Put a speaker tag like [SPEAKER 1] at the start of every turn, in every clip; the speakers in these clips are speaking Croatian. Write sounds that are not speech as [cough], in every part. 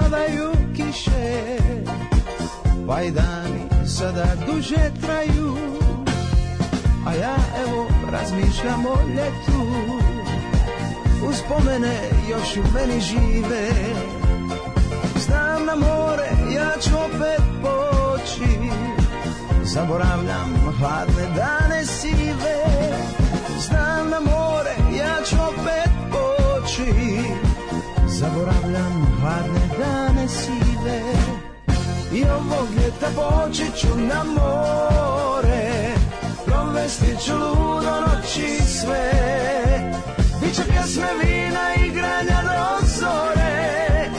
[SPEAKER 1] padaju kiše Pa i dani sada duže traju A ja evo razmišljam o ljetu Uspomene još u meni žive Znam na more, ja ću opet poći Zaboravljam hladne dane sive Znam na more, ja ću opet poći Zaboravljam hladne dane sive I ovog ljeta poći ću na more Provesti ću ludo noći sve Biće pjesme vina i igranja do zore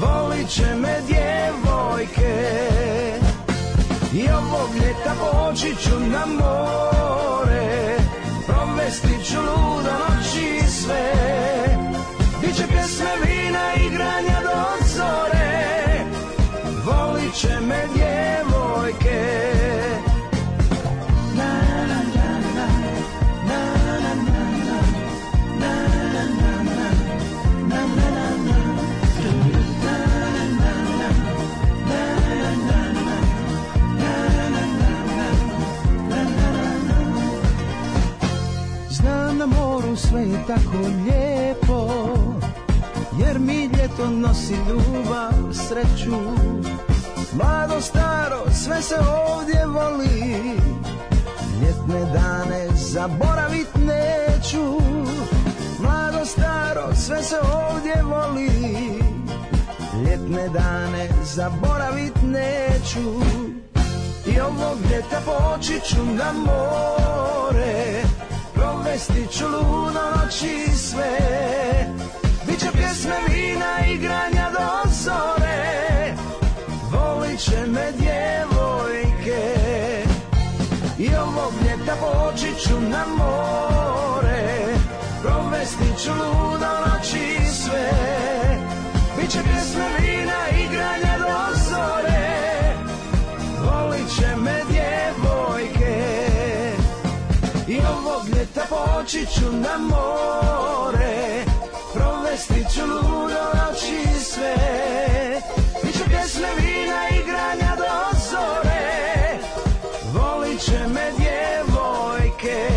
[SPEAKER 1] Volit će me djevojke i ovog ljeta poći ću na more Provesti ću luda noći i sve Biće pjesme, vina, igranja do zore Volit će me djevojke Na, na, na, na, na, na, na, na, na, na, na, na, na, na, na, na. Znam na moru sve je tako lijepo Jer mi ljeto nosi ljubav, sreću Mlado, staro, sve se ovdje voli Ljetne dane zaboravit neću Mlado, staro, sve se ovdje voli Ljetne dane zaboravit neću i ovog ljeta poći ću na more Provesti ću luno noći i sve Biće pjesme, vina, igranja do zore Volit će me djevojke I ovog ljeta poći ću na more Provesti ću luno noći i sve Biće pjesme, vina, igranja do zore volit će me djevojke I ovog ljeta poći ću na more Provesti ću ludo noći i sve Biće pjesme, vina, igranja do zore Volit će me djevojke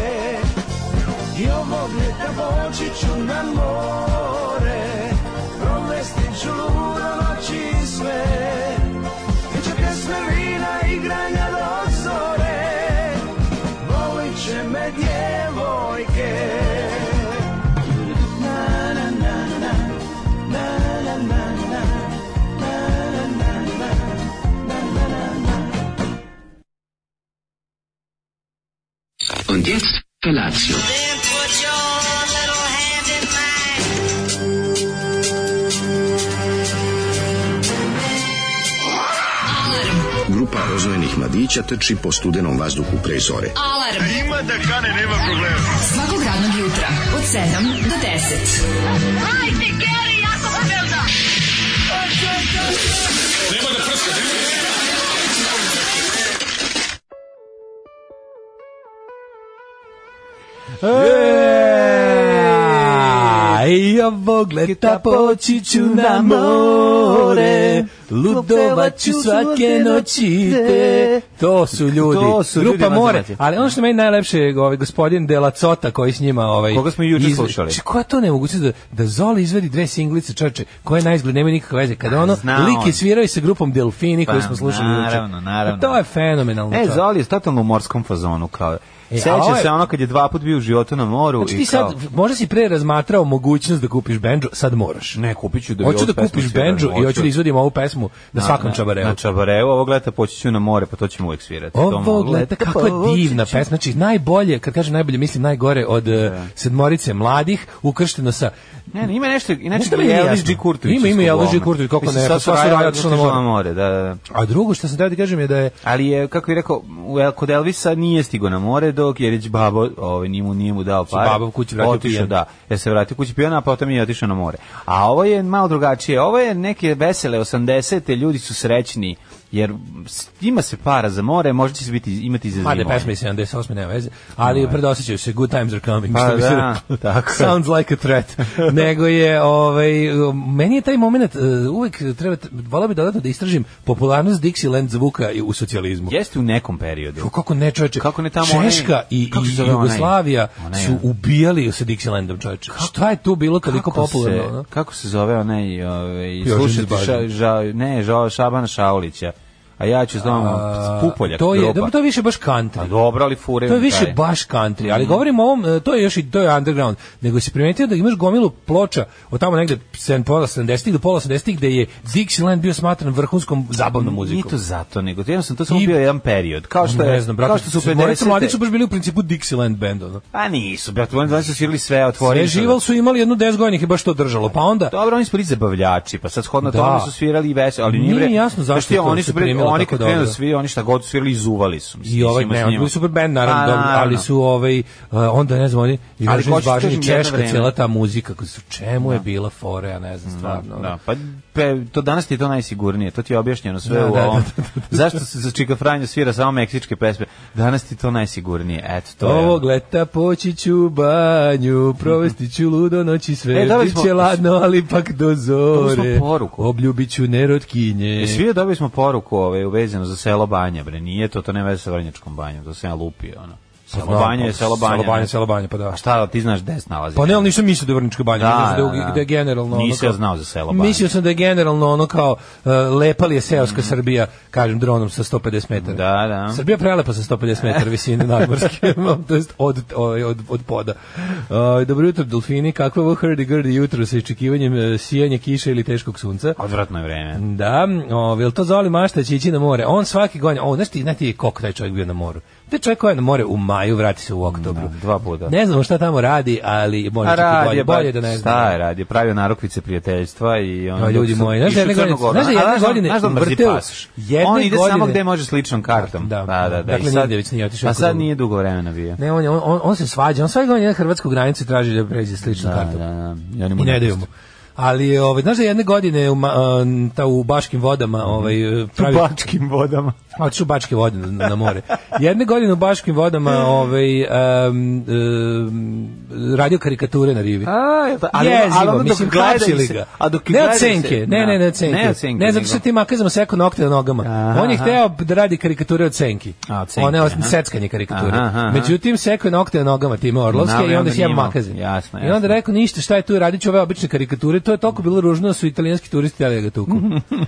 [SPEAKER 1] I ovog ljeta poći ću na more Provesti ću ludo noći i sve Biće pjesme, vina, igranja do zore Volit će me djevojke Na, na, na, na Na, na, na, na Na, na, na, na Na, na, na, na
[SPEAKER 2] Und jetzt Felatio.
[SPEAKER 3] Then put your little hand in mine.
[SPEAKER 4] Grupa rozvojenih mladića trči po studenom vazduhu pre zore.
[SPEAKER 5] Alarm. Ima da kane, nema problema. Svakog radnog jutra, od 7 do 10.
[SPEAKER 6] A, I ovog leta poći ću na more Ludovat ću svake noći te To su ljudi
[SPEAKER 7] To su ljudi,
[SPEAKER 6] Grupa
[SPEAKER 7] ima
[SPEAKER 6] more
[SPEAKER 7] zanatija.
[SPEAKER 6] Ali ono što meni najlepše je ovaj gospodin Dela Cota Koji s njima ovaj,
[SPEAKER 7] Koga smo i juče slušali.
[SPEAKER 6] Či, koja to nemogućnost da, da Zoli izvedi dve singlice čoče Koje na izgled nemaju nikakve veze Kada ono
[SPEAKER 7] Pa, Zna
[SPEAKER 6] lik je
[SPEAKER 7] on.
[SPEAKER 6] svirao i sa grupom Delfini
[SPEAKER 7] Pa,
[SPEAKER 6] Koju smo slušali juče
[SPEAKER 7] naravno, naravno.
[SPEAKER 6] A To je fenomenalno
[SPEAKER 7] E,
[SPEAKER 6] čoveče.
[SPEAKER 7] Zoli je totalno u morskom fazonu, kao.
[SPEAKER 6] E, a ovo
[SPEAKER 7] Seća
[SPEAKER 6] je-
[SPEAKER 7] se ono kad je dva put bio u životu na moru
[SPEAKER 6] Znači
[SPEAKER 7] i
[SPEAKER 6] ti
[SPEAKER 7] kao...
[SPEAKER 6] sad, možda si pre razmatrao mogućnost da kupiš bendžo, sad moraš.
[SPEAKER 7] Ne, kupit ću da bi
[SPEAKER 6] Hoću
[SPEAKER 7] ovu
[SPEAKER 6] da
[SPEAKER 7] pesmu
[SPEAKER 6] kupiš
[SPEAKER 7] svirao,
[SPEAKER 6] bendžu i
[SPEAKER 7] hoću.
[SPEAKER 6] hoću da izvodim ovu pesmu na svakom
[SPEAKER 7] Na-
[SPEAKER 6] čabareu.
[SPEAKER 7] Na čabareu, ovog leta poći ću na more, pa to ćemo uvijek svirati. To
[SPEAKER 6] Ovo
[SPEAKER 7] mogu.
[SPEAKER 6] gleda kako je divna pesma, znači najbolje, kad kažem najbolje, mislim najgore od eh, sedmorice mladih, ukršteno sa
[SPEAKER 7] Ne, ne, ima nešto,
[SPEAKER 6] Znaš
[SPEAKER 7] inače
[SPEAKER 6] šta
[SPEAKER 7] bi
[SPEAKER 6] meni nije
[SPEAKER 7] Elvis
[SPEAKER 6] jasno?
[SPEAKER 7] G. Kurtović.
[SPEAKER 6] Ima, ima i Elvis G. Kurtović, koliko ne, pa sva su raja otišla na more.
[SPEAKER 7] more. Da, da.
[SPEAKER 6] A drugo što sam teo da kažem je da je
[SPEAKER 7] Ali je, kako je rekao, u El- kod Elvisa nije stigo na more, dok je reći babo, ovaj, nije, mu, nije mu dao pare.
[SPEAKER 6] baba Znači, kući vratio
[SPEAKER 7] Otišao,
[SPEAKER 6] pijan.
[SPEAKER 7] Da, jer se vratio kući pijana, pa potom je otišao na more. A ovo je malo drugačije. Ovo je neke vesele 80. ljudi su srećni jer s- ima se para za more, možda će se biti, imati za zimu.
[SPEAKER 6] Mada je Pa pesma iz 78. nema veze, ali predosećaju se Good Times Are Coming,
[SPEAKER 7] Pa
[SPEAKER 6] što bi se
[SPEAKER 7] da,
[SPEAKER 6] reklo.
[SPEAKER 7] tako je.
[SPEAKER 6] Sounds like a
[SPEAKER 7] [laughs]
[SPEAKER 6] threat. Nego je, ovaj, meni je taj moment, uh, uvek treba, volao bi dodatno da istražim popularnost Dixieland zvuka i u socijalizmu.
[SPEAKER 7] Jeste u nekom periodu.
[SPEAKER 6] Ju, kako ne čoveče,
[SPEAKER 7] Kako ne tamo
[SPEAKER 6] Češka
[SPEAKER 7] onaj-
[SPEAKER 6] i,
[SPEAKER 7] kako se
[SPEAKER 6] i
[SPEAKER 7] zove onaj?
[SPEAKER 6] Jugoslavija
[SPEAKER 7] Onaj,
[SPEAKER 6] su
[SPEAKER 7] ja.
[SPEAKER 6] ubijali sa Dixielandom čoveče. Šta je tu bilo toliko popularno? ono?
[SPEAKER 7] Se, kako se zove onaj, ovaj,
[SPEAKER 6] Jožin
[SPEAKER 7] slušati ša,
[SPEAKER 6] Zbajin.
[SPEAKER 7] ža, ne, ža, Šabana Šaulića, a ja ću znam Pupoljak
[SPEAKER 6] to je,
[SPEAKER 7] grupa.
[SPEAKER 6] dobro, to je više baš country.
[SPEAKER 7] A dobro, ali fure.
[SPEAKER 6] To je
[SPEAKER 7] mi
[SPEAKER 6] više
[SPEAKER 7] daje.
[SPEAKER 6] baš country,
[SPEAKER 7] Mhm.
[SPEAKER 6] ali govorim o ovom, e, to je još i to je underground, nego si primetio da imaš gomilu ploča od tamo negde 7 pola 70-ih do pola 70-ih gde je Dixieland bio smatran vrhunskom zabavnom
[SPEAKER 7] Nije
[SPEAKER 6] muzikom.
[SPEAKER 7] to zato, nego to jednostavno to samo
[SPEAKER 6] I-
[SPEAKER 7] bio jedan period. Kao što je,
[SPEAKER 6] ne znam, brate,
[SPEAKER 7] kao što su
[SPEAKER 6] Morica
[SPEAKER 7] 50.
[SPEAKER 6] Mladić su baš bili u principu Dixieland band, ono.
[SPEAKER 7] A nisu, brate, oni znači su svirali sve, otvorili.
[SPEAKER 6] Sve
[SPEAKER 7] su-
[SPEAKER 6] žival su imali jednu 10 gojnih i baš to držalo, pa onda...
[SPEAKER 7] Dobro, oni su bili zabavljači, pa sad shodno
[SPEAKER 6] Da.
[SPEAKER 7] tome su svirali i veseli, ali
[SPEAKER 6] Nije
[SPEAKER 7] nije
[SPEAKER 6] mi jasno zašto
[SPEAKER 7] Znaš ti,
[SPEAKER 6] je to
[SPEAKER 7] oni
[SPEAKER 6] se
[SPEAKER 7] su bili,
[SPEAKER 6] primilo
[SPEAKER 7] oni
[SPEAKER 6] tako
[SPEAKER 7] kad krenu
[SPEAKER 6] dobro.
[SPEAKER 7] svi, oni šta god su svirali, izuvali su. mislim,
[SPEAKER 6] I ovaj
[SPEAKER 7] mislim,
[SPEAKER 6] ne,
[SPEAKER 7] s
[SPEAKER 6] oni
[SPEAKER 7] njima.
[SPEAKER 6] bili super band naravno,
[SPEAKER 7] A,
[SPEAKER 6] dobro, ali
[SPEAKER 7] naravno.
[SPEAKER 6] su ovaj e, onda ne znam oni i
[SPEAKER 7] Ali
[SPEAKER 6] Jožin
[SPEAKER 7] hoću ti
[SPEAKER 6] Zbažin i
[SPEAKER 7] kažem jedno
[SPEAKER 6] Češka
[SPEAKER 7] vreme.
[SPEAKER 6] cijela ta muzika, koji su čemu je bila fora, ja ne znam stvarno. ono.
[SPEAKER 7] Da, pa pe, to danas ti je to najsigurnije, to ti je objašnjeno sve
[SPEAKER 6] Da,
[SPEAKER 7] u
[SPEAKER 6] da,
[SPEAKER 7] ovom.
[SPEAKER 6] da, da, da.
[SPEAKER 7] Zašto se za Čika Franjo svira samo meksičke pesme? Danas ti je to najsigurnije, eto to je.
[SPEAKER 6] Ovog leta poći ću u banju, provesti ću ludo noći sve,
[SPEAKER 7] E,
[SPEAKER 6] e,
[SPEAKER 7] dali
[SPEAKER 6] bit
[SPEAKER 7] smo-
[SPEAKER 6] će ladno, ali pak do
[SPEAKER 7] Dobili
[SPEAKER 6] zore,
[SPEAKER 7] smo poruku.
[SPEAKER 6] obljubit ću nerotkinje.
[SPEAKER 7] E, svi dobili smo poruku ove, uvezano za selo Banja, bre, nije to, to nema veze sa Vrnjačkom banjom, to se ja lupio, ono. Selo
[SPEAKER 6] Pa znam,
[SPEAKER 7] Banja je
[SPEAKER 6] pa,
[SPEAKER 7] selo Banja.
[SPEAKER 6] Selo banja,
[SPEAKER 7] ne?
[SPEAKER 6] selo banja, pa da.
[SPEAKER 7] A šta, ti znaš gde se nalazi?
[SPEAKER 6] Pa ne, ali nisam mislio da je Vrnička banja,
[SPEAKER 7] Da,
[SPEAKER 6] da, da,
[SPEAKER 7] da, da.
[SPEAKER 6] je generalno... ono
[SPEAKER 7] Nisam
[SPEAKER 6] kao-
[SPEAKER 7] znao za selo Banja.
[SPEAKER 6] Mislio sam da je generalno ono kao uh, lepa li je seoska Srbija, kažem dronom sa 150 metara.
[SPEAKER 7] Mhm. Da, da.
[SPEAKER 6] Srbija je prelepa sa 150 metara visine
[SPEAKER 7] [laughs]
[SPEAKER 6] nadmorske, [laughs] to jest od, ovaj, od, od poda. Uh, dobro jutro, delfini, kakvo je ovo hurdy-gurdy jutro sa iščekivanjem e, sijanja kiše ili teškog sunca?
[SPEAKER 7] Odvratno je vreme.
[SPEAKER 6] Da, o, jel to Zoli Mašta će ići na more? On svaki godin, o, znaš ti, znaš ti koliko taj čovjek bio na moru? Taj čovjek koji je na more u maju, vrati se u oktobru.
[SPEAKER 7] Da, dva puta.
[SPEAKER 6] Ne znamo šta tamo radi, ali
[SPEAKER 7] A
[SPEAKER 6] bolje, čak i
[SPEAKER 7] rad
[SPEAKER 6] bolje,
[SPEAKER 7] je,
[SPEAKER 6] bolje da ne znam.
[SPEAKER 7] Šta je rad je, pravio narukvice prijateljstva i ono...
[SPEAKER 6] A, ljudi moji, znaš da jedne godine- znaš da jedne godine vrteo- jedne
[SPEAKER 7] On ide samo
[SPEAKER 6] godine-
[SPEAKER 7] gde može s ličnom kartom.
[SPEAKER 6] Da,
[SPEAKER 7] Da, da, da.
[SPEAKER 6] dakle,
[SPEAKER 7] I sad-
[SPEAKER 6] nigde već nije otišao
[SPEAKER 7] A
[SPEAKER 6] jako
[SPEAKER 7] sad
[SPEAKER 6] dugo.
[SPEAKER 7] nije dugo vremena bio.
[SPEAKER 6] Ne, on, je- on, on, on se svađa, on svaki godin na hrvatsku granicu traži da pređe sličnu
[SPEAKER 7] Da,
[SPEAKER 6] kartu.
[SPEAKER 7] da, da. I oni mu
[SPEAKER 6] I ne
[SPEAKER 7] ne
[SPEAKER 6] daju mu. Ali, ovaj, znaš da jedne godine u, ma- a, ta, u Baškim vodama ovaj, pravi...
[SPEAKER 7] Bačkim vodama.
[SPEAKER 6] A otišao u Bačke vode na, na more. Jedne godine u Bačkim vodama ovaj, em, em, radio karikature na rivi.
[SPEAKER 7] A, jel ta- ali,
[SPEAKER 6] Jezivo,
[SPEAKER 7] ali ono dok
[SPEAKER 6] mislim,
[SPEAKER 7] gleda
[SPEAKER 6] kačili
[SPEAKER 7] ih se-
[SPEAKER 6] ga.
[SPEAKER 7] A dok
[SPEAKER 6] ne
[SPEAKER 7] gleda
[SPEAKER 6] od
[SPEAKER 7] ih se-
[SPEAKER 6] senke, ne,
[SPEAKER 7] da.
[SPEAKER 6] ne, ne od senke.
[SPEAKER 7] Ne od senke.
[SPEAKER 6] Ne, zato što
[SPEAKER 7] nego-
[SPEAKER 6] ti makazama seko nokte na nogama.
[SPEAKER 7] Aha,
[SPEAKER 6] On je
[SPEAKER 7] aha.
[SPEAKER 6] hteo da radi karikature od senki.
[SPEAKER 7] A, od senke,
[SPEAKER 6] One od
[SPEAKER 7] aha.
[SPEAKER 6] seckanje karikature.
[SPEAKER 7] Aha, aha.
[SPEAKER 6] Međutim, seko je nokte na nogama time Orlovske
[SPEAKER 7] Naravno,
[SPEAKER 6] i onda si
[SPEAKER 7] nije imao.
[SPEAKER 6] makaze.
[SPEAKER 7] Jasno,
[SPEAKER 6] I onda
[SPEAKER 7] jasno.
[SPEAKER 6] rekao, ništa, šta je tu, radit ću ove obične karikature. To je toliko bilo ružno da su italijanski turisti htjeli da ga
[SPEAKER 7] [laughs]
[SPEAKER 6] tuku.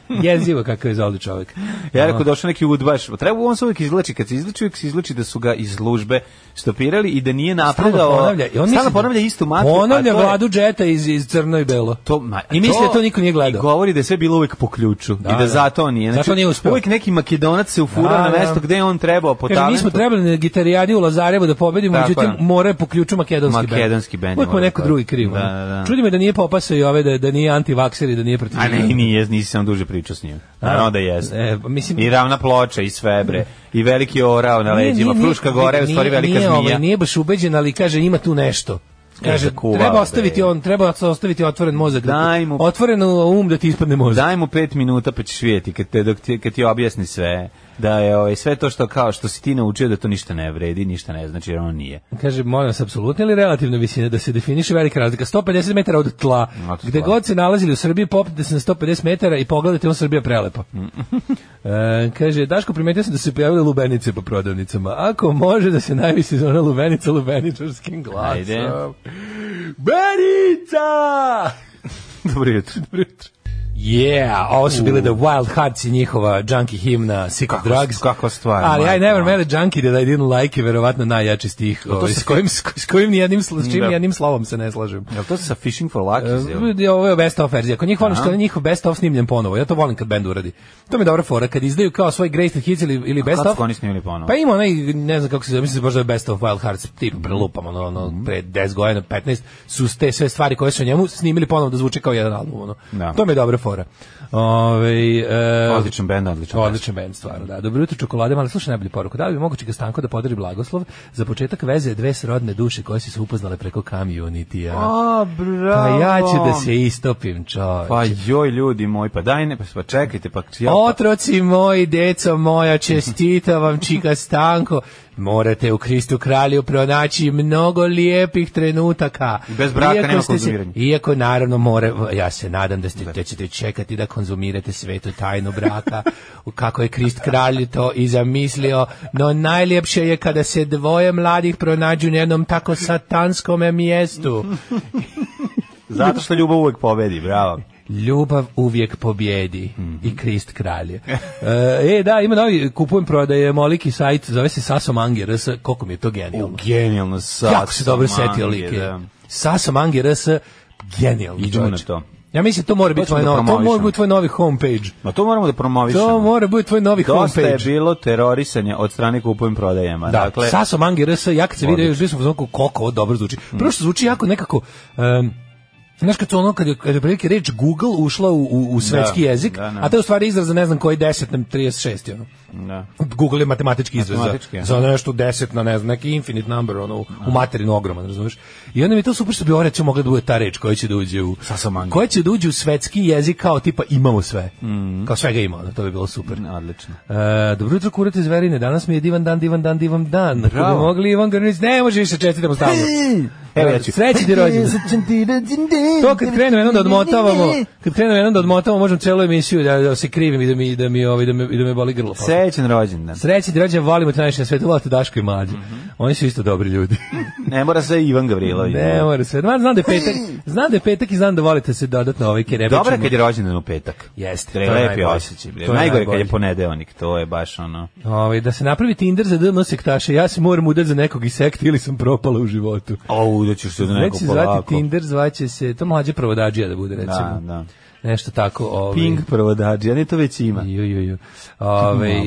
[SPEAKER 6] Jezivo kakav je zoli čovjek.
[SPEAKER 7] Ja
[SPEAKER 6] Ono,
[SPEAKER 7] rekao došao neki udbaš. Treba on se uvijek izvlači kad se izvlači, uvijek se izvlači da su ga iz službe stopirali i da nije napredovao.
[SPEAKER 6] Stalno ponavlja. I on misli da-
[SPEAKER 7] ponavlja istu matru. a
[SPEAKER 6] Ponavlja
[SPEAKER 7] to je-
[SPEAKER 6] vladu džeta iz, iz crno i belo.
[SPEAKER 7] To, ma,
[SPEAKER 6] I misli da to niko nije gledao.
[SPEAKER 7] I govori da je sve bilo uvek po ključu i da,
[SPEAKER 6] da.
[SPEAKER 7] zato nije.
[SPEAKER 6] Zato nije uspeo.
[SPEAKER 7] Uvek neki makedonac se ufura
[SPEAKER 6] Da,
[SPEAKER 7] na
[SPEAKER 6] da.
[SPEAKER 7] mesto gde je on trebao po
[SPEAKER 6] Kaže, mi
[SPEAKER 7] talentu.
[SPEAKER 6] smo trebali na gitarijadi u Lazarevu da pobedimo,
[SPEAKER 7] Tako
[SPEAKER 6] međutim,
[SPEAKER 7] je.
[SPEAKER 6] more po ključu makedonski,
[SPEAKER 7] Makedonski bend je
[SPEAKER 6] Uvijek mu
[SPEAKER 7] morao
[SPEAKER 6] neko
[SPEAKER 7] da-
[SPEAKER 6] drugi krivo.
[SPEAKER 7] Da, da, da.
[SPEAKER 6] Čudi me da nije popasao i ove, da, da nije antivakser i da nije protiv.
[SPEAKER 7] A ne, i nije, nisam duže pričao s njim. Naravno da jeste.
[SPEAKER 6] E, pa mislim-
[SPEAKER 7] I ravna ploča i sve bre. I veliki orao na
[SPEAKER 6] Nije-
[SPEAKER 7] leđima.
[SPEAKER 6] nije-
[SPEAKER 7] Fruška
[SPEAKER 6] nije-
[SPEAKER 7] gore je u stvari
[SPEAKER 6] nije-
[SPEAKER 7] velika
[SPEAKER 6] nije, ovaj,
[SPEAKER 7] zmija. E,
[SPEAKER 6] nije baš ubeđen, ali kaže, ima tu nešto. Kaže,
[SPEAKER 7] zakuvao,
[SPEAKER 6] treba ostaviti
[SPEAKER 7] bre.
[SPEAKER 6] on, treba ostaviti otvoren mozak. da ti-
[SPEAKER 7] Daj mu-
[SPEAKER 6] Otvoren um da ti ispadne mozak.
[SPEAKER 7] Daj mu pet minuta pa ćeš vidjeti kad, te, dok ti, kad ti objasni sve da je ovaj, sve to što kao što si ti naučio da to ništa ne vredi, ništa ne znači jer on nije.
[SPEAKER 6] Kaže, molim vas, apsolutno ili relativna visina da se definiše velika razlika. 150 metara od tla.
[SPEAKER 7] Od tla.
[SPEAKER 6] Gde god se nalazili u Srbiji, popnite se na 150 metara i pogledajte, on Srbija prelepa.
[SPEAKER 7] Mm.
[SPEAKER 6] e, kaže, Daško, primetio sam da su se pojavile lubenice po prodavnicama. Ako može da se najvi sezona lubenica lubeničarskim glasom.
[SPEAKER 7] Ajde.
[SPEAKER 6] Benica!
[SPEAKER 7] Dobro jutro.
[SPEAKER 6] Yeah, ovo su bile The Wild Hearts i njihova junkie himna Sick of
[SPEAKER 7] Kako-
[SPEAKER 6] Drugs.
[SPEAKER 7] kako stvar,
[SPEAKER 6] Ali I
[SPEAKER 7] majko
[SPEAKER 6] never
[SPEAKER 7] moja.
[SPEAKER 6] met a junkie that I didn't like je verovatno najjači stih ovaj,
[SPEAKER 7] se-
[SPEAKER 6] s kojim, s s kojim nijednim, sl- s čim
[SPEAKER 7] Da.
[SPEAKER 6] nijednim slovom se ne slažem.
[SPEAKER 7] Jel to sa Fishing for Luckies? jel?
[SPEAKER 6] E, Ovo je best of verzija. Ako njih volim što je njihov best of snimljen ponovo. Ja to volim kad bend uradi. To mi je dobra fora. Kad izdaju kao svoj greatest hits ili, ili best
[SPEAKER 7] Kad
[SPEAKER 6] of,
[SPEAKER 7] su oni snimili ponovo?
[SPEAKER 6] pa ima onaj, ne znam kako se zove, mislim se baš da je Best of Wild Hearts, tip
[SPEAKER 7] Mhm.
[SPEAKER 6] prelupam, ono, ono, pre 10 godina, 15, su te sve stvari koje su o njemu snimili ponovo da zvuči kao jedan album, ono.
[SPEAKER 7] Da.
[SPEAKER 6] To mi je dobra fora. fora. Ovaj e,
[SPEAKER 7] Odličan bend, odličan bend.
[SPEAKER 6] Odličan bend, stvarno, da. Dobro jutro čokolade, ali slušaj najbolju poruku. Da li bi moguće ga Stanko da podari blagoslov za početak veze dve srodne duše koje su se upoznale preko community-a.
[SPEAKER 7] A,
[SPEAKER 6] Pa
[SPEAKER 7] bravo.
[SPEAKER 6] ja ću da se istopim, čovječe.
[SPEAKER 7] Pa joj, ljudi moji, pa daj ne, pa, pa čekajte, pa ja...
[SPEAKER 6] Otroci moji, deco moja, čestita vam čika Stanko. Morate u Kristu kralju pronaći mnogo lijepih trenutaka.
[SPEAKER 7] Bez braka nema
[SPEAKER 6] ste se-
[SPEAKER 7] konzumiranja.
[SPEAKER 6] Iako naravno more, ja se nadam da, ste, da ćete čekati da konzumirate svetu tajnu braka, kako je Krist kralj to i zamislio, no najljepše je kada se dvoje mladih pronađu na jednom tako satanskom mjestu.
[SPEAKER 7] Zato što ljubav uvek pobedi, bravo.
[SPEAKER 6] Ljubav uvijek pobjedi
[SPEAKER 7] Mhm.
[SPEAKER 6] i Krist kralje. e, da, ima novi, kupujem prodaje, moliki sajt, zove se Saso Mange RS, koliko mi je to genijalno.
[SPEAKER 7] Genijalno sad.
[SPEAKER 6] jako se dobro
[SPEAKER 7] Mange,
[SPEAKER 6] setio like.
[SPEAKER 7] da.
[SPEAKER 6] Saso Mange RS, genijalno.
[SPEAKER 7] Idemo
[SPEAKER 6] čoveče.
[SPEAKER 7] na to.
[SPEAKER 6] Ja mislim to mora biti
[SPEAKER 7] ćemo
[SPEAKER 6] tvoj
[SPEAKER 7] da
[SPEAKER 6] novi, to mora
[SPEAKER 7] promovišemo.
[SPEAKER 6] biti tvoj novi homepage.
[SPEAKER 7] Ma to moramo da promovišemo.
[SPEAKER 6] To mora biti tvoj novi
[SPEAKER 7] Dosta je
[SPEAKER 6] homepage.
[SPEAKER 7] bilo terorisanja od strane kupujem prodajama.
[SPEAKER 6] Da,
[SPEAKER 7] dakle,
[SPEAKER 6] Saso Mangi RS, ja kad se vidio, još bio sam u zonku koliko ovo dobro zvuči. Prvo što zvuči jako nekako... em, Znaš kad su ono, kad je, kad je prilike reč Google ušla u, u, u svetski
[SPEAKER 7] Da,
[SPEAKER 6] jezik,
[SPEAKER 7] da, da.
[SPEAKER 6] a to je u stvari izraz za ne znam koji 10 na 36. Ono.
[SPEAKER 7] da.
[SPEAKER 6] Google je matematički izraz za,
[SPEAKER 7] Matematički, aha.
[SPEAKER 6] za ono nešto 10 na ne znam, neki infinite number, ono, u, u materinu ogroman, razumiješ? I onda mi je to super što bi ovo recimo mogla da bude ta reč koja će da uđe u...
[SPEAKER 7] Saso Mangi.
[SPEAKER 6] Koja će da uđe u svetski jezik kao tipa imamo sve.
[SPEAKER 7] Mhm.
[SPEAKER 6] Kao svega ima, ono, to bi bilo super.
[SPEAKER 7] Odlično.
[SPEAKER 6] E, dobro jutro, kurat iz Verine. Danas mi je divan dan, divan dan, divan dan. Ako bi mogli Ivan Grnić, ne može više čestitamo stalno.
[SPEAKER 7] [laughs] Evo ja ću.
[SPEAKER 6] Sreći ti rođendan. To kad krenu jednom da odmotavamo, kad krenu jednom da odmotavamo, možemo celu emisiju da, da se krivim i da mi da mi ovaj da me i da me boli grlo.
[SPEAKER 7] Srećen rođendan.
[SPEAKER 6] Sreći ti rođendan, volimo te najviše na svetu, volite Daško i Mlađu.
[SPEAKER 7] Mhm.
[SPEAKER 6] Oni su isto dobri
[SPEAKER 7] [laughs]
[SPEAKER 6] ljudi.
[SPEAKER 7] Ne mora sve Ivan Gavrilović.
[SPEAKER 6] ne, mora sve. Ma, znam da je petak, znam da je petak i znam da volite se dodatno ovaj kerebičan.
[SPEAKER 7] Dobro je kad je rođendan u petak.
[SPEAKER 6] Jeste, to je
[SPEAKER 7] Lepi
[SPEAKER 6] najbolje.
[SPEAKER 7] osjećaj. bre.
[SPEAKER 6] To je
[SPEAKER 7] Najgore kad
[SPEAKER 6] najbolje.
[SPEAKER 7] je ponedeonik, to je baš ono.
[SPEAKER 6] Ovaj, da se napravi Tinder za DM sektaše, ja se moram udati za nekog iz sekte ili sam propala u životu.
[SPEAKER 7] Au, da ćeš se da neko
[SPEAKER 6] Neće se zvati
[SPEAKER 7] polako.
[SPEAKER 6] Tinder, zvaće se, to mlađe provodađija da bude recimo.
[SPEAKER 7] Da, da.
[SPEAKER 6] Nešto tako. Ovaj.
[SPEAKER 7] Ping provodađi, a ne to već ima.
[SPEAKER 6] Ju, ju, ju. Ovaj,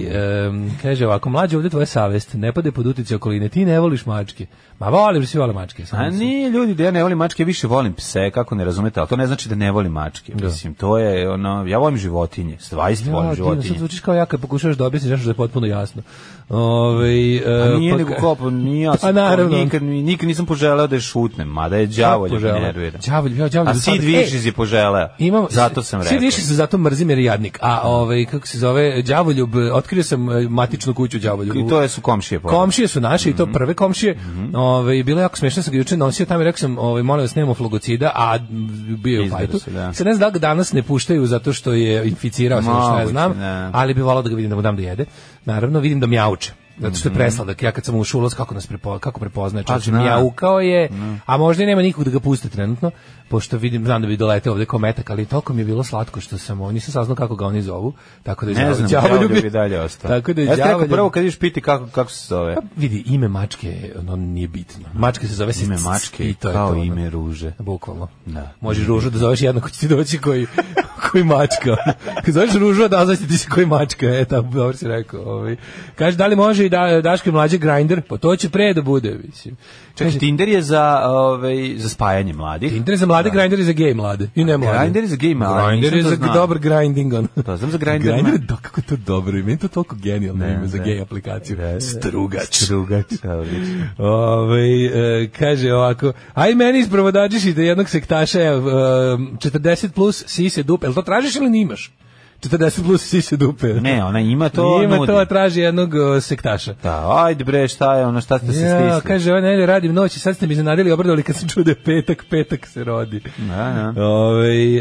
[SPEAKER 6] em, kaže ovako, mlađe ovdje tvoja savest, ne pade pod utice okoline, ti ne voliš mačke. Ma volim, svi vole mačke. samo
[SPEAKER 7] A
[SPEAKER 6] su-
[SPEAKER 7] nije ljudi da ja ne volim mačke, ja više volim pse, kako ne razumete, ali to ne znači da ne volim mačke. Mislim, to je ono, ja volim životinje, stvarno
[SPEAKER 6] Ja,
[SPEAKER 7] volim
[SPEAKER 6] divno, sad
[SPEAKER 7] životinje. Pa
[SPEAKER 6] zvučiš kao ja kad pokušavaš da objasniš nešto što je potpuno jasno. Ovaj,
[SPEAKER 7] A
[SPEAKER 6] e,
[SPEAKER 7] nije
[SPEAKER 6] pa-
[SPEAKER 7] nego kao, pa nije, ja
[SPEAKER 6] A
[SPEAKER 7] sam,
[SPEAKER 6] naravno.
[SPEAKER 7] nikad, nikad nisam poželeo da je šutnem, mada je đavolj
[SPEAKER 6] Kako
[SPEAKER 7] me
[SPEAKER 6] žele?
[SPEAKER 7] nervira.
[SPEAKER 6] Đavolj, ja đavolj
[SPEAKER 7] A
[SPEAKER 6] do
[SPEAKER 7] Sid
[SPEAKER 6] sada-
[SPEAKER 7] Vicious je poželeo,
[SPEAKER 6] e, Imam,
[SPEAKER 7] zato sam
[SPEAKER 6] Svi
[SPEAKER 7] rekao.
[SPEAKER 6] više se zato mrzim jer je jadnik. A ovaj, kako se zove, đavoljub, e, otkrio sam e, matičnu kuću đavoljubu.
[SPEAKER 7] I to je su komšije povedali.
[SPEAKER 6] Komšije su naše i to prve
[SPEAKER 7] Mhm.
[SPEAKER 6] komšije. Ovaj bilo je jako smešno sam ga juče nosio tamo i rekao sam ovaj molim vas nemamo flogocida, a m, bio je u
[SPEAKER 7] Izdero
[SPEAKER 6] fajtu.
[SPEAKER 7] se, da.
[SPEAKER 6] Se ne znam da li ga danas ne puštaju zato što je inficirao se što ja
[SPEAKER 7] Moguće,
[SPEAKER 6] znam,
[SPEAKER 7] da.
[SPEAKER 6] ali bi volao da ga vidim da mu dam da jede. Naravno vidim da mjauče. Zato što je presladak. Ja kad sam ušao u ulaz, kako nas prepo, kako prepoznaje čovječe,
[SPEAKER 7] Mhm. Pa zna. Mhm.
[SPEAKER 6] mjaukao je, a možda i nema nikog da ga puste trenutno, pošto vidim, znam da bi doleteo ovde ko metak, ali toliko mi je bilo slatko što sam, ovo- nisam saznao kako ga oni zovu, tako da je
[SPEAKER 7] Ne
[SPEAKER 6] đavo-
[SPEAKER 7] znam,
[SPEAKER 6] đavoljub
[SPEAKER 7] đavoljub
[SPEAKER 6] je-
[SPEAKER 7] bi dalje ostao.
[SPEAKER 6] Tako da je Pa,
[SPEAKER 7] ja sam rekao
[SPEAKER 6] đavoljub-
[SPEAKER 7] prvo kad iš piti kako, kako se zove.
[SPEAKER 6] Vidi, ime mačke, ono nije bitno. Mačke se zove se
[SPEAKER 7] Ime
[SPEAKER 6] c- c-
[SPEAKER 7] mačke
[SPEAKER 6] i
[SPEAKER 7] je
[SPEAKER 6] to je
[SPEAKER 7] kao
[SPEAKER 6] to, ono.
[SPEAKER 7] ime ruže.
[SPEAKER 6] Bukvalno.
[SPEAKER 7] Da.
[SPEAKER 6] Možeš ružu da zoveš jednako će ti doći koji, koji mačka. Kad zoveš ružu, da zoveš ti se koji mačka. E, tako, dobro si rekao. Ovaj. Kaže, da li može i da, Daško i mlađe grinder? Pa to će pre da bude, mislim.
[SPEAKER 7] Čekaj, Tinder je za, ovaj, za spajanje mladih.
[SPEAKER 6] Tinder je za mlade, grinder je za gej mlade. I ne mlade.
[SPEAKER 7] Grindr je za gej mlade,
[SPEAKER 6] Grinder
[SPEAKER 7] nisam
[SPEAKER 6] je
[SPEAKER 7] to
[SPEAKER 6] za
[SPEAKER 7] znao.
[SPEAKER 6] dobar grinding. On.
[SPEAKER 7] Da, znam za grinder.
[SPEAKER 6] Grindr, da, kako je to dobro. I meni je to toliko genijalno ime za
[SPEAKER 7] ne.
[SPEAKER 6] gej aplikaciju. Strugač.
[SPEAKER 7] Drugač, odlično.
[SPEAKER 6] [laughs] Ove, e, kaže ovako, aj meni isprovodađiš da jednog sektaša e, 40 plus sise dupe, jel to tražiš ili nimaš? 40 plus sise dupe. [laughs]
[SPEAKER 7] Ne, ona ima to,
[SPEAKER 6] Ima
[SPEAKER 7] nudi.
[SPEAKER 6] to, a traži jednog e, sektaša.
[SPEAKER 7] Da, ajde bre, šta je ono, šta ste se
[SPEAKER 6] Ja,
[SPEAKER 7] stisli?
[SPEAKER 6] kaže, ove nedelje radim noći, sad ste mi iznenadili, obradovali kad sam čuo da je petak, petak se rodi.
[SPEAKER 7] Da, da.
[SPEAKER 6] Ovaj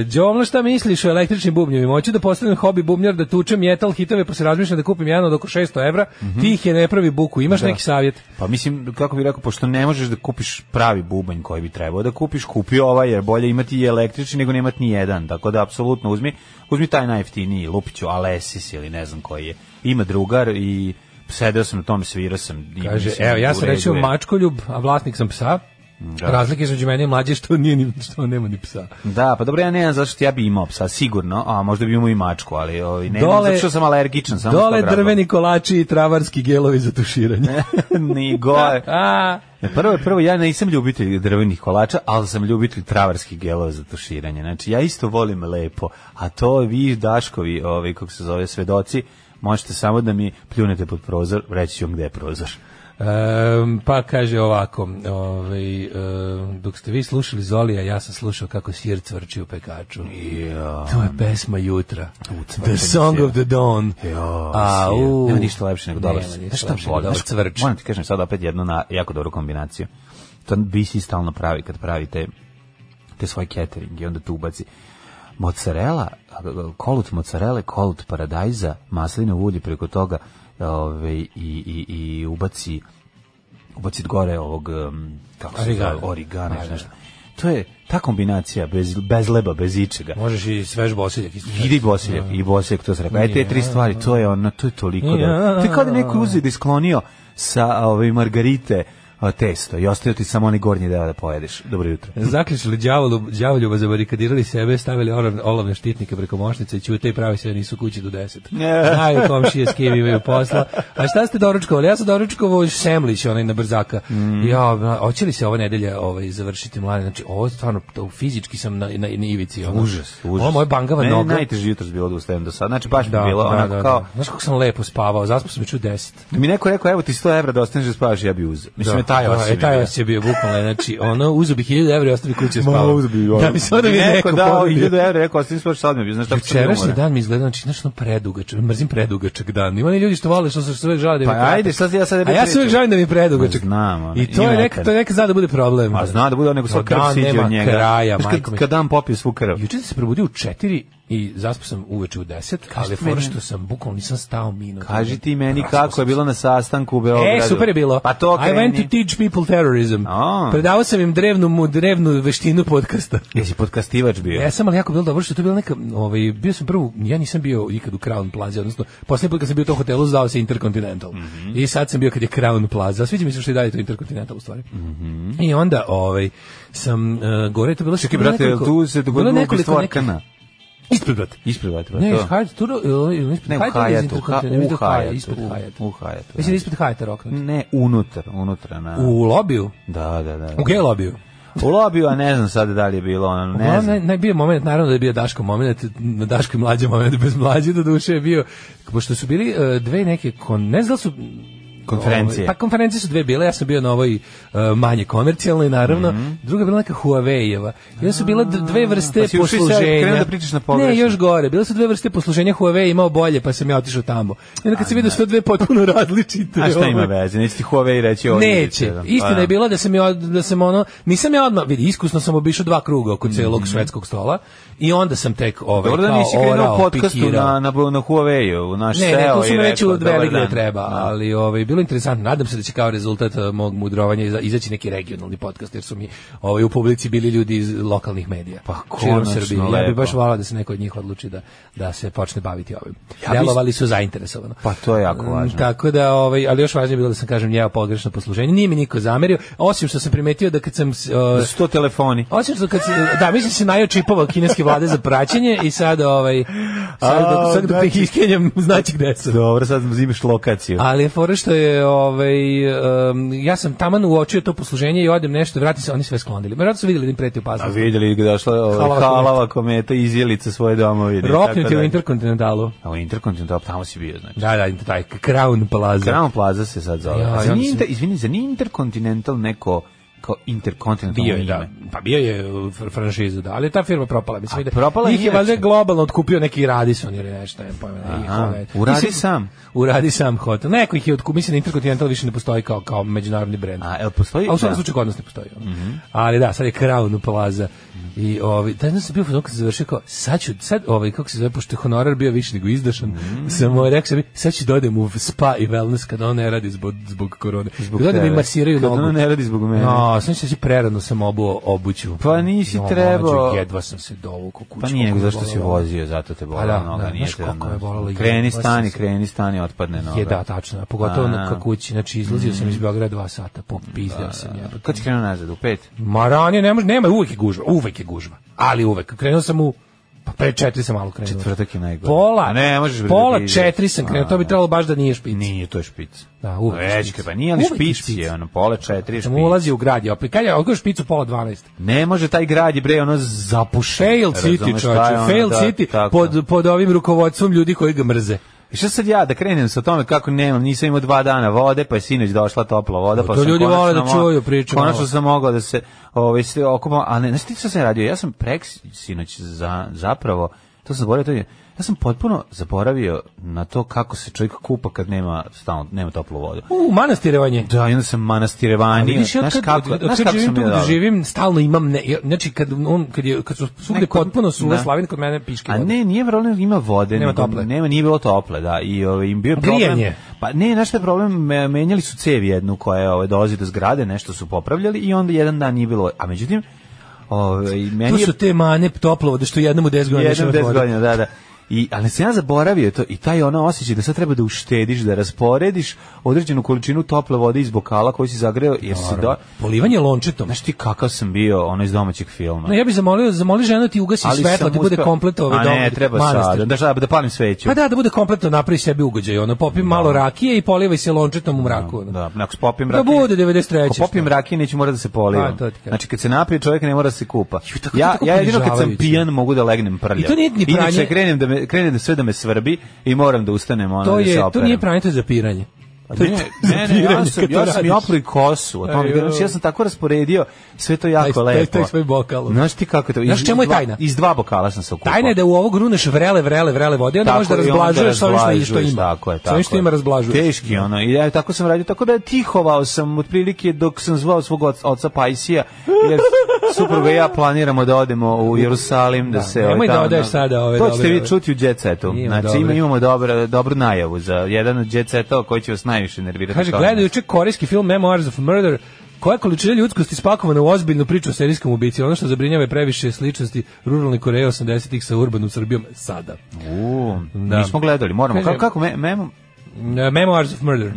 [SPEAKER 6] e, Đomlo, šta misliš o električnim bubnjevima? Hoću da postanem hobi bubnjar, da tučem metal hitove, pa se razmišljam da kupim jedan od oko 600 evra,
[SPEAKER 7] Mhm.
[SPEAKER 6] tih je ne pravi buku. Imaš neki savjet?
[SPEAKER 7] Pa mislim, kako bih rekao, pošto ne možeš da kupiš pravi bubanj koji bi trebao da kupiš, kupi ovaj, jer bolje imati i električni nego nemati ni jedan. Tako da, apsolutno, uzmi, uzmi taj najjeftiniji lupiću, Alesis ili ne znam koji je. Ima drugar i sedeo sam na tom, svirao sam. i
[SPEAKER 6] Kaže,
[SPEAKER 7] mislim,
[SPEAKER 6] evo, ja sam
[SPEAKER 7] u redu
[SPEAKER 6] rečio
[SPEAKER 7] je.
[SPEAKER 6] mačkoljub, a vlasnik sam psa.
[SPEAKER 7] Da.
[SPEAKER 6] Razlika između mene i mlađe je što nije ni što on nema ni psa.
[SPEAKER 7] Da, pa dobro, ja ne znam zašto ja bi imao psa, sigurno, a možda bi imao i mačku, ali ovaj, ne znam,
[SPEAKER 6] Dole-
[SPEAKER 7] zato što sam alergičan. Samo iz
[SPEAKER 6] Dole
[SPEAKER 7] tog razloga.
[SPEAKER 6] drveni kolači i travarski gelovi za tuširanje.
[SPEAKER 7] [laughs] Ni gore.
[SPEAKER 6] A,
[SPEAKER 7] E, Prvo, prvo, ja nisam ljubitelj drvenih kolača, ali sam ljubitelj travarskih gelova za tuširanje. Znači, ja isto volim lepo, a to vi, Daškovi, ovaj, kako se zove, svedoci, možete samo da mi pljunete pod prozor, reći ću vam gde je prozor.
[SPEAKER 6] Em, pa kaže ovako, ovaj, em, dok ste vi slušali Zolija, ja sam slušao kako sir cvrči u pekaču.
[SPEAKER 7] Ja.
[SPEAKER 6] To je pesma jutra.
[SPEAKER 7] cvrčanju
[SPEAKER 6] The song
[SPEAKER 7] sira.
[SPEAKER 6] of the dawn.
[SPEAKER 7] Jo,
[SPEAKER 6] A,
[SPEAKER 7] sir.
[SPEAKER 6] u,
[SPEAKER 7] nema ništa lepše nego dobar.
[SPEAKER 6] nema ništa
[SPEAKER 7] Znaš šta
[SPEAKER 6] lepše nego
[SPEAKER 7] volim?
[SPEAKER 6] dobar
[SPEAKER 7] Znaš,
[SPEAKER 6] cvrč.
[SPEAKER 7] Moram ti kažem sad opet jednu na, jako dobru kombinaciju. To BC stalno pravi kad pravi te, te svoje catering i onda tu ubaci mozzarella, kolut mozzarella, kolut paradajza, maslinovo ulje preko toga ove, i, i, i ubaci ubacit gore ovog um, kako se zove,
[SPEAKER 6] Origana.
[SPEAKER 7] origana ili
[SPEAKER 6] Da,
[SPEAKER 7] nešto. To je ta kombinacija bez, bez leba, bez ičega.
[SPEAKER 6] Možeš i svež bosiljak. isto.
[SPEAKER 7] Ide i Bosiljak, i Bosiljak to se rekao. E, te tri stvari, to je ono, to je toliko da... To je kao da je neko uzeo da je sklonio sa ove margarite a, testo i ostavio ti samo onaj gornji deo da pojedeš. Dobro jutro.
[SPEAKER 6] Zaključili đavolu, đavoljuba zabarikadirali sebe, stavili olovne, olovne štitnike preko mošnice i ćute i pravi se da nisu kući do 10.
[SPEAKER 7] [laughs]
[SPEAKER 6] Znaju komšije s kim imaju posla. A šta ste doručkovali? Ja sam doručkovao semlić, onaj na brzaka.
[SPEAKER 7] Mm.
[SPEAKER 6] Ja, ma, hoće li se ove nedelje ovaj, završiti mlade? Znači, ovo je stvarno, to, fizički sam na, na, na ivici. Ono.
[SPEAKER 7] Užas, užas.
[SPEAKER 6] Ovo moje bangava
[SPEAKER 7] Meni je
[SPEAKER 6] noga.
[SPEAKER 7] najteže jutro bilo da ustajem do sada. Znači, baš mi je bilo onako kao...
[SPEAKER 6] Znaš kako sam lepo spavao, zaspao sam ću 10.
[SPEAKER 7] Da mi neko rekao, evo ti 100 evra da ostaneš da spavaš, ja bi uzeo. Mislim, je taj
[SPEAKER 6] da,
[SPEAKER 7] osjećaj.
[SPEAKER 6] e, taj osjećaj je bio bukvalno, znači, ono, uzu bi 1000 evra i ostali kuće da spavam. Da mi se onda bi neko
[SPEAKER 7] dao
[SPEAKER 6] ponudio.
[SPEAKER 7] 1000 evra, rekao, ostanem spavaš, sad mi bi, znaš, tako sam
[SPEAKER 6] Jučerašnji
[SPEAKER 7] umoran.
[SPEAKER 6] dan mi izgleda znači znaš ono predugačak, mrzim predugačak dan. Ima oni ljudi što vole što se sve žale da im
[SPEAKER 7] Pa
[SPEAKER 6] je kratak.
[SPEAKER 7] ajde, sad ja sad
[SPEAKER 6] A
[SPEAKER 7] reći
[SPEAKER 6] ja se uvek
[SPEAKER 7] reći.
[SPEAKER 6] žalim da mi je predugačak.
[SPEAKER 7] Ma znam, ono,
[SPEAKER 6] I to
[SPEAKER 7] ima
[SPEAKER 6] je neka
[SPEAKER 7] nekad.
[SPEAKER 6] to neka zna da bude problem.
[SPEAKER 7] A zna da bude onaj ko sva
[SPEAKER 6] No,
[SPEAKER 7] krv
[SPEAKER 6] dan
[SPEAKER 7] siđe
[SPEAKER 6] nema
[SPEAKER 7] od njega.
[SPEAKER 6] kraja,
[SPEAKER 7] Znaš,
[SPEAKER 6] majko
[SPEAKER 7] kad,
[SPEAKER 6] mi.
[SPEAKER 7] kad dan popije svu krv.
[SPEAKER 6] Juče sam se probudio u 4 i zaspao sam uveče u 10, ali
[SPEAKER 7] ti
[SPEAKER 6] fora
[SPEAKER 7] meni?
[SPEAKER 6] što sam bukvalno nisam stao minut.
[SPEAKER 7] Kaži ti meni
[SPEAKER 6] Raspao
[SPEAKER 7] kako je bilo na sastanku u Beogradu.
[SPEAKER 6] E, super je bilo.
[SPEAKER 7] Pa to
[SPEAKER 6] I
[SPEAKER 7] kreni.
[SPEAKER 6] went to teach people terrorism.
[SPEAKER 7] A.
[SPEAKER 6] Predavao sam im drevnu, mu, drevnu veštinu podcasta.
[SPEAKER 7] Jesi podkastivač bio?
[SPEAKER 6] E, Ja sam ali jako bilo dobro što je to bila neka, ovaj bio sam prvo, ja nisam bio ikad u Crown Plaza, odnosno poslednji put kad sam bio u tom hotelu zvao se Intercontinental.
[SPEAKER 7] Mhm.
[SPEAKER 6] I sad sam bio kad je Crown Plaza. Sviđa mi se što je dalje to Intercontinental u stvari. I onda ovaj sam uh, gore je to bilo
[SPEAKER 7] Mhm. Čekaj, brate, jel tu se
[SPEAKER 6] bilo
[SPEAKER 7] dogodilo
[SPEAKER 6] nekoliko
[SPEAKER 7] ubistvo
[SPEAKER 6] nekih-
[SPEAKER 7] Arkana.
[SPEAKER 6] Ispred brate.
[SPEAKER 7] Ispred, brate,
[SPEAKER 6] Ne, iz
[SPEAKER 7] pa to.
[SPEAKER 6] Hyatt, tu, ili ispred
[SPEAKER 7] Ne, u
[SPEAKER 6] Hyatta ili iz
[SPEAKER 7] Hayatu,
[SPEAKER 6] Intercontinental?
[SPEAKER 7] u
[SPEAKER 6] Ispred Hyatta,
[SPEAKER 7] Hayatu,
[SPEAKER 6] ispred
[SPEAKER 7] u-
[SPEAKER 6] Hyatta.
[SPEAKER 7] u Hayatu,
[SPEAKER 6] Mislim da
[SPEAKER 7] da.
[SPEAKER 6] je ispred Hyatta roknut.
[SPEAKER 7] Ne, unutar, unutra. Na.
[SPEAKER 6] U lobiju?
[SPEAKER 7] Da, da, da.
[SPEAKER 6] U gay lobiju.
[SPEAKER 7] U lobiju, a ne znam sad da li je bilo, ono, ne
[SPEAKER 6] Uglavnom, naj,
[SPEAKER 7] znam.
[SPEAKER 6] najbio moment, naravno da je bio Daško moment, na Daško i mlađe moment, bez mlađe do duše je bio, pošto su bili e, dve neke, kon, ne znam da li su
[SPEAKER 7] Konferencije.
[SPEAKER 6] Ovaj, pa konferencije su dve bile, ja sam bio na ovoj e, manje komercijalnoj, naravno, druga je bila neka Huawei-eva. I onda su bila d- dve vrste
[SPEAKER 7] Mhm. Pa si ušao i sad
[SPEAKER 6] posluženja.
[SPEAKER 7] krenuo da pričaš na pogrešno.
[SPEAKER 6] Ne, još gore, bile su dve vrste posluženja, Huawei je imao bolje, pa sam ja otišao tamo. I onda kad se vidio su to dve potpuno [laughs] različite.
[SPEAKER 7] A šta ima
[SPEAKER 6] ovaj,
[SPEAKER 7] veze? Neće ti Huawei reći ovo.
[SPEAKER 6] Neće. Istina
[SPEAKER 7] Pa
[SPEAKER 6] je bila da sam ja da sam ono nisam ja odmah vidi iskusno sam obišao dva kruga oko celog švedskog stola i onda sam tek ovaj
[SPEAKER 7] Mhm. Dobro da
[SPEAKER 6] kao
[SPEAKER 7] nisi krenuo
[SPEAKER 6] orao,
[SPEAKER 7] u podcastu na,
[SPEAKER 6] pikirao.
[SPEAKER 7] na, na Huawei-u, u naš
[SPEAKER 6] Ne,
[SPEAKER 7] SEO.
[SPEAKER 6] ne, to
[SPEAKER 7] i
[SPEAKER 6] sam već
[SPEAKER 7] rekao,
[SPEAKER 6] u dve
[SPEAKER 7] "Dobar
[SPEAKER 6] gde
[SPEAKER 7] dan."
[SPEAKER 6] treba,
[SPEAKER 7] Da.
[SPEAKER 6] ali ovaj, bilo je interesantno. Nadam se da će kao rezultat eh, mog mudrovanja iza- izaći neki regionalni podcast, jer su mi ovaj, u publici bili ljudi iz lokalnih medija.
[SPEAKER 7] Pa,
[SPEAKER 6] širom
[SPEAKER 7] konačno,
[SPEAKER 6] Srbije. Ja bi
[SPEAKER 7] lepo.
[SPEAKER 6] baš volao da se neko od njih odluči da, da se počne baviti ovim.
[SPEAKER 7] bi-
[SPEAKER 6] Delovali su zainteresovano.
[SPEAKER 7] Pa to je jako važno.
[SPEAKER 6] Mm, Tako da, ovaj, ali još važnije je bilo da sam kažem ja pogrešno posluženje. Nije mi niko zamerio, osim što sam primetio da kad sam... s- eh,
[SPEAKER 7] Da su to telefoni.
[SPEAKER 6] osim što kad se, da, mislim se najao čipova kineske vlade za praćenje i sad ovaj, sad,
[SPEAKER 7] A,
[SPEAKER 6] dok, sad dok
[SPEAKER 7] znači-
[SPEAKER 6] ih iskenjam, znači gde sam.
[SPEAKER 7] Dobro, sad zimiš lokaciju.
[SPEAKER 6] Ali je fora što je, ovaj, em, ja sam taman uočio to posluženje i odem nešto, vratim se, oni sve sklonili. Verovatno su vidjeli da im preti
[SPEAKER 7] A
[SPEAKER 6] opasnost.
[SPEAKER 7] Pa vidjeli ga došla
[SPEAKER 6] Halava
[SPEAKER 7] ovaj,
[SPEAKER 6] kometa.
[SPEAKER 7] halava kometa iz Jelice svoje domovine.
[SPEAKER 6] Ropnuti u
[SPEAKER 7] Interkontinentalu.
[SPEAKER 6] Interkontinentalu.
[SPEAKER 7] A u Interkontinentalu, tamo si bio, znači.
[SPEAKER 6] Da, da, taj Crown Plaza.
[SPEAKER 7] Crown Plaza se sad zove.
[SPEAKER 6] Ja,
[SPEAKER 7] Ja,
[SPEAKER 6] ja
[SPEAKER 7] ja,
[SPEAKER 6] mislim-
[SPEAKER 7] inter, izvini, za nije Interkontinental neko kao Interkontinental
[SPEAKER 6] Bio je,
[SPEAKER 7] ime?
[SPEAKER 6] da. Pa bio je u fr- franšizu, da, ali je ta firma propala. Mislim,
[SPEAKER 7] A
[SPEAKER 6] ide-
[SPEAKER 7] propala je
[SPEAKER 6] Njih je
[SPEAKER 7] inače.
[SPEAKER 6] valjda globalno otkupio neki Radison ili nešto, ne pojma. ne,
[SPEAKER 7] Aha,
[SPEAKER 6] ih, ovaj,
[SPEAKER 7] uradi
[SPEAKER 6] mislim,
[SPEAKER 7] sam.
[SPEAKER 6] Uradi sam hotel. Neko ih je otkupio, mislim da Intercontinental više ne postoji kao, kao međunarodni brend.
[SPEAKER 7] A, jel postoji?
[SPEAKER 6] A u svakom
[SPEAKER 7] E, Da.
[SPEAKER 6] slučaju kod nas ne postoji. ono. Ali da, sad je Crown Plaza. I ovaj taj dan sam bio fazon kad sam završio kao sad ću sad ovaj kako se zove pošto je honorar bio više nego izdašan. Sam ovaj rekao sebi sad ću da odem u spa i wellness kad ona ne radi zbog zbog korone. Zbog kad odem i
[SPEAKER 7] tebe.
[SPEAKER 6] masiraju
[SPEAKER 7] Kad
[SPEAKER 6] nogu.
[SPEAKER 7] ona ne radi zbog mene.
[SPEAKER 6] No, Ja, sam se si prerano sam obuo obuću.
[SPEAKER 7] Pa nisi
[SPEAKER 6] mlađo,
[SPEAKER 7] trebao.
[SPEAKER 6] jedva sam se dovukao kuću.
[SPEAKER 7] Pa nije nego
[SPEAKER 6] koliko je
[SPEAKER 7] zašto si
[SPEAKER 6] bolela.
[SPEAKER 7] vozio, zato te bola
[SPEAKER 6] Pa da,
[SPEAKER 7] noga,
[SPEAKER 6] da,
[SPEAKER 7] nije
[SPEAKER 6] znaš
[SPEAKER 7] te ono-
[SPEAKER 6] kako je bolela,
[SPEAKER 7] Kreni,
[SPEAKER 6] jebala
[SPEAKER 7] stani,
[SPEAKER 6] sam se.
[SPEAKER 7] kreni, stani, otpadne noga.
[SPEAKER 6] Je, da, tačno. a Pogotovo
[SPEAKER 7] A.
[SPEAKER 6] na ka kući. Znači, izlazio sam iz
[SPEAKER 7] Mm.
[SPEAKER 6] Beograda dva sata, popizdeo sam jebote.
[SPEAKER 7] Kad si krenuo nazad, u pet?
[SPEAKER 6] Ma ranije ne može, nema, uvek je gužva, uvek je gužva. Ali uvek. Krenuo sam u pa pre četiri sam malo krenuo.
[SPEAKER 7] Četvrtak je najgore.
[SPEAKER 6] Pola,
[SPEAKER 7] A ne, možeš bre
[SPEAKER 6] pola
[SPEAKER 7] da ideš.
[SPEAKER 6] četiri sam krenuo, to bi
[SPEAKER 7] A,
[SPEAKER 6] trebalo baš da nije špic.
[SPEAKER 7] Nije, to je špic.
[SPEAKER 6] Da, uvek je
[SPEAKER 7] Već,
[SPEAKER 6] špic.
[SPEAKER 7] pa nije, ali
[SPEAKER 6] Uvek je
[SPEAKER 7] špic
[SPEAKER 6] špic.
[SPEAKER 7] je, ono, pola četiri
[SPEAKER 6] Sam
[SPEAKER 7] špic.
[SPEAKER 6] ulazi u grad, je opet, kad je odgoj špicu pola 12.
[SPEAKER 7] Ne može taj grad je bre ono zapušen.
[SPEAKER 6] Fail
[SPEAKER 7] Razumeš šta
[SPEAKER 6] City,
[SPEAKER 7] je
[SPEAKER 6] čovječe,
[SPEAKER 7] ono,
[SPEAKER 6] fail
[SPEAKER 7] da,
[SPEAKER 6] City
[SPEAKER 7] tako.
[SPEAKER 6] pod, pod ovim rukovodstvom ljudi koji ga mrze.
[SPEAKER 7] I šta sad ja da krenem sa tome kako nemam, nisam imao dva dana vode, pa je sinoć došla topla voda, pa
[SPEAKER 6] To
[SPEAKER 7] sam
[SPEAKER 6] ljudi
[SPEAKER 7] konačno
[SPEAKER 6] vole da
[SPEAKER 7] mogao-
[SPEAKER 6] čuju priču
[SPEAKER 7] Konačno
[SPEAKER 6] malo.
[SPEAKER 7] sam mogao da se ovaj se okupam, a ne, znaš ti šta sam radio? Ja sam prek sinoć za, zapravo, to sam zaboravio, to je, ja sam potpuno zaboravio na to kako se čovjek kupa kad nema stalno nema toplu vodu.
[SPEAKER 6] U, manastirevanje.
[SPEAKER 7] Da, i onda sam
[SPEAKER 6] Ali
[SPEAKER 7] manastirevanje,
[SPEAKER 6] vidiš, ja
[SPEAKER 7] znaš
[SPEAKER 6] kad,
[SPEAKER 7] kako,
[SPEAKER 6] od,
[SPEAKER 7] znaš
[SPEAKER 6] od kad
[SPEAKER 7] kako
[SPEAKER 6] živim
[SPEAKER 7] sam
[SPEAKER 6] tu
[SPEAKER 7] ja
[SPEAKER 6] gde
[SPEAKER 7] dobro.
[SPEAKER 6] živim, stalno imam, ne, ja- znači kad, on, kad, je, kad su svugde
[SPEAKER 7] Ne, kod-
[SPEAKER 6] potpuno suve
[SPEAKER 7] da.
[SPEAKER 6] slavine, kod mene piške
[SPEAKER 7] A
[SPEAKER 6] vode.
[SPEAKER 7] ne, nije problem, ima vode.
[SPEAKER 6] Nema
[SPEAKER 7] nego-
[SPEAKER 6] tople.
[SPEAKER 7] Nema, nije bilo tople, da. I ovaj, im bio problem.
[SPEAKER 6] grijanje?
[SPEAKER 7] Pa ne, znaš šta je problem, Me- menjali su cev jednu koja ovaj, dolazi do zgrade, nešto su popravljali i onda jedan dan nije bilo. A međutim, ovaj, meni
[SPEAKER 6] To
[SPEAKER 7] je
[SPEAKER 6] su te mane toplovode što jednom u 10 godina nećemo
[SPEAKER 7] jednom 10
[SPEAKER 6] otvoriti.
[SPEAKER 7] godina, da, da. I, ali sam ja zaboravio to i taj ono osjećaj da sad treba da uštediš, da rasporediš određenu količinu tople vode iz bokala koju si zagreo, jer se do...
[SPEAKER 6] Polivanje lončetom.
[SPEAKER 7] Znaš ti kakav sam bio ono iz domaćeg filma?
[SPEAKER 6] No, ja bih zamolio, zamoli ženu da ti ugasi svetlo,
[SPEAKER 7] sam
[SPEAKER 6] ti bude
[SPEAKER 7] uspeo-
[SPEAKER 6] kompletno ovaj
[SPEAKER 7] A
[SPEAKER 6] dom.
[SPEAKER 7] ne, treba
[SPEAKER 6] manastir.
[SPEAKER 7] sad, da, šta, da palim sveću.
[SPEAKER 6] Pa da, da bude kompletno napravi sebi ugođaj, ono, popi malo rakije i polivaj se lončetom u mraku. ono.
[SPEAKER 7] Da, ako popim
[SPEAKER 6] Da
[SPEAKER 7] rakije.
[SPEAKER 6] bude 93.
[SPEAKER 7] Ako popim
[SPEAKER 6] šta?
[SPEAKER 7] rakije neće mora da se poliva.
[SPEAKER 6] Pa, to ti kažem.
[SPEAKER 7] Znači kad se napije čovjek ne mora da se kupa.
[SPEAKER 6] tako-
[SPEAKER 7] ja
[SPEAKER 6] tako
[SPEAKER 7] ja jedino kad sam
[SPEAKER 6] ponižavajuće.
[SPEAKER 7] pijan mogu da legnem prljav.
[SPEAKER 6] I to nije ni pranje.
[SPEAKER 7] Inače krenem da me krenem da sve da me svrbi i moram da ustanem ona
[SPEAKER 6] To,
[SPEAKER 7] da se
[SPEAKER 6] je, to
[SPEAKER 7] operem.
[SPEAKER 6] nije pranje, to je zapiranje. To [laughs] je
[SPEAKER 7] Ne, ne, ne, ja
[SPEAKER 6] zapiranje
[SPEAKER 7] sam,
[SPEAKER 6] kad to
[SPEAKER 7] ja sam i
[SPEAKER 6] radiš.
[SPEAKER 7] opli kosu, o tome,
[SPEAKER 6] Aj,
[SPEAKER 7] ide, znači, ja sam tako rasporedio, sve to jako
[SPEAKER 6] Taj- taj-
[SPEAKER 7] lepo.
[SPEAKER 6] taj svoj bokal.
[SPEAKER 7] Znaš ti kako je to?
[SPEAKER 6] Znaš
[SPEAKER 7] iz-
[SPEAKER 6] čemu je
[SPEAKER 7] iz dva-
[SPEAKER 6] tajna?
[SPEAKER 7] Iz dva bokala sam se okupao.
[SPEAKER 6] Tajna je da u ovo gruneš vrele, vrele, vrele vode, onda možeš da
[SPEAKER 7] i onda
[SPEAKER 6] razblažuješ sa ovim što, i što
[SPEAKER 7] razblažuješ,
[SPEAKER 6] ima.
[SPEAKER 7] Tako je,
[SPEAKER 6] Sa
[SPEAKER 7] tako
[SPEAKER 6] ovim što
[SPEAKER 7] je.
[SPEAKER 6] ima razblažuješ.
[SPEAKER 7] Teški ono, i ja tako sam radio, tako da tihovao sam otprilike dok sam zvao svog oca, oca Pajsija,
[SPEAKER 6] [laughs]
[SPEAKER 7] jer supruga i ja planiramo da odemo u Jerusalim, da, se...
[SPEAKER 6] nemoj
[SPEAKER 7] ovaj,
[SPEAKER 6] da
[SPEAKER 7] tamo-
[SPEAKER 6] odeš sada ove
[SPEAKER 7] To
[SPEAKER 6] dobre,
[SPEAKER 7] ćete vi
[SPEAKER 6] ove.
[SPEAKER 7] čuti u Jet Setu.
[SPEAKER 6] Ima
[SPEAKER 7] Znači
[SPEAKER 6] dobre.
[SPEAKER 7] ima, imamo dobro, dobru najavu za jedan od Jet Setova koji će vas najviše nervirati.
[SPEAKER 6] Kaže,
[SPEAKER 7] kao
[SPEAKER 6] gledaju
[SPEAKER 7] nas.
[SPEAKER 6] juče korejski film Memoirs of Murder, koja količina ljudskosti spakovana u ozbiljnu priču o serijskom ubici, ono što zabrinjava je previše sličnosti ruralne Koreje 80-ih sa urbanom Srbijom sada.
[SPEAKER 7] U,
[SPEAKER 6] Da.
[SPEAKER 7] nismo gledali, moramo. Kako,
[SPEAKER 6] Kaže-
[SPEAKER 7] kako, me, memo-
[SPEAKER 6] E, Memoirs of Murder.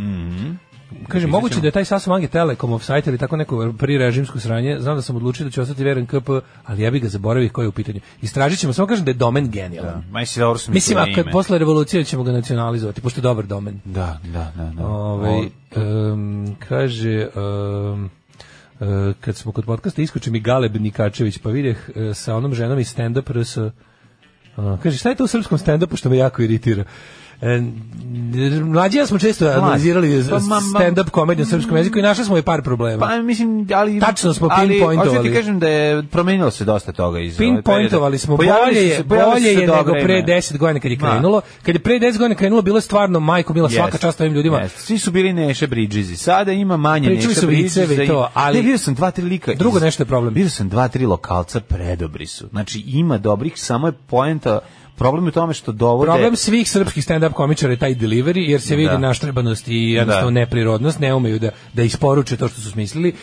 [SPEAKER 6] Kaže, moguće da je taj sasvom Ange Telekom offsite ili tako neko prirežimsko sranje. Znam da sam odlučio da ću ostati veren KP, ali ja bih ga zaboravio koji je u pitanju. Istražit ćemo, samo kažem da je domen genijalan.
[SPEAKER 7] Ma jesi dobro su mi
[SPEAKER 6] Mislim,
[SPEAKER 7] to
[SPEAKER 6] a kad
[SPEAKER 7] ime.
[SPEAKER 6] posle revolucije ćemo ga nacionalizovati, pošto je dobar domen.
[SPEAKER 7] Da, da, da. da.
[SPEAKER 6] Ove, Ovaj, em, kaže, em, e, kad smo kod podcasta, iskuči mi Galeb Nikačević, pa videh e, sa onom ženom iz stand-up RS. e, kaže, šta je to u srpskom stand-upu što me jako iritira? E, mlađi ja smo često analizirali
[SPEAKER 7] Pa, ma, ma-
[SPEAKER 6] stand-up komediju u srpskom jeziku i našli smo i par problema.
[SPEAKER 7] Pa mislim, ali...
[SPEAKER 6] Tačno smo
[SPEAKER 7] ali,
[SPEAKER 6] pinpointovali.
[SPEAKER 7] hoću ti kažem da je promenilo se dosta toga iz... ove
[SPEAKER 6] Ovaj, Pinpointovali smo,
[SPEAKER 7] perioda. Pojavili
[SPEAKER 6] bolje
[SPEAKER 7] su
[SPEAKER 6] je,
[SPEAKER 7] se- pojavili
[SPEAKER 6] bolje
[SPEAKER 7] su se
[SPEAKER 6] je
[SPEAKER 7] dobra
[SPEAKER 6] nego pre
[SPEAKER 7] imena.
[SPEAKER 6] 10 godina kad je
[SPEAKER 7] Ma.
[SPEAKER 6] krenulo. Kad je pre 10 godina krenulo, bilo je stvarno, majko, bila svaka
[SPEAKER 7] Jest,
[SPEAKER 6] čast ovim ljudima.
[SPEAKER 7] jest. Svi su bili Neše Bridgesi. Sada ima manje
[SPEAKER 6] Pričali
[SPEAKER 7] Neše
[SPEAKER 6] su vicevi
[SPEAKER 7] Bridgesa i-
[SPEAKER 6] to, ali-
[SPEAKER 7] Ne, vidio sam dva, tri lika. iz-
[SPEAKER 6] Drugo nešto je problem.
[SPEAKER 7] Vidio sam dva, tri lokalca, predobri su. Znači, ima dobrih, samo je poenta... Problem je u tome što dovode...
[SPEAKER 6] Problem svih srpskih stand-up komičara je taj delivery, jer se vidi
[SPEAKER 7] Da.
[SPEAKER 6] naštrebanost i jednostavno
[SPEAKER 7] Da.
[SPEAKER 6] neprirodnost, ne umeju da, da isporuče to što su smislili. E,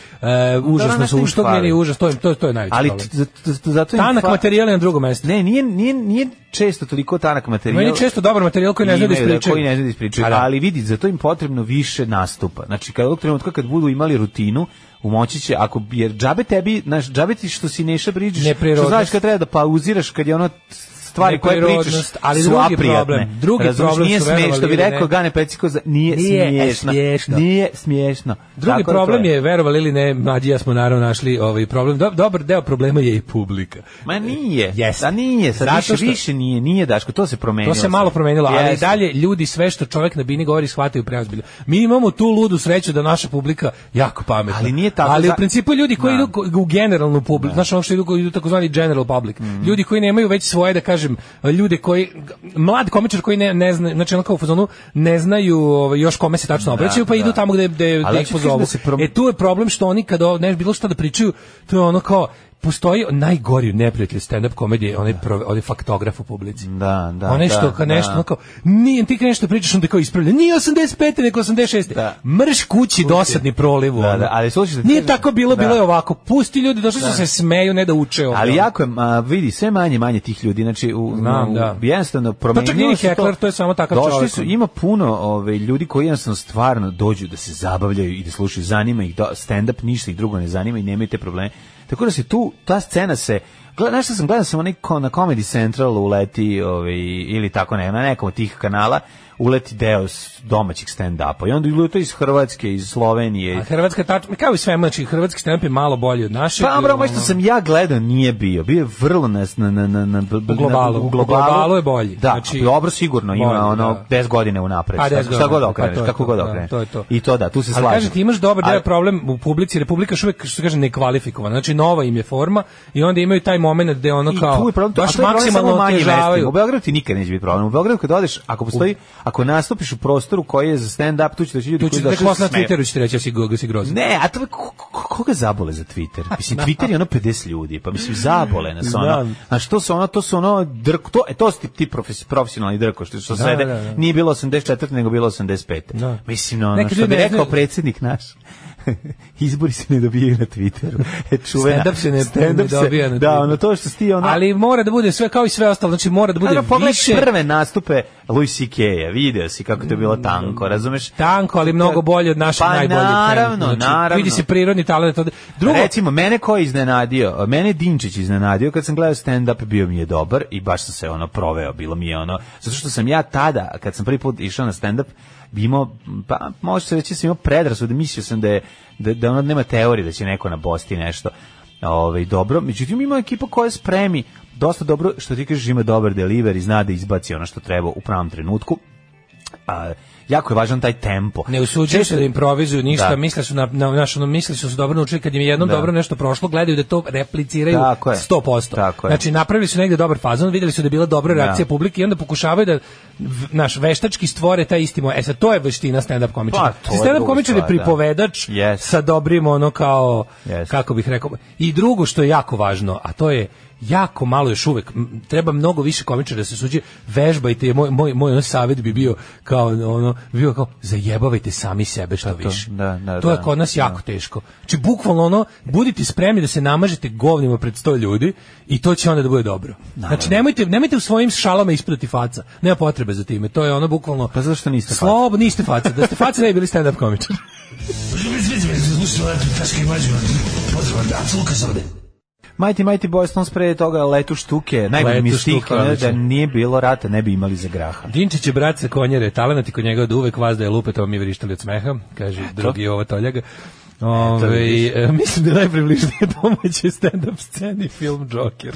[SPEAKER 7] Dobro,
[SPEAKER 6] užasno
[SPEAKER 7] nešto
[SPEAKER 6] su
[SPEAKER 7] im
[SPEAKER 6] uštogljeni,
[SPEAKER 7] fali.
[SPEAKER 6] užas, to, je- to, to je najveći
[SPEAKER 7] Ali
[SPEAKER 6] problem.
[SPEAKER 7] t- za- za- zato im
[SPEAKER 6] Tanak
[SPEAKER 7] fa-
[SPEAKER 6] materijal je na drugom mestu.
[SPEAKER 7] Ne, nije, nije, nije često toliko tanak materijal.
[SPEAKER 6] Meni je često dobar materijal koji ne znaju da
[SPEAKER 7] Imaju,
[SPEAKER 6] ispričaju.
[SPEAKER 7] koji ne znaju da ispričaju,
[SPEAKER 6] A da.
[SPEAKER 7] ali vidi, za to im potrebno više nastupa. Znači, kad ovog trenutka kad budu imali rutinu, umoći će, ako, jer džabe tebi, znaš, džabe ti što si Neša Bridžiš,
[SPEAKER 6] Neprirodnost.
[SPEAKER 7] što znaš kad treba da pauziraš, kad je ono stvari koje pričaš
[SPEAKER 6] Neprirodnost, ali
[SPEAKER 7] su
[SPEAKER 6] drugi
[SPEAKER 7] aprijatne.
[SPEAKER 6] problem, drugi
[SPEAKER 7] Razumeš,
[SPEAKER 6] problem
[SPEAKER 7] nije
[SPEAKER 6] su,
[SPEAKER 7] smiješno,
[SPEAKER 6] verovali
[SPEAKER 7] bi
[SPEAKER 6] ili ne.
[SPEAKER 7] rekao Gane Peciko, za- nije,
[SPEAKER 6] Nije
[SPEAKER 7] smiješno.
[SPEAKER 6] smiješno.
[SPEAKER 7] Nije smiješno.
[SPEAKER 6] Drugi
[SPEAKER 7] Tako da to
[SPEAKER 6] problem je, verovali ili ne, mlađi ja smo naravno našli ovaj problem. Dob- dobar deo problema je i publika.
[SPEAKER 7] Ma nije,
[SPEAKER 6] Jeste.
[SPEAKER 7] da nije, sad
[SPEAKER 6] Zato
[SPEAKER 7] više,
[SPEAKER 6] što-
[SPEAKER 7] više nije, nije Daško, to se promenilo.
[SPEAKER 6] To se
[SPEAKER 7] sad.
[SPEAKER 6] malo promenilo, ali i
[SPEAKER 7] Jeste.
[SPEAKER 6] dalje ljudi sve što čovjek na bini govori shvataju preozbiljno. Mi imamo tu ludu sreću da naša publika jako pametna.
[SPEAKER 7] Ali nije tako
[SPEAKER 6] Ali u
[SPEAKER 7] za-
[SPEAKER 6] principu ljudi koji
[SPEAKER 7] Da.
[SPEAKER 6] idu ko- u generalnu publiku, znaš ono što idu, idu takozvani general public,
[SPEAKER 7] Mhm.
[SPEAKER 6] ljudi koji nemaju već svoje, da kažem, ljude koji, mlad komičar koji ne, ne zna, znači ono kao u fazonu, ne znaju ovaj, još kome se tačno obraćaju, pa
[SPEAKER 7] da.
[SPEAKER 6] idu tamo gde, gde,
[SPEAKER 7] Ali
[SPEAKER 6] gde ih
[SPEAKER 7] hoću ti kažem
[SPEAKER 6] pozovu.
[SPEAKER 7] da se prom-
[SPEAKER 6] E tu je problem što oni kada ne bilo šta da pričaju, to je ono kao postoji najgori neprijatelj stand-up komedije, onaj, pro- onaj faktograf u publici.
[SPEAKER 7] Da, da,
[SPEAKER 6] Onaj
[SPEAKER 7] da,
[SPEAKER 6] što kad nešto,
[SPEAKER 7] da.
[SPEAKER 6] ono kao, nije, ti kad nešto pričaš, onda kao ispravlja, nije 85. nego 86.
[SPEAKER 7] Da.
[SPEAKER 6] Mrš kući, dosadni proliv.
[SPEAKER 7] Da,
[SPEAKER 6] ono.
[SPEAKER 7] da, ali slušaj, da ti
[SPEAKER 6] Nije
[SPEAKER 7] kažem-
[SPEAKER 6] tako bilo,
[SPEAKER 7] Da.
[SPEAKER 6] bilo je ovako. Pusti ljudi, došli su se smeju, ne da uče ovo.
[SPEAKER 7] Ali jako je, a, vidi, sve manje manje tih ljudi, znači u,
[SPEAKER 6] Znam,
[SPEAKER 7] u-
[SPEAKER 6] da. Pa
[SPEAKER 7] jednostavno promenio
[SPEAKER 6] čak nije ni
[SPEAKER 7] se
[SPEAKER 6] hekler, to je samo takav
[SPEAKER 7] Došli
[SPEAKER 6] čovjek.
[SPEAKER 7] su, ima puno ove, ljudi koji jednostavno stvarno dođu da se zabavljaju i da slušaju, zanima ih do- stand-up, ništa ih drugo ne zanima i nemaju te probleme. Tako da se tu, ta scena se, gleda, nešto sam gledao sam onaj ko- na Comedy Central uleti ovaj, ili tako ne, na nekom od tih kanala uleti deo s- domaćih stand-upa i onda uleti iz Hrvatske, iz Slovenije,
[SPEAKER 6] ono. A Hrvatska je tačno, kao i sve, znači, hrvatski stand-up je malo bolji od našeg.
[SPEAKER 7] Pa bro,
[SPEAKER 6] ono,
[SPEAKER 7] moj što sam ja gledao nije bio. Bio je vrlo na na na na na
[SPEAKER 6] U globalu.
[SPEAKER 7] u
[SPEAKER 6] U globalu je bolji.
[SPEAKER 7] Da,
[SPEAKER 6] Znači,
[SPEAKER 7] znači dobro sigurno ima
[SPEAKER 6] bolji,
[SPEAKER 7] ono
[SPEAKER 6] da.
[SPEAKER 7] 10 godina unapred.
[SPEAKER 6] Pa,
[SPEAKER 7] Šta-
[SPEAKER 6] 10 godina
[SPEAKER 7] Šta god
[SPEAKER 6] unapred,
[SPEAKER 7] okreneš,
[SPEAKER 6] pa to je
[SPEAKER 7] kako
[SPEAKER 6] to,
[SPEAKER 7] god
[SPEAKER 6] da,
[SPEAKER 7] okreneš.
[SPEAKER 6] to je to.
[SPEAKER 7] I to da, tu se slažem.
[SPEAKER 6] Ali kažete, imaš dobar deo
[SPEAKER 7] Ali-
[SPEAKER 6] problem u publici, Republika još uvijek, što se kaže, nekvalifikovana, znači nova im je forma i onda imaju taj moment gde ono
[SPEAKER 7] I
[SPEAKER 6] kao,
[SPEAKER 7] tu je problem, to- a
[SPEAKER 6] baš
[SPEAKER 7] to je problem samo u
[SPEAKER 6] maksimalno
[SPEAKER 7] manjim mestima. U
[SPEAKER 6] otežavaju.
[SPEAKER 7] Beogradu ti nikad neće biti problem. U Beogradu kad odeš, ako postoji, ako nastupiš u prostoru koji je za stand up, tu će doći ljudi
[SPEAKER 6] Tu
[SPEAKER 7] koji
[SPEAKER 6] će
[SPEAKER 7] došli
[SPEAKER 6] tek vas
[SPEAKER 7] da
[SPEAKER 6] na
[SPEAKER 7] se smeju.
[SPEAKER 6] Twitteru ćete reći, ja si, go- ga si grozan.
[SPEAKER 7] Ne, a to ko- ko- koga zabole za Twitter?
[SPEAKER 6] [laughs]
[SPEAKER 7] Mislim Twitter je ono 50 ljudi, pa mislim zabole nas ono.
[SPEAKER 6] Znam.
[SPEAKER 7] A što su ono, to su ono drk, to e to su ti, ti profes- profesionalni drko što su
[SPEAKER 6] Da,
[SPEAKER 7] sede.
[SPEAKER 6] da, da.
[SPEAKER 7] Nije bilo 84, nego bilo 85.
[SPEAKER 6] Da.
[SPEAKER 7] Mislim no, ono
[SPEAKER 6] Neki
[SPEAKER 7] što
[SPEAKER 6] ljudi
[SPEAKER 7] bi
[SPEAKER 6] ne
[SPEAKER 7] rekao
[SPEAKER 6] znaju-
[SPEAKER 7] predsjednik naš. [laughs] Izbori se ne dobijaju na Twitteru. E, čuvena.
[SPEAKER 6] Stand-up se ne-
[SPEAKER 7] Stand-up
[SPEAKER 6] ne dobija na
[SPEAKER 7] Da,
[SPEAKER 6] Twitteru.
[SPEAKER 7] ono to što si ti ono...
[SPEAKER 6] Ali mora da bude sve kao i sve ostalo, znači mora da bude
[SPEAKER 7] Ono, pogledaj
[SPEAKER 6] više
[SPEAKER 7] prve nastupe Louis C.K.-a, video si kako to je bilo tanko, razumeš?
[SPEAKER 6] tanko, ali mnogo bolje od našeg
[SPEAKER 7] Pa,
[SPEAKER 6] najboljeg.
[SPEAKER 7] naravno,
[SPEAKER 6] znači,
[SPEAKER 7] naravno.
[SPEAKER 6] Vidi se prirodni talent. od- Drugo,
[SPEAKER 7] Recimo, mene ko je iznenadio? Mene je Dinčić iznenadio kad sam gledao stand-up, bio mi je dobar i baš sam se ono proveo, bilo mi je ono, zato što sam ja tada, kad sam prvi put išao na stand-up, bi imao, pa može se reći, sam imao predrasude, mislio sam da, je, da, da ono nema teorije, da će neko na bosti nešto ovaj, dobro, međutim ima ekipa koja spremi dosta dobro, što ti kažeš ima dobar deliver i zna da izbaci ono što treba u pravom trenutku, a, jako je važan taj tempo.
[SPEAKER 6] Ne usuđuju se
[SPEAKER 7] Često-
[SPEAKER 6] da improvizuju ništa,
[SPEAKER 7] Da.
[SPEAKER 6] misle su na, na naš, ono, misle su, su dobro naučili kad im je jednom
[SPEAKER 7] Da.
[SPEAKER 6] dobro nešto prošlo, gledaju da to repliciraju
[SPEAKER 7] Tako je.
[SPEAKER 6] 100%.
[SPEAKER 7] Tako je.
[SPEAKER 6] Znači napravili su negde dobar fazon, vidjeli su da je bila dobra reakcija
[SPEAKER 7] Da.
[SPEAKER 6] publike i onda pokušavaju da v- naš veštački stvore taj isti mo- E sad to je veština stand up komičara.
[SPEAKER 7] Pa, to je
[SPEAKER 6] stand up
[SPEAKER 7] druga
[SPEAKER 6] komičar je
[SPEAKER 7] stvar, da.
[SPEAKER 6] pripovedač
[SPEAKER 7] Yes.
[SPEAKER 6] sa dobrim ono kao
[SPEAKER 7] Yes.
[SPEAKER 6] kako bih rekao. I drugo što je jako važno, a to je jako malo još uvek, m, treba mnogo više komičara da se suđe, vežbajte, je, moj, moj, moj ono savjet bi bio kao ono, bi bio kao, zajebavajte sami sebe što
[SPEAKER 7] Pa to,
[SPEAKER 6] više.
[SPEAKER 7] da, da,
[SPEAKER 6] to je
[SPEAKER 7] da,
[SPEAKER 6] kod nas
[SPEAKER 7] da.
[SPEAKER 6] jako teško. Znači, bukvalno ono, budite spremni da se namažete govnima pred sto ljudi i to će onda da bude dobro. Znači, nemojte, nemojte u svojim šalama ispadati faca. Nema potrebe za time. To je ono bukvalno...
[SPEAKER 7] Pa zašto niste faca?
[SPEAKER 6] Slobodno niste faca. Da ste faca ne bi bili stand-up komičar.
[SPEAKER 7] Mighty Mighty Boys Stones pre toga letu štuke, najbolji
[SPEAKER 6] Letu
[SPEAKER 7] mi
[SPEAKER 6] štuke,
[SPEAKER 7] stih ono, da
[SPEAKER 6] odlično.
[SPEAKER 7] nije bilo rata ne bi imali za graha.
[SPEAKER 6] Dinčić je brat sa konjere, talent i kod njega od uvek vas da je lupe, to mi vrištali od smeha, kaže drugi ovo toljaga. Ove,
[SPEAKER 7] vidiš.
[SPEAKER 6] e, mislim da je najpribližnije domaće stand-up sceni film Joker.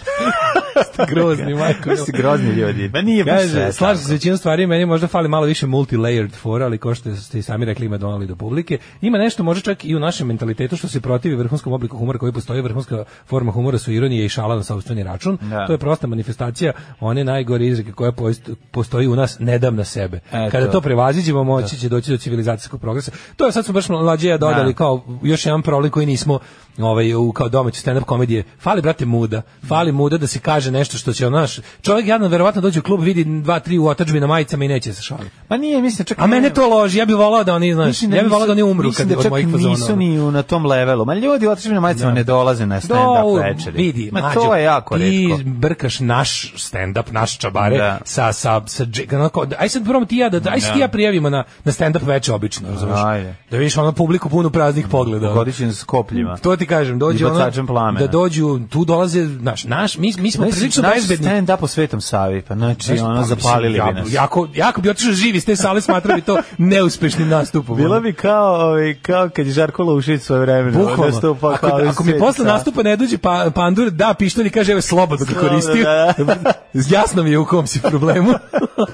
[SPEAKER 6] Ste grozni, majko.
[SPEAKER 7] Koji su grozni ljudi? Ma nije baš sve
[SPEAKER 6] Kaže, slažem se
[SPEAKER 7] tako.
[SPEAKER 6] s većinom stvari, meni možda fali malo više multilayered fora, ali kao što ste i sami rekli ima donali do publike. Ima nešto možda čak i u našem mentalitetu što se protivi vrhunskom obliku humora koji postoji, vrhunska forma humora su ironije i šala na sopstveni račun.
[SPEAKER 7] Da.
[SPEAKER 6] To je prosta manifestacija one najgore izreke koja poist- postoji u nas, ne dam na sebe.
[SPEAKER 7] Eto.
[SPEAKER 6] Kada to prevaziđemo, moći će doći do civilizacijskog progresa. To je sad smo baš mlađe ja dodali
[SPEAKER 7] Da.
[SPEAKER 6] kao još jedan problem koji nismo ovaj u kao domaći stand up komedije. Fali brate muda. Fali muda da se kaže nešto što će ono, naš čovjek jadan verovatno dođe u klub vidi dva tri u otadžbi na majicama i neće se šaliti.
[SPEAKER 7] Ma nije, mislim čak
[SPEAKER 6] A mene to loži, ja bih volao da oni, znaš,
[SPEAKER 7] Pa Mislim da
[SPEAKER 6] ja bih volao da oni
[SPEAKER 7] nisu-
[SPEAKER 6] umru
[SPEAKER 7] mislim
[SPEAKER 6] kad
[SPEAKER 7] da
[SPEAKER 6] od
[SPEAKER 7] čak
[SPEAKER 6] mojih ono.
[SPEAKER 7] nisu
[SPEAKER 6] fazona.
[SPEAKER 7] ni u- na tom levelu. Ma ljudi otišli na majicama ne dolaze na
[SPEAKER 6] Do,
[SPEAKER 7] stand-up večeri.
[SPEAKER 6] Vidi,
[SPEAKER 7] Ma
[SPEAKER 6] mlađo,
[SPEAKER 7] to je jako
[SPEAKER 6] ti
[SPEAKER 7] retko.
[SPEAKER 6] brkaš naš stand-up, naš čabare
[SPEAKER 7] Da.
[SPEAKER 6] sa, sa, sa dž- onako, aj sad prvo ti i ja, da, aj se ti i ja prijavimo na, na stand-up veče obično, razumeš?
[SPEAKER 7] Ajde.
[SPEAKER 6] Da vidiš ono publiku punu praznih pogleda. ono.
[SPEAKER 7] Godićin s kopljima.
[SPEAKER 6] To ti kažem,
[SPEAKER 7] I
[SPEAKER 6] dođe
[SPEAKER 7] bacačem
[SPEAKER 6] ono,
[SPEAKER 7] plamena.
[SPEAKER 6] da dođu, tu dolaze, naš, naš, mi, mi smo
[SPEAKER 7] Znaš,
[SPEAKER 6] prilično
[SPEAKER 7] naš
[SPEAKER 6] bezbedni.
[SPEAKER 7] Stand-up u Svetom Savi, pa znači
[SPEAKER 6] Znaš,
[SPEAKER 7] ono
[SPEAKER 6] pa, mislim,
[SPEAKER 7] zapalili
[SPEAKER 6] ja-
[SPEAKER 7] bi nas.
[SPEAKER 6] Jako, jako bi otišao živi iz te sale, smatrao bi to neuspešnim nastupom.
[SPEAKER 7] Bilo
[SPEAKER 6] ono.
[SPEAKER 7] bi kao, ovaj, kao kad je Žarko Lušić svoje vremena.
[SPEAKER 6] Bukvalno.
[SPEAKER 7] nastupa
[SPEAKER 6] Ako,
[SPEAKER 7] kao u
[SPEAKER 6] ako mi
[SPEAKER 7] Sveti
[SPEAKER 6] posle
[SPEAKER 7] Savi.
[SPEAKER 6] nastupa ne dođe pa, pandur, da pištolj i kaže, evo, slobodno ga [laughs]
[SPEAKER 7] Slobodno,
[SPEAKER 6] koristio.
[SPEAKER 7] da,
[SPEAKER 6] Jasno mi je u kom si problemu. [laughs]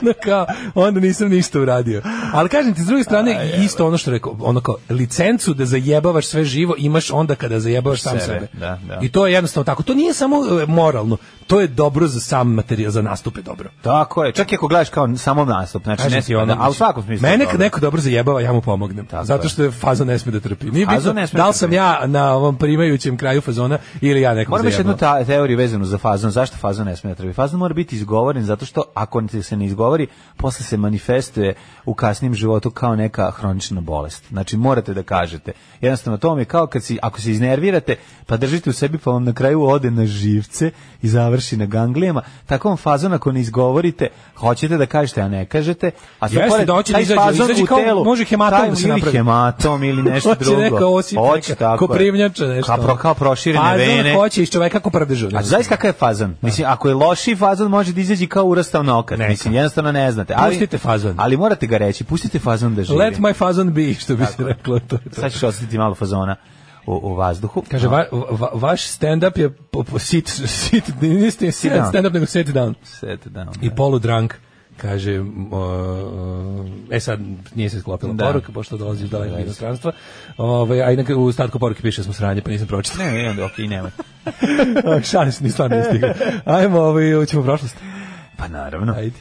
[SPEAKER 6] ono kao, onda nisam ništa uradio. Ali kažem ti, s druge strane, isto ono što rekao, ono kao, licencu da zajebavaš sve živo imaš onda kada zajebavaš sam
[SPEAKER 7] Sebe,
[SPEAKER 6] sebe.
[SPEAKER 7] da, da.
[SPEAKER 6] I to je jednostavno tako. To nije samo e, moralno, to je dobro za sam materijal, za nastupe dobro.
[SPEAKER 7] Tako je. Čak i ako gledaš kao samo nastup, znači
[SPEAKER 6] Kažem
[SPEAKER 7] ne
[SPEAKER 6] ti
[SPEAKER 7] si ono,
[SPEAKER 6] ono,
[SPEAKER 7] a u svakom smislu.
[SPEAKER 6] Mene
[SPEAKER 7] dobro.
[SPEAKER 6] kad neko dobro zajebava, ja mu pomognem. zato
[SPEAKER 7] je.
[SPEAKER 6] što je fazo ne sme da trpi. Nije
[SPEAKER 7] Fazo
[SPEAKER 6] bitno
[SPEAKER 7] ne sme
[SPEAKER 6] da
[SPEAKER 7] da
[SPEAKER 6] li sam
[SPEAKER 7] trpi.
[SPEAKER 6] ja na ovom primajućem kraju fazona ili ja nekom
[SPEAKER 7] Moram još jednu
[SPEAKER 6] zajebavam.
[SPEAKER 7] ta, teoriju vezanu za fazon. Zašto fazon ne smije da trpi? Fazon mora biti izgovoren zato što ako ti se ne izgovori, posle se manifestuje u kasnijem životu kao neka hronična bolest. Znači morate da kažete. Jednostavno to vam je kao kad si, ako se iznervirate, pa držite u sebi pa vam na kraju ode na živce i završi na ganglijama. Tako vam fazon ako ne izgovorite, hoćete da kažete, a ne kažete. A sad
[SPEAKER 6] Jeste,
[SPEAKER 7] pored-
[SPEAKER 6] da hoće da
[SPEAKER 7] taj
[SPEAKER 6] izađe,
[SPEAKER 7] fazon
[SPEAKER 6] izađe
[SPEAKER 7] u
[SPEAKER 6] kao
[SPEAKER 7] telu,
[SPEAKER 6] može hematom
[SPEAKER 7] taj
[SPEAKER 6] da se
[SPEAKER 7] ili
[SPEAKER 6] napravi.
[SPEAKER 7] hematom
[SPEAKER 6] [laughs]
[SPEAKER 7] ili nešto
[SPEAKER 6] Hoće
[SPEAKER 7] drugo.
[SPEAKER 6] neka osip,
[SPEAKER 7] Hoće,
[SPEAKER 6] neka
[SPEAKER 7] tako je.
[SPEAKER 6] koprivnjača, nešto.
[SPEAKER 7] Kao, pro- kao proširene
[SPEAKER 6] Fazon
[SPEAKER 7] vene.
[SPEAKER 6] hoće iz čoveka kako prdežu.
[SPEAKER 7] A znaš kakav je fazon? Mislim, ako je loši fazon, može da izađe kao urastao nokat.
[SPEAKER 6] Neka.
[SPEAKER 7] Mislim, jednostavno ne znate. Ali,
[SPEAKER 6] Pustite fazon.
[SPEAKER 7] Ali morate ga reći, pustite fazon da živi.
[SPEAKER 6] Let my fazon be, što bi se reklo. To je to.
[SPEAKER 7] Sad ćeš osetiti malo fazona u, u vazduhu.
[SPEAKER 6] Kaže, va, va- vaš stand-up je po, po sit, [laughs] sit, nije sit, sit
[SPEAKER 7] down.
[SPEAKER 6] stand-up, nego sit down.
[SPEAKER 7] Set ono. down.
[SPEAKER 6] I poludrank, kaže, m, o, e sad nije se sklopila
[SPEAKER 7] Da.
[SPEAKER 6] poruka, pošto dolazi iz dalekog inostranstva, Ovaj, a inaka u statku poruke piše da smo sranje, pa
[SPEAKER 7] [laughs]
[SPEAKER 6] nisam pročitao.
[SPEAKER 7] Ne, ne, onda okej, nema.
[SPEAKER 6] Šalim se, ni stvarno nije stigao. Ajmo, ovaj, hoćemo u prošlost.
[SPEAKER 7] Pa naravno.
[SPEAKER 6] Ajde.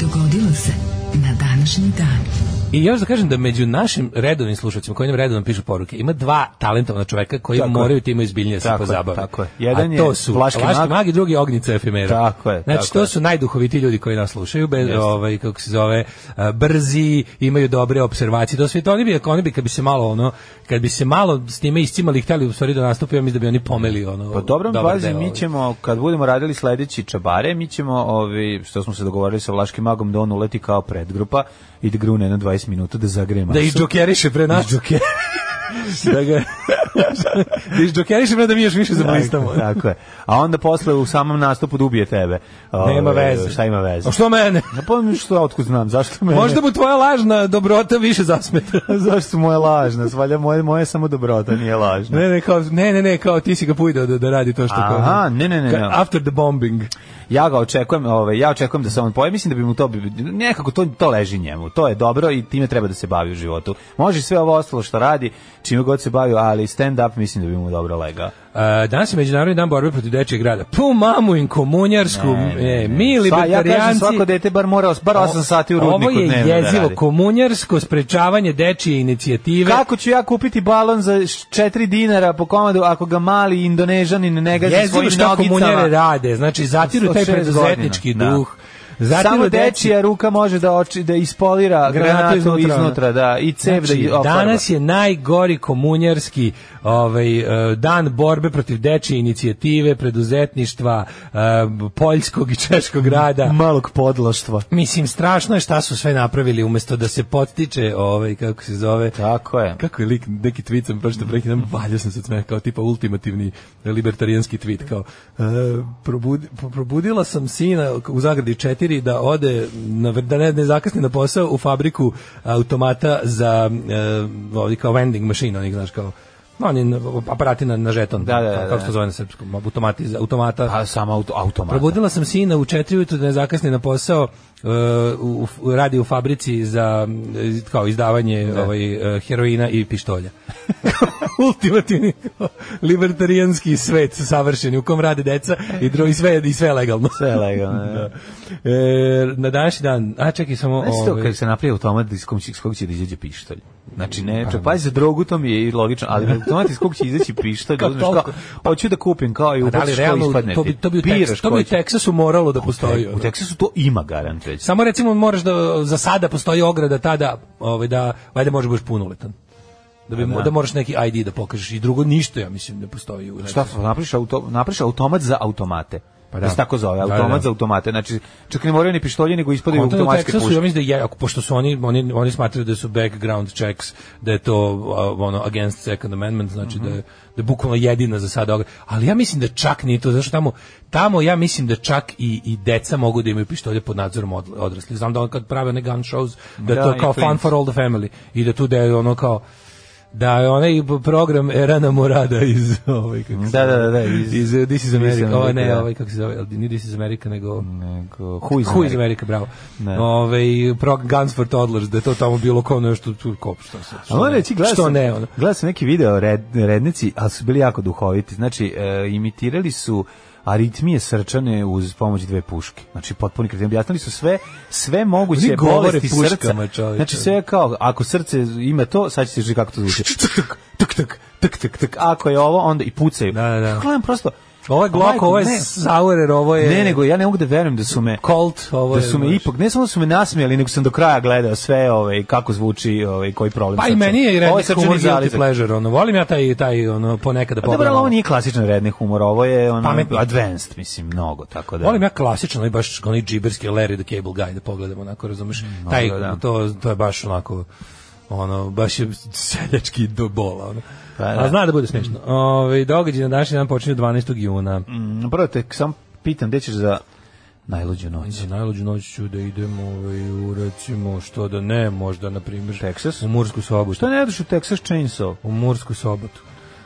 [SPEAKER 5] Dogodilo se na današnji dan.
[SPEAKER 6] I još da kažem da među našim redovnim slušateljima koji nam redovno pišu poruke, ima dva talentovna čoveka koji
[SPEAKER 7] Tako je.
[SPEAKER 6] moraju time izbiljnije da se
[SPEAKER 7] Tako je,
[SPEAKER 6] pozabave.
[SPEAKER 7] tako je. Jedan
[SPEAKER 6] A to
[SPEAKER 7] je
[SPEAKER 6] su
[SPEAKER 7] Vlaški
[SPEAKER 6] Vlaški,
[SPEAKER 7] mag.
[SPEAKER 6] mag. i drugi Ognica efimera.
[SPEAKER 7] Tako je,
[SPEAKER 6] Znači
[SPEAKER 7] tako
[SPEAKER 6] to
[SPEAKER 7] je.
[SPEAKER 6] su najduhovitiji ljudi koji nas slušaju, bez
[SPEAKER 7] Jeste.
[SPEAKER 6] ovaj kako se zove, a, brzi, imaju dobre observacije. To sve to oni bi oni bi kad bi se malo ono, kad bi se malo s time iscimali i htjeli u stvari da nastupe, ja mislim da bi oni pomeli ono.
[SPEAKER 7] Pa dobro,
[SPEAKER 6] dobar
[SPEAKER 7] pazi,
[SPEAKER 6] deo,
[SPEAKER 7] mi
[SPEAKER 6] ovaj.
[SPEAKER 7] ćemo, kad budemo radili sledeći čabare, mi ćemo, ovi, što smo se dogovorili sa Vlaškim magom, da on uleti kao predgrupa i da grune na 20 minuta da zagreje masu.
[SPEAKER 6] da izdžokeriše pre nas. [laughs]
[SPEAKER 7] [laughs]
[SPEAKER 6] da ga da izdžokeriše pre da mi još više zablistamo.
[SPEAKER 7] Tako, tako je. A onda posle u samom nastupu da ubije tebe.
[SPEAKER 6] Nema
[SPEAKER 7] Ovaj,
[SPEAKER 6] veze.
[SPEAKER 7] Šta ima veze?
[SPEAKER 6] A što mene?
[SPEAKER 7] Ne pomnim što, otkud znam, zašto me...
[SPEAKER 6] Možda mu tvoja lažna dobrota više zasmeta.
[SPEAKER 7] [laughs] zašto moja lažna, svalja moje, moje samo dobrota nije lažna.
[SPEAKER 6] Ne, ne, kao, ne, ne, ne, kao ti si ga pujdao da, da radi to što kao.
[SPEAKER 7] Aha, ne, ne, ne, ne.
[SPEAKER 6] After the bombing.
[SPEAKER 7] Ja ga očekujem, ovaj, ja očekujem da se on pojavi, mislim da bi mu to, bi- nekako to, to leži njemu, to je dobro i time treba da se bavi u životu. Može sve ovo ostalo što radi, čime god se bavi, ali stand up mislim da bi mu dobro legao.
[SPEAKER 6] A, danas je Međunarodni dan borbe protiv dečijeg grada. Pu mamu in komunjarsku, e, mi
[SPEAKER 7] Sva, ja kažem,
[SPEAKER 6] libertarijanci...
[SPEAKER 7] svako dete bar mora, bar 8 sati u rudniku
[SPEAKER 6] Ovo je
[SPEAKER 7] dnevno da
[SPEAKER 6] jezivo,
[SPEAKER 7] radi.
[SPEAKER 6] komunjarsko sprečavanje dečije inicijative.
[SPEAKER 7] Kako ću ja kupiti balon za 4 dinara po komadu ako ga mali indonežanin ne gazi
[SPEAKER 6] Jezivo
[SPEAKER 7] svojim
[SPEAKER 6] šta komunjare
[SPEAKER 7] nogicama?
[SPEAKER 6] rade. Znači, zatiru
[SPEAKER 7] Od
[SPEAKER 6] taj
[SPEAKER 7] šest
[SPEAKER 6] preduzetnički
[SPEAKER 7] godina, da.
[SPEAKER 6] duh. Zatiru
[SPEAKER 7] Samo
[SPEAKER 6] deci-
[SPEAKER 7] dečija ruka može da oči da ispolira
[SPEAKER 6] Granatu
[SPEAKER 7] granatu iznutra,
[SPEAKER 6] iznutra,
[SPEAKER 7] da i cev
[SPEAKER 6] Znači,
[SPEAKER 7] da ofarba.
[SPEAKER 6] danas je najgori komunjarski ovaj, e, dan borbe protiv dečije inicijative, preduzetništva, e, poljskog i češkog rada.
[SPEAKER 7] malog podloštva.
[SPEAKER 6] Mislim, strašno je šta su sve napravili umjesto da se potiče, ovaj, kako se zove,
[SPEAKER 7] Tako je.
[SPEAKER 6] kako je lik, neki tweet sam pročito preki dan, valjao sam se od smeha, kao tipa ultimativni libertarijanski tweet, kao e, probudi- po- probudila sam sina u zagradi četiri da ode, na, vr- da ne, ne zakasni na posao u fabriku automata za, e, ovdje kao vending machine, onih, znaš, kao, no, oni na- aparati na, na žeton,
[SPEAKER 7] Da, da, da,
[SPEAKER 6] kao- kao
[SPEAKER 7] da. Pa
[SPEAKER 6] što zove na srpskom, automati, za- automata.
[SPEAKER 7] A samo auto, automat.
[SPEAKER 6] Probudila sam sina u četiri ujutru da ne zakasni na posao, e, u, u- radi u fabrici za e, kao izdavanje ovaj, e, heroina i [laughs] pištolja. Ultimativni libertarijanski svet savršen u kom rade deca i, dro, i, sve, i sve je legalno.
[SPEAKER 7] Sve je
[SPEAKER 6] [laughs]
[SPEAKER 7] legalno. da.
[SPEAKER 6] E, na današnji dan, a čekaj samo...
[SPEAKER 7] Znaš to
[SPEAKER 6] ovaj,
[SPEAKER 7] kad se napravi automat iz kog će, iz kog će da izađe pištolj? Znači, ne,
[SPEAKER 6] Pa,
[SPEAKER 7] čak, pazi za drogu, to mi je i logično,
[SPEAKER 6] [laughs]
[SPEAKER 7] ali automat iz kog će izaći pištolj, da
[SPEAKER 6] Kao
[SPEAKER 7] uzmeš kao, pa
[SPEAKER 6] toliko.
[SPEAKER 7] hoću da kupim, kao i
[SPEAKER 6] a da li
[SPEAKER 7] ubaciš što
[SPEAKER 6] realno,
[SPEAKER 7] ispadne
[SPEAKER 6] to bi,
[SPEAKER 7] ti.
[SPEAKER 6] to bi, u,
[SPEAKER 7] Biraš
[SPEAKER 6] Teksasu, to bi u
[SPEAKER 7] koji će-
[SPEAKER 6] Teksasu moralo da postoji.
[SPEAKER 7] U
[SPEAKER 6] ono.
[SPEAKER 7] Teksasu to ima garant već.
[SPEAKER 6] Samo recimo moraš da za sada postoji ograda tada, ovaj da valjda možeš budeš punoletan. Da bi da moraš neki ID da pokažeš i drugo ništa ja mislim ne postoji u
[SPEAKER 7] Šta napriš auto napriš automat za automate.
[SPEAKER 6] Pa
[SPEAKER 7] Pa
[SPEAKER 6] da.
[SPEAKER 7] da. se tako zove,
[SPEAKER 6] Da,
[SPEAKER 7] automat
[SPEAKER 6] da.
[SPEAKER 7] za automate. Znači, čak ne moraju ni pištolje, nego ispadaju
[SPEAKER 6] Konta u
[SPEAKER 7] automatske
[SPEAKER 6] Teksasu, ja
[SPEAKER 7] puške.
[SPEAKER 6] mislim da je, ako, pošto su oni, oni, oni smatraju da su background checks, da je to a, ono, against second amendment, znači da, je, da je bukvalno jedina za sada ograda. Ali ja mislim da čak nije to, zašto tamo, tamo ja mislim da čak i, i deca mogu da imaju pištolje pod nadzorom od- odraslih. Znam da on kad prave one gun shows, da, je
[SPEAKER 7] Da,
[SPEAKER 6] to
[SPEAKER 7] i
[SPEAKER 6] kao fun
[SPEAKER 7] klinci.
[SPEAKER 6] for all the family. I da tu da je ono kao, da je onaj program Erana Morada iz ovaj kako se
[SPEAKER 7] Da, da,
[SPEAKER 6] zove,
[SPEAKER 7] da, da, iz-
[SPEAKER 6] iz eh, This is America.
[SPEAKER 7] America,
[SPEAKER 6] Ovo ne,
[SPEAKER 7] da.
[SPEAKER 6] ovaj kako se zove, ali nije This is America nego
[SPEAKER 7] Nego,
[SPEAKER 6] Who is America, bravo.
[SPEAKER 7] Ne.
[SPEAKER 6] Ovaj prog Guns for Toddlers, da je to tamo bilo kao nešto tu kao što se.
[SPEAKER 7] A moram reći, gledao
[SPEAKER 6] što
[SPEAKER 7] sam,
[SPEAKER 6] ne ono.
[SPEAKER 7] gledao sam neki video o red, rednici, ali su bili jako duhoviti. Znači, e, imitirali su aritmije srčane uz pomoć dve puške. Znači, potpuni kretin. Objasnili su sve, sve moguće
[SPEAKER 6] Oni govore
[SPEAKER 7] bolesti
[SPEAKER 6] puškama,
[SPEAKER 7] srca.
[SPEAKER 6] čoveče.
[SPEAKER 7] Znači, sve je kao, ako srce ima to, sad ćete kako to zvuči. Tuk, tuk, tuk, tuk, tuk, tuk. Ako je ovo, onda i pucaju.
[SPEAKER 6] Da, da, da.
[SPEAKER 7] Gledam prosto...
[SPEAKER 6] Ovo je Glock,
[SPEAKER 7] Majko,
[SPEAKER 6] ovo je
[SPEAKER 7] ne.
[SPEAKER 6] Saurer, ovo je
[SPEAKER 7] Ne, nego ja ne mogu da verujem da su me
[SPEAKER 6] Colt, ovo je
[SPEAKER 7] da su me
[SPEAKER 6] znaš.
[SPEAKER 7] ipak ne samo da su me nasmijali, nego sam do kraja gledao sve ovaj kako zvuči ovaj koji problem.
[SPEAKER 6] Pa i
[SPEAKER 7] srčani.
[SPEAKER 6] meni je
[SPEAKER 7] Ovo
[SPEAKER 6] Redneck
[SPEAKER 7] srčani
[SPEAKER 6] humor guilty
[SPEAKER 7] zalizak.
[SPEAKER 6] pleasure, ono, volim ja taj, taj ono, ponekad da
[SPEAKER 7] Pa dobro,
[SPEAKER 6] pogledam.
[SPEAKER 7] ali ovo nije klasičan redni humor, ovo je ono
[SPEAKER 6] Pametni.
[SPEAKER 7] advanced, mislim, mnogo, tako da.
[SPEAKER 6] Volim ja klasično, ali baš onaj džiberski Larry the Cable Guy da pogledam onako, razumeš? Taj,
[SPEAKER 7] Mm, da, da.
[SPEAKER 6] To, to je baš onako ono, baš je seljački do bola. Ono.
[SPEAKER 7] Pa, da.
[SPEAKER 6] A zna da bude smiješno. Ove, događaj na današnji dan počinje 12. juna.
[SPEAKER 7] Mm, Prvo te sam pitam, gde ćeš za najluđu noć?
[SPEAKER 6] Za najluđu noć ću da idem ovaj, u, recimo, što da ne, možda, na primjer,
[SPEAKER 7] Texas?
[SPEAKER 6] u Mursku sobotu.
[SPEAKER 7] Što ne ideš u Texas Chainsaw?
[SPEAKER 6] U Mursku sobotu.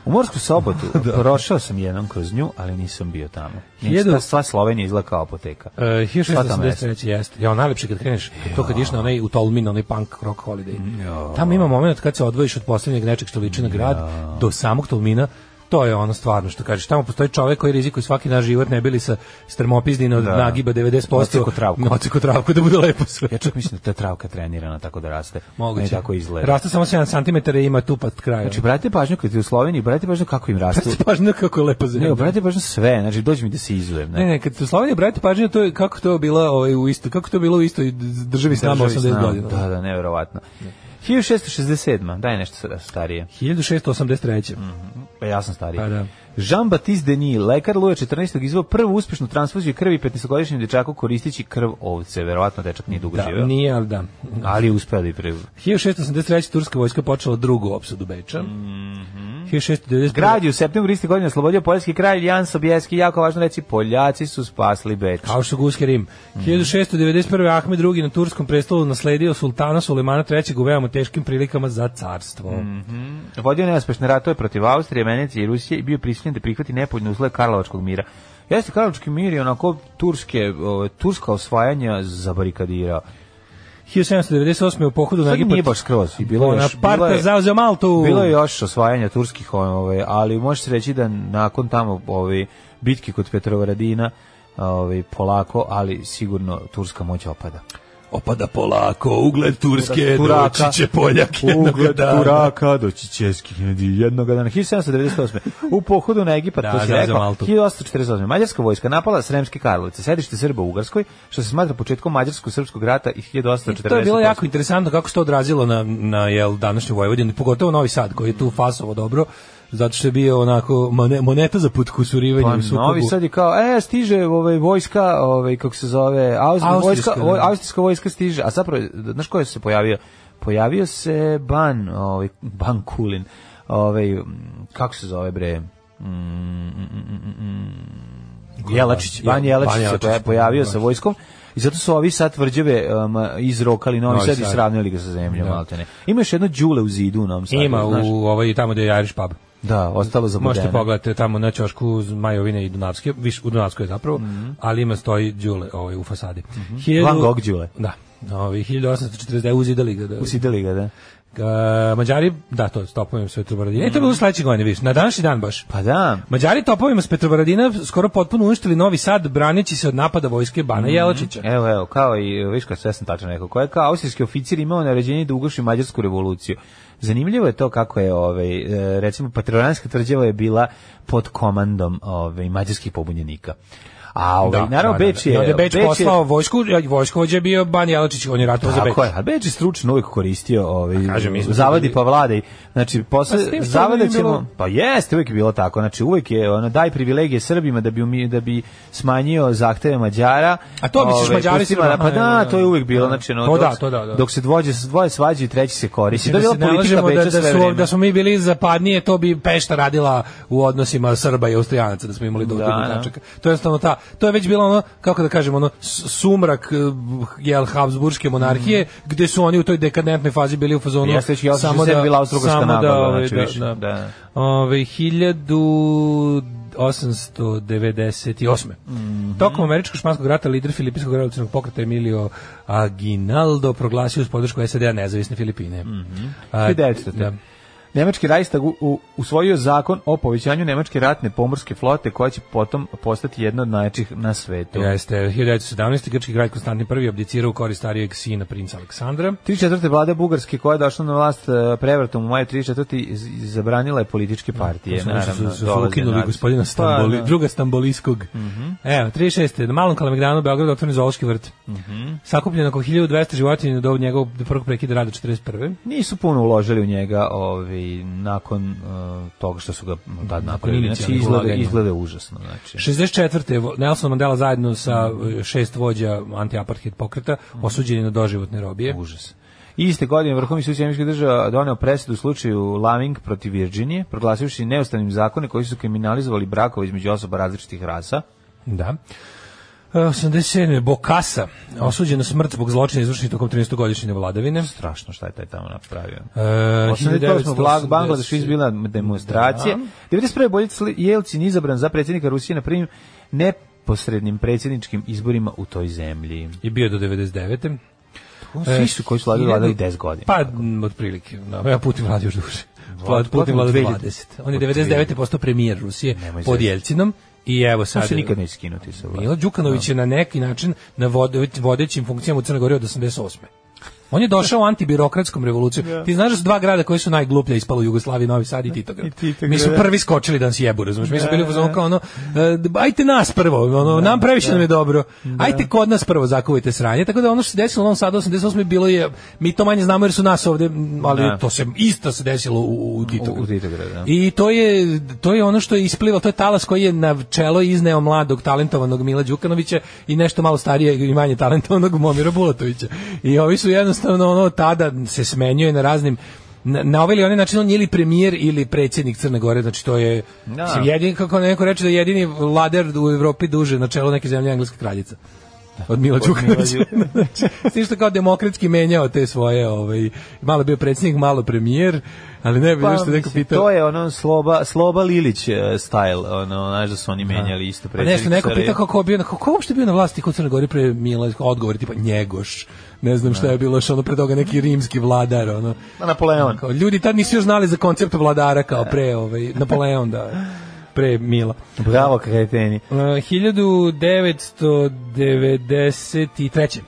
[SPEAKER 7] U Morsku
[SPEAKER 6] [laughs]
[SPEAKER 7] sobotu prošao sam jednom kroz nju, ali nisam bio tamo.
[SPEAKER 6] Hiljadu-
[SPEAKER 7] Hiljadu... Ta sva Slovenija izgleda kao apoteka.
[SPEAKER 6] Uh, 1683
[SPEAKER 7] jeste?
[SPEAKER 6] jeste. Ja, najlepše kad kreneš, to kad iš na onaj u Tolmin, onaj punk rock
[SPEAKER 7] Mm,
[SPEAKER 6] holiday. Tamo ima moment kad se odvojiš od posljednjeg nečeg što liči na grad do samog Tolmina, to je ono stvarno što kažeš. Tamo postoji čovjek koji rizikuje svaki naš život ne bili sa strmopizdina od
[SPEAKER 7] Da.
[SPEAKER 6] nagiba 90%.
[SPEAKER 7] Odsekao travku.
[SPEAKER 6] Na odsekao travku da bude lepo sve.
[SPEAKER 7] Ja čak mislim da ta travka trenirana tako da raste. Ne
[SPEAKER 6] Moguće.
[SPEAKER 7] e tako izgleda.
[SPEAKER 6] Raste samo 7 cm i ima tu pa pat kraja.
[SPEAKER 7] Znači, bratite pažnju kad je u Sloveniji, bratite pažnju kako im rastu.
[SPEAKER 6] Znači, pažnju kako je lepo
[SPEAKER 7] Ne,
[SPEAKER 6] zemlja.
[SPEAKER 7] bratite pažnju sve, znači dođi mi da se izujem. Ne,
[SPEAKER 6] Ne, ne, kad su Slovenija brate pažnju, to je kako to je bila ovaj u isto, kako to je bilo u istoj državi s nama
[SPEAKER 7] Državi s
[SPEAKER 6] 80
[SPEAKER 7] nama.
[SPEAKER 6] godina.
[SPEAKER 7] Da, da, nevjerovatno. 1667. Daj nešto sada starije.
[SPEAKER 6] 1683.
[SPEAKER 7] Pa ja sam stariji.
[SPEAKER 6] Pa da.
[SPEAKER 7] Jean-Baptiste Denis, lekar Luja 14. izvao prvu uspešnu transfuziju krvi 15-godišnjem dečaku koristići krv ovce. Verovatno dečak nije dugo živeo.
[SPEAKER 6] Da, nije, ali da.
[SPEAKER 7] Ali je uspeo da je pre...
[SPEAKER 6] 1683. turska vojska počela drugu opsadu Beča.
[SPEAKER 7] Mhm.
[SPEAKER 6] 1691.
[SPEAKER 7] Grad je u septembru iste godine oslobodio poljski kralj Jan Sobieski. Jako važno reći, Poljaci su spasli Beč.
[SPEAKER 6] Kao što Guske Rim.
[SPEAKER 7] Mhm.
[SPEAKER 6] 1691. Ahmed II. na turskom prestolu nasledio sultana Sulemana III. u veoma teškim prilikama za carstvo.
[SPEAKER 7] Mhm. Vodio neuspešne ratove protiv Austrije, Veneci i Rusije i bio prisiljen da prihvati nepoljne uslove Karlovačkog mira. Jeste Karlovački mir je onako turske, ove, turska osvajanja zabarikadirao.
[SPEAKER 6] 1798. u pohodu na
[SPEAKER 7] Sad nije
[SPEAKER 6] Egipat.
[SPEAKER 7] baš skroz. I bilo je još, bilo
[SPEAKER 6] Bonaparte
[SPEAKER 7] je,
[SPEAKER 6] zauzeo Maltu.
[SPEAKER 7] bilo je još osvajanja turskih, ove, ali može se reći da nakon tamo ove, bitke kod Petrovaradina ove, polako, ali sigurno turska moć opada.
[SPEAKER 6] Opada polako, ugled Turske,
[SPEAKER 7] Turaka.
[SPEAKER 6] doći će Poljak jednoga
[SPEAKER 7] Ugled
[SPEAKER 6] dana.
[SPEAKER 7] Turaka doći Česki jednog dana. 1798. U pohodu na Egipat,
[SPEAKER 6] Da,
[SPEAKER 7] to si
[SPEAKER 6] da, za
[SPEAKER 7] rekao,
[SPEAKER 6] Maltu.
[SPEAKER 7] 1848. Mađarska vojska napala Sremske Karlovice, sedište Srba u Ugarskoj, što se smatra početkom Mađarsko-Srpskog rata i 1848.
[SPEAKER 6] Znači, To je bilo jako interesantno kako se to odrazilo na, na jel, današnju Vojvodinu, pogotovo Novi Sad koji je tu fasovo dobro, zato što je bio onako mone- moneta za put kusurivanje
[SPEAKER 7] Pa,
[SPEAKER 6] u sukobu.
[SPEAKER 7] Novi Sad je kao, e, stiže ovaj, vojska, ovaj, kako se zove, austrijska
[SPEAKER 6] Austrijska,
[SPEAKER 7] vojska, voj,
[SPEAKER 6] da.
[SPEAKER 7] austrijska vojska stiže, a zapravo, znaš ko je se pojavio? Pojavio se Ban, ovaj, Ban Kulin, ovaj, m, kako se zove, bre, Mm, mm, mm, mm, mm. Jelačić, Ban
[SPEAKER 6] Ban
[SPEAKER 7] Jelačić se
[SPEAKER 6] Jelačić.
[SPEAKER 7] poja- pojavio sa vojskom i zato su ovi sad tvrđave um, izrokali Novi,
[SPEAKER 6] Novi
[SPEAKER 7] Sad i
[SPEAKER 6] Sad.
[SPEAKER 7] sravnili ga sa zemljom, maltene. Ima još jedno đule u zidu u Novom Sadu,
[SPEAKER 6] Ima
[SPEAKER 7] znaš?
[SPEAKER 6] u ovaj, tamo gde je Irish pub.
[SPEAKER 7] Da, ostalo za
[SPEAKER 6] Možete
[SPEAKER 7] Budene.
[SPEAKER 6] pogledati tamo na ćošku z- Majovine i Dunavske, viš, u Dunavskoj je zapravo, ali ima stoji Đule ovaj, u fasadi. Hiljadu-
[SPEAKER 7] Mhm. Van Gogh Đule.
[SPEAKER 6] Da. Ovaj, 1849 uzidali ga. Da,
[SPEAKER 7] Usidili ga, da.
[SPEAKER 6] Ga- E, Mađari, da, to je stopovima sve Petrovaradina. E, to je bilo sledeće godine, vidiš, na današnji dan baš.
[SPEAKER 7] Pa da.
[SPEAKER 6] Mađari topovima s Petrovaradina skoro potpuno uništili Novi Sad braneći se od napada vojske Bana
[SPEAKER 7] Mhm.
[SPEAKER 6] Jelačića.
[SPEAKER 7] Evo, evo, kao i, viš kao sve sam tačno rekao, koja je kao austrijski oficir imao naređenje da ugaši mađarsku revoluciju. Zanimljivo je to kako je, ovaj, e, recimo, patrolanska tvrđava je bila pod komandom ovaj, mađarskih pobunjenika. A ovaj, naravno, Beč je...
[SPEAKER 6] I onda je Beč,
[SPEAKER 7] je-
[SPEAKER 6] poslao vojsku, a vojskovođa je bio Ban Jelačić, on je ratovao za Beč.
[SPEAKER 7] Tako je, a Beč je stručno uvijek koristio ovaj,
[SPEAKER 6] kažem, mi smo
[SPEAKER 7] zavadi
[SPEAKER 6] bili-
[SPEAKER 7] pa vladaj. Znači, posle,
[SPEAKER 6] Pa s tim što
[SPEAKER 7] zavada
[SPEAKER 6] nije
[SPEAKER 7] ćemo...
[SPEAKER 6] bilo-
[SPEAKER 7] Pa jeste, uvijek je bilo tako. Znači, uvijek je, ono, daj privilegije Srbima da bi, umi, da bi smanjio zahteve Mađara.
[SPEAKER 6] A to misliš, Mađari
[SPEAKER 7] pusti
[SPEAKER 6] su-
[SPEAKER 7] Mađara- Pa
[SPEAKER 6] Aha, da,
[SPEAKER 7] da,
[SPEAKER 6] da,
[SPEAKER 7] to je uvijek bilo.
[SPEAKER 6] da.
[SPEAKER 7] Znači, ono,
[SPEAKER 6] To da,
[SPEAKER 7] dok,
[SPEAKER 6] to da, da.
[SPEAKER 7] dok se dvoje, dvoje svađa i treći se koristi. To je
[SPEAKER 6] Da,
[SPEAKER 7] bila
[SPEAKER 6] se ne
[SPEAKER 7] politika
[SPEAKER 6] lažemo da,
[SPEAKER 7] Beča
[SPEAKER 6] da,
[SPEAKER 7] sve
[SPEAKER 6] su,
[SPEAKER 7] vreme.
[SPEAKER 6] da smo mi bili zapadnije, to bi Pešta radila u odnosima Srba i Austrijanaca, da smo imali do
[SPEAKER 7] Da,
[SPEAKER 6] da,
[SPEAKER 7] da.
[SPEAKER 6] tačaka. To je jednostavno ta to je već bilo ono, kako da kažem, ono s- sumrak eh, jel, Habsburgske monarhije, gde su oni u toj dekadentnoj fazi bili u fazonu
[SPEAKER 7] Mhm. Pa Jeste, već i 87 bila Austrougarska
[SPEAKER 6] ono, samo
[SPEAKER 7] nabava,
[SPEAKER 6] ovaj,
[SPEAKER 7] znači više, da.
[SPEAKER 6] Ove, 1898.
[SPEAKER 7] Mhm.
[SPEAKER 6] Tokom američko-španskog rata lider Filipinskog revolucionog pokreta Emilio Aguinaldo proglasio uz podršku SAD-a nezavisne Filipine. Mm
[SPEAKER 7] Mhm.
[SPEAKER 6] -hmm.
[SPEAKER 7] 1900.
[SPEAKER 6] Da.
[SPEAKER 7] Nemački Reichstag u, u, usvojio zakon o povećanju nemačke ratne pomorske flote koja će potom postati jedna od najjačih na svetu.
[SPEAKER 6] Jeste, 1917. grčki kralj Konstantin I abdicirao u korist starijeg sina princa Aleksandra.
[SPEAKER 7] Tri četvrte vlade Bugarske koja je došla na vlast e, prevratom u maju tri četvrti iz- iz- zabranila je političke partije.
[SPEAKER 6] Su- su-
[SPEAKER 7] naravno,
[SPEAKER 6] su- su
[SPEAKER 7] dolaze
[SPEAKER 6] ukinuli
[SPEAKER 7] nacije.
[SPEAKER 6] gospodina
[SPEAKER 7] Pa,
[SPEAKER 6] Stamboli,
[SPEAKER 7] da. Mhm.
[SPEAKER 6] druga Stamboliskog. Evo, 36. Na Malom Kalemegdanu u Beogradu otvoren zoološki vrt.
[SPEAKER 7] Mhm.
[SPEAKER 6] Sakupljeno oko 1200 životinja do njegovog prvog prekida rada 41.
[SPEAKER 7] Nisu puno uložili u njega ovi, nakon e, toga što su ga m, tad napravili. Znači,
[SPEAKER 6] inicijalnih
[SPEAKER 7] izgleda,
[SPEAKER 6] ulaganja.
[SPEAKER 7] izgleda užasno. Znači.
[SPEAKER 6] 64. vo- Nelson Mandela zajedno sa
[SPEAKER 7] Mm.
[SPEAKER 6] e, šest vođa anti-apartheid pokreta osuđeni na doživotne robije.
[SPEAKER 7] Užas. Iste godine Vrhovni sud Sjemičkih država doneo presudu u slučaju Laving protiv Virginije, proglasivši neustavnim zakone koji su kriminalizovali brakove između osoba različitih rasa.
[SPEAKER 6] Da. E, 87. Bokasa osuđen na smrt zbog zločina izvršenih tokom 13-godišnje vladavine.
[SPEAKER 7] Strašno šta je taj tamo napravio.
[SPEAKER 6] E,
[SPEAKER 7] 88. Blag
[SPEAKER 6] 1980.
[SPEAKER 7] Bangladeš izbila demonstracije. 91. Boljec Jelcin izabran za predsjednika Rusije na prvim neposrednim predsjedničkim izborima u toj zemlji.
[SPEAKER 6] I bio do 99.
[SPEAKER 7] Svi su koji su vladali, vladali 10 godina.
[SPEAKER 6] Pa, m, otprilike. Da, ja Putin vladi još duže. Vlad, Putin
[SPEAKER 7] Putin
[SPEAKER 6] vlada
[SPEAKER 7] 2000.
[SPEAKER 6] 20. On je 99. postao premijer Rusije
[SPEAKER 7] Nemoj
[SPEAKER 6] pod
[SPEAKER 7] zezati.
[SPEAKER 6] Jelcinom i evo
[SPEAKER 7] To
[SPEAKER 6] sad...
[SPEAKER 7] se nikad neće skinuti sa vlasti.
[SPEAKER 6] Milo Đukanović je na neki način na vode- vodećim funkcijama u Crnoj Gori od 88. On je došao antibirokratskom revolucijom. Ti znaš da su dva grada koji su najgluplja ispala u Jugoslaviji, Novi Sad i Titograd.
[SPEAKER 7] I Titograd,
[SPEAKER 6] Mi su
[SPEAKER 7] da.
[SPEAKER 6] prvi skočili da nas jebu, razumiješ? Mi smo bili u fazonu kao ono, e, d- ajte nas prvo, ono, nam previše nam je dobro. Ajte kod nas prvo zakuvajte sranje. Tako da ono što se desilo u Novom Sadu 88. bilo je, mi to manje znamo jer su nas ovde, m, ali
[SPEAKER 7] Da.
[SPEAKER 6] to se isto se desilo u, u Titogradu.
[SPEAKER 7] U- u Titogradu, da.
[SPEAKER 6] I to je, to je ono što je isplivalo, to je talas koji je na čelo izneo mladog talentovanog Mila Đukanovića i nešto malo starijeg i manje talentovanog Momira Bulatovića. I ovi su jednostavno ono tada se smenjuje na raznim na, na ovaj ili onaj način on je ili premijer ili predsjednik Crne Gore, znači to je
[SPEAKER 7] Da.
[SPEAKER 6] mislim, jedini, kako neko reče da je jedini vlader u Evropi duže na čelo neke zemlje engleska kraljica. Od Mila
[SPEAKER 7] Od Mila
[SPEAKER 6] Đukanovića. [laughs] Znači, S tim što kao demokratski menjao te svoje, ovaj, malo je bio predsjednik, malo premijer, ali ne bi
[SPEAKER 7] Pa,
[SPEAKER 6] pa, što je neko
[SPEAKER 7] mislim,
[SPEAKER 6] pitao.
[SPEAKER 7] To je ono sloba, sloba Lilić eh, style, ono, znaš da Pa su oni menjali isto
[SPEAKER 6] A
[SPEAKER 7] predsjednika.
[SPEAKER 6] Pa nešto neko
[SPEAKER 7] Srbije.
[SPEAKER 6] pita kako je bio, kako ko je uopšte bio na vlasti kod Crne Gore pre Mila, odgovor je tipa njegoš. Ne znam šta je bilo, što ono pre toga neki rimski vladar, ono.
[SPEAKER 7] Ma, Napoleon.
[SPEAKER 6] Kao, ljudi tad nisu još znali za koncept vladara kao pre, ovaj, Napoleon da pre Mila.
[SPEAKER 7] Bravo, kreteni.
[SPEAKER 6] Uh, 1993.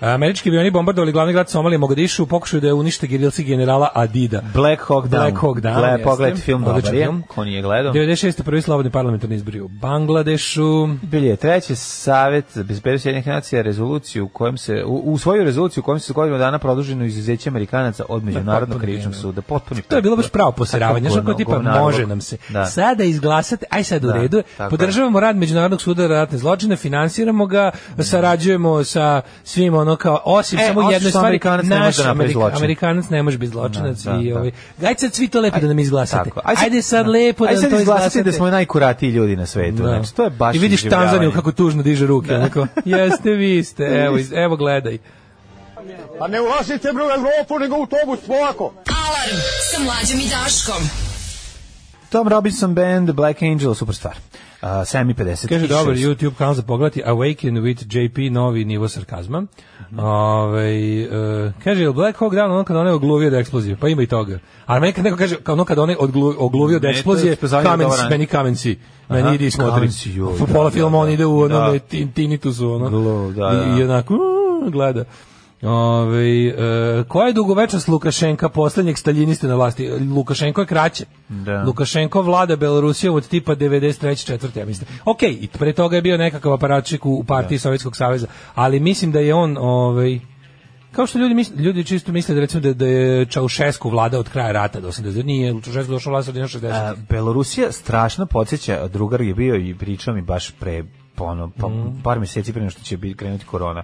[SPEAKER 6] Američki avioni bombardovali glavni grad Somalije Mogadišu u pokušaju da je unište gerilci generala Adida.
[SPEAKER 7] Black Hawk Down.
[SPEAKER 6] Black Hawk Down,
[SPEAKER 7] Gle-
[SPEAKER 6] jeste.
[SPEAKER 7] Pogledajte film, dobar
[SPEAKER 6] Odličan
[SPEAKER 7] je.
[SPEAKER 6] film.
[SPEAKER 7] Ko nije gledao.
[SPEAKER 6] 96. prvi slobodni parlamentarni izbori u Bangladešu.
[SPEAKER 7] Bili je treći savet za bezbednost jednih nacija rezoluciju u kojem se u, u svoju rezoluciju u kojem se godinu dana produženo izuzeće Amerikanaca od međunarodnog
[SPEAKER 6] potpuno
[SPEAKER 7] krivičnog
[SPEAKER 6] je,
[SPEAKER 7] suda potpuni
[SPEAKER 6] To je bilo baš pravo
[SPEAKER 7] Tako, ono
[SPEAKER 6] posiravanje, što
[SPEAKER 7] govno-
[SPEAKER 6] tipa
[SPEAKER 7] govnarluk.
[SPEAKER 6] može nam se.
[SPEAKER 7] Da.
[SPEAKER 6] Sada izglasate, aj sad u
[SPEAKER 7] Da,
[SPEAKER 6] redu, je,
[SPEAKER 7] tako
[SPEAKER 6] podržavamo rad Međunarodnog suda za ratne zločine, finansiramo ga, sarađujemo sa svim ono kao, osim
[SPEAKER 7] E,
[SPEAKER 6] samo
[SPEAKER 7] osim
[SPEAKER 6] jednoj
[SPEAKER 7] što
[SPEAKER 6] stvari,
[SPEAKER 7] Amerikanac ne može da napravi zločin.
[SPEAKER 6] Amerikanac ne može biti zločinac
[SPEAKER 7] Da, da,
[SPEAKER 6] i
[SPEAKER 7] da.
[SPEAKER 6] ovaj, aj sad svi to lepo da nam izglasate.
[SPEAKER 7] Tako.
[SPEAKER 6] Ajde sad, lepo da
[SPEAKER 7] ajde
[SPEAKER 6] nam
[SPEAKER 7] sad
[SPEAKER 6] to
[SPEAKER 7] izglasate
[SPEAKER 6] izglasate.
[SPEAKER 7] da smo najkuratiji ljudi na svetu.
[SPEAKER 6] Da.
[SPEAKER 7] Znači, to je baš
[SPEAKER 6] I vidiš
[SPEAKER 7] iživljavanje.
[SPEAKER 6] Tanzaniju kako tužno diže ruke. onako, Jeste vi ste, evo, iz- evo gledaj.
[SPEAKER 1] Pa ne ulazite bre u Evropu nego u autobus polako.
[SPEAKER 5] Alarm sa mlađom i Daškom.
[SPEAKER 7] Tom Robinson Band, Black Angel, super stvar. Uh, 7 i 50.
[SPEAKER 6] Kaže dobar YouTube kanal za pogledati Awaken with JP novi nivo sarkazma. Ovaj, e, kaže jel Black Hawk Down ono kad onaj ogluvio od eksplozije, pa ima i toga. A meni kad neko kaže kao ono kad onaj odglu- ogluvio od
[SPEAKER 7] Ne, to je
[SPEAKER 6] eksplozije,
[SPEAKER 7] spoznavanje
[SPEAKER 6] kamen,
[SPEAKER 7] dovoljno.
[SPEAKER 6] meni kamen si. Meni
[SPEAKER 7] Aha,
[SPEAKER 6] ide i smotri.
[SPEAKER 7] kamen si, joj,
[SPEAKER 6] U
[SPEAKER 7] da,
[SPEAKER 6] pola
[SPEAKER 7] da,
[SPEAKER 6] filma on
[SPEAKER 7] da.
[SPEAKER 6] ide u ono
[SPEAKER 7] Da.
[SPEAKER 6] tin- tinitusu, ono.
[SPEAKER 7] Glu, da, da.
[SPEAKER 6] I, i onako uh, gleda. Ove, e, koja je dugovečnost Lukašenka posljednjeg staljiniste na vlasti? Lukašenko je kraće.
[SPEAKER 7] Da.
[SPEAKER 6] Lukašenko vlada Belorusijom od tipa 93. četvrte, ja mislim. Ok, i pre toga je bio nekakav aparatčik u, u partiji Sovjetskog saveza, ali mislim da je on, ovaj, kao što ljudi, misle, ljudi čisto misle da recimo da, da je Čaušesku vlada od kraja rata do 80. Nije, Čaušesku došao vlada od 60.
[SPEAKER 7] Uh, Belorusija strašno podsjeća, drugar je bio
[SPEAKER 6] Mhm.
[SPEAKER 7] i pričao mi baš pre, pa ono, pa, par mjeseci pre nego što će biti krenuti korona.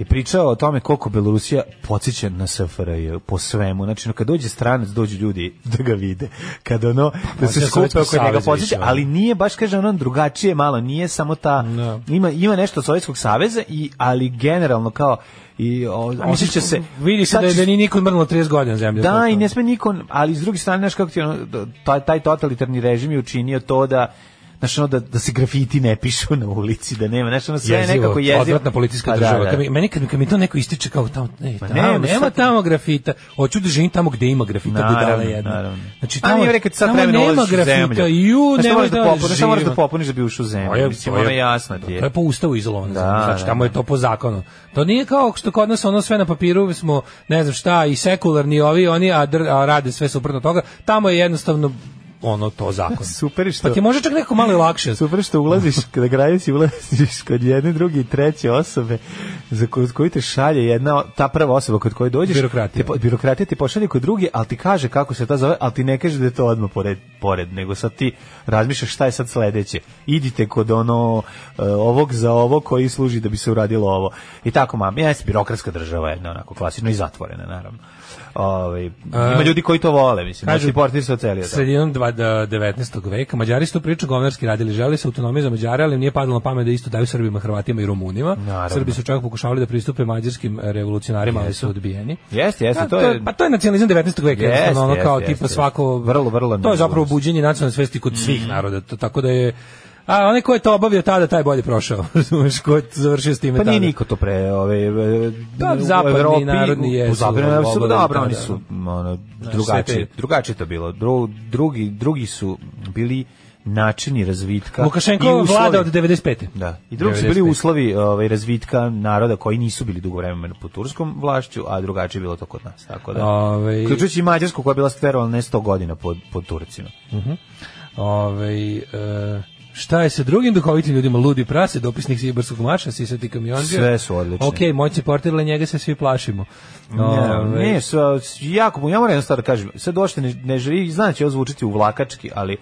[SPEAKER 7] i pričao o tome koliko Belorusija podsjeća na SFRJ po svemu. Znači, no, kad dođe stranac, dođu ljudi [laughs] da ga vide. Kad ono, da se
[SPEAKER 6] Podsjeća
[SPEAKER 7] skupe
[SPEAKER 6] Sovjetski
[SPEAKER 7] oko njega
[SPEAKER 6] savez
[SPEAKER 7] podsjeća,
[SPEAKER 6] više, ono.
[SPEAKER 7] ali nije baš, kaže, ono drugačije malo, nije samo ta,
[SPEAKER 6] Da.
[SPEAKER 7] ima, ima nešto od Sovjetskog saveza, i, ali generalno kao, i o, osjeća se...
[SPEAKER 6] Vidi se
[SPEAKER 7] sad
[SPEAKER 6] da, je-
[SPEAKER 7] ćeš-
[SPEAKER 6] da nije niko mrnulo 30 godina zemlje.
[SPEAKER 7] da, i ne
[SPEAKER 6] smije.
[SPEAKER 7] sme niko, ali s druge strane, znaš kako ti, ono, da- taj, taj totalitarni režim je učinio to da Znaš, ono, da, da se grafiti ne pišu na ulici, da nema, znaš, ono, sve je nekako jezivo.
[SPEAKER 6] Odvratna policijska
[SPEAKER 7] Pa da,
[SPEAKER 6] država.
[SPEAKER 7] da. Pa
[SPEAKER 6] Kad mi, meni kad, mi- kad mi to neko ističe kao tamo, ne, tamo,
[SPEAKER 7] nema,
[SPEAKER 6] nema
[SPEAKER 7] sad-
[SPEAKER 6] tamo grafita. Hoću da živim tamo gde ima grafita,
[SPEAKER 7] Naravno,
[SPEAKER 6] budala jedna.
[SPEAKER 7] naravno.
[SPEAKER 6] Znači,
[SPEAKER 7] A
[SPEAKER 6] tamo,
[SPEAKER 7] Pa nije rekao sad
[SPEAKER 6] tamo
[SPEAKER 7] vremena
[SPEAKER 6] nema
[SPEAKER 7] ulaziš u
[SPEAKER 6] grafita.
[SPEAKER 7] zemlju.
[SPEAKER 6] Ju,
[SPEAKER 7] Znaš,
[SPEAKER 6] ne
[SPEAKER 7] šta moraš da popuniš, šta moraš da
[SPEAKER 6] živim.
[SPEAKER 7] popuniš da bi ušao u
[SPEAKER 6] To
[SPEAKER 7] zemlju.
[SPEAKER 6] Pa je-
[SPEAKER 7] Mislim,
[SPEAKER 6] to je-
[SPEAKER 7] ono jasno ti
[SPEAKER 6] To
[SPEAKER 7] je.
[SPEAKER 6] je po ustavu izolovano.
[SPEAKER 7] Da,
[SPEAKER 6] zemlje. znači,
[SPEAKER 7] da,
[SPEAKER 6] tamo je to po zakonu. To nije kao što kod nas ono sve na papiru smo, ne znam šta, i sekularni ovi, oni, a, dr- a rade sve suprotno toga. Tamo je jednostavno ono to zakon.
[SPEAKER 7] [laughs] Super je što-
[SPEAKER 6] Pa ti je možda čak neko malo i lakše.
[SPEAKER 7] Super što ulaziš, [laughs] kada graju si ulaziš kod jedne, druge i treće osobe za koju, koju te šalje jedna, ta prva osoba kod koje dođeš.
[SPEAKER 6] Birokratija.
[SPEAKER 7] Te, po- birokratija ti pošalje kod druge, ali ti kaže kako se ta zove, ali ti ne kaže da je to odmah pored, pored nego sad ti razmišljaš šta je sad sledeće. Idite kod ono e, ovog za ovo koji služi da bi se uradilo ovo. I tako, mam, jes, birokratska država jedna, onako klasično i zatvorena, naravno. Ovaj, ima ljudi koji to vole, mislim, znači,
[SPEAKER 6] kažu-
[SPEAKER 7] kažu, portir se ocelio. tamo.
[SPEAKER 6] Sredinom dva- da- 19. veka Mađari su tu priču govnarski radili, želi se autonomija za Mađare, ali im nije padalo na pamet da isto daju Srbima, Hrvatima i Rumunima.
[SPEAKER 7] Naravno.
[SPEAKER 6] Srbi su čak pokušavali da pristupe mađarskim e, revolucionarima, ali su odbijeni.
[SPEAKER 7] Jeste, jeste,
[SPEAKER 6] Da,
[SPEAKER 7] to je-
[SPEAKER 6] pa to je nacionalizam 19. veka,
[SPEAKER 7] Jeste,
[SPEAKER 6] jednostavno, ono
[SPEAKER 7] jeste,
[SPEAKER 6] kao
[SPEAKER 7] jeste.
[SPEAKER 6] tipa svako
[SPEAKER 7] Vrlo, vrlo Mm.
[SPEAKER 6] To je zapravo
[SPEAKER 7] nacionalizam.
[SPEAKER 6] buđenje nacionalne svesti kod svih naroda, to- tako da je A onaj ko je to obavio tada, taj je bolje prošao. [laughs] Razumeš, ko je završio s time
[SPEAKER 7] Pa nije
[SPEAKER 6] tada.
[SPEAKER 7] niko to pre, ovaj, e, ove,
[SPEAKER 6] Da, Pa, zapadni narodi jesu,
[SPEAKER 7] zapadni narodi su,
[SPEAKER 6] obladani,
[SPEAKER 7] dobro,
[SPEAKER 6] da,
[SPEAKER 7] oni
[SPEAKER 6] da.
[SPEAKER 7] su ono,
[SPEAKER 6] Znaš, sve
[SPEAKER 7] drugačije,
[SPEAKER 6] te-
[SPEAKER 7] drugačije to bilo. Dru- drugi, drugi su bili načini razvitka. i
[SPEAKER 6] Lukašenko
[SPEAKER 7] uslovi.
[SPEAKER 6] vlada od 95.
[SPEAKER 7] Da. I drugi su bili
[SPEAKER 6] 95..
[SPEAKER 7] uslovi ovaj, razvitka naroda koji nisu bili dugo vremena pod turskom vlašću, a drugačije je bilo to kod nas. Tako da.
[SPEAKER 6] Ovaj-
[SPEAKER 7] Uključujući i Mađarsku koja je bila stverovala ne 100 godina pod, pod Turcima.
[SPEAKER 6] Ove, Ovaj, e, šta je sa drugim duhovitim ljudima? Ludi prase, dopisnik Sibarskog maša, sisati kamionđer.
[SPEAKER 7] Sve su odlični.
[SPEAKER 6] Ok, moćni portirle, njega se svi plašimo. Ovaj,
[SPEAKER 7] Ne, ne, sa- s- jako, ja moram jednu stvar da kažem, sad došte ne, ne želi, znam da će ovo zvučiti uvlakački, ali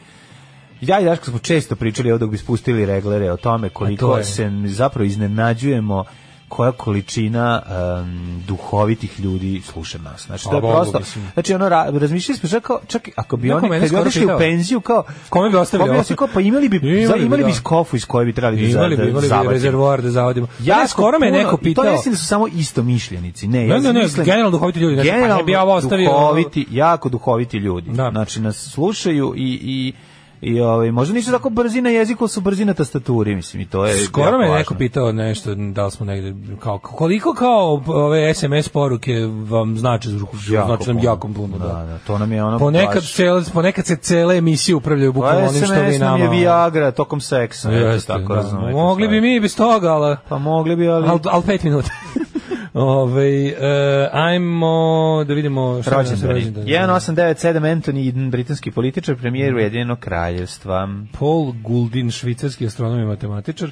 [SPEAKER 7] ja i Daško smo često pričali ovdje dok bi spustili reglere o tome
[SPEAKER 6] A to
[SPEAKER 7] koliko
[SPEAKER 6] je.
[SPEAKER 7] se zapravo iznenađujemo koja količina em, duhovitih ljudi sluša nas. Znači, to
[SPEAKER 6] A
[SPEAKER 7] je
[SPEAKER 6] Bogu,
[SPEAKER 7] prosto...
[SPEAKER 6] mislim.
[SPEAKER 7] Znači, ono, ra- razmišljali smo čak, kao, čak i ako bi
[SPEAKER 6] Neko
[SPEAKER 7] oni,
[SPEAKER 6] mene
[SPEAKER 7] kad bi
[SPEAKER 6] skoro
[SPEAKER 7] otišli u
[SPEAKER 6] pitao.
[SPEAKER 7] penziju, kao...
[SPEAKER 6] Kome bi ostavili
[SPEAKER 7] kome
[SPEAKER 6] ovo?
[SPEAKER 7] ostavili, kao, pa imali bi,
[SPEAKER 6] Imali
[SPEAKER 7] za-
[SPEAKER 6] bi,
[SPEAKER 7] imali bi
[SPEAKER 6] da.
[SPEAKER 7] skofu iz koje bi trebali da,
[SPEAKER 6] Imali bi,
[SPEAKER 7] da
[SPEAKER 6] imali bi
[SPEAKER 7] zavadimo.
[SPEAKER 6] rezervoar da zavadimo. Ja,
[SPEAKER 7] Jako
[SPEAKER 6] skoro me je
[SPEAKER 7] puno,
[SPEAKER 6] neko
[SPEAKER 7] i To
[SPEAKER 6] pitao.
[SPEAKER 7] ne mislim da su samo isto mišljenici. Ne,
[SPEAKER 6] Ne,
[SPEAKER 7] ja
[SPEAKER 6] ne, ne,
[SPEAKER 7] mislim-
[SPEAKER 6] generalno duhoviti ljudi, znači, pa ne
[SPEAKER 7] generalno
[SPEAKER 6] bi ja ovo ostavio, ono-
[SPEAKER 7] Duhoviti, jako duhoviti ljudi.
[SPEAKER 6] Da.
[SPEAKER 7] Znači nas slušaju i i i ovaj možda nisu tako brzi na jeziku, ali su brzi na tastaturi, mislim i to je
[SPEAKER 6] Skoro
[SPEAKER 7] jako
[SPEAKER 6] me je neko
[SPEAKER 7] važno.
[SPEAKER 6] pitao nešto, da li smo negde, kao, koliko kao ove SMS poruke vam znači,
[SPEAKER 7] Jako
[SPEAKER 6] znači nam
[SPEAKER 7] puno.
[SPEAKER 6] jako puno, da.
[SPEAKER 7] Da, da, to nam je ono
[SPEAKER 6] Ponekad,
[SPEAKER 7] baš-
[SPEAKER 6] cele, ponekad se cele emisije upravljaju bukvalno
[SPEAKER 7] Pa
[SPEAKER 6] onim što vi
[SPEAKER 7] SMS nam
[SPEAKER 6] nama...
[SPEAKER 7] je Viagra tokom seksa, eto,
[SPEAKER 6] Jeste,
[SPEAKER 7] tako
[SPEAKER 6] da.
[SPEAKER 7] razumete,
[SPEAKER 6] Mogli bi
[SPEAKER 7] stvari.
[SPEAKER 6] mi i bez toga, ali...
[SPEAKER 7] Pa mogli bi, ali...
[SPEAKER 6] Al, al pet minuta. [laughs] Ove, e, ajmo da vidimo šta je naš
[SPEAKER 7] Rođendani.
[SPEAKER 6] rođendan.
[SPEAKER 7] 1897 Anthony Eden, britanski političar, premijer Ujedinjenog kraljevstva.
[SPEAKER 6] Paul Guldin, švicarski astronom i matematičar.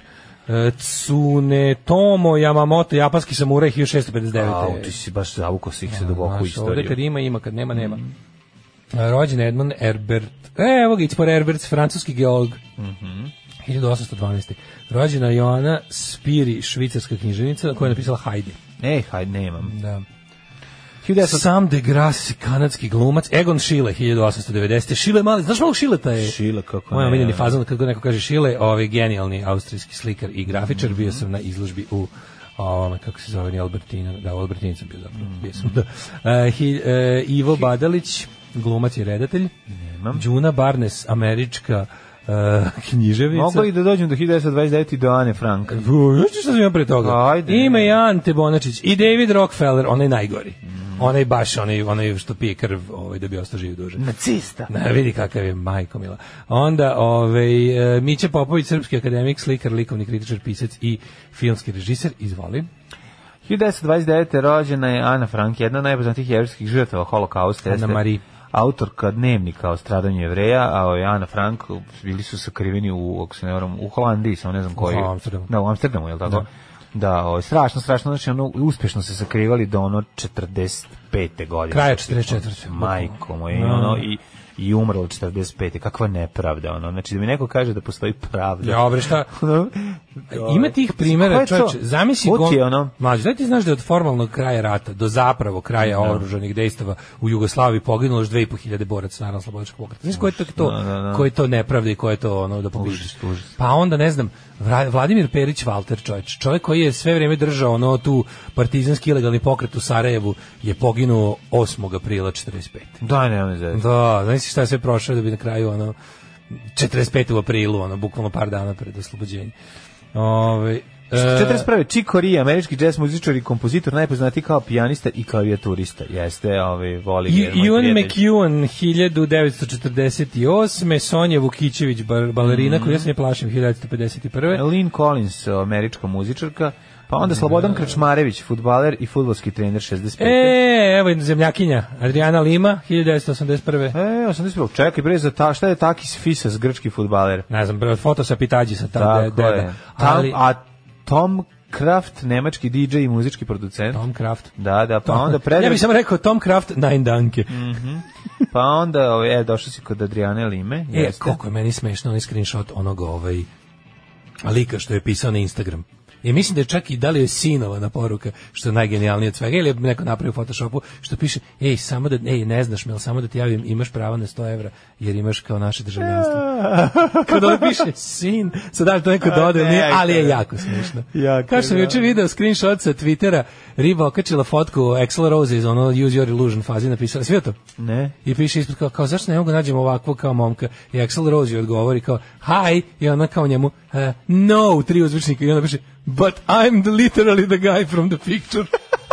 [SPEAKER 6] E, Tsunetomo Yamamoto, japanski samuraj 1659.
[SPEAKER 7] Au, Pa ti si baš zavukao svih se duboko u
[SPEAKER 6] Znaš, ovde
[SPEAKER 7] istoriju.
[SPEAKER 6] kad ima, ima, kad nema, nema. E, Rođen Edmund Herbert, e, evo ga, Itzpor Herbert, francuski geolog. 1812. Rođena Joana Spiri, švicarska knjiženica, koja je napisala Heidi.
[SPEAKER 7] Ne, hajde, nemam.
[SPEAKER 6] Da.
[SPEAKER 7] 1900
[SPEAKER 6] Sam de Grasse, kanadski glumac, Egon Schiele, 1890. Schiele mali, znaš malo Schileta je?
[SPEAKER 7] Schiller, kako
[SPEAKER 6] Moj
[SPEAKER 7] ne.
[SPEAKER 6] omiljeni fazon, kad god neko kaže Schiele, ovaj genijalni austrijski slikar i grafičar, bio sam na izložbi u ovome, kako se zove, ni Albertina, da, u Albertini sam bio zapravo,
[SPEAKER 7] Mm.
[SPEAKER 6] bio sam, da. E, hi- e, Ivo Badalić, glumac i redatelj. Nemam. Đuna Barnes, američka e, [laughs] književnica.
[SPEAKER 7] Mogao i da dođem do 1929 i do Ane Frank.
[SPEAKER 6] U, Znaš šta sam imao pre toga?
[SPEAKER 7] Ajde.
[SPEAKER 6] Ima i Ante Bonačić i David Rockefeller, onaj najgori. Onaj baš, onaj, onaj što pije krv ovaj, da bi ostao živ duže.
[SPEAKER 7] Nacista.
[SPEAKER 6] Na, vidi kakav je majko mila. Onda ovaj, e, Miće Popović, srpski akademik, slikar, likovni kritičar, pisac i filmski režiser. Izvoli.
[SPEAKER 7] 1929. rođena je Ana Frank, jedna od najpoznatijih jevrskih žrtava holokausta. jeste
[SPEAKER 6] Ana Marie.
[SPEAKER 7] Autorka dnevnika o stradanju jevreja, a ovaj Ana Frank bili su sakriveni u, ako se ne varam, u Holandiji, samo ne znam koji.
[SPEAKER 6] Amsterdamu.
[SPEAKER 7] Da, u Amsterdamu, je li tako? Da, ovaj, strašno, strašno, znači ono, uspješno se sakrivali do ono 45. 45. godine.
[SPEAKER 6] Kraja 44..
[SPEAKER 7] Majko moje, i
[SPEAKER 6] Da.
[SPEAKER 7] ono, i, i umrlo 45. Kakva nepravda, ono. Znači, da mi neko kaže da postoji pravda.
[SPEAKER 6] Ja, bre, šta?
[SPEAKER 7] Ono,
[SPEAKER 6] Ima tih
[SPEAKER 7] Ko
[SPEAKER 6] primjera,
[SPEAKER 7] je to?
[SPEAKER 6] čoveče. Zamisli
[SPEAKER 7] Ko ti je
[SPEAKER 6] gom-
[SPEAKER 7] ono?
[SPEAKER 6] Mlađe, da ti znaš da je od formalnog kraja rata do zapravo kraja oružanih dejstava u Jugoslaviji poginulo još 2500 boraca narodno slobodičkog pokreta. Znaš koje je to, to,
[SPEAKER 7] da, da.
[SPEAKER 6] koje je to nepravda i koje je to ono da pobiš.
[SPEAKER 7] Užas, užas.
[SPEAKER 6] Pa onda ne znam, Vra- Vladimir Perić Valter, čovječ, čovjek koji je sve vrijeme držao ono tu partizanski ilegalni pokret u Sarajevu je poginuo 8. aprila 45.
[SPEAKER 7] Da, ne, ono je
[SPEAKER 6] Da, znaš šta je sve prošao da bi na kraju ono 45. u aprilu, ono bukvalno par dana pred oslobođenje. Ove, e,
[SPEAKER 7] 41. Chick Corea, američki jazz muzičar i kompozitor, najpoznatiji kao pijanista i klavijaturista. Jeste, ovaj, voli
[SPEAKER 6] I,
[SPEAKER 7] ga, moj
[SPEAKER 6] Ivan
[SPEAKER 7] prijatelj.
[SPEAKER 6] McEwan 1948. Sonja Vukićević, bar-
[SPEAKER 7] Mhm.
[SPEAKER 6] balerina, koju ja se ne plašim, 1951.
[SPEAKER 7] Lynn Collins, američka muzičarka, pa onda Slobodan Krčmarević, futbaler i futbolski trener 65. E,
[SPEAKER 6] E, evo jedna zemljakinja, Adriana Lima, 1981.
[SPEAKER 7] e 81. Čekaj, bre, za ta, šta je Takis Fisas, grčki futbaler?
[SPEAKER 6] Ne znam, bre, foto sa pitađi sa ta de-
[SPEAKER 7] Tako
[SPEAKER 6] deda.
[SPEAKER 7] je. Tam,
[SPEAKER 6] Ali,
[SPEAKER 7] a Tom Kraft, nemački DJ i muzički producent.
[SPEAKER 6] Tom Kraft.
[SPEAKER 7] Da, da, pa onda
[SPEAKER 6] Ja
[SPEAKER 7] Predrag,
[SPEAKER 6] bih sam rekao Tom Kraft, nine danke.
[SPEAKER 7] pa onda, ovaj, e, došao si kod Adriane Lime.
[SPEAKER 6] E,
[SPEAKER 7] jeste.
[SPEAKER 6] koliko je meni smešno onaj screenshot onog ovaj lika što je pisao na Instagram. I mislim da je čak i da li je sinovana poruka, što je najgenijalnije od svega, ili je neko napravio u Photoshopu, što piše, ej, samo da, ej, ne znaš me, ali samo da ti javim, imaš pravo na 100 evra, jer imaš kao
[SPEAKER 7] [laughs]
[SPEAKER 6] naše državljanstvo. Kada ovo piše sin, sad da li to neko dodao ili nije,
[SPEAKER 7] ne,
[SPEAKER 6] ali je
[SPEAKER 7] ajde.
[SPEAKER 6] jako smiješno.
[SPEAKER 7] Jako,
[SPEAKER 6] Kao što sam
[SPEAKER 7] da.
[SPEAKER 6] juče video screenshot sa Twittera, riba okačila fotku Axl Rose iz ono Use Your Illusion fazi napisala, sve to?
[SPEAKER 7] Ne.
[SPEAKER 6] I piše ispod kao, kao zašto ne mogu nađemo ovakvog kao momka? I Axel Rose joj odgovori kao hi i ona kao njemu eh, no tri uzvičnika i ona piše but I'm the, literally the guy from the picture.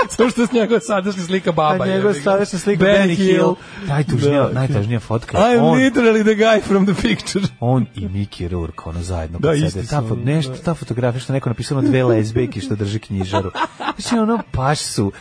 [SPEAKER 6] [laughs] Samo što s njegova sadašnja slika baba.
[SPEAKER 7] A
[SPEAKER 6] je.
[SPEAKER 7] njegov Pa sadašnja slika
[SPEAKER 6] Ben
[SPEAKER 7] Benny Hill.
[SPEAKER 6] Hill.
[SPEAKER 7] Najtužnija,
[SPEAKER 6] Da.
[SPEAKER 7] najtužnija fotka. je
[SPEAKER 6] I'm
[SPEAKER 7] on.
[SPEAKER 6] literally the guy from the
[SPEAKER 7] [laughs]
[SPEAKER 6] picture.
[SPEAKER 7] on i Miki Rourke ono zajedno
[SPEAKER 6] Da,
[SPEAKER 7] kod sebe.
[SPEAKER 6] isti su
[SPEAKER 7] ta, fo-
[SPEAKER 6] oni,
[SPEAKER 7] nešto, ta fotografija što je neko napisano dve lezbejke što drži knjižaru znači ono baš su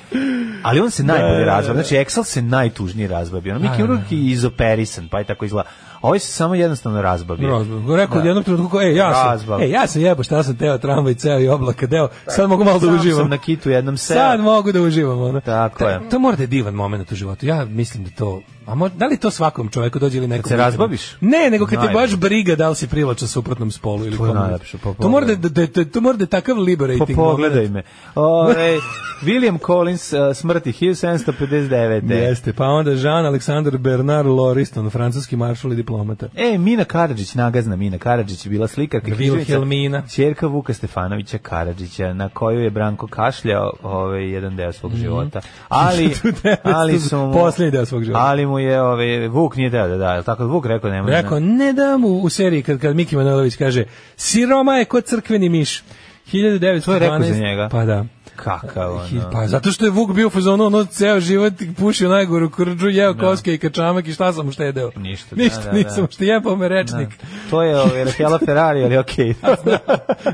[SPEAKER 7] ali on se najbolje razbavi znači Excel se najtužnije razbavi ono, Miki Rourke je izoperisan pa je tako izgleda a ovaj se samo jednostavno razbavio
[SPEAKER 6] Razbavio. Rekao da. jednom trenutku, kao, ej, ja sam,
[SPEAKER 7] Razbavio.
[SPEAKER 6] ej, ja sam jebo šta sam teo tramvaj ceo i oblaka deo, sad mogu malo da
[SPEAKER 7] Sam
[SPEAKER 6] uživam.
[SPEAKER 7] sam na kitu jednom se
[SPEAKER 6] Sad mogu da uživam, ono.
[SPEAKER 7] Tako
[SPEAKER 6] Ta-
[SPEAKER 7] je.
[SPEAKER 6] To mora da je divan moment u životu. Ja mislim da to... A mo- da li to svakom čovjeku dođe ili nekom?
[SPEAKER 7] se razbaviš?
[SPEAKER 6] Ne, nego kad te
[SPEAKER 7] Najbolje.
[SPEAKER 6] baš briga da li si privlačan suprotnom spolu ili
[SPEAKER 7] To je
[SPEAKER 6] komu.
[SPEAKER 7] najlepše, pa
[SPEAKER 6] To mora da,
[SPEAKER 7] pogledaj.
[SPEAKER 6] da- da- to mora da je takav
[SPEAKER 7] pa
[SPEAKER 6] liberating
[SPEAKER 7] pogledaj
[SPEAKER 6] moment.
[SPEAKER 7] me Ove, William Collins uh, smrti 1759
[SPEAKER 6] Jeste, pa onda Jean Alexander Bernard Loriston, francuski maršal i diplomata.
[SPEAKER 7] E, Mina Karadžić, nagazna Mina Karadžić je bila slikarka. književnica,
[SPEAKER 6] Vilhelmina.
[SPEAKER 7] Ćerka Vuka Stefanovića Karadžića, na koju je Branko kašljao ovaj, jedan deo svog
[SPEAKER 6] Mhm. [laughs]
[SPEAKER 7] života. Ali,
[SPEAKER 6] 1900
[SPEAKER 7] ali su mu...
[SPEAKER 6] posljednji deo svog života.
[SPEAKER 7] Ali mu je, ovaj, Vuk nije deo da da, jel tako Vuk rekao nema.
[SPEAKER 6] Rekao, ne da mu u seriji kad, kad Miki Manojlović kaže Siroma je kod crkveni miš. 1912.
[SPEAKER 7] To je rekao za njega.
[SPEAKER 6] Pa da.
[SPEAKER 7] Kakav, ono.
[SPEAKER 6] Hi- Pa zato što je Vuk bio u fazonu ono ceo život pušio najgoru krđu, jeo koske i kačamak i šta sam uštedeo?
[SPEAKER 7] Ništa, da,
[SPEAKER 6] Ništa
[SPEAKER 7] da, da.
[SPEAKER 6] nisam uštedeo, me rečnik.
[SPEAKER 7] To je
[SPEAKER 6] [laughs]
[SPEAKER 7] ovaj, Rakela Ferrari, ali okej.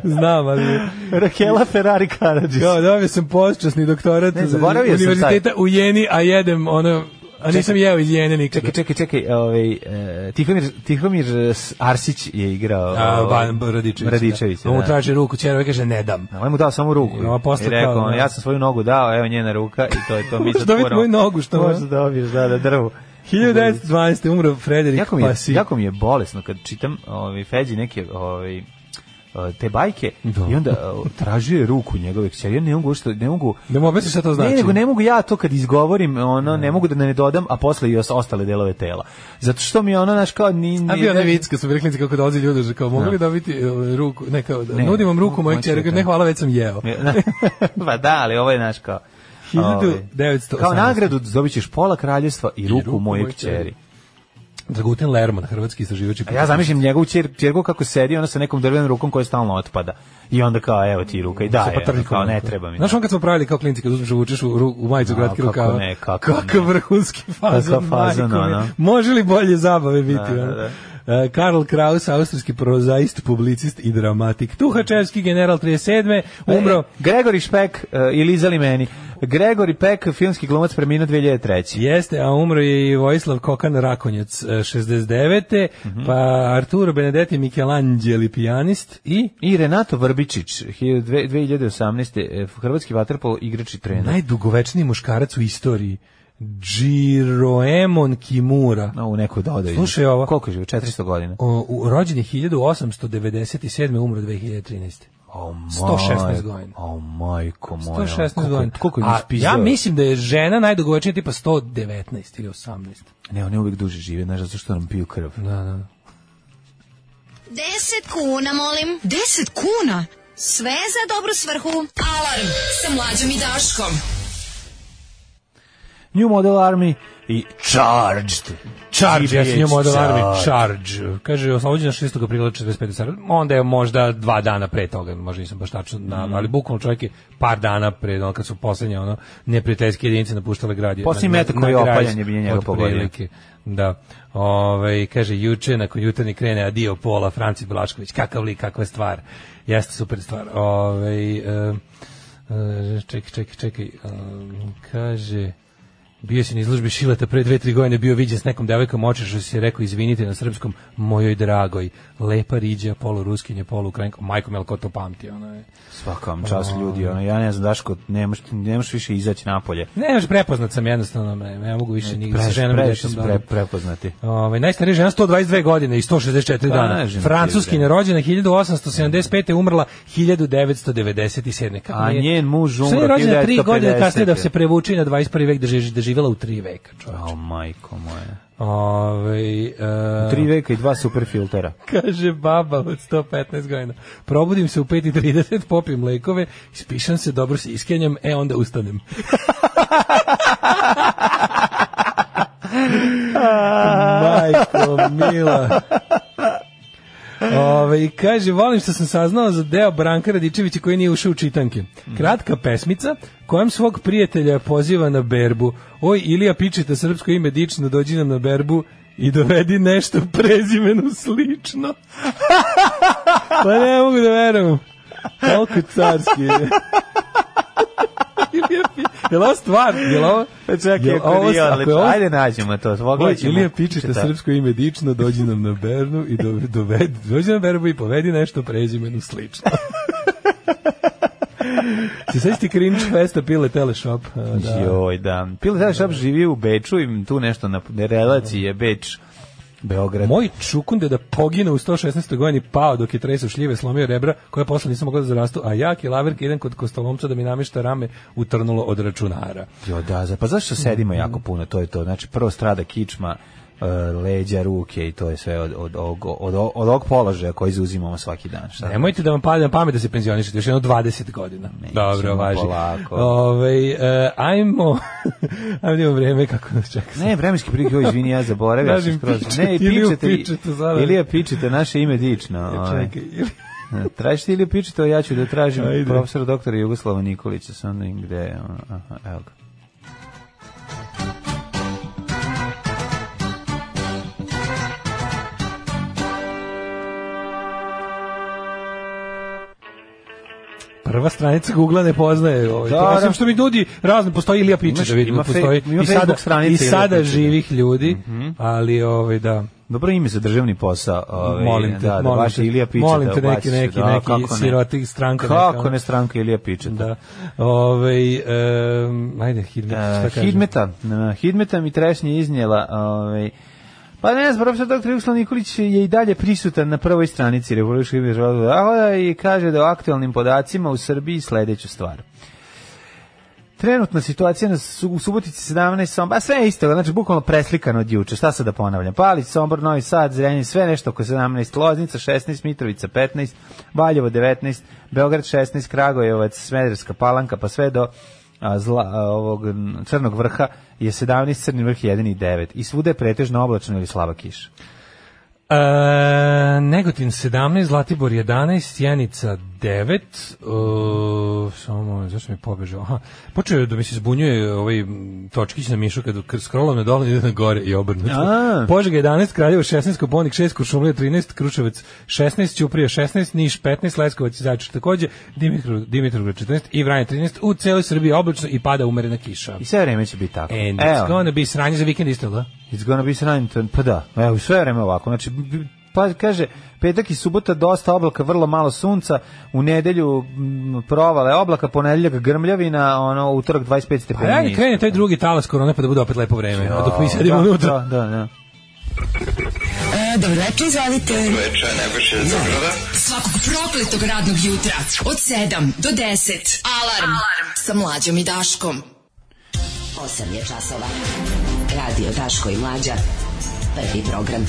[SPEAKER 6] Znam, ali...
[SPEAKER 7] Rakela Ferrari Karadžić.
[SPEAKER 6] Kao, dobio sam počasni doktorat
[SPEAKER 7] Ne,
[SPEAKER 6] ne,
[SPEAKER 7] zaboravio sam taj.
[SPEAKER 6] univerziteta u Jeni, a jedem ono... A nisam jeo iz Jene nikada.
[SPEAKER 7] Čekaj, čekaj, čekaj, ovaj, e, Tihomir, Tihomir e, S- Arsić je igrao...
[SPEAKER 6] A,
[SPEAKER 7] ovaj,
[SPEAKER 6] Van Radičević.
[SPEAKER 7] Radičević,
[SPEAKER 6] On mu
[SPEAKER 7] da.
[SPEAKER 6] traži ruku, čerove kaže ne dam.
[SPEAKER 7] Ovaj mu dao samo ruku.
[SPEAKER 6] I ona posle
[SPEAKER 7] I rekao,
[SPEAKER 6] kao, da.
[SPEAKER 7] ja sam svoju nogu dao, evo njena ruka i to je to. Mi
[SPEAKER 6] Možeš
[SPEAKER 7] sad
[SPEAKER 6] dobiti
[SPEAKER 7] moramo-
[SPEAKER 6] moju nogu, što ono?
[SPEAKER 7] Možeš
[SPEAKER 6] ne?
[SPEAKER 7] da dobiješ, da, da, drvu.
[SPEAKER 6] 1912. umro Frederik
[SPEAKER 7] Jako mi, je,
[SPEAKER 6] Pasi.
[SPEAKER 7] jako mi je bolesno kad čitam ovaj, Feđi neke ovaj, eh, te bajke
[SPEAKER 6] Da.
[SPEAKER 7] i onda eh, tražio je ruku njegove kćeri. Ja ne mogu što ne mogu
[SPEAKER 6] Da mu objasniš šta to znači.
[SPEAKER 7] Ne, nego ne mogu ja to kad izgovorim, ono ne mogu da ne dodam, a posle i os- ostale delove tela. Zato što mi je ono naš kao ni ni
[SPEAKER 6] A bio ne vic, kad su mi rekli kako dolazi ljudi, že kao mogli dobiti e, ruku, ne kao,
[SPEAKER 7] Ne.
[SPEAKER 6] nudim vam ruku mojeg
[SPEAKER 7] Moja
[SPEAKER 6] čerka,
[SPEAKER 7] ćerka.
[SPEAKER 6] ne hvala, već sam jeo.
[SPEAKER 7] [laughs] pa da, ali ovo je naš kao... ovaj,
[SPEAKER 6] 1918.
[SPEAKER 7] Kao nagradu dobit ćeš pola kraljevstva i ruku,
[SPEAKER 6] ruku
[SPEAKER 7] moje
[SPEAKER 6] moje
[SPEAKER 7] kćeri.
[SPEAKER 6] kćeri. Dragutin Lerman, hrvatski istraživač. i
[SPEAKER 7] A ja zamišljam njegovu čer, čerku kako sedi, ona sa nekom drvenom rukom koja stalno otpada. I onda kao, evo ti ruka i da,
[SPEAKER 6] sa patrljikom.
[SPEAKER 7] kao, ne treba mi.
[SPEAKER 6] Znaš on kad smo pravili kao klinci, kad uzmeš uvučeš u, ru- u majicu gradke
[SPEAKER 7] kako
[SPEAKER 6] rukava.
[SPEAKER 7] ne, kako
[SPEAKER 6] Kakav
[SPEAKER 7] ne.
[SPEAKER 6] vrhunski fazon,
[SPEAKER 7] Kakav fazon,
[SPEAKER 6] majko mi.
[SPEAKER 7] ono.
[SPEAKER 6] Može li bolje zabave biti?
[SPEAKER 7] Da, da,
[SPEAKER 6] ono?
[SPEAKER 7] da.
[SPEAKER 6] E, Karl Kraus, austrijski prozaist, publicist i dramatik. Tuhačevski general 37. umro.
[SPEAKER 7] E, Gregori Špek e, i Lizali meni. Gregori Pek, filmski glumac preminuo 2003.
[SPEAKER 6] Jeste, a umro je i Vojislav Kokan Rakonjac, e, 69.
[SPEAKER 7] Mhm.
[SPEAKER 6] Pa Arturo Benedetti Michelangeli, pijanist i
[SPEAKER 7] I Renato Vrbičić, hi- dve- 2018. e, Hrvatski eh, vaterpolo igrač i trener.
[SPEAKER 6] najdugovečniji muškarac u istoriji. Džiroemon Kimura.
[SPEAKER 7] No, u neko dodaju.
[SPEAKER 6] Slušaj ovo.
[SPEAKER 7] Koliko je živo? 400 godina.
[SPEAKER 6] O, u, rođen je 1897. umro 2013.
[SPEAKER 7] O,
[SPEAKER 6] 116 godina.
[SPEAKER 7] O, majko moja.
[SPEAKER 6] 116
[SPEAKER 7] Koliko-
[SPEAKER 6] godina.
[SPEAKER 7] Koliko je
[SPEAKER 6] A
[SPEAKER 7] ispisao?
[SPEAKER 6] Ja mislim da je žena najdugovečnija tipa 119 ili 18.
[SPEAKER 7] Ne, one uvijek duže žive, znaš, zato što nam piju krv.
[SPEAKER 6] Da, da.
[SPEAKER 5] 10 kuna, molim. 10 kuna? Sve za dobru svrhu. Alarm sa mlađom i Daškom.
[SPEAKER 7] New Model Army i Charged.
[SPEAKER 6] Charge, ja sam njom
[SPEAKER 7] Charged.
[SPEAKER 6] odalarmi. Charge. Kaže, oslobođena 6. aprila 45. Sara. Onda je možda dva dana pre toga, možda nisam baš tačno, na, ali bukvalno čovjek je par dana pre, ono, kad su posljednje ono, neprijateljske jedinice napuštale grad. je-
[SPEAKER 7] Posljednji
[SPEAKER 6] na-
[SPEAKER 7] metak
[SPEAKER 6] na-
[SPEAKER 7] koji je
[SPEAKER 6] na grad
[SPEAKER 7] opaljen je bio njega pogodio.
[SPEAKER 6] otprilike. Da. Ove, kaže, juče, nakon jutarnji krene Adio Pola, Franci Belašković, kakav lik, kakva stvar. Jeste super stvar. Ove, e, e, čekaj, čekaj, čekaj. e, kaže... Bio si na izložbi Šileta pre dve, tri godine, bio viđen s nekom devojkom oče što si je rekao, izvinite na srpskom, mojoj dragoj, lepa riđa, polu ruskinje, polu ukrajinko, majko mi, ali ko to pamti, ono je.
[SPEAKER 7] Svaka vam čast ljudi, ono, ja ne znam, Daško, ne možeš, ne možeš više izaći napolje.
[SPEAKER 6] Ne, još prepoznat sam jednostavno, ne, ne mogu više nigdje sa ženama i
[SPEAKER 7] previše
[SPEAKER 6] djecom.
[SPEAKER 7] si
[SPEAKER 6] da.
[SPEAKER 7] pre, prepoznati.
[SPEAKER 6] Ovaj najstarija žena 122 godine i 164 dana.
[SPEAKER 7] Kažem Pa, ti,
[SPEAKER 6] Francuski
[SPEAKER 7] bre.
[SPEAKER 6] je rođena 1875. umrla 1997. Kako
[SPEAKER 7] A
[SPEAKER 6] nije-
[SPEAKER 7] njen muž
[SPEAKER 6] Sad je
[SPEAKER 7] umro
[SPEAKER 6] rođena tri godine
[SPEAKER 7] 1950.
[SPEAKER 6] kasnije da se prevuče na 21. vek da je da je živela u tri veka, čoveče.
[SPEAKER 7] O, majko moja.
[SPEAKER 6] Ovaj e,
[SPEAKER 7] Tri veka i dva super filtera.
[SPEAKER 6] kaže baba od 115 godina. Probudim se u 5.30, popim lekove, ispišam se, dobro se iskenjam, e onda ustanem. Majko, mila. Ove, i kaže, volim što sam saznao za deo Branka Radičevića koji nije ušao u čitanke. Kratka pesmica kojem svog prijatelja poziva na berbu. Oj, Ilija pičite srpsko ime dično, dođi nam na berbu i dovedi nešto prezimenu slično. [laughs] pa ne mogu da verujem. Koliko carski
[SPEAKER 7] [laughs]
[SPEAKER 6] je. Ilija Pi- Jel ovo stvar? Jel ovo?
[SPEAKER 7] Pa Čekaj,
[SPEAKER 6] jel
[SPEAKER 7] ako
[SPEAKER 6] ovo-
[SPEAKER 7] nije
[SPEAKER 6] ako je
[SPEAKER 7] odlično.
[SPEAKER 6] ovo-
[SPEAKER 7] Ajde nađemo to.
[SPEAKER 6] Oj,
[SPEAKER 7] Pogledat ćemo.
[SPEAKER 6] Ilija pičite
[SPEAKER 7] Čita.
[SPEAKER 6] srpsko ime dično, dođi nam na Bernu i do, dovedi, dođi na Bernu i povedi nešto prezimenu [laughs] slično. Se sveći ti cringe festa pile teleshop? a, Da.
[SPEAKER 7] Joj, da. Pilo Tadaš Šap živi u Beču i tu nešto na relaciji je Beč, Beograd.
[SPEAKER 6] Moj čukunde da pogine u 116. godini pao dok je tresao šljive, slomio rebra koje posle nisam mogla da zarastu, a jak je laverka jedan kod kostolomca da mi namješta rame utrnulo od računara.
[SPEAKER 7] Jo, da, za- pa zašto sedimo
[SPEAKER 6] Mhm.
[SPEAKER 7] jako puno, to je to. Znači, prvo strada kičma, e, leđa, ruke i to je sve od, od, ovog- od, od, ovog položaja koji zauzimamo svaki dan. Šta?
[SPEAKER 6] Nemojte da vam padne na pamet da se penzionišete, još jedno 20 godina. Dobro, važi.
[SPEAKER 7] polako.
[SPEAKER 6] Ovaj, e, ajmo, [laughs] ajmo da imamo vreme kako nas čeka.
[SPEAKER 7] Ne, vremenski prilike, joj, izvini, ja zaboravio. ja sam
[SPEAKER 6] Kažem,
[SPEAKER 7] skroz-
[SPEAKER 6] pičite,
[SPEAKER 7] Ne, i
[SPEAKER 6] Iliju
[SPEAKER 7] pičete,
[SPEAKER 6] pičete, zaradno.
[SPEAKER 7] Ilija pičete, naše ime dično. ovaj.
[SPEAKER 6] E, Čekaj, ili...
[SPEAKER 7] Tražiš ti Iliju pičete, a ja ću da tražim
[SPEAKER 6] Ajde.
[SPEAKER 7] profesora doktora Jugoslava Nikolića, sa onda gde je, ono, aha, evo ga.
[SPEAKER 6] Prva stranica Google ne poznaje ovaj.
[SPEAKER 7] Da,
[SPEAKER 6] Da,
[SPEAKER 7] da.
[SPEAKER 6] Osim što mi ljudi razno postoji Ilija Pičić,
[SPEAKER 7] Imaš-
[SPEAKER 6] da vidim
[SPEAKER 7] ima
[SPEAKER 6] da
[SPEAKER 7] fe-
[SPEAKER 6] postoji
[SPEAKER 7] ima
[SPEAKER 6] i
[SPEAKER 7] Facebook
[SPEAKER 6] sada
[SPEAKER 7] stranice
[SPEAKER 6] i
[SPEAKER 7] Ilija
[SPEAKER 6] sada
[SPEAKER 7] Pičića. Mhm.
[SPEAKER 6] živih ljudi, ali ovaj da.
[SPEAKER 7] Dobro ime za državni posao. Ovaj,
[SPEAKER 6] Molim te,
[SPEAKER 7] da, da,
[SPEAKER 6] molim
[SPEAKER 7] baš
[SPEAKER 6] te.
[SPEAKER 7] Ilija Pičeta.
[SPEAKER 6] Molim te, neki,
[SPEAKER 7] ubaciš,
[SPEAKER 6] neki,
[SPEAKER 7] da,
[SPEAKER 6] neki
[SPEAKER 7] kako ne.
[SPEAKER 6] siroti, stranka neka,
[SPEAKER 7] Kako
[SPEAKER 6] ono.
[SPEAKER 7] ne stranka Ilija Pičeta?
[SPEAKER 6] Da. Ovaj em, ajde Hidmet, šta
[SPEAKER 7] E,
[SPEAKER 6] kažeš?
[SPEAKER 7] Hidmeta, e, Hidmeta mi trešnje iznijela, ovaj, pa ne znam, profesor dr. Jugoslav Nikolić je i dalje prisutan na prvoj stranici Republičkog izvještaja Zavoda i ovaj kaže da o aktualnim podacima u Srbiji sledeću stvar. Trenutna situacija na Su- u Subotici 17 Sombor, a sve je isto, znači bukvalno preslikano od juče, šta sad da ponavljam, Palić, Sombor, Novi Sad, Zrenjanin, sve nešto oko 17, Loznica 16, Mitrovica 15, Valjevo 19, Beograd 16, Kragujevac, Smederska palanka, pa sve do a, zla, a, ovog m, crnog vrha je 17, crni vrh 1 i 9 i svuda je pretežno oblačno ili slaba kiša.
[SPEAKER 6] E, Negotin 17, Zlatibor 11, Sjenica 9, e, samo moment, zašto mi je pobežao? Aha, počeo je da mi se zbunjuje ovaj m, točkić na mišu kad kr- scrollam na dole ide na gore i
[SPEAKER 7] A.
[SPEAKER 6] obrnuto. Požega 11, Kraljevo 16, Koponik 6, Kuršumlija 13, Kruševac 16, Ćuprija 16, Niš 15, Leskovac i Zajčar takođe, Dimitru, Dimitrovgrad 14 i Vranje 13. U celoj Srbiji oblačno i pada umerena kiša.
[SPEAKER 7] I sve vreme će biti tako.
[SPEAKER 6] And it's
[SPEAKER 7] Evo,
[SPEAKER 6] gonna be sranje za vikend isto, da?
[SPEAKER 7] it's gonna be sunny, pa da, evo, sve vreme ovako, znači b- b- pa kaže, petak i subota dosta oblaka, vrlo malo sunca, u nedelju m, provale oblaka, ponedeljak grmljavina, ono, utorak 25
[SPEAKER 6] Pa
[SPEAKER 7] stepeni.
[SPEAKER 6] ja krene taj drugi talas korone pa da bude opet lepo vreme, a dok mi sedimo
[SPEAKER 7] Da,
[SPEAKER 6] unutra.
[SPEAKER 7] Da, da, da.
[SPEAKER 5] E, dobro večer, izvolite. Svakog prokletog radnog jutra od 7 do 10. Alarm, Alarm. sa mlađom i Daškom.
[SPEAKER 2] 8 je časova. Radio Daško i Mlađa. Prvi program.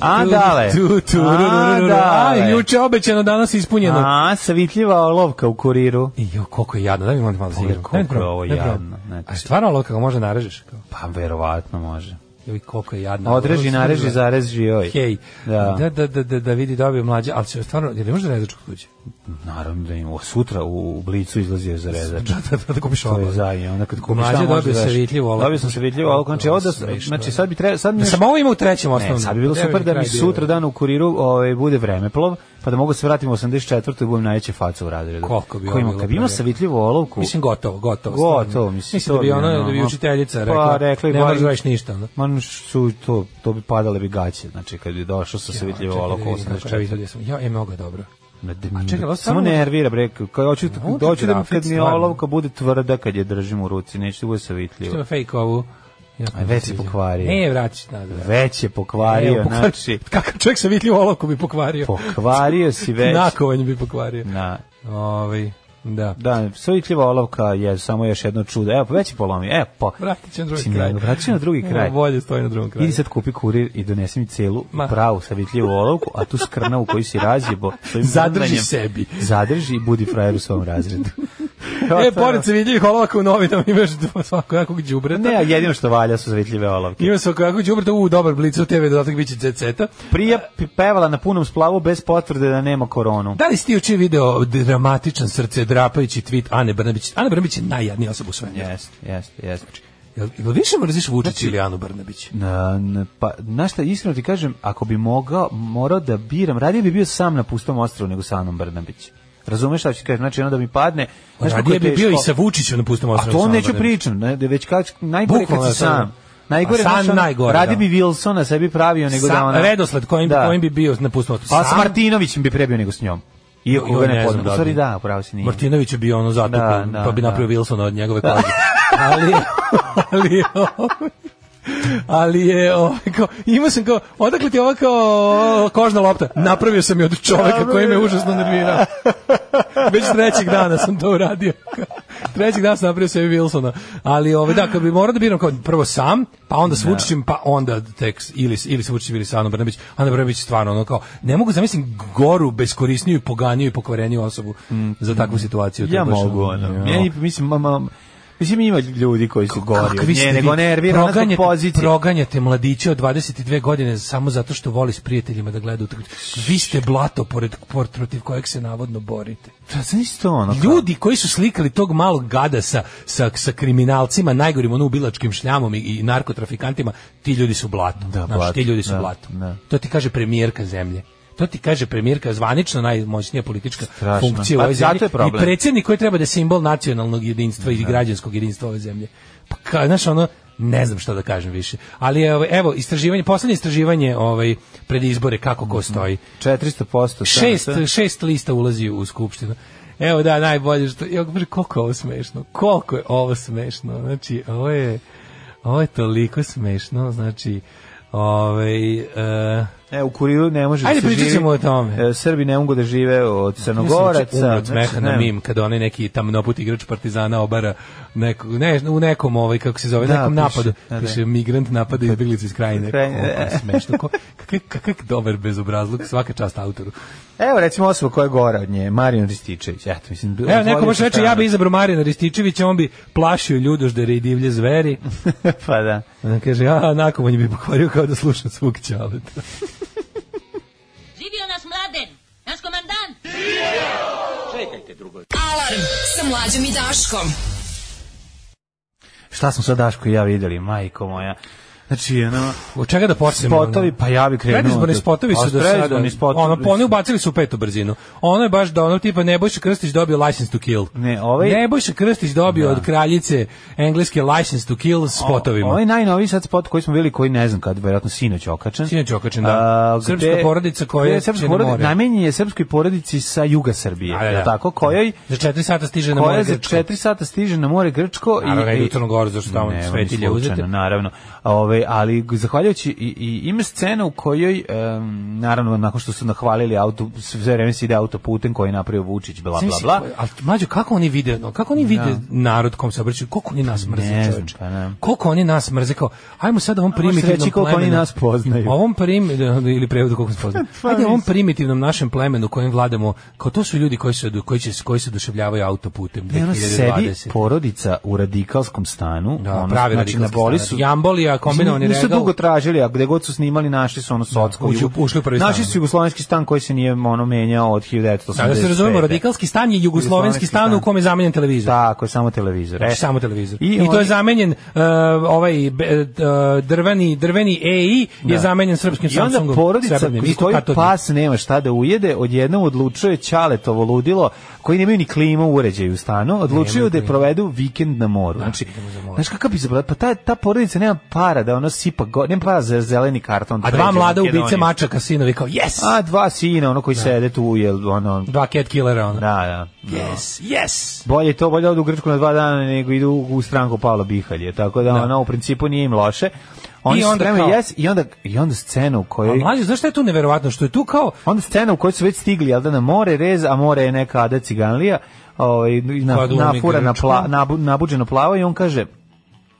[SPEAKER 7] A, dale.
[SPEAKER 6] Tu, tu, ru, ru, ru, ru,
[SPEAKER 7] A,
[SPEAKER 6] ru. A,
[SPEAKER 7] dale.
[SPEAKER 6] juče obećano, danas ispunjeno.
[SPEAKER 7] A, savitljiva olovka u kuriru.
[SPEAKER 6] I jo, koliko je jadno, daj mi molim te malo da se
[SPEAKER 7] Ovo je
[SPEAKER 6] igram.
[SPEAKER 7] koliko
[SPEAKER 6] Daj mi
[SPEAKER 7] je
[SPEAKER 6] probam,
[SPEAKER 7] ovo
[SPEAKER 6] daj mi probam.
[SPEAKER 7] jadno, znači.
[SPEAKER 6] A stvarno ovo kako može narežeš? Kao,
[SPEAKER 7] Pa, verovatno može.
[SPEAKER 6] Joj, koliko je jadno.
[SPEAKER 7] Odreži,
[SPEAKER 6] Ovo
[SPEAKER 7] nareži,
[SPEAKER 6] smrdi.
[SPEAKER 7] zareži, joj.
[SPEAKER 6] Hej,
[SPEAKER 7] Da.
[SPEAKER 6] da, da, da, da, da vidi dobio mlađe, ali će stvarno, jer ne može da rezač kod kuće.
[SPEAKER 7] Naravno da ima. Sutra u, u Blicu izlazio za rezač.
[SPEAKER 6] [laughs] Da, da, da, da kupiš
[SPEAKER 7] To
[SPEAKER 6] ovo.
[SPEAKER 7] je zajedno, onda kad kupiš
[SPEAKER 6] Mlađe
[SPEAKER 7] tamo možda
[SPEAKER 6] dobio
[SPEAKER 7] daš-
[SPEAKER 6] savitljivu olovku.
[SPEAKER 7] Dobio sam savitljivu olovku, znači,
[SPEAKER 6] To je
[SPEAKER 7] oda,
[SPEAKER 6] smešno,
[SPEAKER 7] znači
[SPEAKER 6] da.
[SPEAKER 7] sad bi treba, sad mi
[SPEAKER 6] Da
[SPEAKER 7] još-
[SPEAKER 6] sam ovo imao u trećem
[SPEAKER 7] Ne,
[SPEAKER 6] osnovnom.
[SPEAKER 7] sad bi bilo super da mi sutra dan u kuriru ovaj, bude vremeplov, pa da mogu se vratiti u 84. i budem najveća faca u razredu.
[SPEAKER 6] Koliko bi
[SPEAKER 7] Ko
[SPEAKER 6] ovo
[SPEAKER 7] ima,
[SPEAKER 6] bilo
[SPEAKER 7] kad bi imao
[SPEAKER 6] pravilno.
[SPEAKER 7] savitljivu olovku,
[SPEAKER 6] Mislim gotovo, gotovo.
[SPEAKER 7] Gotovo,
[SPEAKER 6] stvarno.
[SPEAKER 7] mislim,
[SPEAKER 6] Mislim
[SPEAKER 7] to
[SPEAKER 6] da bi
[SPEAKER 7] bi
[SPEAKER 6] ona,
[SPEAKER 7] ono,
[SPEAKER 6] da bi
[SPEAKER 7] ono,
[SPEAKER 6] učiteljica
[SPEAKER 7] pa,
[SPEAKER 6] rekla,
[SPEAKER 7] rekla i
[SPEAKER 6] ne
[SPEAKER 7] bar-
[SPEAKER 6] možeš da radiš ništa. Ono.
[SPEAKER 7] man su to, to bi padale bi gaće, znači kad bi došao sa savitljivu
[SPEAKER 6] Čekaj da
[SPEAKER 7] olovku u
[SPEAKER 6] vidim kako je
[SPEAKER 7] 84.
[SPEAKER 6] vidio sam. Ja, je mnogo je dobro.
[SPEAKER 7] Ma, da
[SPEAKER 6] A
[SPEAKER 7] mi-
[SPEAKER 6] čekaj,
[SPEAKER 7] samo
[SPEAKER 6] ali stvarno-
[SPEAKER 7] nervira bre, kao hoću
[SPEAKER 6] Ovo ti je
[SPEAKER 7] hoću da mi-
[SPEAKER 6] grafit,
[SPEAKER 7] kad mi
[SPEAKER 6] stvarno.
[SPEAKER 7] olovka bude tvrda kad je držim u ruci, neće da bude
[SPEAKER 6] Što
[SPEAKER 7] savitljiva.
[SPEAKER 6] ima fake ovu? Ja,
[SPEAKER 7] A već si pokvario.
[SPEAKER 6] Ne, vraćaš nazad.
[SPEAKER 7] Već je
[SPEAKER 6] Evo,
[SPEAKER 7] pokvario,
[SPEAKER 6] pokvar- [laughs]
[SPEAKER 7] znači
[SPEAKER 6] Kakav čovjek sa vitljivu olovku bi pokvario. [laughs]
[SPEAKER 7] pokvario si već.
[SPEAKER 6] Nakovanje bi pokvario.
[SPEAKER 7] Na,
[SPEAKER 6] Ovaj, da.
[SPEAKER 7] Da, savitljiva olovka je samo još jedno čudo. Evo, već je polomio. Evo, pa.
[SPEAKER 6] Vratit ću na drugi
[SPEAKER 7] Mislim,
[SPEAKER 6] kraj.
[SPEAKER 7] vratit ću na drugi
[SPEAKER 6] Evo,
[SPEAKER 7] kraj.
[SPEAKER 6] Bolje stoji na drugom kraju.
[SPEAKER 7] Idi sad kupi kurir i donesi mi celu
[SPEAKER 6] Ma.
[SPEAKER 7] pravu savitljivu olovku, a tu skrnavu koju si
[SPEAKER 6] [laughs]
[SPEAKER 7] razjebo. svojim
[SPEAKER 6] Zadrži
[SPEAKER 7] bundanjem,
[SPEAKER 6] sebi.
[SPEAKER 7] Zadrži i budi frajer u svom razredu.
[SPEAKER 6] [laughs] E, pored se vidljivih olovaka u novinama imaš svakojakog džubreta.
[SPEAKER 7] ono. Pa Ne, a jedino što valja su savitljive olovke.
[SPEAKER 6] Ima svakojakog džubreta, u, dobar blicu, TV dodatak biće zeceta.
[SPEAKER 7] Prija
[SPEAKER 6] E.
[SPEAKER 7] p- pevala na punom splavu bez potvrde da nema koronu.
[SPEAKER 6] Da li si ti uče video dramatičan srce drapajući tweet Ane Brnabić? Ane Brnabić je najjadnija osoba u svemu.
[SPEAKER 7] Jeste, jeste, jeste.
[SPEAKER 6] Jel, jel više mrziš
[SPEAKER 7] Znači,
[SPEAKER 6] Vučić ili Anu Brnabić?
[SPEAKER 7] Na, na, pa, znaš šta, iskreno ti kažem, ako bi mogao, morao da biram, radije bi bio sam na pustom ostrovu nego sa Anom Brnabić. Razumeš šta ću kažem? Znači, ono da mi padne... Znaš kako
[SPEAKER 6] Radije
[SPEAKER 7] je
[SPEAKER 6] bi bio i
[SPEAKER 7] teško?
[SPEAKER 6] sa Vučićem na pustom
[SPEAKER 7] A
[SPEAKER 6] osnovu.
[SPEAKER 7] to on neću pričam, ne, da već kač, najgore kad
[SPEAKER 6] Bukvalno
[SPEAKER 7] si
[SPEAKER 6] je to.
[SPEAKER 7] sam. Najgore,
[SPEAKER 6] A sam
[SPEAKER 7] znaš, ono,
[SPEAKER 6] najgore,
[SPEAKER 7] Radije
[SPEAKER 6] da.
[SPEAKER 7] bi Wilsona sebi pravio nego da
[SPEAKER 6] Sam,
[SPEAKER 7] ona...
[SPEAKER 6] redosled kojim,
[SPEAKER 7] Da.
[SPEAKER 6] kojim bi bio na pustom osnovu.
[SPEAKER 7] Pa sa Martinovićem bi prebio nego s njom. Iako
[SPEAKER 6] Joj,
[SPEAKER 7] ga
[SPEAKER 6] ne
[SPEAKER 7] ne
[SPEAKER 6] znam
[SPEAKER 7] poznam.
[SPEAKER 6] da
[SPEAKER 7] U
[SPEAKER 6] li
[SPEAKER 7] stvari
[SPEAKER 6] bi.
[SPEAKER 7] da, pravo si nije.
[SPEAKER 6] Martinović je bio ono zato
[SPEAKER 7] Da, da,
[SPEAKER 6] pa bi
[SPEAKER 7] da.
[SPEAKER 6] napravio Wilsona od
[SPEAKER 7] [laughs]
[SPEAKER 6] njegove kože. ali, ali, je ovaj- ali je, ovaj, kao, imao sam kao, odakle ti ova kao kožna lopta? Napravio sam je od čoveka koji me užasno nervirao. Već trećeg dana sam to uradio. Trećeg dana sam napravio sebi Wilsona. Ali ovaj, da, kad bi morao da biram kao prvo sam, pa onda s Vučićem, pa onda tek s- ili, s- ili s Vučićem ili sa Anom Brnabić. Ana Brnabić je stvarno ono kao, ne mogu zamislim goru, beskorisniju, poganiju i pokvareniju osobu za takvu situaciju. To je
[SPEAKER 7] Mm. Ja
[SPEAKER 6] baš
[SPEAKER 7] mogu,
[SPEAKER 6] ono,
[SPEAKER 7] ono.
[SPEAKER 6] jo.
[SPEAKER 7] Ja, i- mislim, mama, mislim, ima ljudi koji su gori od
[SPEAKER 6] Kakvi ste
[SPEAKER 7] nje,
[SPEAKER 6] vi?
[SPEAKER 7] nego nervira ona zbog
[SPEAKER 6] Proganjate-
[SPEAKER 7] pozicije.
[SPEAKER 6] Proganjate mladiće od 22 godine samo zato što voli s prijateljima da gleda utakmicu. Vi ste blato pored por- protiv kojeg se navodno borite.
[SPEAKER 7] Da, znaš to ono? kao-
[SPEAKER 6] Ljudi koji su slikali tog malog gada sa, sa, sa kriminalcima, najgorim ono ubilačkim šljamom i, i narkotrafikantima, ti ljudi su blato.
[SPEAKER 7] Da,
[SPEAKER 6] Znaš,
[SPEAKER 7] blato,
[SPEAKER 6] ti ljudi su
[SPEAKER 7] da,
[SPEAKER 6] blato.
[SPEAKER 7] da.
[SPEAKER 6] To ti kaže premijerka zemlje. To ti kaže premijerka zvanično najmoćnija politička
[SPEAKER 7] Strašno.
[SPEAKER 6] funkcija u
[SPEAKER 7] Pa
[SPEAKER 6] ovoj zemlji.
[SPEAKER 7] zato je problem.
[SPEAKER 6] I predsjednik koji treba da je simbol nacionalnog jedinstva i građanskog jedinstva ove zemlje. Pa ka, znaš, ono, ne znam šta da kažem više. Ali je, ovaj, evo, istraživanje, poslednje istraživanje ovaj, pred izbore, kako
[SPEAKER 7] Mhm.
[SPEAKER 6] ko stoji.
[SPEAKER 7] 400%.
[SPEAKER 6] Šest,
[SPEAKER 7] šansa.
[SPEAKER 6] šest lista ulazi u skupštinu. Evo da, najbolje što... Ja, bre, koliko je ovo smešno? Koliko je ovo smešno? Znači, ovo je... Ovo je toliko smešno, znači... Ovaj, e,
[SPEAKER 7] E, u kuriru ne može da
[SPEAKER 6] Ajde,
[SPEAKER 7] se živi.
[SPEAKER 6] pričat ćemo o tome.
[SPEAKER 7] E, Srbi ne mogu da žive od
[SPEAKER 6] Gorac
[SPEAKER 7] Crnogoraca.
[SPEAKER 6] od
[SPEAKER 7] znači,
[SPEAKER 6] smeha na
[SPEAKER 7] ne.
[SPEAKER 6] mim kada onaj neki tamnoput igrač Partizana obara nekog ne, u nekom ovaj kako se zove
[SPEAKER 7] Da,
[SPEAKER 6] nekom
[SPEAKER 7] piše,
[SPEAKER 6] napadu
[SPEAKER 7] da, da.
[SPEAKER 6] piše migrant napada izbeglicu iz krajine.
[SPEAKER 7] Iz krajine,
[SPEAKER 6] Koliko je
[SPEAKER 7] e.
[SPEAKER 6] smešno. ko- Kakav kakav dobar bezobrazluk, svaka čast autoru.
[SPEAKER 7] Evo, recimo osoba koja je gora od nje, Marijan Rističević. Eto, mislim,
[SPEAKER 6] Evo, neko
[SPEAKER 7] odvodio
[SPEAKER 6] može
[SPEAKER 7] se
[SPEAKER 6] reći,
[SPEAKER 7] stranu.
[SPEAKER 6] ja bi izabrao Marijana Rističevića, on bi plašio ljudoždere i divlje zveri.
[SPEAKER 7] [laughs] pa da.
[SPEAKER 6] On kaže, a, nakomonje bi pokvario kao da slušam svog ćaleta.
[SPEAKER 3] Živio nas mladen, naš komandant.
[SPEAKER 5] Alarm sa mlađom i Daškom.
[SPEAKER 7] Šta smo sa Daško i ja videli, majko moja. Znači, ono,
[SPEAKER 6] Od čega da počnemo? ono?
[SPEAKER 7] Spotovi, pa ja bi krenuo
[SPEAKER 6] Predizborni
[SPEAKER 7] od-
[SPEAKER 6] spotovi
[SPEAKER 7] A,
[SPEAKER 6] su do sada.
[SPEAKER 7] predizborni spotovi
[SPEAKER 6] Ono, pa oni
[SPEAKER 7] su-
[SPEAKER 6] ubacili su u petu brzinu. Ono je baš da ono tipa Nebojša Krstić dobio license to kill.
[SPEAKER 7] Ne, ovaj-
[SPEAKER 6] Nebojša Krstić dobio od kraljice engleske license to kill s spotovima.
[SPEAKER 7] Ovaj najnoviji sad spot koji smo bili, koji ne znam kad, vjerojatno sinoć je okačen.
[SPEAKER 6] Sinoć je okačen, da.
[SPEAKER 7] A,
[SPEAKER 6] Srpska porodica koja
[SPEAKER 7] gde je
[SPEAKER 6] će
[SPEAKER 7] srpska
[SPEAKER 6] na
[SPEAKER 7] porodica,
[SPEAKER 6] more.
[SPEAKER 7] namenjen je srpskoj porodici sa juga Srbije,
[SPEAKER 6] A, da,
[SPEAKER 7] je li
[SPEAKER 6] da.
[SPEAKER 7] tako? Kojoj
[SPEAKER 6] Za četiri sata stiže na
[SPEAKER 7] koja
[SPEAKER 6] more
[SPEAKER 7] za
[SPEAKER 6] Grčko.
[SPEAKER 7] 4 sata stiže na more Grčko i
[SPEAKER 6] Naravno, ne ide
[SPEAKER 7] i-
[SPEAKER 6] u Crnu Goru, zašto tamo
[SPEAKER 7] Ne, oni
[SPEAKER 6] svetilje
[SPEAKER 7] slučajno,
[SPEAKER 6] uzete.
[SPEAKER 7] Naravno. Ove, ali g- zahvaljujući i, i ima scena u kojoj em, naravno nakon što su nahvalili auto sve vreme se ide autoputem koji je napravio Vučić bla
[SPEAKER 6] Mislim,
[SPEAKER 7] bla Pa bla.
[SPEAKER 6] Ali mlađo, kako oni vide, no, kako oni vide narod kom se obraćaju, koliko oni nas mrze,
[SPEAKER 7] znam,
[SPEAKER 6] čoveče.
[SPEAKER 7] pa ne.
[SPEAKER 6] Koliko oni nas mrze, kao, ajmo sad ovom
[SPEAKER 7] možeš
[SPEAKER 6] primitivnom
[SPEAKER 7] reći koliko oni
[SPEAKER 6] plemenu-
[SPEAKER 7] nas poznaju.
[SPEAKER 6] [laughs]
[SPEAKER 7] Pa
[SPEAKER 6] Ovom prim, ili prevodu koliko nas
[SPEAKER 7] [laughs]
[SPEAKER 6] poznaju. Ajde, ovom primitivnom našem plemenu kojem vladamo, kao to su ljudi koji se, odu- koji će, koji se oduševljavaju autoputem
[SPEAKER 7] I ono sedi
[SPEAKER 6] 2020.
[SPEAKER 7] porodica u radikalskom stanu.
[SPEAKER 6] Da,
[SPEAKER 7] ono,
[SPEAKER 6] pravi
[SPEAKER 7] znači, na
[SPEAKER 6] radikalski
[SPEAKER 7] boli
[SPEAKER 6] stanac.
[SPEAKER 7] su,
[SPEAKER 6] Jambolija, kombinovani
[SPEAKER 7] Nisu
[SPEAKER 6] regal.
[SPEAKER 7] dugo tražili, a gde god su snimali, našli su ono socko.
[SPEAKER 6] ušli- ušli u prvi stan.
[SPEAKER 7] Našli su jugoslovenski stan koji se nije ono menjao od 1985.
[SPEAKER 6] Da, da se razumemo, radikalski stan je jugoslovenski
[SPEAKER 7] Jugoslovenski
[SPEAKER 6] stan u
[SPEAKER 7] stan.
[SPEAKER 6] kome je zamenjen televizor.
[SPEAKER 7] Tako, je, samo televizor.
[SPEAKER 6] Znači,
[SPEAKER 7] E,
[SPEAKER 6] samo televizor. I,
[SPEAKER 7] I,
[SPEAKER 6] to je
[SPEAKER 7] oni-
[SPEAKER 6] zamenjen uh, ovaj be- uh, drveni drveni EI je
[SPEAKER 7] Da.
[SPEAKER 6] zamenjen srpskim
[SPEAKER 7] I onda
[SPEAKER 6] Samsungom.
[SPEAKER 7] porodica
[SPEAKER 6] srebrnim,
[SPEAKER 7] koji
[SPEAKER 6] isto
[SPEAKER 7] koju
[SPEAKER 6] katodnim.
[SPEAKER 7] pas nema šta da ujede, odjednom odlučuje Čaletovo ludilo, koji nemaju ni klima uređaj u stanu, odlučuju da je provedu vikend na moru. znači, znaš kakav bi zabrao, pa ta, ta porodica nema para da ono sipa, go, nema para za zeleni karton.
[SPEAKER 6] A dva
[SPEAKER 7] pređe u
[SPEAKER 6] mlada ubice
[SPEAKER 7] Makedoniju.
[SPEAKER 6] mačaka sinovi kao yes.
[SPEAKER 7] A dva sina, ono koji sede tu, jel, ono,
[SPEAKER 6] dva cat killera
[SPEAKER 7] da,
[SPEAKER 6] ona.
[SPEAKER 7] da.
[SPEAKER 6] Yes, yes.
[SPEAKER 7] Bolje to, bolje odu u Grčku na dva dana nego idu u stranku Pavla Bihalje, tako da, ono, u principu nije im loše. Oni
[SPEAKER 6] I
[SPEAKER 7] I
[SPEAKER 6] onda
[SPEAKER 7] onda
[SPEAKER 6] kao-
[SPEAKER 7] Yes, i onda, I onda scenu u
[SPEAKER 6] A
[SPEAKER 7] kojoj...
[SPEAKER 6] mlađe, znaš šta je tu neverovatno? Što je tu kao
[SPEAKER 7] Onda scena u kojoj su već stigli, jel da, na more rez, a more je neka Ada Ciganlija, ovaj, na,
[SPEAKER 6] Koja glumi
[SPEAKER 7] nafura, na
[SPEAKER 6] Grčku.
[SPEAKER 7] pla, nabu, nabuđeno plava i on kaže,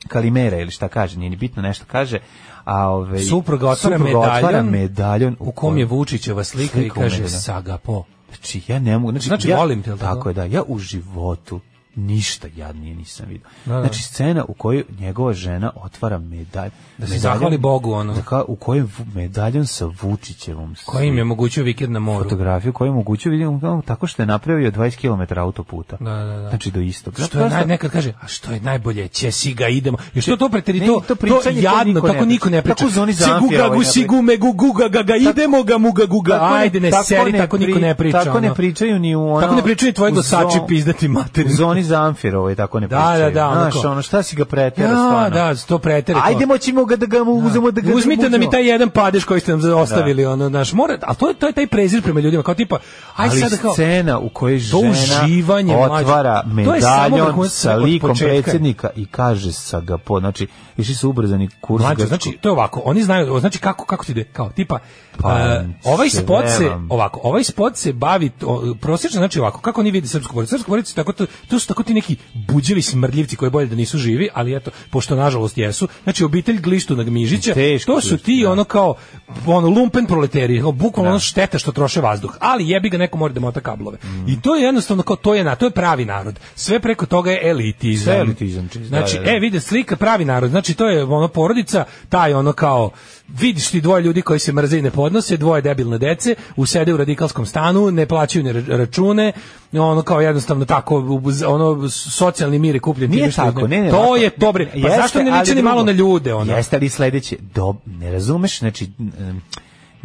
[SPEAKER 7] kalimera ili šta kaže, nije ni bitno nešto kaže, a ovaj,
[SPEAKER 6] supruga otvara
[SPEAKER 7] supruga
[SPEAKER 6] medaljon,
[SPEAKER 7] otvara medaljon
[SPEAKER 6] u kom je
[SPEAKER 7] kojem-
[SPEAKER 6] Vučićeva slika i
[SPEAKER 7] slika u
[SPEAKER 6] kaže
[SPEAKER 7] medalju.
[SPEAKER 6] saga po.
[SPEAKER 7] Znači, ja ne mogu... Znači,
[SPEAKER 6] Znači,
[SPEAKER 7] ja,
[SPEAKER 6] volim te, jel da?
[SPEAKER 7] Tako je, da. Ja u životu ništa jadnije nisam vidio.
[SPEAKER 6] da.
[SPEAKER 7] Znači, scena u kojoj njegova žena otvara medalj...
[SPEAKER 6] Da se zahvali Bogu, ono.
[SPEAKER 7] Dakle, u kojoj medaljon sa Vučićevom...
[SPEAKER 6] Kojim je omogućio vikend na moru.
[SPEAKER 7] fotografiju koju moguću vidim tako što je napravio 20 km autoputa.
[SPEAKER 6] Da, da, da.
[SPEAKER 7] Znači do istog.
[SPEAKER 6] Što je naj, nekad kaže, a što je najbolje, će si ga idemo. I što to preteri
[SPEAKER 7] Ne,
[SPEAKER 6] to,
[SPEAKER 7] to
[SPEAKER 6] to,
[SPEAKER 7] pričanje, to
[SPEAKER 6] jadno,
[SPEAKER 7] niko ne
[SPEAKER 6] tako
[SPEAKER 7] priča.
[SPEAKER 6] niko ne priča.
[SPEAKER 7] Tako zoni za
[SPEAKER 6] Si
[SPEAKER 7] amfija
[SPEAKER 6] guga
[SPEAKER 7] ovaj
[SPEAKER 6] gu
[SPEAKER 7] ne
[SPEAKER 6] si
[SPEAKER 7] priča.
[SPEAKER 6] gu me gu guga ga ga idemo ga mu ga guga. Ajde ne seri, tako niko ne priča.
[SPEAKER 7] Tako ne
[SPEAKER 6] ono.
[SPEAKER 7] pričaju ni u ono...
[SPEAKER 6] Tako ne pričaju tvoji
[SPEAKER 7] u
[SPEAKER 6] glasači
[SPEAKER 7] zo-
[SPEAKER 6] pizdati
[SPEAKER 7] U
[SPEAKER 6] materinu.
[SPEAKER 7] zoni za amfirovoj tako ne
[SPEAKER 6] Da,
[SPEAKER 7] pričaju.
[SPEAKER 6] da, da, ono
[SPEAKER 7] Znaš,
[SPEAKER 6] kao-
[SPEAKER 7] ono, šta si ga pretjera
[SPEAKER 6] Ja,
[SPEAKER 7] stvarno?
[SPEAKER 6] da, to pretere. to.
[SPEAKER 7] Ajde moćemo ga da ga mu uzemo da ga
[SPEAKER 6] Uzmite nam i
[SPEAKER 7] uzmemo.
[SPEAKER 6] taj jedan padež koji ste nam za- ostavili, ono, naš, mora, ali to je, to je taj prezir prema ljudima, kao tipa, aj
[SPEAKER 7] ali
[SPEAKER 6] sada kao,
[SPEAKER 7] scena u kojoj
[SPEAKER 6] To
[SPEAKER 7] žena
[SPEAKER 6] uživanje, mlađe.
[SPEAKER 7] otvara
[SPEAKER 6] To je samo
[SPEAKER 7] medaljon
[SPEAKER 6] vrhunac
[SPEAKER 7] sa
[SPEAKER 6] od
[SPEAKER 7] likom
[SPEAKER 6] početka.
[SPEAKER 7] predsjednika i kaže sa ga po, znači išli su ubrzani kurs
[SPEAKER 6] Mlađe,
[SPEAKER 7] Grčku.
[SPEAKER 6] znači, to je ovako, oni znaju, znači kako, kako ti ide, kao, tipa,
[SPEAKER 7] Pa,
[SPEAKER 6] e, ovaj
[SPEAKER 7] se
[SPEAKER 6] spot se,
[SPEAKER 7] nemam.
[SPEAKER 6] ovako, ovaj spot se bavi, to, prosječno, znači ovako, kako oni vidi srpsku porodicu, srpsku porodicu, tako, to, to su tako ti neki buđevi smrdljivci koji bolje da nisu živi, ali eto, pošto nažalost jesu, znači obitelj Glištu Nagmižića,
[SPEAKER 7] Teško
[SPEAKER 6] to su
[SPEAKER 7] Glištu,
[SPEAKER 6] ti,
[SPEAKER 7] da.
[SPEAKER 6] ono kao, ono, lumpen proleterije, kao, bukvalno ono šteta što troše vazduh, ali jebi ga neko mora da mota kablove. I to je jednostavno kao, to je, na, to je pravi narod. Sve preko toga je elitizam.
[SPEAKER 7] Sve je elitizam, čist, da,
[SPEAKER 6] Znači,
[SPEAKER 7] da, da.
[SPEAKER 6] e, vide slika pravi narod. Znači to je ono porodica, taj ono kao vidiš ti dvoje ljudi koji se mrze i ne podnose, dvoje debilne dece, usede u radikalskom stanu, ne plaćaju ni ra- račune, ono kao jednostavno tako u- z- ono socijalni mir je kupljen
[SPEAKER 7] Nije
[SPEAKER 6] time što-
[SPEAKER 7] tako, ne, ne,
[SPEAKER 6] to
[SPEAKER 7] ovako.
[SPEAKER 6] je dobre. Pa
[SPEAKER 7] Jeste,
[SPEAKER 6] zašto ne
[SPEAKER 7] ali
[SPEAKER 6] liči ni
[SPEAKER 7] drugo.
[SPEAKER 6] malo na ljude ono?
[SPEAKER 7] Jeste ali sledeće, do, ne razumeš, znači em,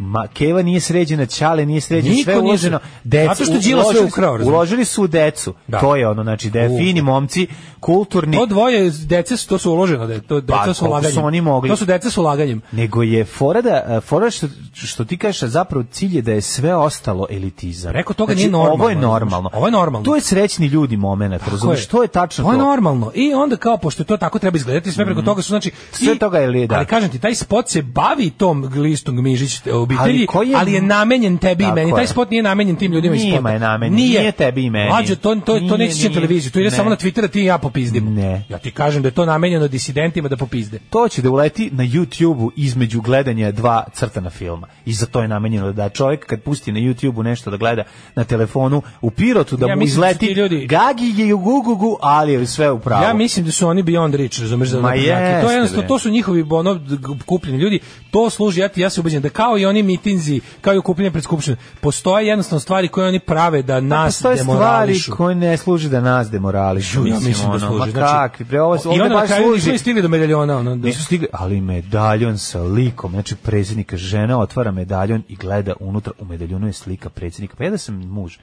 [SPEAKER 7] Ma, Keva nije sređena, Ćale nije sređen,
[SPEAKER 6] Niko
[SPEAKER 7] sve
[SPEAKER 6] nije
[SPEAKER 7] uloženo.
[SPEAKER 6] sre-
[SPEAKER 7] Decu,
[SPEAKER 6] Zato što Đilas sve
[SPEAKER 7] uložili su-
[SPEAKER 6] ukrao, razumeš?
[SPEAKER 7] Uložili su u decu.
[SPEAKER 6] Da.
[SPEAKER 7] To je ono, znači, da
[SPEAKER 6] U.
[SPEAKER 7] je fini momci, kulturni.
[SPEAKER 6] To dvoje dece su to su uloženo, da je to deca
[SPEAKER 7] Pa,
[SPEAKER 6] su
[SPEAKER 7] koliko
[SPEAKER 6] ulaganjem.
[SPEAKER 7] su oni mogli?
[SPEAKER 6] To su deca su ulaganjem.
[SPEAKER 7] Nego je fora da, e, fora što, što ti kažeš, a zapravo cilj je da je sve ostalo elitizam.
[SPEAKER 6] Preko toga
[SPEAKER 7] znači,
[SPEAKER 6] nije normalno,
[SPEAKER 7] Ovo je normalno.
[SPEAKER 6] razumeš? Ovo je normalno.
[SPEAKER 7] To je srećni ljudi moment, razumiješ?
[SPEAKER 6] Tako
[SPEAKER 7] To je tačno
[SPEAKER 6] To
[SPEAKER 7] to. Mhm.
[SPEAKER 6] je normalno. I onda kao pošto to tako treba izgledati, sve preko toga su znači
[SPEAKER 7] Sve
[SPEAKER 6] i-
[SPEAKER 7] toga je li, da.
[SPEAKER 6] Ali kažem ti taj spot se bavi tom glistom Mižić te obitelji,
[SPEAKER 7] Ali
[SPEAKER 6] ali,
[SPEAKER 7] koji
[SPEAKER 6] je,
[SPEAKER 7] je-
[SPEAKER 6] namenjen tebi i
[SPEAKER 7] Tako
[SPEAKER 6] meni. Taj
[SPEAKER 7] je.
[SPEAKER 6] spot nije namenjen tim ljudima iz
[SPEAKER 7] Njima
[SPEAKER 6] spota.
[SPEAKER 7] je namenjen, nije tebi i meni.
[SPEAKER 6] Mlađo, to to to
[SPEAKER 7] Nije,
[SPEAKER 6] neće čim
[SPEAKER 7] nije.
[SPEAKER 6] televiziju. To ide
[SPEAKER 7] Ne.
[SPEAKER 6] samo na Twitter a ti i ja popizdim.
[SPEAKER 7] Ne.
[SPEAKER 6] Ja ti kažem da je to namenjeno disidentima da popizde.
[SPEAKER 7] To će da uleti na YouTube-u između gledanja dva crtana filma. I za to je namenjeno da čovjek kad pusti na YouTube-u nešto da gleda na telefonu u Pirotu da
[SPEAKER 6] Ja
[SPEAKER 7] mu
[SPEAKER 6] mislim da su ti
[SPEAKER 7] izleti
[SPEAKER 6] ljudi-
[SPEAKER 7] gagi je u gugugu, ali je sve u pravu.
[SPEAKER 6] Ja mislim da su oni beyond reach, razumeš za
[SPEAKER 7] Ma
[SPEAKER 6] naprednjake. To je
[SPEAKER 7] jeste,
[SPEAKER 6] jednostavno
[SPEAKER 7] bre.
[SPEAKER 6] to su njihovi ono d- kupljeni ljudi. To služi ja ti ja se ubeđujem da kao i oni oni mitinzi, kao i okupljanje pred skupštine, postoje jednostavno stvari koje oni prave da nas
[SPEAKER 7] Pa Postoje stvari
[SPEAKER 6] demorališu.
[SPEAKER 7] koje ne služi da nas demorališu.
[SPEAKER 6] Ja mislim da
[SPEAKER 7] ono,
[SPEAKER 6] služi. znači,
[SPEAKER 7] Ma kakvi, bre, ovo,
[SPEAKER 6] I
[SPEAKER 7] ovde
[SPEAKER 6] onda na
[SPEAKER 7] baš
[SPEAKER 6] kraju
[SPEAKER 7] služi.
[SPEAKER 6] nisu ni stigli do medaljona. Ono, da.
[SPEAKER 7] Nisu stigli, ali medaljon sa likom, znači predsjednika žena otvara medaljon i gleda unutra, u medaljonu je slika predsjednika. Pa ja da sam muž,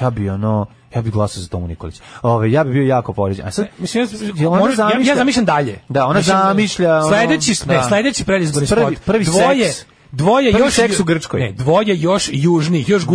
[SPEAKER 7] ja bi ono, ja bi glasao za Tomu Nikolić. Ove, ja bi bio jako poređen. A sad,
[SPEAKER 6] Mislim, ja,
[SPEAKER 7] Jel ona
[SPEAKER 6] možda- ja, ja
[SPEAKER 7] zamišlja-
[SPEAKER 6] zamišljam dalje.
[SPEAKER 7] Da, ona
[SPEAKER 6] Mislim,
[SPEAKER 7] zamišlja, ono,
[SPEAKER 6] Sledeći, ne,
[SPEAKER 7] da.
[SPEAKER 6] sledeći predizborni
[SPEAKER 7] Prvi-
[SPEAKER 6] spot.
[SPEAKER 7] prvi
[SPEAKER 6] dvoje,
[SPEAKER 7] seks.
[SPEAKER 6] Dvoje
[SPEAKER 7] Prvi
[SPEAKER 6] još
[SPEAKER 7] seks u Grčkoj.
[SPEAKER 6] Ne, dvoje još južnih, još
[SPEAKER 7] Da.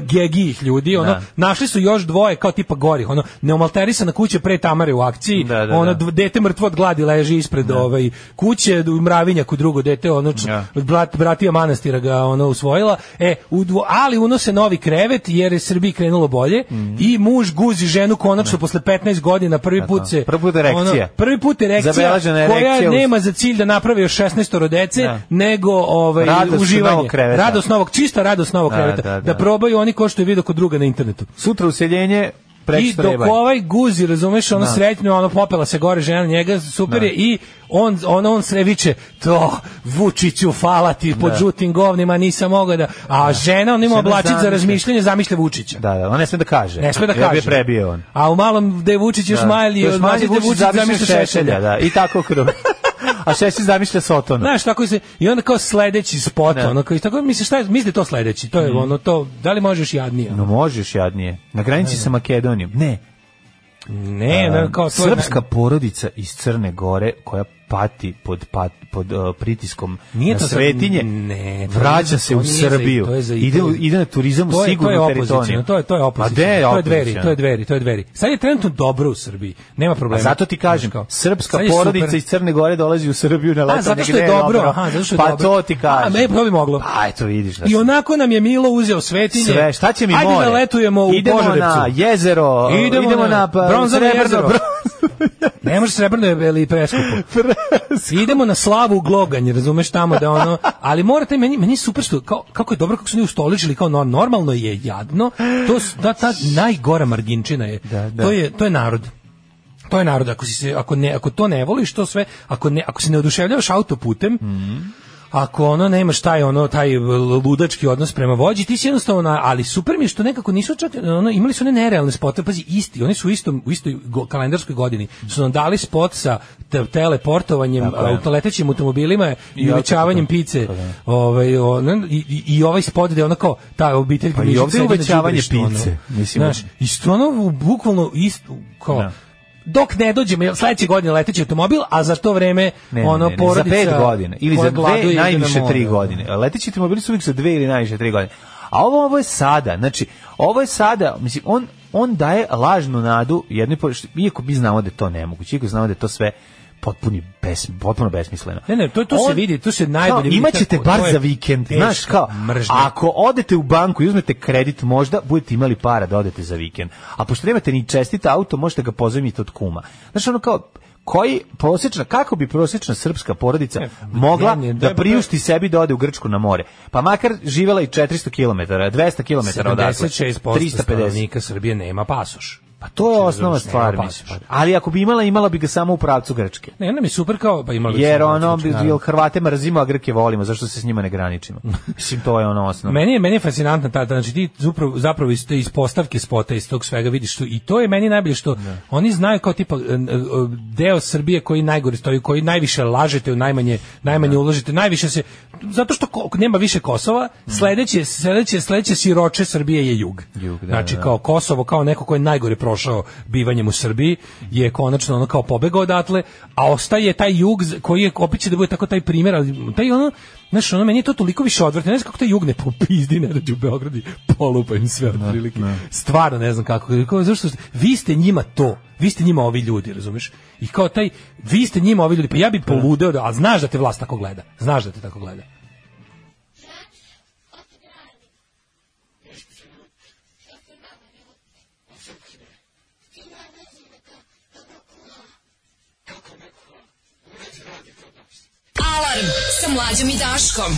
[SPEAKER 6] gugugagagegijih ljudi, ono,
[SPEAKER 7] Da.
[SPEAKER 6] našli su još dvoje kao tipa gorih, ono, neomalterisana kuća pre Tamare u akciji,
[SPEAKER 7] Da, da,
[SPEAKER 6] ono,
[SPEAKER 7] da.
[SPEAKER 6] dv- dete mrtvo od gladi leži ispred ovaj, kuće, d- mravinjak u drugo dete, ono, č-
[SPEAKER 7] Da.
[SPEAKER 6] brat, bratija manastira ga ono usvojila, e, u dvo- ali unose novi krevet jer je Srbiji krenulo bolje
[SPEAKER 7] Mhm.
[SPEAKER 6] i muž guzi ženu konačno posle 15 godina prvi
[SPEAKER 7] Da,
[SPEAKER 6] put
[SPEAKER 7] da.
[SPEAKER 6] se ono,
[SPEAKER 7] Prvi put erekcija.
[SPEAKER 6] prvi put erekcija
[SPEAKER 7] Zabeležena
[SPEAKER 6] koja
[SPEAKER 7] erekcija uz-
[SPEAKER 6] nema za cilj da napravi još 16 rodece
[SPEAKER 7] Da.
[SPEAKER 6] nego ovaj
[SPEAKER 7] Radost
[SPEAKER 6] uživanje
[SPEAKER 7] novog kreveta.
[SPEAKER 6] radost novog čista radost novog
[SPEAKER 7] Da,
[SPEAKER 6] kreveta da,
[SPEAKER 7] da, da.
[SPEAKER 6] probaju oni ko što je video kod druga na internetu
[SPEAKER 7] sutra useljenje,
[SPEAKER 6] I
[SPEAKER 7] prekstra
[SPEAKER 6] dok ovaj guzi, razumeš, ono sretno, ono popela se gore žena na njega, super je, i on, ono, on, on sve viče, to, Vučiću, fala ti, pod
[SPEAKER 7] Da.
[SPEAKER 6] žutim govnima, nisam mogao da, a žena, on ima
[SPEAKER 7] Žena
[SPEAKER 6] oblačić za
[SPEAKER 7] zamišlja.
[SPEAKER 6] razmišljanje, zamišlja Vučića.
[SPEAKER 7] Da, da, on ne sme da kaže.
[SPEAKER 6] Ne sme da
[SPEAKER 7] Ja
[SPEAKER 6] kaže.
[SPEAKER 7] bi je prebio on.
[SPEAKER 6] A u malom da je Vučić još
[SPEAKER 7] Da.
[SPEAKER 6] mali,
[SPEAKER 7] To je
[SPEAKER 6] još
[SPEAKER 7] mali
[SPEAKER 6] mlađi da je Vučić zamišlja šešelja.
[SPEAKER 7] Da, I tako
[SPEAKER 6] [laughs]
[SPEAKER 7] kroz. A šešelj zamišlja Sotona.
[SPEAKER 6] Znaš, tako se, i onda kao sledeći spot,
[SPEAKER 7] Pa. Da. Mm.
[SPEAKER 6] ono, kao, tako, misliš, šta je, misli to sledeći, to je ono, to, da li možeš jadnije?
[SPEAKER 7] No možeš jadnije. Na granici sa Makedonijom. Ne.
[SPEAKER 6] Ne,
[SPEAKER 7] a,
[SPEAKER 6] ne, kao to je-
[SPEAKER 7] pa, srpska porodica iz Crne Gore koja pati pod pat, pod uh, pritiskom
[SPEAKER 6] Nije
[SPEAKER 7] na
[SPEAKER 6] to sad-
[SPEAKER 7] svetinje.
[SPEAKER 6] ne, to nije za-
[SPEAKER 7] vraća se
[SPEAKER 6] to
[SPEAKER 7] u
[SPEAKER 6] nije za-
[SPEAKER 7] Srbiju.
[SPEAKER 6] to je za-
[SPEAKER 7] ide
[SPEAKER 6] to
[SPEAKER 7] u-
[SPEAKER 6] je-
[SPEAKER 7] ide na turizam u
[SPEAKER 6] to je, to je
[SPEAKER 7] sigurnu
[SPEAKER 6] opoziciono,
[SPEAKER 7] teritoriju.
[SPEAKER 6] to je, to je
[SPEAKER 7] A
[SPEAKER 6] opoziciono,
[SPEAKER 7] gde je
[SPEAKER 6] to je dveri,
[SPEAKER 7] opoziciono?
[SPEAKER 6] to je dveri, to je dveri. Sad je trenutno dobro u Srbiji, nema
[SPEAKER 7] A
[SPEAKER 6] problema.
[SPEAKER 7] zato ti kažem,
[SPEAKER 6] Znaš kao,
[SPEAKER 7] srpska
[SPEAKER 6] sad je
[SPEAKER 7] porodica
[SPEAKER 6] super.
[SPEAKER 7] iz Crne Gore dolazi u Srbiju na leto.
[SPEAKER 6] A, zato što
[SPEAKER 7] negde
[SPEAKER 6] je dobro, aha, zato što je
[SPEAKER 7] pa
[SPEAKER 6] dobro.
[SPEAKER 7] to ti kažem.
[SPEAKER 6] A, ne, to bi moglo.
[SPEAKER 7] Pa, eto vidiš. Da
[SPEAKER 6] I
[SPEAKER 7] se-
[SPEAKER 6] onako nam je Milo uzeo svetinje.
[SPEAKER 7] sve, šta će mi
[SPEAKER 6] Ajde
[SPEAKER 7] more?
[SPEAKER 6] da letujemo u
[SPEAKER 7] idemo
[SPEAKER 6] Požarevcu.
[SPEAKER 7] na jezero, idemo, na, pa,
[SPEAKER 6] bronzano
[SPEAKER 7] srebrno [laughs]
[SPEAKER 6] jezero.
[SPEAKER 7] bro-
[SPEAKER 6] ne može srebrno je ili preskupo. Idemo na slavu u gloganj, razumeš tamo da ono, ali morate meni meni je super što kao, kako je dobro kako su oni ustoličili kao no, normalno je jadno. To su- da ta najgora marginčina je.
[SPEAKER 7] Da, da.
[SPEAKER 6] To je to je narod. To je narod ako si se ako ne ako to ne voliš to sve ako ne ako se ne oduševljavaš autoputem ako ono nemaš taj ono taj ludački odnos prema vođi ti si jednostavno na- ali super mi je što nekako nisu čak ono imali su one nerealne spotove pazi isti oni su u istom u istoj go- kalendarskoj godini su nam dali spot sa te- teleportovanjem
[SPEAKER 7] je.
[SPEAKER 6] autoletećim automobilima i
[SPEAKER 7] autoputom.
[SPEAKER 6] uvećavanjem pice ovaj ono, i, i- i ovaj spot gde ono kao ta obitelj
[SPEAKER 7] Pa i
[SPEAKER 6] Gmišić
[SPEAKER 7] ovde
[SPEAKER 6] sedi na
[SPEAKER 7] uvećavanje
[SPEAKER 6] đubrištu, ono.
[SPEAKER 7] pice, mislim.
[SPEAKER 6] Znaš, i stvarno u- bukvalno isto kao
[SPEAKER 7] Da.
[SPEAKER 6] Dok ne dođemo, jel, sledeće godine leteći automobil, a za to vreme
[SPEAKER 7] Ne, ne,
[SPEAKER 6] ono
[SPEAKER 7] ne, ne,
[SPEAKER 6] porodica
[SPEAKER 7] za pet godina ili
[SPEAKER 6] koja
[SPEAKER 7] za
[SPEAKER 6] gladuje ide
[SPEAKER 7] dve
[SPEAKER 6] na
[SPEAKER 7] najviše
[SPEAKER 6] more.
[SPEAKER 7] tri godine. Leteći automobili su uvijek za dve ili najviše tri godine. A ovo ovo je sada, znači ovo je sada, mislim on on daje lažnu nadu jednoj poruci, iako mi znamo da je to nemoguće, iako znamo da je to sve potpuni bes, potpuno besmisleno.
[SPEAKER 6] Ne, ne, to, to se
[SPEAKER 7] On-
[SPEAKER 6] vidi, to se najbolje
[SPEAKER 7] kao,
[SPEAKER 6] vidi.
[SPEAKER 7] Imaćete
[SPEAKER 6] kako-
[SPEAKER 7] bar
[SPEAKER 6] to je
[SPEAKER 7] za vikend,
[SPEAKER 6] teška
[SPEAKER 7] znaš kao,
[SPEAKER 6] mržnja.
[SPEAKER 7] ako odete u banku i uzmete kredit, možda budete imali para da odete za vikend. A pošto nemate ni čestit auto, možete ga pozajmiti od kuma. Znaš ono kao, koji prosječna, kako bi prosječna srpska porodica
[SPEAKER 6] E,
[SPEAKER 7] mogla
[SPEAKER 6] ne, ne,
[SPEAKER 7] da
[SPEAKER 6] ne,
[SPEAKER 7] priušti sebi da ode u Grčku na more? Pa makar živela i 400 km, 200 km odatle,
[SPEAKER 6] 76%
[SPEAKER 7] 350.
[SPEAKER 6] stanovnika Srbije nema pasoš.
[SPEAKER 7] dakle. Pa to je
[SPEAKER 6] Znači,
[SPEAKER 7] osnova
[SPEAKER 6] razumeš, nema
[SPEAKER 7] stvar,
[SPEAKER 6] pasoša.
[SPEAKER 7] mislim. Ali ako bi imala, imala bi ga samo u pravcu Grčke.
[SPEAKER 6] Ne, onda mi je super kao, pa imali
[SPEAKER 7] Jer
[SPEAKER 6] smo
[SPEAKER 7] ono,
[SPEAKER 6] Vučić, naravno.
[SPEAKER 7] jel Hrvate mrzimo, a Grke volimo, zašto se s njima ne
[SPEAKER 6] [laughs]
[SPEAKER 7] graničimo? Mislim, to je ono osnovno.
[SPEAKER 6] Meni je meni je fascinantna ta, ta- znači ti zapravo, zapravo iz te iz postavke spota iz tog svega vidiš što i to je meni najbolje što oni znaju kao tipa e, e, deo Srbije koji najgore stoji, koji najviše lažete, u najmanje najmanje ulažete, najviše se zato što ko- nema više Kosova,
[SPEAKER 7] Mm.
[SPEAKER 6] sledeće sledeće sledeće siroče Srbije je jug.
[SPEAKER 7] Jug, da,
[SPEAKER 6] znači
[SPEAKER 7] da.
[SPEAKER 6] kao Kosovo kao neko ko je najgore prošao bivanjem u Srbiji je konačno ono kao pobegao odatle, a ostaje taj jug z- koji je opet će da bude tako taj primjer, ali taj ono Znaš, ono, meni je to toliko više odvrtno. Ne znam kako taj jug ne popizdi, ne radi u Beogradu i polupa im sve otprilike. Stvarno ne znam kako. Kao, zašto, vi ste njima to. Vi ste njima ovi ljudi, razumeš? I kao taj, vi ste njima ovi ljudi. Pa ja bi poludeo, da, a znaš da te vlast tako gleda. Znaš da te tako gleda.
[SPEAKER 5] Alarm sa mlađom i Daškom.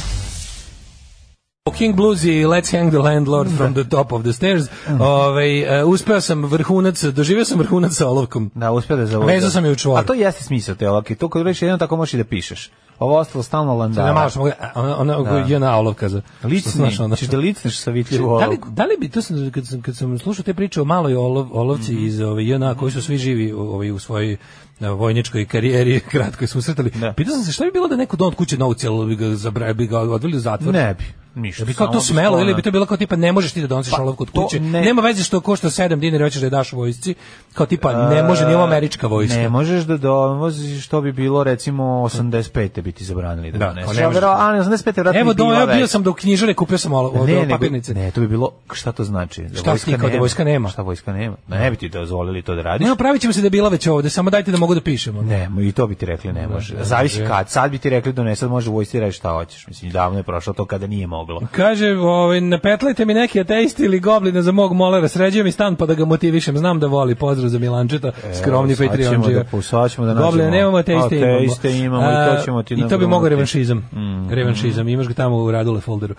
[SPEAKER 6] King Blues i Let's Hang the Landlord from the Top of the Stairs. Ovaj, e, uspeo sam vrhunac, doživio sam vrhunac sa olovkom.
[SPEAKER 7] Da, uspeo da zavoda.
[SPEAKER 6] Vezao sam je u čvor.
[SPEAKER 7] A to jeste smisao te olovke. To kad reći jedno tako možeš i da pišeš. Ovo ostalo stalno
[SPEAKER 6] Da, da, malo
[SPEAKER 7] landara.
[SPEAKER 6] što mogu, a ona, ona da. jedna olovka za... što
[SPEAKER 7] Licni,
[SPEAKER 6] znaš, ono-
[SPEAKER 7] ćeš da licneš sa vitljivu
[SPEAKER 6] Da li,
[SPEAKER 7] olovku.
[SPEAKER 6] da li bi, to sam, kad, sam, kad sam slušao te priče o maloj olov, olovci
[SPEAKER 7] Mhm.
[SPEAKER 6] iz ovaj, ove, JNA, koji su svi živi ovaj, u svojoj e, vojničkoj karijeri, [laughs] kratko su usretali,
[SPEAKER 7] Da.
[SPEAKER 6] pitao sam se šta bi bilo da neko don od kuće novu cijelu bi ga, zabra, bi ga odveli u zatvor?
[SPEAKER 7] Ne bi. Ništa.
[SPEAKER 6] Da bi kao to
[SPEAKER 7] samo
[SPEAKER 6] smelo ili
[SPEAKER 7] sklona.
[SPEAKER 6] bi to bilo kao tipa ne možeš ti da donosiš
[SPEAKER 7] Pa,
[SPEAKER 6] olovku od
[SPEAKER 7] to
[SPEAKER 6] kuće.
[SPEAKER 7] ne-
[SPEAKER 6] Nema veze što košta 7 dinara i hoćeš da je daš vojsci. Kao tipa ne može ni ova američka vojska.
[SPEAKER 7] Ne možeš da dovoziš što bi bilo recimo 85. biti zabranili da,
[SPEAKER 6] Da,
[SPEAKER 7] doneseš.
[SPEAKER 6] kao ne
[SPEAKER 7] A
[SPEAKER 6] možeš.
[SPEAKER 7] vero- A ne, 85. vratno
[SPEAKER 6] Evo,
[SPEAKER 7] bi bila
[SPEAKER 6] do, evo bio
[SPEAKER 7] već.
[SPEAKER 6] sam do knjižare, kupio sam olo,
[SPEAKER 7] Ne,
[SPEAKER 6] ne,
[SPEAKER 7] nego-
[SPEAKER 6] papirnice.
[SPEAKER 7] ne, to bi bilo, šta to znači? Da
[SPEAKER 6] Šta ti, kao da vojska nema?
[SPEAKER 7] Šta vojska nema? Ne bi ti dozvolili to da radiš.
[SPEAKER 6] Ne, pravit ćemo se da je bila već ovde, samo dajte da mogu da pišemo.
[SPEAKER 7] Ne, mo- i to bi ti rekli ne može.
[SPEAKER 6] ne
[SPEAKER 7] Zavisi
[SPEAKER 6] može.
[SPEAKER 7] kad. Sad bi ti rekli donese, sad može vojsci reći šta hoćeš. Mislim, davno je prošlo to kada nije moglo.
[SPEAKER 6] Kaže, ovaj, napetlajte mi neki ateisti ili gobline za mog molera, sređujem mi stan pa da ga motivišem, znam da voli, pozdrav za Milančeta, skromni
[SPEAKER 7] sad ćemo
[SPEAKER 6] Patreon
[SPEAKER 7] da po- sad ćemo da nađemo.
[SPEAKER 6] Goblina nemamo, ateiste imamo.
[SPEAKER 7] Ateiste imamo i to
[SPEAKER 6] A,
[SPEAKER 7] ćemo ti
[SPEAKER 6] I to bi
[SPEAKER 7] nabrojati.
[SPEAKER 6] mogao revanšizam, revanšizam, imaš ga tamo u radule folderu.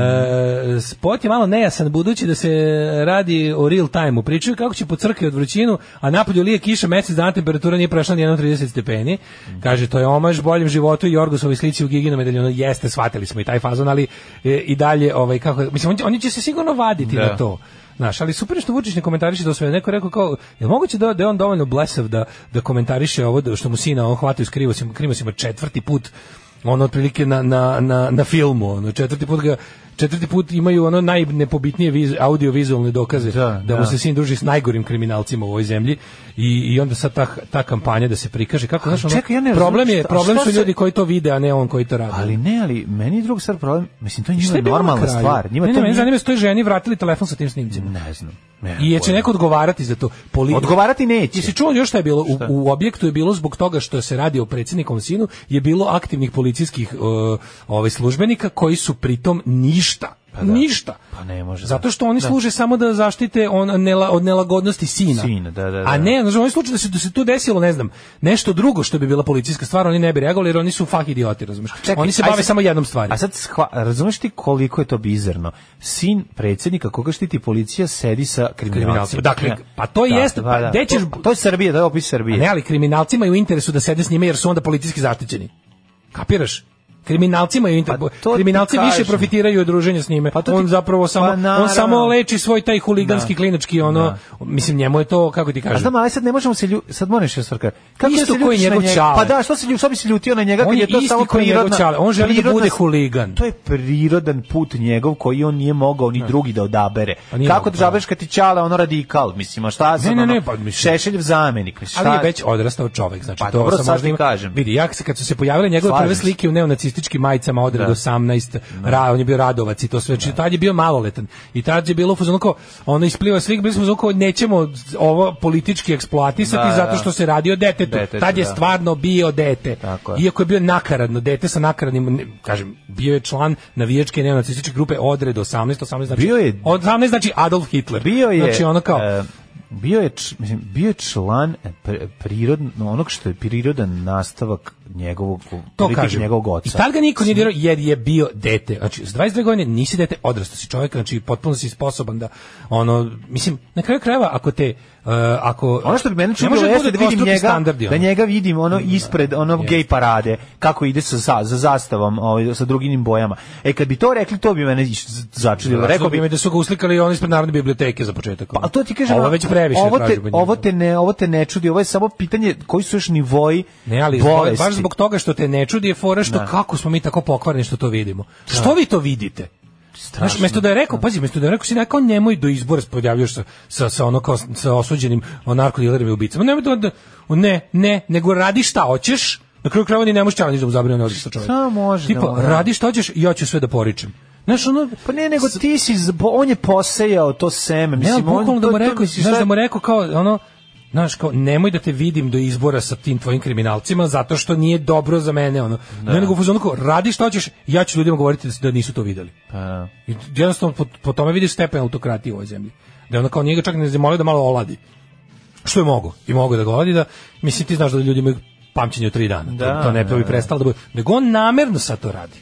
[SPEAKER 6] E, spot je malo nejasan, budući da se radi o real time-u, pričaju kako će po crkvi od vrućinu, a napolju lije kiša, mesec dana temperatura nije prešla ni 30 stepeni. Kaže, to je omaž boljem životu i Jorgosovoj slici u Giginom medaljonu. Jeste, shvatili smo i taj fazon, ali e, i dalje, ovaj, kako, mislim, oni- oni će se sigurno vaditi
[SPEAKER 7] Da.
[SPEAKER 6] na to. Znaš, ali super je što Vučić ne komentariše to sve. Neko je rekao kao, je li moguće da, da je on dovoljno blesav da, da komentariše ovo da, što mu sina on hvataju s krivosima, krivosima četvrti put ono otprilike na, na, na, na filmu, ono, četvrti put ga četvrti put imaju ono najnepobitnije viz, audiovizualne dokaze
[SPEAKER 7] Da,
[SPEAKER 6] da,
[SPEAKER 7] da.
[SPEAKER 6] mu se sin druži s najgorim kriminalcima u ovoj zemlji i, i onda sad ta, ta kampanja da se prikaže kako znaš, ono,
[SPEAKER 7] čekaj, ja ne razumem
[SPEAKER 6] problem je
[SPEAKER 7] šta-
[SPEAKER 6] problem
[SPEAKER 7] šta
[SPEAKER 6] su
[SPEAKER 7] se-
[SPEAKER 6] ljudi koji to vide a ne on koji to radi
[SPEAKER 7] Ali ne, ali meni je drug sad problem, mislim, to je
[SPEAKER 6] Šta
[SPEAKER 7] njima
[SPEAKER 6] je bilo na
[SPEAKER 7] normalna
[SPEAKER 6] kraju?
[SPEAKER 7] stvar. Njima
[SPEAKER 6] ne,
[SPEAKER 7] to
[SPEAKER 6] ne, mene
[SPEAKER 7] nije-
[SPEAKER 6] zanima su toj ženi vratili telefon sa tim snimcima
[SPEAKER 7] Ne znam. Ne,
[SPEAKER 6] I je će
[SPEAKER 7] pojma.
[SPEAKER 6] neko odgovarati za to. Poli...
[SPEAKER 7] E, Odgovarati neće.
[SPEAKER 6] Jesi čuo još šta je bilo? U, u objektu je bilo zbog toga što se radi o predsjednikom sinu, je bilo aktivnih policijskih uh, ovaj, službenika koji su pritom ništa.
[SPEAKER 7] da.
[SPEAKER 6] Ništa.
[SPEAKER 7] Pa ne može, da.
[SPEAKER 6] Zato što oni služe samo da zaštite on, nela, od nelagodnosti sina.
[SPEAKER 7] Sina, da, da, da.
[SPEAKER 6] A ne, znači, u ovom slučaju da se, da se tu desilo, ne znam, nešto drugo što bi bila policijska stvar, oni ne bi reagovali jer oni su fah idioti, razumiješ?
[SPEAKER 7] Čekaj,
[SPEAKER 6] oni se
[SPEAKER 7] aj
[SPEAKER 6] bave
[SPEAKER 7] sad-
[SPEAKER 6] samo jednom stvari.
[SPEAKER 7] A sad shva, razumeš ti koliko je to bizarno? Sin predsjednika koga štiti policija sedi sa kriminalcima.
[SPEAKER 6] Kriminalcima. Dakle, pa to jeste, pa gde ćeš-
[SPEAKER 7] To, to je Srbija, to je opis
[SPEAKER 6] A
[SPEAKER 7] Srbije.
[SPEAKER 6] Ne, ali kriminalcima je u interesu da sede s njima jer su onda politički zaštićeni. Kapiraš? Kriminalcima je u inter...
[SPEAKER 7] Pa to ti
[SPEAKER 6] kriminalci više
[SPEAKER 7] kažem.
[SPEAKER 6] profitiraju od druženja s njime.
[SPEAKER 7] Pa to ti-
[SPEAKER 6] on zapravo samo
[SPEAKER 7] Pa naravno.
[SPEAKER 6] on samo leči svoj taj huliganski klinički ono mislim njemu je to kako ti
[SPEAKER 7] A
[SPEAKER 6] kažem.
[SPEAKER 7] znam, ali sad ne možemo se lju... sad moraš se svrka. Kako
[SPEAKER 6] Isto
[SPEAKER 7] da se
[SPEAKER 6] koji
[SPEAKER 7] ljutiš na
[SPEAKER 6] njegov
[SPEAKER 7] njega?
[SPEAKER 6] čale.
[SPEAKER 7] Pa da, što se lju... što bi se ljutio na njega
[SPEAKER 6] On
[SPEAKER 7] kad
[SPEAKER 6] je
[SPEAKER 7] je to
[SPEAKER 6] isti
[SPEAKER 7] samo
[SPEAKER 6] koji njegov
[SPEAKER 7] prirodna.
[SPEAKER 6] čale. On želi da
[SPEAKER 7] prirodna
[SPEAKER 6] bude
[SPEAKER 7] s-
[SPEAKER 6] huligan.
[SPEAKER 7] To je prirodan put njegov koji on nije mogao ni drugi da odabere.
[SPEAKER 6] Pa nije
[SPEAKER 7] Kako da
[SPEAKER 6] mogao, pa.
[SPEAKER 7] izabereš kad ti čale ono radikal, mislim, a šta sam
[SPEAKER 6] ne,
[SPEAKER 7] ono,
[SPEAKER 6] ne, pa mislim-
[SPEAKER 7] Šešeljev zamenik, mislim,
[SPEAKER 6] ali
[SPEAKER 7] šta-
[SPEAKER 6] je već odrastao čovjek, znači
[SPEAKER 7] Pa
[SPEAKER 6] to
[SPEAKER 7] dobro,
[SPEAKER 6] sam
[SPEAKER 7] sad
[SPEAKER 6] možda
[SPEAKER 7] ti
[SPEAKER 6] ima-
[SPEAKER 7] kažem.
[SPEAKER 6] Vidi, ja se kad su se pojavile njegove
[SPEAKER 7] Slažem
[SPEAKER 6] prve
[SPEAKER 7] se.
[SPEAKER 6] slike u neonacističkim majicama odred
[SPEAKER 7] Da.
[SPEAKER 6] 18, ra, on je bio Radovac i to sve, znači tad je bio maloletan. I tad je bilo u fazonu kao ono ispliva svih, bili smo u fazonu kao, nećemo ovo politički eksploatisati
[SPEAKER 7] Da,
[SPEAKER 6] zato
[SPEAKER 7] da.
[SPEAKER 6] što se radi o detetu.
[SPEAKER 7] Detetu,
[SPEAKER 6] tad je
[SPEAKER 7] da.
[SPEAKER 6] stvarno bio dete.
[SPEAKER 7] Tako je.
[SPEAKER 6] Iako je bio nakaradno dete sa nakaradnim ne- kažem, bio je član navijačke neonacističke grupe odred 18, 18 znači
[SPEAKER 7] Bio je-
[SPEAKER 6] 18 znači Adolf Hitler.
[SPEAKER 7] bio je
[SPEAKER 6] znači ono kao
[SPEAKER 7] e, bio je č- mislim bio je član eh, pr- prirodno onog ono što je prirodan nastavak njegovog
[SPEAKER 6] to
[SPEAKER 7] politike
[SPEAKER 6] kažem.
[SPEAKER 7] njegovog oca.
[SPEAKER 6] I tad ga niko nije dirao jer je bio dete. Znači, s 22 godine nisi dete, odrastao si čovjek, znači potpuno si sposoban da, ono, mislim, na kraju krajeva, ako te, uh, ako...
[SPEAKER 7] Ono što bi mene
[SPEAKER 6] Ne
[SPEAKER 7] čudilo
[SPEAKER 6] može da
[SPEAKER 7] jeste da
[SPEAKER 6] bude
[SPEAKER 7] vidim
[SPEAKER 6] dvostruki
[SPEAKER 7] njega,
[SPEAKER 6] standardi,
[SPEAKER 7] da
[SPEAKER 6] ono.
[SPEAKER 7] njega vidim ono ispred ono gej parade, kako ide sa, za, za zastavom, ovaj, sa drugim bojama. E kad bi to rekli, to bi mene iš- začudilo. Rekao
[SPEAKER 6] bi
[SPEAKER 7] bi,
[SPEAKER 6] mi da su ga uslikali oni ispred Narodne biblioteke za početak. ono.
[SPEAKER 7] Pa, ali to ti kažem,
[SPEAKER 6] ovo
[SPEAKER 7] a-
[SPEAKER 6] je već previše
[SPEAKER 7] ovo te,
[SPEAKER 6] tražimo njega.
[SPEAKER 7] ovo te, ne, ovo te ne čudi, ovo je samo pitanje koji su još nivoji
[SPEAKER 6] Ne, ali zbog-
[SPEAKER 7] bolesti.
[SPEAKER 6] baš zbog toga što te ne čudi je fora što kako smo mi tako pokvarni što to vidimo. Što vi to vidite? Znaš, mesto da je rekao, pazi, mesto da je rekao, si nekao nemoj do izbora spodjavljaš sa, sa, sa ono kao sa osuđenim o, narkodilerima i ubicama. Nemoj da, da, ne, ne, nego radi šta hoćeš, na kraju krajeva ni ne možeš čalanić da mu zabrinu ne odiš sa čovjekom.
[SPEAKER 7] Šta može da
[SPEAKER 6] Tipa,
[SPEAKER 7] mu, da.
[SPEAKER 6] radi šta hoćeš i ja ću sve da poričem. Znaš, ono,
[SPEAKER 7] Pa ne, nego ti si, zbo- on je posejao to seme.
[SPEAKER 6] ne,
[SPEAKER 7] Mislim,
[SPEAKER 6] ali bukvalno
[SPEAKER 7] on,
[SPEAKER 6] da
[SPEAKER 7] to-
[SPEAKER 6] mu
[SPEAKER 7] to-
[SPEAKER 6] rekao,
[SPEAKER 7] mislim,
[SPEAKER 6] znaš,
[SPEAKER 7] šta-
[SPEAKER 6] da mu rekao kao, ono, znaš, kao, nemoj da te vidim do izbora sa tim tvojim kriminalcima, zato što nije dobro za mene, ono. Ne, nego u fazonu kao, radi što hoćeš, ja ću ljudima govoriti da, s- da nisu to videli.
[SPEAKER 7] Pa,
[SPEAKER 6] I jednostavno, po, po tome vidiš stepen autokratije u ovoj zemlji. Da je ono kao njega čak ne zamolio da malo oladi. Što je mogo? I mogo je da ga oladi, da, mislim, ti znaš da ljudi imaju pamćenje od tri dana.
[SPEAKER 7] Da,
[SPEAKER 6] to, to ne
[SPEAKER 7] da,
[SPEAKER 6] bi prestalo da bude. Nego on namerno sad to radi.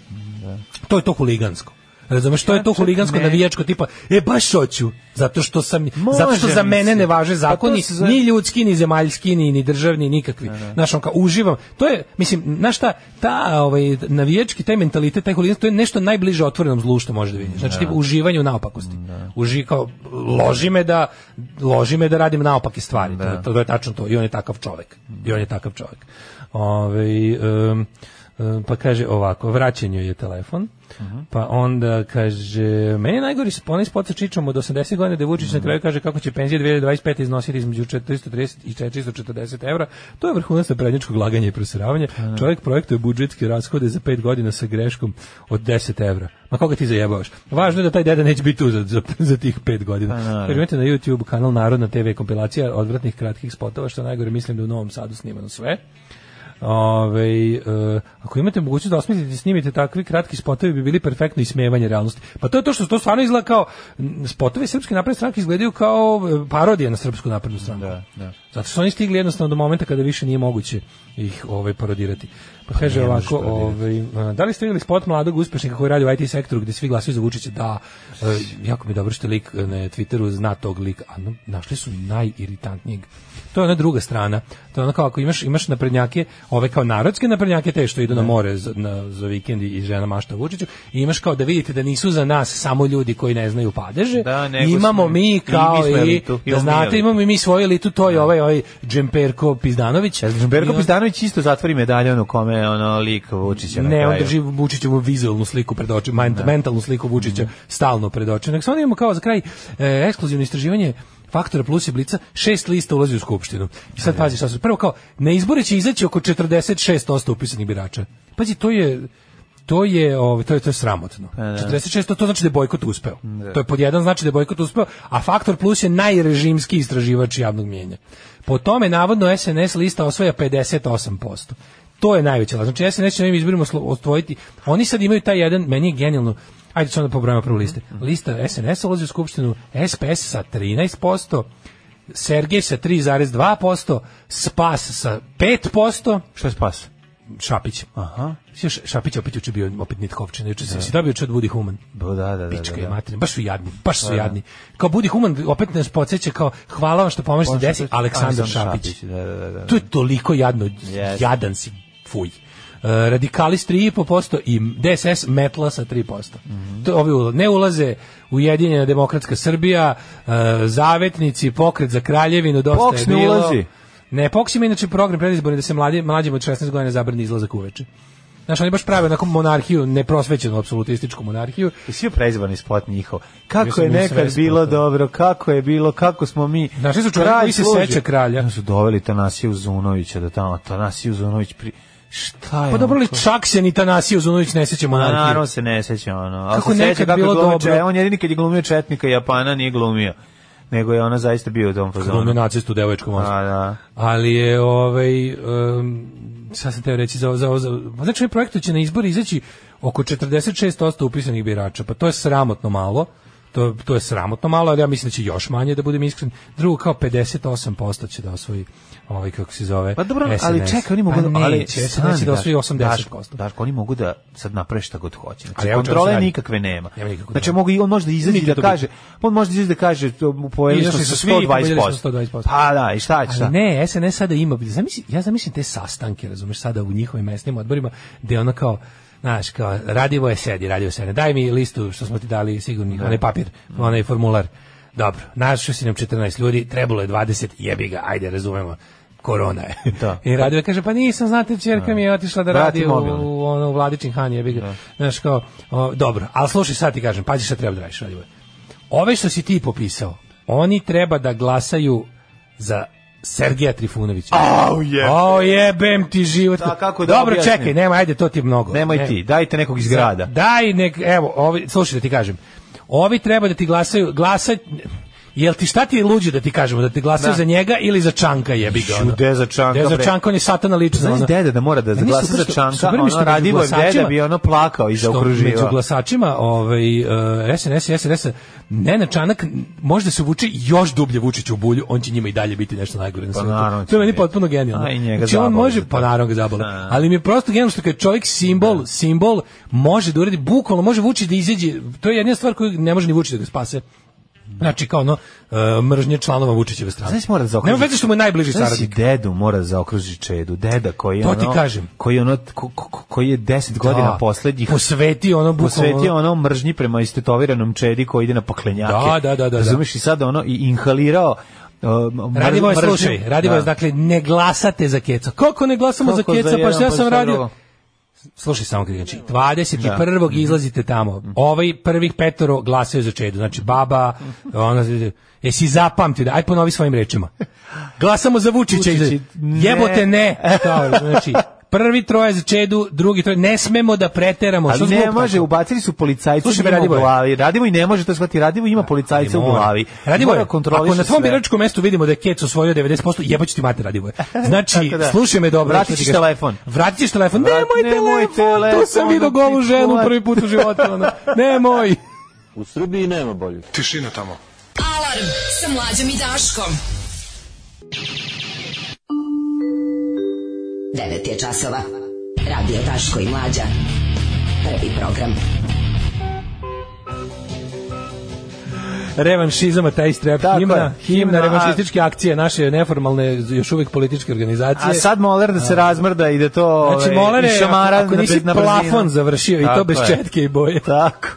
[SPEAKER 6] To je to huligansko. Razumeš, to je to huligansko
[SPEAKER 7] ne.
[SPEAKER 6] navijačko tipa, e baš hoću, zato što sam
[SPEAKER 7] Može,
[SPEAKER 6] zato što za mene
[SPEAKER 7] mislim.
[SPEAKER 6] ne važe
[SPEAKER 7] Pa
[SPEAKER 6] zakoni,
[SPEAKER 7] to se zove-
[SPEAKER 6] ni ljudski, ni zemaljski, ni, ni državni, nikakvi. Znaš, on kao, uživam. To je, mislim, znaš šta, ta ovaj, navijački, taj mentalitet, taj huliganski, to je nešto najbliže otvorenom zlu što možeš da vidiš. Znači, tipa, uživanje u naopakosti. Uži, kao, loži me da, loži me da radim naopake stvari. To, to je tačno to. I on je takav čovek. I on je takav čovek. Ovaj, em, em, pa kaže ovako, vraćenju je telefon. Pa onda kaže, meni je najgori s- onaj spot sa Čičom od 80 godina da je Vučić na kraju kaže kako će penzije 2025 iznositi između 430 i 440 evra. To je vrhunac prednjačkog laganja i prosiravanja. Čovjek projektuje budžetske rashode za 5 godina sa greškom od 10 evra. Ma koga ti zajebavaš? Važno je da taj deda neće biti tu za, za, za tih 5 godina. Kaže, imate na YouTube kanal Narodna TV kompilacija odvratnih kratkih spotova, što je najgore mislim da je u Novom Sadu snimano sve. Ove, Ovaj, e, ako imate mogućnost da osmislite i snimite takvi kratki spotovi bi bili perfektno ismevanje realnosti. Pa to je to što to stvarno izgleda kao m, spotovi srpske napredne stranke izgledaju kao e, parodije na srpsku naprednu stranku. Zato su oni stigli jednostavno do momenta kada više nije moguće ih ovaj parodirati. Pa kaže ovako, ovaj, a, da li ste vidjeli spot mladog uspešnika koji radi u IT sektoru gdje svi glasuju za Vučića? Da, e, jako mi je dobro što lik e, na Twitteru zna tog lika. A no, našli su najiritantnijeg. To je ona druga strana. To je ono kao ako imaš, imaš naprednjake, ove kao narodske naprednjake, te što idu na more za, na, za vikend i žena mašta Vučiću, i imaš kao da vidite da nisu za nas samo ljudi koji ne znaju padeže,
[SPEAKER 7] Da, nego
[SPEAKER 6] imamo
[SPEAKER 7] smo- i
[SPEAKER 6] mi
[SPEAKER 7] mi
[SPEAKER 6] kao
[SPEAKER 7] smo
[SPEAKER 6] i,
[SPEAKER 7] elitu,
[SPEAKER 6] da
[SPEAKER 7] imamo mi
[SPEAKER 6] znate,
[SPEAKER 7] elitu.
[SPEAKER 6] imamo i mi svoju elitu, to je ovaj, ovaj Džemperko Pizdanović. I
[SPEAKER 7] Berko
[SPEAKER 6] on-
[SPEAKER 7] Pizdanović isto zatvori medalje ono kome ono lik Vučića na
[SPEAKER 6] ne, on
[SPEAKER 7] kraju.
[SPEAKER 6] drži Vučićevu vizualnu sliku pred očima, ment- mentalnu sliku Vučića
[SPEAKER 7] Mhm.
[SPEAKER 6] stalno pred očima. Nek imamo kao za kraj e, ekskluzivno istraživanje Faktora plus i Blica, šest lista ulazi u Skupštinu. I sad pazi šta su. Prvo kao, na izbore će izaći oko 46% upisanih birača. Pazi, to je to je ovaj to je to je sramotno. 46 to znači da je bojkot uspeo. To je pod jedan znači da je bojkot uspeo, a faktor plus je najrežimski istraživač javnog mjenja. Po tome navodno SNS lista osvaja 58%. To je najveća laž. Znači, ja se neću na ovim izborima slo- osvojiti. Oni sad imaju taj jedan, meni je genijalno, ajde sad onda pobrojamo prvo liste. Lista SNS ulazi u skupštinu, SPS sa 13%, Sergej sa 3,2%, Spas sa 5%,
[SPEAKER 7] Što je spas?
[SPEAKER 6] Šapić.
[SPEAKER 7] Aha.
[SPEAKER 6] Sjećaš, Šapić je opet juče bio opet Nitkovčina, juče se si dobio juče od Budi Human.
[SPEAKER 7] Da, da, da. da,
[SPEAKER 6] Pička je
[SPEAKER 7] da. Pa
[SPEAKER 6] materina, baš su jadni, baš su jadni. Kao Budi Human opet nas podsjeća kao hvala vam što pomažete desi Aleksandar Šapić.
[SPEAKER 7] Da, da, da, da.
[SPEAKER 6] To je toliko jadno,
[SPEAKER 7] Yes.
[SPEAKER 6] jadan si, fuj. E, radikali s 3,5% i DSS metla sa 3%.
[SPEAKER 7] Mhm.
[SPEAKER 6] To ovi ula- ne ulaze Ujedinjena demokratska Srbija, e, zavetnici, pokret za kraljevinu, dosta
[SPEAKER 7] Poks
[SPEAKER 6] je
[SPEAKER 7] ne
[SPEAKER 6] bilo.
[SPEAKER 7] ulazi.
[SPEAKER 6] Ne, Poks ima inače program predizborni da se mlađi, mlađim od 16 godina zabrani izlazak uveče. Znaš, oni baš prave onako monarhiju, neprosvećenu apsolutističku monarhiju.
[SPEAKER 7] I svi prezvani spot njihov. Kako
[SPEAKER 6] Mislim,
[SPEAKER 7] je
[SPEAKER 6] mi sve
[SPEAKER 7] nekad
[SPEAKER 6] spotove.
[SPEAKER 7] bilo dobro, kako je bilo, kako smo mi...
[SPEAKER 6] Našli su čovjeka
[SPEAKER 7] Kralj
[SPEAKER 6] koji se
[SPEAKER 7] služi.
[SPEAKER 6] seče kralja.
[SPEAKER 7] Onda su doveli Tanasiju Zunovića da tamo, Tanasiju Zunović pri... Šta je?
[SPEAKER 6] Pa dobro
[SPEAKER 7] ono?
[SPEAKER 6] li čak se ni Tanasiju Zunović ne seća
[SPEAKER 7] Ma,
[SPEAKER 6] monarhiju.
[SPEAKER 7] Naravno se ne seća ono. Ali
[SPEAKER 6] Kako
[SPEAKER 7] se seća
[SPEAKER 6] nekad
[SPEAKER 7] je
[SPEAKER 6] bilo
[SPEAKER 7] glumio
[SPEAKER 6] dobro.
[SPEAKER 7] Čet- On jedini kad je glumio Četnika Japana nije glumio. Nego je ona zaista bio u tom
[SPEAKER 6] Glumio
[SPEAKER 7] fazonu.
[SPEAKER 6] nacistu u devojačkom mostu.
[SPEAKER 7] A, da.
[SPEAKER 6] Ali je ovaj um, sad sam teo reći za za za pa znači ovaj projektu će na izbori izaći oko 46% upisanih birača. Pa to je sramotno malo. To, to je sramotno malo, ali ja mislim da će još manje da budem iskren. Drugo kao 58% će da osvoji ovaj kako se zove.
[SPEAKER 7] Pa dobro, ali
[SPEAKER 6] SNS.
[SPEAKER 7] čekaj, oni mogu
[SPEAKER 6] pa
[SPEAKER 7] da, ali
[SPEAKER 6] neće, SNS će da osvoji 80%.
[SPEAKER 7] Daško, Daško, oni mogu da sad naprave šta god hoće. Znači,
[SPEAKER 6] Ali evo čemu se
[SPEAKER 7] kontrole
[SPEAKER 6] radi.
[SPEAKER 7] nikakve nema.
[SPEAKER 6] Nema nikakve
[SPEAKER 7] znači,
[SPEAKER 6] kontrole.
[SPEAKER 7] mogu i on može da izađe
[SPEAKER 6] Mi
[SPEAKER 7] da
[SPEAKER 6] to
[SPEAKER 7] kaže, on može da izađe da kaže, to, pojeli
[SPEAKER 6] Izašli
[SPEAKER 7] smo
[SPEAKER 6] su
[SPEAKER 7] sa
[SPEAKER 6] svi i pobedili smo
[SPEAKER 7] 120%.
[SPEAKER 6] 120%.
[SPEAKER 7] Pa da, i šta će šta?
[SPEAKER 6] Ali ne, SNS sada ima, zamisli, ja zamislim te sastanke, razumeš, sada u njihovim mesnim odborima, gde ono kao, znaš, kao, radivo je sedi, radivo sedi, daj mi listu što smo ti dali sigurni, onaj papir, onaj formular. Dobro, našao si nam 14 ljudi, trebalo je 20, jebi ga, ajde, razumemo, korona je.
[SPEAKER 7] Da.
[SPEAKER 6] I radio kaže, pa nisam, znate, čerka mi je otišla da
[SPEAKER 7] Vrati
[SPEAKER 6] radi u,
[SPEAKER 7] mobilni.
[SPEAKER 6] u, ono, u vladičin han, jebi ga. Znaš, kao, o, dobro, ali slušaj, sad ti kažem, pazi šta treba da radiš, Radivoje. Ove što si ti popisao, oni treba da glasaju za Sergeja Trifunovića.
[SPEAKER 7] Au je.
[SPEAKER 6] O, jebem ti život.
[SPEAKER 7] Da, kako da
[SPEAKER 6] Dobro,
[SPEAKER 7] objasnim?
[SPEAKER 6] čekaj, nema, ajde, to ti je mnogo.
[SPEAKER 7] Nemoj
[SPEAKER 6] Ne-
[SPEAKER 7] ti, dajte nekog iz grada.
[SPEAKER 6] Daj, nek, evo, ovi, slušaj da ti kažem. Ovi treba da ti glasaju, glasaj, Jel ti šta ti je luđe da ti kažemo da ti glasaju
[SPEAKER 7] Da.
[SPEAKER 6] za njega ili za Čanka jebi ga. ono?
[SPEAKER 7] Gde za Čanka,
[SPEAKER 6] Gde za
[SPEAKER 7] bre?
[SPEAKER 6] Čanka on je satana ono. lično.
[SPEAKER 7] Znaš deda da mora da
[SPEAKER 6] Meni su
[SPEAKER 7] glasa za
[SPEAKER 6] prosto-
[SPEAKER 7] čanka,
[SPEAKER 6] super mi je što
[SPEAKER 7] ono
[SPEAKER 6] među
[SPEAKER 7] Radivoje deda
[SPEAKER 6] glasačima-
[SPEAKER 7] bi ono plakao i
[SPEAKER 6] što među
[SPEAKER 7] zaokruživao.
[SPEAKER 6] glasačima ovaj, eh, SNS i SNS Nena Čanak možda se vuče još dublje Vučiću u bulju, on će njima i dalje biti nešto najgore na svetu.
[SPEAKER 7] Pa naravno
[SPEAKER 6] to je
[SPEAKER 7] će
[SPEAKER 6] meni
[SPEAKER 7] biti.
[SPEAKER 6] potpuno genijalno.
[SPEAKER 7] A, i njega
[SPEAKER 6] znači, on
[SPEAKER 7] zabole
[SPEAKER 6] može,
[SPEAKER 7] za to.
[SPEAKER 6] pa naravno ga zabole.
[SPEAKER 7] A.
[SPEAKER 6] Ali mi je prosto genijalno što kad čovjek simbol, simbol može da uradi, bukvalno može Vučić da izađe, to je jedna stvar koju ne može ni Vučić da ga spase. Znači kao ono eh, mržnje članova Vučićeve strane.
[SPEAKER 7] Znaš mora da zaokruži.
[SPEAKER 6] Nema veze što mu je najbliži
[SPEAKER 7] Znaš
[SPEAKER 6] saradnik.
[SPEAKER 7] si dedu mora da zaokruži čedu. Deda koji je
[SPEAKER 6] To
[SPEAKER 7] ono...
[SPEAKER 6] ti kažem.
[SPEAKER 7] Koji je ono... ko- ko- ko- koji je deset godina
[SPEAKER 6] Da.
[SPEAKER 7] poslednjih...
[SPEAKER 6] Posveti ono bukvalno-
[SPEAKER 7] posvetio ono mržnji prema istetoviranom čedi koji ide na poklenjake.
[SPEAKER 6] Da, da, da, da, da.
[SPEAKER 7] Razumeš i sad ono i inhalirao uh, mr-
[SPEAKER 6] Radivoje,
[SPEAKER 7] mržnju.
[SPEAKER 6] slušaj, Radivoje, dakle, ne glasate za Keca. Kako ne glasamo
[SPEAKER 7] Kako
[SPEAKER 6] za Keca? Pa
[SPEAKER 7] jedan,
[SPEAKER 6] šta ja sam
[SPEAKER 7] šta
[SPEAKER 6] radio?
[SPEAKER 7] drugo? Mhm.
[SPEAKER 6] Slušaj samo kada znači, 21. izlazite tamo. Ovaj prvih petoro glasaju za Čedu. Znači, baba,
[SPEAKER 7] Mhm.
[SPEAKER 6] ona, jesi zapamti, da, aj ponovi svojim rečima. Glasamo za Vučića.
[SPEAKER 7] Vučići,
[SPEAKER 6] izađe.
[SPEAKER 7] ne.
[SPEAKER 6] Jebote ne. Kao, znači, prvi troje za Čedu, drugi troje. Ne smemo da preteramo. Što
[SPEAKER 7] Ali
[SPEAKER 6] zglup
[SPEAKER 7] ne
[SPEAKER 6] tako?
[SPEAKER 7] može, ubacili su policajci
[SPEAKER 6] Slušaj, bre,
[SPEAKER 7] njima u
[SPEAKER 6] Radivoje.
[SPEAKER 7] glavi. Radimo i ne može to shvatiti. Radimo ima policajce u
[SPEAKER 6] Mora.
[SPEAKER 7] glavi.
[SPEAKER 6] Radivoje,
[SPEAKER 7] Mora kontroliše
[SPEAKER 6] ako na tvom
[SPEAKER 7] sve.
[SPEAKER 6] biračkom mestu vidimo da je Kec osvojio 90%, jebaću ti mater,
[SPEAKER 7] [laughs]
[SPEAKER 6] Radivoje. Znači,
[SPEAKER 7] Tako da.
[SPEAKER 6] slušaj me dobro.
[SPEAKER 7] Vratit ćeš
[SPEAKER 6] Što ti kažem.
[SPEAKER 7] telefon.
[SPEAKER 6] Vratit ćeš telefon.
[SPEAKER 7] Vrat-
[SPEAKER 6] nemoj,
[SPEAKER 7] nemoj
[SPEAKER 6] telefon, tu sam
[SPEAKER 7] telefon,
[SPEAKER 6] vidio golu
[SPEAKER 7] ti
[SPEAKER 6] ženu
[SPEAKER 7] čuvar.
[SPEAKER 6] prvi put u životu. ono.
[SPEAKER 7] [laughs]
[SPEAKER 6] Nemoj.
[SPEAKER 5] Alarm sa mlađom i Daškom.
[SPEAKER 2] 9 je časova. Radio Daško i Mlađa. Prvi program.
[SPEAKER 6] Revanšizam, taj strep,
[SPEAKER 7] Tako
[SPEAKER 6] himna,
[SPEAKER 7] je.
[SPEAKER 6] himna,
[SPEAKER 7] Himna, a-
[SPEAKER 6] revanšističke akcije, naše neformalne, još uvijek političke organizacije.
[SPEAKER 7] A sad moler da se razmrda i da to
[SPEAKER 6] Znači,
[SPEAKER 7] ovaj,
[SPEAKER 6] molere,
[SPEAKER 7] i šamara
[SPEAKER 6] ako
[SPEAKER 7] na-
[SPEAKER 6] nisi
[SPEAKER 7] na brzinu.
[SPEAKER 6] plafon završio i to
[SPEAKER 7] Tako
[SPEAKER 6] bez
[SPEAKER 7] je.
[SPEAKER 6] četke i boje.
[SPEAKER 7] Tako.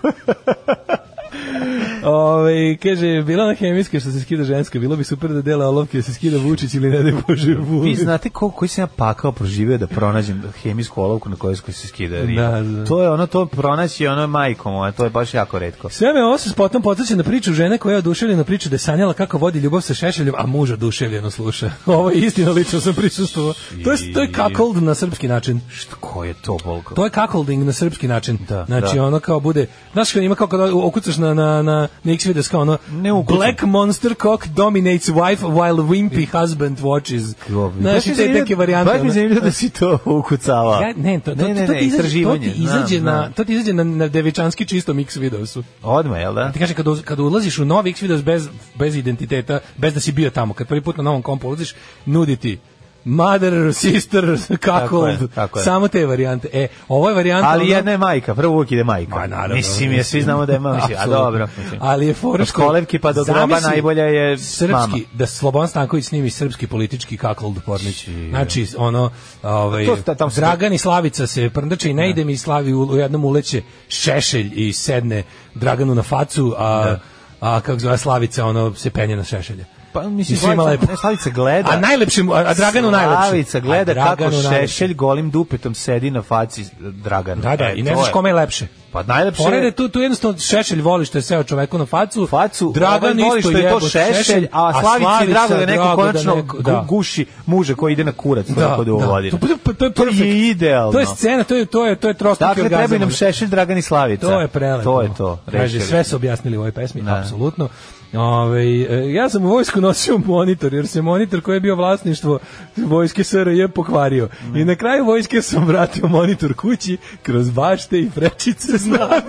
[SPEAKER 6] Ove, Ovaj, kaže, bila na hemijske što se skida ženska, bilo bi super da dela olovke da se skida Vučić ili ne daj Bože
[SPEAKER 7] Vi
[SPEAKER 6] Vulin.
[SPEAKER 7] znate koliko koji sam ja pakao proživio da pronađem hemijsku olovku na kojoj se skida riba.
[SPEAKER 6] Da, da.
[SPEAKER 7] To je ono, to pronaći je ono majkom, a to je baš jako redko.
[SPEAKER 6] Sve me ovo se potom podsjeća na priču žene koja je oduševljena priča da je sanjala kako vodi ljubav sa Šešeljom, a muž oduševljeno sluša. [laughs] Ovo je istina, lično sam prisustuo. To je, to je cuckold na srpski način.
[SPEAKER 7] Što, ko je to bolko?
[SPEAKER 6] To je cuckolding na srpski način.
[SPEAKER 7] Da,
[SPEAKER 6] znači
[SPEAKER 7] da.
[SPEAKER 6] ono kao bude, znaš kad ima kao kad okucaš na, na, na, na X videos kao ono
[SPEAKER 7] Ne ukucam.
[SPEAKER 6] Black monster cock dominates wife while wimpy husband watches. Znaš i te neke varijante.
[SPEAKER 7] Baš mi
[SPEAKER 6] ono.
[SPEAKER 7] je zanimljivo da si to ukucava.
[SPEAKER 6] Ja, ne, to, to,
[SPEAKER 7] ne, ne,
[SPEAKER 6] to ti izađe, to
[SPEAKER 7] istraživanje,
[SPEAKER 6] ti izađe
[SPEAKER 7] znam,
[SPEAKER 6] na,
[SPEAKER 7] znam.
[SPEAKER 6] to ti izađe na, na devičanski čistom X videosu.
[SPEAKER 7] Odmah, jel da?
[SPEAKER 6] Ti kaže kad, uz- kad ulaziš u novi X videos bez, bez identiteta, bez da si bio tamo, kad prvi put na novom kompu ulaziš, nudi ti mother, sister, [laughs] kako,
[SPEAKER 7] je, tako je.
[SPEAKER 6] samo te varijante. E, ovo je varijanta...
[SPEAKER 7] Ali
[SPEAKER 6] ono-
[SPEAKER 7] jedna je majka, prvo uvijek ide majka.
[SPEAKER 6] Ma, naravno,
[SPEAKER 7] mislim, je, svi znamo da je majka, a
[SPEAKER 6] Apsolutno.
[SPEAKER 7] dobro. Mislim.
[SPEAKER 6] Ali je fora
[SPEAKER 7] Od
[SPEAKER 6] što-
[SPEAKER 7] kolevke pa do groba
[SPEAKER 6] Zamisli
[SPEAKER 7] najbolja je
[SPEAKER 6] srpski
[SPEAKER 7] mama.
[SPEAKER 6] da Slobodan Stanković snimi srpski politički kakold pornić. Znači ono ovaj
[SPEAKER 7] To sta- tamo se-
[SPEAKER 6] Dragan i Slavica se prndače i ne ide mi Slavi u, u jednom uleće šešelj i sedne Draganu na facu, a a kako zove Slavica ono se penje na šešelja.
[SPEAKER 7] Pa mislim
[SPEAKER 6] I svima
[SPEAKER 7] Slavica-
[SPEAKER 6] lepo.
[SPEAKER 7] ne, Slavica gleda.
[SPEAKER 6] A najlepše mu- a, a Draganu najlepše.
[SPEAKER 7] Slavica gleda
[SPEAKER 6] A
[SPEAKER 7] kako
[SPEAKER 6] Draganu najlepše.
[SPEAKER 7] šešelj golim dupetom sedi na faci Dragana.
[SPEAKER 6] Da, da,
[SPEAKER 7] E,
[SPEAKER 6] i ne
[SPEAKER 7] to
[SPEAKER 6] znaš
[SPEAKER 7] je.
[SPEAKER 6] kome je lepše.
[SPEAKER 7] Pa najlepše
[SPEAKER 6] Pored je
[SPEAKER 7] je
[SPEAKER 6] tu, tu jednostavno Šešelj voli što je seo čoveku na facu.
[SPEAKER 7] facu,
[SPEAKER 6] Dragan
[SPEAKER 7] ovaj voli
[SPEAKER 6] isto
[SPEAKER 7] što je to
[SPEAKER 6] jebote,
[SPEAKER 7] šešelj, a Slavici je drago da neko
[SPEAKER 6] drago da
[SPEAKER 7] konačno
[SPEAKER 6] neko-
[SPEAKER 7] gu-
[SPEAKER 6] da.
[SPEAKER 7] guši muže koji ide na kurac
[SPEAKER 6] Da,
[SPEAKER 7] tako da
[SPEAKER 6] da.
[SPEAKER 7] uvodi.
[SPEAKER 6] To, to, to je
[SPEAKER 7] To je
[SPEAKER 6] perfekt.
[SPEAKER 7] idealno.
[SPEAKER 6] To je scena, to je to je to je trostruki
[SPEAKER 7] Dakle,
[SPEAKER 6] orgazam.
[SPEAKER 7] treba i nam šešelj Dragan i Slavica.
[SPEAKER 6] To je prelepo.
[SPEAKER 7] To je to.
[SPEAKER 6] Kaže,
[SPEAKER 7] rešili.
[SPEAKER 6] sve su objasnili u ovoj pesmi, apsolutno. Ove, e, ja sam u vojsku nosio monitor, jer se monitor koji je bio vlasništvo vojske SRJ pokvario.
[SPEAKER 7] Mm.
[SPEAKER 6] I na kraju vojske sam vratio monitor kući kroz bašte i [laughs] prečice znane.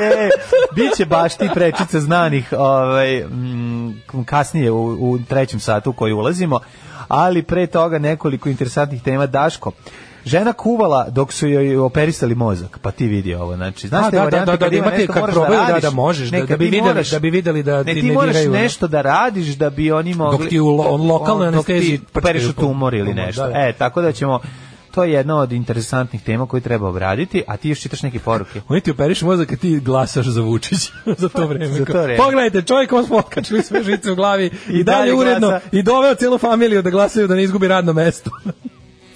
[SPEAKER 7] E, biće baš ti prečica znanih ovaj, mm, kasnije u, u trećem satu u koji ulazimo, ali pre toga nekoliko interesantnih tema. Daško, žena kuvala dok su joj operisali mozak, pa ti vidi ovo. Znači, znaš
[SPEAKER 6] A,
[SPEAKER 7] te
[SPEAKER 6] da,
[SPEAKER 7] varijante
[SPEAKER 6] da, da,
[SPEAKER 7] kad
[SPEAKER 6] da,
[SPEAKER 7] ima
[SPEAKER 6] imate
[SPEAKER 7] nešto
[SPEAKER 6] kad
[SPEAKER 7] moraš
[SPEAKER 6] probaju, da,
[SPEAKER 7] radiš,
[SPEAKER 6] da možeš, da-
[SPEAKER 7] ne,
[SPEAKER 6] da
[SPEAKER 7] kad
[SPEAKER 6] bi
[SPEAKER 7] ti
[SPEAKER 6] videli-
[SPEAKER 7] moraš-
[SPEAKER 6] da bi videli da
[SPEAKER 7] ne,
[SPEAKER 6] ti
[SPEAKER 7] ti,
[SPEAKER 6] ne
[SPEAKER 7] moraš
[SPEAKER 6] diraju, ono.
[SPEAKER 7] nešto da radiš da bi oni mogli...
[SPEAKER 6] ti u lo- lokalnoj
[SPEAKER 7] On- dok ti
[SPEAKER 6] anesteziji prčkaju
[SPEAKER 7] Perišu
[SPEAKER 6] po-
[SPEAKER 7] tumor ili
[SPEAKER 6] tumor,
[SPEAKER 7] nešto.
[SPEAKER 6] da, da.
[SPEAKER 7] E, tako da ćemo... To je jedna od interesantnih tema koju treba obraditi, a ti još čitaš neke poruke.
[SPEAKER 6] Oni ti operiš mozak a ti glasaš za Vučić za to vreme.
[SPEAKER 7] Za to vreme.
[SPEAKER 6] Pogledajte, čovjek vam smo otkačili sve žice u glavi i,
[SPEAKER 7] I
[SPEAKER 6] dalje
[SPEAKER 7] dalje
[SPEAKER 6] uredno
[SPEAKER 7] glasa.
[SPEAKER 6] i doveo cijelu familiju da glasaju da ne izgubi radno mesto.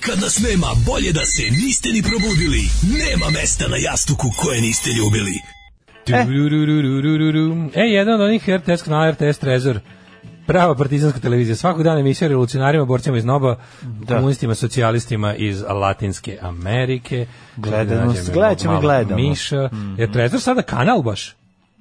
[SPEAKER 8] Kad nas nema, bolje da se niste ni probudili. Nema mesta na jastuku koje niste ljubili.
[SPEAKER 6] E, jedan od onih RTS kanala RTS Trezor prava partizanska televizija. Svakog dana emisija o revolucionarima, borcima iz Noba, komunistima, socijalistima iz Latinske Amerike.
[SPEAKER 7] Gledanost,
[SPEAKER 6] Da nađem
[SPEAKER 7] gledat ćemo i
[SPEAKER 6] malo
[SPEAKER 7] gledamo.
[SPEAKER 6] Miša. Je Trezor sada kanal baš?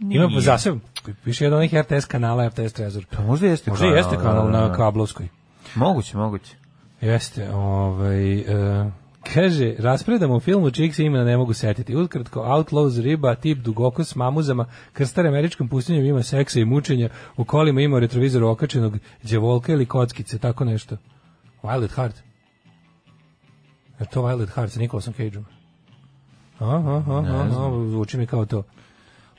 [SPEAKER 6] Ima
[SPEAKER 7] Nije.
[SPEAKER 6] zaseb, piše jedan od onih RTS kanala, RTS Trezor.
[SPEAKER 7] Pa možda jeste
[SPEAKER 6] Možda i
[SPEAKER 7] kanal,
[SPEAKER 6] jeste kanal
[SPEAKER 7] da, da,
[SPEAKER 6] na
[SPEAKER 7] da.
[SPEAKER 6] kablovskoj.
[SPEAKER 7] Moguće, moguće.
[SPEAKER 6] Jeste, ovaj, e, kaže, raspredamo u filmu čijeg se imena ne mogu setiti. Utkratko, Outlaws, riba, tip, dugoko s mamuzama, krstar američkom pustinjem ima seksa i mučenja, u kolima ima retrovizor okačenog djevolka ili kockice, tako nešto. Violet Heart. Je to Violet Heart sa Nicolasom Cageom? Aha, aha, aha, zvuči mi kao to.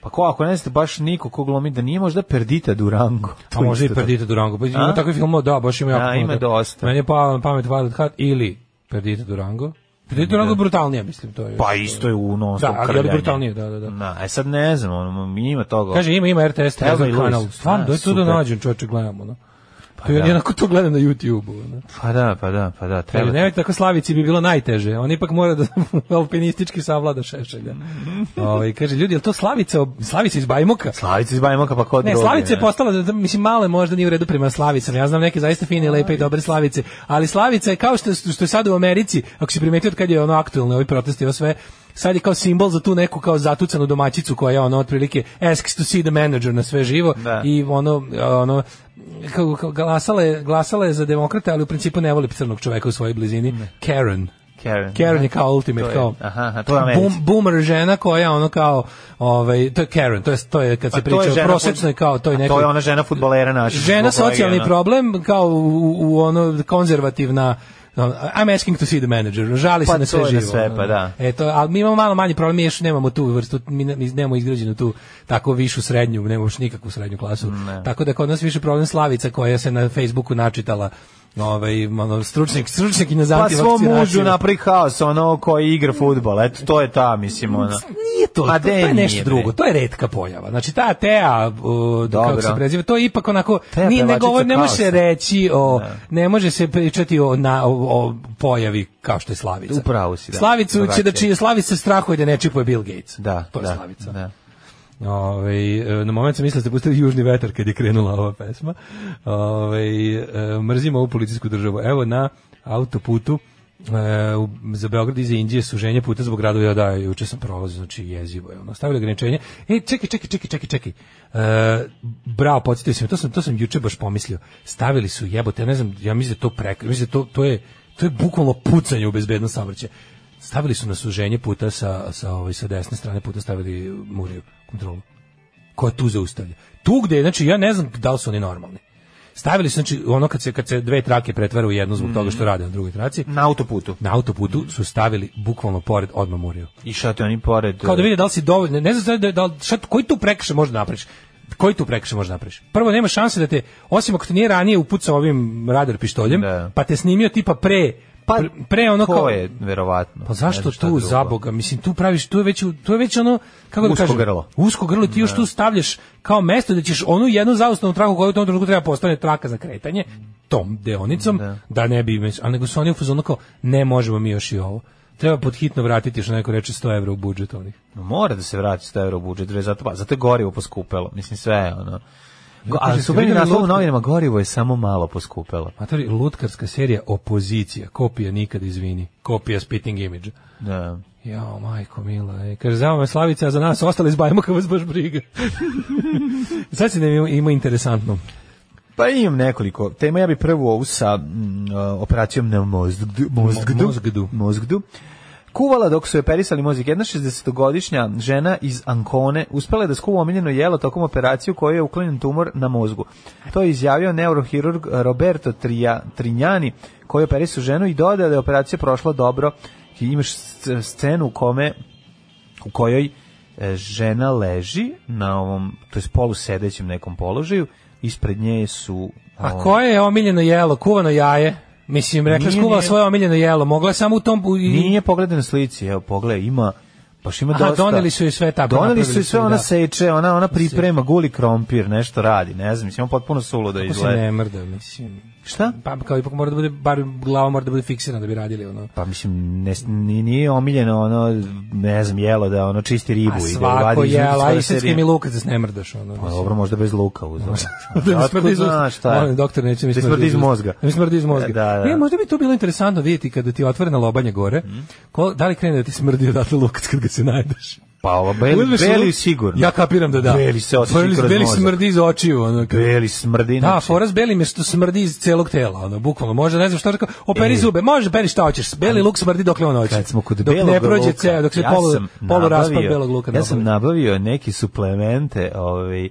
[SPEAKER 7] Pa ko, ako ne znate baš niko ko glomi da nije možda Perdita Durango.
[SPEAKER 6] A Pa možda i
[SPEAKER 7] isto tako.
[SPEAKER 6] Perdita Durango. Pa ima
[SPEAKER 7] A?
[SPEAKER 6] takvi film, da, baš ima jako
[SPEAKER 7] Da,
[SPEAKER 6] puno
[SPEAKER 7] ima
[SPEAKER 6] toga.
[SPEAKER 7] dosta.
[SPEAKER 6] Meni je pao na pamet Violet Heart ili Perdita Durango. Perdita Durango je brutalnija, mislim, to je.
[SPEAKER 7] Pa isto je u non stop
[SPEAKER 6] Da, ali- ali brutalnije, da, da, da.
[SPEAKER 7] Na, e sad ne znam, on, ima toga.
[SPEAKER 6] Kaže, ima, ima RTS,
[SPEAKER 7] Thelma
[SPEAKER 6] Trezor
[SPEAKER 7] i Louise.
[SPEAKER 6] kanal. Stvarno,
[SPEAKER 7] A,
[SPEAKER 6] da je to da
[SPEAKER 7] super.
[SPEAKER 6] nađem, čoče, gledamo, no. Pa ja
[SPEAKER 7] da.
[SPEAKER 6] jednako to gledam na YouTube-u. ono.
[SPEAKER 7] Pa da, pa da, pa da, treba.
[SPEAKER 6] Ali nemojte tako slavici bi bilo najteže. On ipak mora da [laughs] alpinistički savlada šešelja.
[SPEAKER 7] Mm.
[SPEAKER 6] Ovaj kaže ljudi, jel to slavica, ob- slavica iz Bajmoka?
[SPEAKER 7] Slavice iz Bajmoka pa kod
[SPEAKER 6] Ne, Slavica je postala, da- da- mislim, male možda nije u redu prema Slavicama. Ja znam neke zaista fine, lepe i dobre Slavice. Ali Slavica je kao što, što je sad u Americi, ako si primetio od kad je ono aktualno, ovi protesti, ovo sve, sad je kao simbol za tu neku kao zatucanu domaćicu koja je ono otprilike asks to see the manager na sve živo
[SPEAKER 7] Da.
[SPEAKER 6] i ono, ono kao, kao glasala, je, glasala je za demokrate, ali u principu ne voli crnog čoveka u svojoj blizini. Karen.
[SPEAKER 7] Karen.
[SPEAKER 6] Karen je kao ultimate,
[SPEAKER 7] To je-
[SPEAKER 6] kao
[SPEAKER 7] aha, aha, to je Americi.
[SPEAKER 6] boom- boomer žena koja ono kao, ovaj, to je Karen, to je, to je kad se
[SPEAKER 7] Pa to je
[SPEAKER 6] priča o
[SPEAKER 7] žena
[SPEAKER 6] prosečnoj
[SPEAKER 7] fut-
[SPEAKER 6] kao toj
[SPEAKER 7] A
[SPEAKER 6] nekoj...
[SPEAKER 7] To je ona žena fudbalera naša.
[SPEAKER 6] Žena
[SPEAKER 7] zbog koje je
[SPEAKER 6] socijalni
[SPEAKER 7] ona-
[SPEAKER 6] problem kao u, u ono konzervativna ono, I'm asking to see the manager. Žali
[SPEAKER 7] Pa
[SPEAKER 6] se na sve
[SPEAKER 7] to je
[SPEAKER 6] živo.
[SPEAKER 7] na sve,
[SPEAKER 6] ono.
[SPEAKER 7] pa da.
[SPEAKER 6] E, to, ali mi imamo malo manji problem, mi još nemamo tu vrstu, mi ne- mi nemamo izgrađenu tu tako višu srednju, nemamo još nikakvu srednju klasu. Tako da kod nas više problem Slavica koja se na Facebooku načitala ovaj, ono, stručnik, stručnik i na
[SPEAKER 7] Pa svom
[SPEAKER 6] antivakcinaciju.
[SPEAKER 7] mužu napravi haos, ono koji igra fudbal. Eto, to je ta, mislim,
[SPEAKER 6] [laughs]
[SPEAKER 7] ona.
[SPEAKER 6] Nije to,
[SPEAKER 7] Ma
[SPEAKER 6] to, to je
[SPEAKER 7] de,
[SPEAKER 6] nešto
[SPEAKER 7] nije, bre.
[SPEAKER 6] drugo, to je redka pojava. Znači ta Tea, o, kako
[SPEAKER 7] Dobro.
[SPEAKER 6] se preziva, to je ipak onako,
[SPEAKER 7] Tea
[SPEAKER 6] nije, ne,
[SPEAKER 7] pevačica
[SPEAKER 6] govor, ne može
[SPEAKER 7] kaosa.
[SPEAKER 6] se reći, o, ne može se pričati o, na, o, o pojavi kao što je Slavica.
[SPEAKER 7] U pravu si, da.
[SPEAKER 6] Slavicu će da
[SPEAKER 7] Drugačije.
[SPEAKER 6] čije, Slavica strahuje da ne čipuje Bill Gates.
[SPEAKER 7] Da,
[SPEAKER 6] to je
[SPEAKER 7] da,
[SPEAKER 6] Slavica.
[SPEAKER 7] Da.
[SPEAKER 6] Ovaj, e, na moment sam mislio da ste pustili južni vetar kad je krenula ova pesma. Ovaj, e, mrzimo ovu policijsku državu. Evo na autoputu e, u- za Beograd i za Indije suženje puta zbog gradova ja da juče sam prolazio znači jezivo je ono stavili ograničenje e čekaj čekaj čekaj čekaj čekaj e, bravo podsjetio sam to sam to sam juče baš pomislio stavili su jebote ja ne znam ja mislim da je to prek mislim da to to je to je bukvalno pucanje u bezbednost saobraćaja stavili su na suženje puta sa, sa, ovaj, sa desne strane puta stavili Muriju kontrolu koja tu zaustavlja. Tu gde, je, znači ja ne znam da li su oni normalni. Stavili su, znači, ono kad se, kad se dve trake pretvara u jednu zbog
[SPEAKER 7] Mhm.
[SPEAKER 6] toga što rade na drugoj traci,
[SPEAKER 7] Na autoputu.
[SPEAKER 6] na autoputu su stavili bukvalno pored odmah Muriju.
[SPEAKER 7] I šta te oni pored...
[SPEAKER 6] Kao da vide da li si dovoljno, ne znam sad da, da li- šta, koji tu prekršaj može napraviš? Koji tu prekršaj može napraviš? Prvo, nema šanse da te, osim ako te nije ranije upucao ovim radar pištoljem,
[SPEAKER 7] Da.
[SPEAKER 6] pa te snimio tipa pre,
[SPEAKER 7] Pa,
[SPEAKER 6] pre, pre ono
[SPEAKER 7] To
[SPEAKER 6] kao...
[SPEAKER 7] je, verovatno.
[SPEAKER 6] Pa
[SPEAKER 7] Ne
[SPEAKER 6] zašto
[SPEAKER 7] znam šta
[SPEAKER 6] tu
[SPEAKER 7] drugo.
[SPEAKER 6] za boga? Mislim tu praviš, tu je već u- tu je već ono kako da
[SPEAKER 7] Usko
[SPEAKER 6] kažem,
[SPEAKER 7] grlo.
[SPEAKER 6] Usko grlo ti još tu stavljaš kao mesto da ćeš onu jednu zaustavnu traku koju u tom trenutku treba postane traka za kretanje tom deonicom da, ne bi mes- a nego su oni u fazonu kao ne možemo mi još i ovo. Treba pod hitno vratiti što neko reče 100 evra u budžet onih.
[SPEAKER 7] No, Mora da se vrati 100 evra u budžet, bre, zato, pa, zato je gorivo poskupelo. Mislim, sve je ono. Go, ali
[SPEAKER 6] jeste
[SPEAKER 7] su bili
[SPEAKER 6] videli
[SPEAKER 7] naslov u
[SPEAKER 6] lutku?
[SPEAKER 7] novinama, gorivo je samo malo poskupelo.
[SPEAKER 6] Matori, lutkarska serija Opozicija, kopija nikad izvini, kopija spitting image.
[SPEAKER 7] Da.
[SPEAKER 6] Jao, majko mila, e. kaže, znamo me Slavica, a za nas ostali zbajmo kako vas baš briga. [laughs] Sad si nam ima interesantno.
[SPEAKER 7] Pa imam nekoliko tema, ja bi prvu ovu sa mm, operacijom na mozgdu, mozgdu,
[SPEAKER 6] mozgdu.
[SPEAKER 7] mozgdu. Kuvala dok su joj perisali mozak. Jedna 60-godišnja žena iz Ankone uspela je da skuva omiljeno jelo tokom operacije u kojoj je uklonjen tumor na mozgu. To je izjavio neurohirurg Roberto Trija, Trinjani koji je operisao ženu i dodao da je operacija prošla dobro. I imaš sc- scenu u kome u kojoj e, žena leži na ovom, to jest polusedećem nekom položaju, ispred nje su...
[SPEAKER 6] A
[SPEAKER 7] ovaj,
[SPEAKER 6] Pa koje je omiljeno jelo? Kuvano jaje? Mislim, rekla je
[SPEAKER 7] Nije,
[SPEAKER 6] skuvala
[SPEAKER 7] nije.
[SPEAKER 6] svoje omiljeno jelo. Mogla je samo u tom... u- i-
[SPEAKER 7] Nije pogledaj na slici, evo pogledaj, ima baš ima
[SPEAKER 6] Aha,
[SPEAKER 7] dosta.
[SPEAKER 6] doneli su joj sve tako,
[SPEAKER 7] Doneli
[SPEAKER 6] napravili
[SPEAKER 7] su joj
[SPEAKER 6] su
[SPEAKER 7] sve,
[SPEAKER 6] joj,
[SPEAKER 7] ona
[SPEAKER 6] da.
[SPEAKER 7] seče, ona ona priprema guli krompir, nešto radi, ne znam, mislim, on potpuno sulo da
[SPEAKER 6] Kako se
[SPEAKER 7] izgleda.
[SPEAKER 6] ne mrda, mislim.
[SPEAKER 7] Šta?
[SPEAKER 6] Pa kao ipak mora da bude, bar glava mora da bude fiksirana da bi radili ono.
[SPEAKER 7] Pa mislim ne, ni- nije omiljeno ono ne znam jelo da ono čisti ribu
[SPEAKER 6] A
[SPEAKER 7] i da
[SPEAKER 6] svako
[SPEAKER 7] uradi-
[SPEAKER 6] jelo, a
[SPEAKER 7] skoro
[SPEAKER 6] i
[SPEAKER 7] se
[SPEAKER 6] srpski
[SPEAKER 7] ri-
[SPEAKER 6] mi lukac da se ne mrdaš. Ono,
[SPEAKER 7] Pa
[SPEAKER 6] mislim.
[SPEAKER 7] dobro, možda bez luka uz.
[SPEAKER 6] [laughs] da mi
[SPEAKER 7] Otkud
[SPEAKER 6] smrdi iz
[SPEAKER 7] znaš šta
[SPEAKER 6] usta.
[SPEAKER 7] je?
[SPEAKER 6] Molim, doktor, neće mi
[SPEAKER 7] Da smrdi iz
[SPEAKER 6] usta.
[SPEAKER 7] mozga.
[SPEAKER 6] Da mi smrdi iz mozga.
[SPEAKER 7] Da, da. Mhm.
[SPEAKER 6] E, možda bi to bilo interesantno vidjeti kada ti je otvorena lobanja gore, ko, da li krene da ti smrdi odatle lukac kad ga se najdeš.
[SPEAKER 7] Pa ovo, beli,
[SPEAKER 6] Uzmeš
[SPEAKER 7] beli
[SPEAKER 6] luk-
[SPEAKER 7] sigurno.
[SPEAKER 6] Ja kapiram da da.
[SPEAKER 7] Beli se osjeća
[SPEAKER 6] Beli-
[SPEAKER 7] kroz
[SPEAKER 6] Beli
[SPEAKER 7] mozak.
[SPEAKER 6] smrdi iz očiju. Ono, kad-
[SPEAKER 7] Beli smrdi.
[SPEAKER 6] Da,
[SPEAKER 7] znači.
[SPEAKER 6] fora s belim je što smrdi iz celog tela, ono, bukvalno, može, ne znam što rekao, operi
[SPEAKER 7] E.
[SPEAKER 6] zube, može, beri šta hoćeš, beli luk smrdi dokle on hoće.
[SPEAKER 7] Kad smo kod
[SPEAKER 6] dok
[SPEAKER 7] belog
[SPEAKER 6] ne prođe
[SPEAKER 7] luka,
[SPEAKER 6] ceo, dok se
[SPEAKER 7] ja
[SPEAKER 6] polu,
[SPEAKER 7] sam
[SPEAKER 6] polu raspad
[SPEAKER 7] nabavio-
[SPEAKER 6] belog luka.
[SPEAKER 7] Ja sam
[SPEAKER 6] napravi.
[SPEAKER 7] nabavio neke suplemente, ovaj,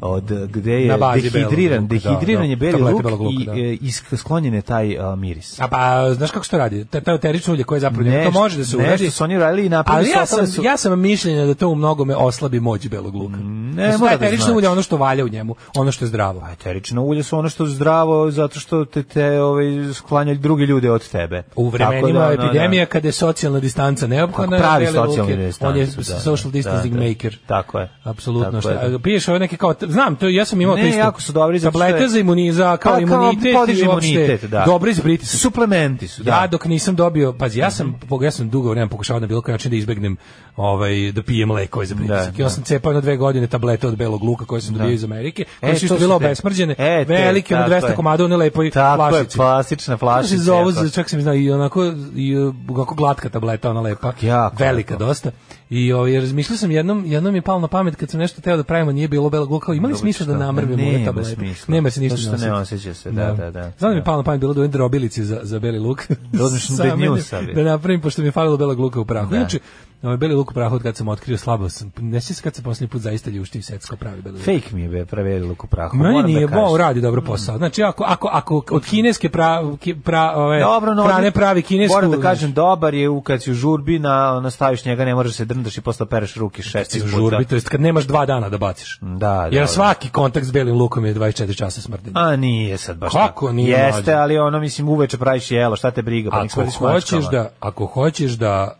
[SPEAKER 7] od gde je
[SPEAKER 6] Na bazi
[SPEAKER 7] dehidriran,
[SPEAKER 6] belog luka, da,
[SPEAKER 7] dehidriran
[SPEAKER 6] da.
[SPEAKER 7] je beli
[SPEAKER 6] Tablete
[SPEAKER 7] luk,
[SPEAKER 6] belog luka,
[SPEAKER 7] i
[SPEAKER 6] da.
[SPEAKER 7] e, isk- sklonjen je taj a, miris.
[SPEAKER 6] A pa, znaš kako se to radi? Taj taj eterično ulje koje je zapravo, to može da se uradi.
[SPEAKER 7] Nešto su oni radili i napravili
[SPEAKER 6] Ali
[SPEAKER 7] su,
[SPEAKER 6] ja
[SPEAKER 7] ostale
[SPEAKER 6] sam,
[SPEAKER 7] su...
[SPEAKER 6] ja sam mišljenja da to u mnogome oslabi moć belog luka. da su
[SPEAKER 7] mora
[SPEAKER 6] taj
[SPEAKER 7] da
[SPEAKER 6] eterično
[SPEAKER 7] znači.
[SPEAKER 6] ulje ono što valja u njemu, ono što je zdravo.
[SPEAKER 7] Pa eterično ulje su ono što je zdravo zato što te te ovaj sklanjaju drugi ljude od tebe.
[SPEAKER 6] U
[SPEAKER 7] Tako
[SPEAKER 6] vremenima
[SPEAKER 7] da, ono,
[SPEAKER 6] epidemije kada je socijalna distanca neophodna,
[SPEAKER 7] Tako, pravi
[SPEAKER 6] Beli Luk je-
[SPEAKER 7] socijalni
[SPEAKER 6] on je
[SPEAKER 7] distancu, da, da,
[SPEAKER 6] social distancing
[SPEAKER 7] da, da.
[SPEAKER 6] maker.
[SPEAKER 7] Tako je.
[SPEAKER 6] Apsolutno.
[SPEAKER 7] Tako
[SPEAKER 6] Šta,
[SPEAKER 7] je.
[SPEAKER 6] piješ ove neke kao, znam, to ja sam imao
[SPEAKER 7] Ne,
[SPEAKER 6] to isto.
[SPEAKER 7] jako su dobri zato što je-
[SPEAKER 6] Tablete za imuniza, kao
[SPEAKER 7] Pa, kao
[SPEAKER 6] imunitet
[SPEAKER 7] podiže
[SPEAKER 6] i uopšte
[SPEAKER 7] imunitet, da.
[SPEAKER 6] Dobri za pritisak.
[SPEAKER 7] Suplementi su, da. Mhm.
[SPEAKER 6] Ja dok nisam dobio, pazi, ja sam, pog- ja sam dugo vremena pokušavao na bilo koji način da izbegnem ovaj, da pijem lekove za pritisak.
[SPEAKER 7] Da,
[SPEAKER 6] I onda sam cepao na dve godine tablete od belog luka koje sam dobio iz Amerike, koje su
[SPEAKER 7] E, to
[SPEAKER 6] isto
[SPEAKER 7] su
[SPEAKER 6] bile
[SPEAKER 7] te-
[SPEAKER 6] obesmrđene,
[SPEAKER 7] E, te,
[SPEAKER 6] velike, ono
[SPEAKER 7] tako je.
[SPEAKER 6] 200 komada, one lepo i
[SPEAKER 7] Tako je,
[SPEAKER 6] plašice.
[SPEAKER 7] plastična flašica,
[SPEAKER 6] Kako se zovu,
[SPEAKER 7] pa.
[SPEAKER 6] čak sam znao, i onako, i, uh, onako glatka tableta, ona lepa,
[SPEAKER 7] Jako
[SPEAKER 6] velika
[SPEAKER 7] lepo.
[SPEAKER 6] dosta. I ovaj, razmišljao sam, jednom, jednom mi je palo na pamet kad sam nešto teo da pravimo, nije bilo belog luka, kao, ima li smisla da
[SPEAKER 7] šta?
[SPEAKER 6] namrvimo ove
[SPEAKER 7] Nema
[SPEAKER 6] tablete?
[SPEAKER 7] smisla.
[SPEAKER 6] Nema se ništa
[SPEAKER 7] Zato što ne osjeća se, da, da, da.
[SPEAKER 6] Znam da mi je
[SPEAKER 7] Da.
[SPEAKER 6] palo na pamet bilo da uvijem drobilici za, za beli luk.
[SPEAKER 7] [laughs] Da uzmeš
[SPEAKER 6] [laughs] Sa
[SPEAKER 7] bednju
[SPEAKER 6] mene-
[SPEAKER 7] sebi.
[SPEAKER 6] Da napravim, pošto mi je falilo belog luka u prahu. Inače, ovaj beli luk u prahu, od kad sam otkrio, slabo sam. Ne sjećam se kad sam posljednji put zaista ljuštio i secko pravi beli luk.
[SPEAKER 7] Fake mi je be prevedilo ku prahu.
[SPEAKER 6] Meni
[SPEAKER 7] moram da
[SPEAKER 6] nije
[SPEAKER 7] kažem.
[SPEAKER 6] bo, radi dobro posao. Znači ako ako ako od kineske pra, ki- pra ove
[SPEAKER 7] Dobro, no,
[SPEAKER 6] prane pravi kinesku.
[SPEAKER 7] Moram da
[SPEAKER 6] znaš,
[SPEAKER 7] kažem, dobar je u kad si u žurbi, na, ono, staviš njega, ne možeš se drndaš i posle pereš ruke šest
[SPEAKER 6] si u
[SPEAKER 7] puta.
[SPEAKER 6] žurbi, to jest kad nemaš dva dana da baciš.
[SPEAKER 7] Da, da.
[SPEAKER 6] Jer svaki kontakt s belim lukom je 24 časa smrdi.
[SPEAKER 7] A nije sad baš
[SPEAKER 6] Kako
[SPEAKER 7] tako.
[SPEAKER 6] nije,
[SPEAKER 7] Jeste,
[SPEAKER 6] mlađe?
[SPEAKER 7] ali ono, mislim, uveče praviš jelo, šta te briga, pa nek
[SPEAKER 6] Ako
[SPEAKER 7] smrdiš
[SPEAKER 6] hoćeš
[SPEAKER 7] mačkama.
[SPEAKER 6] da ako hoćeš da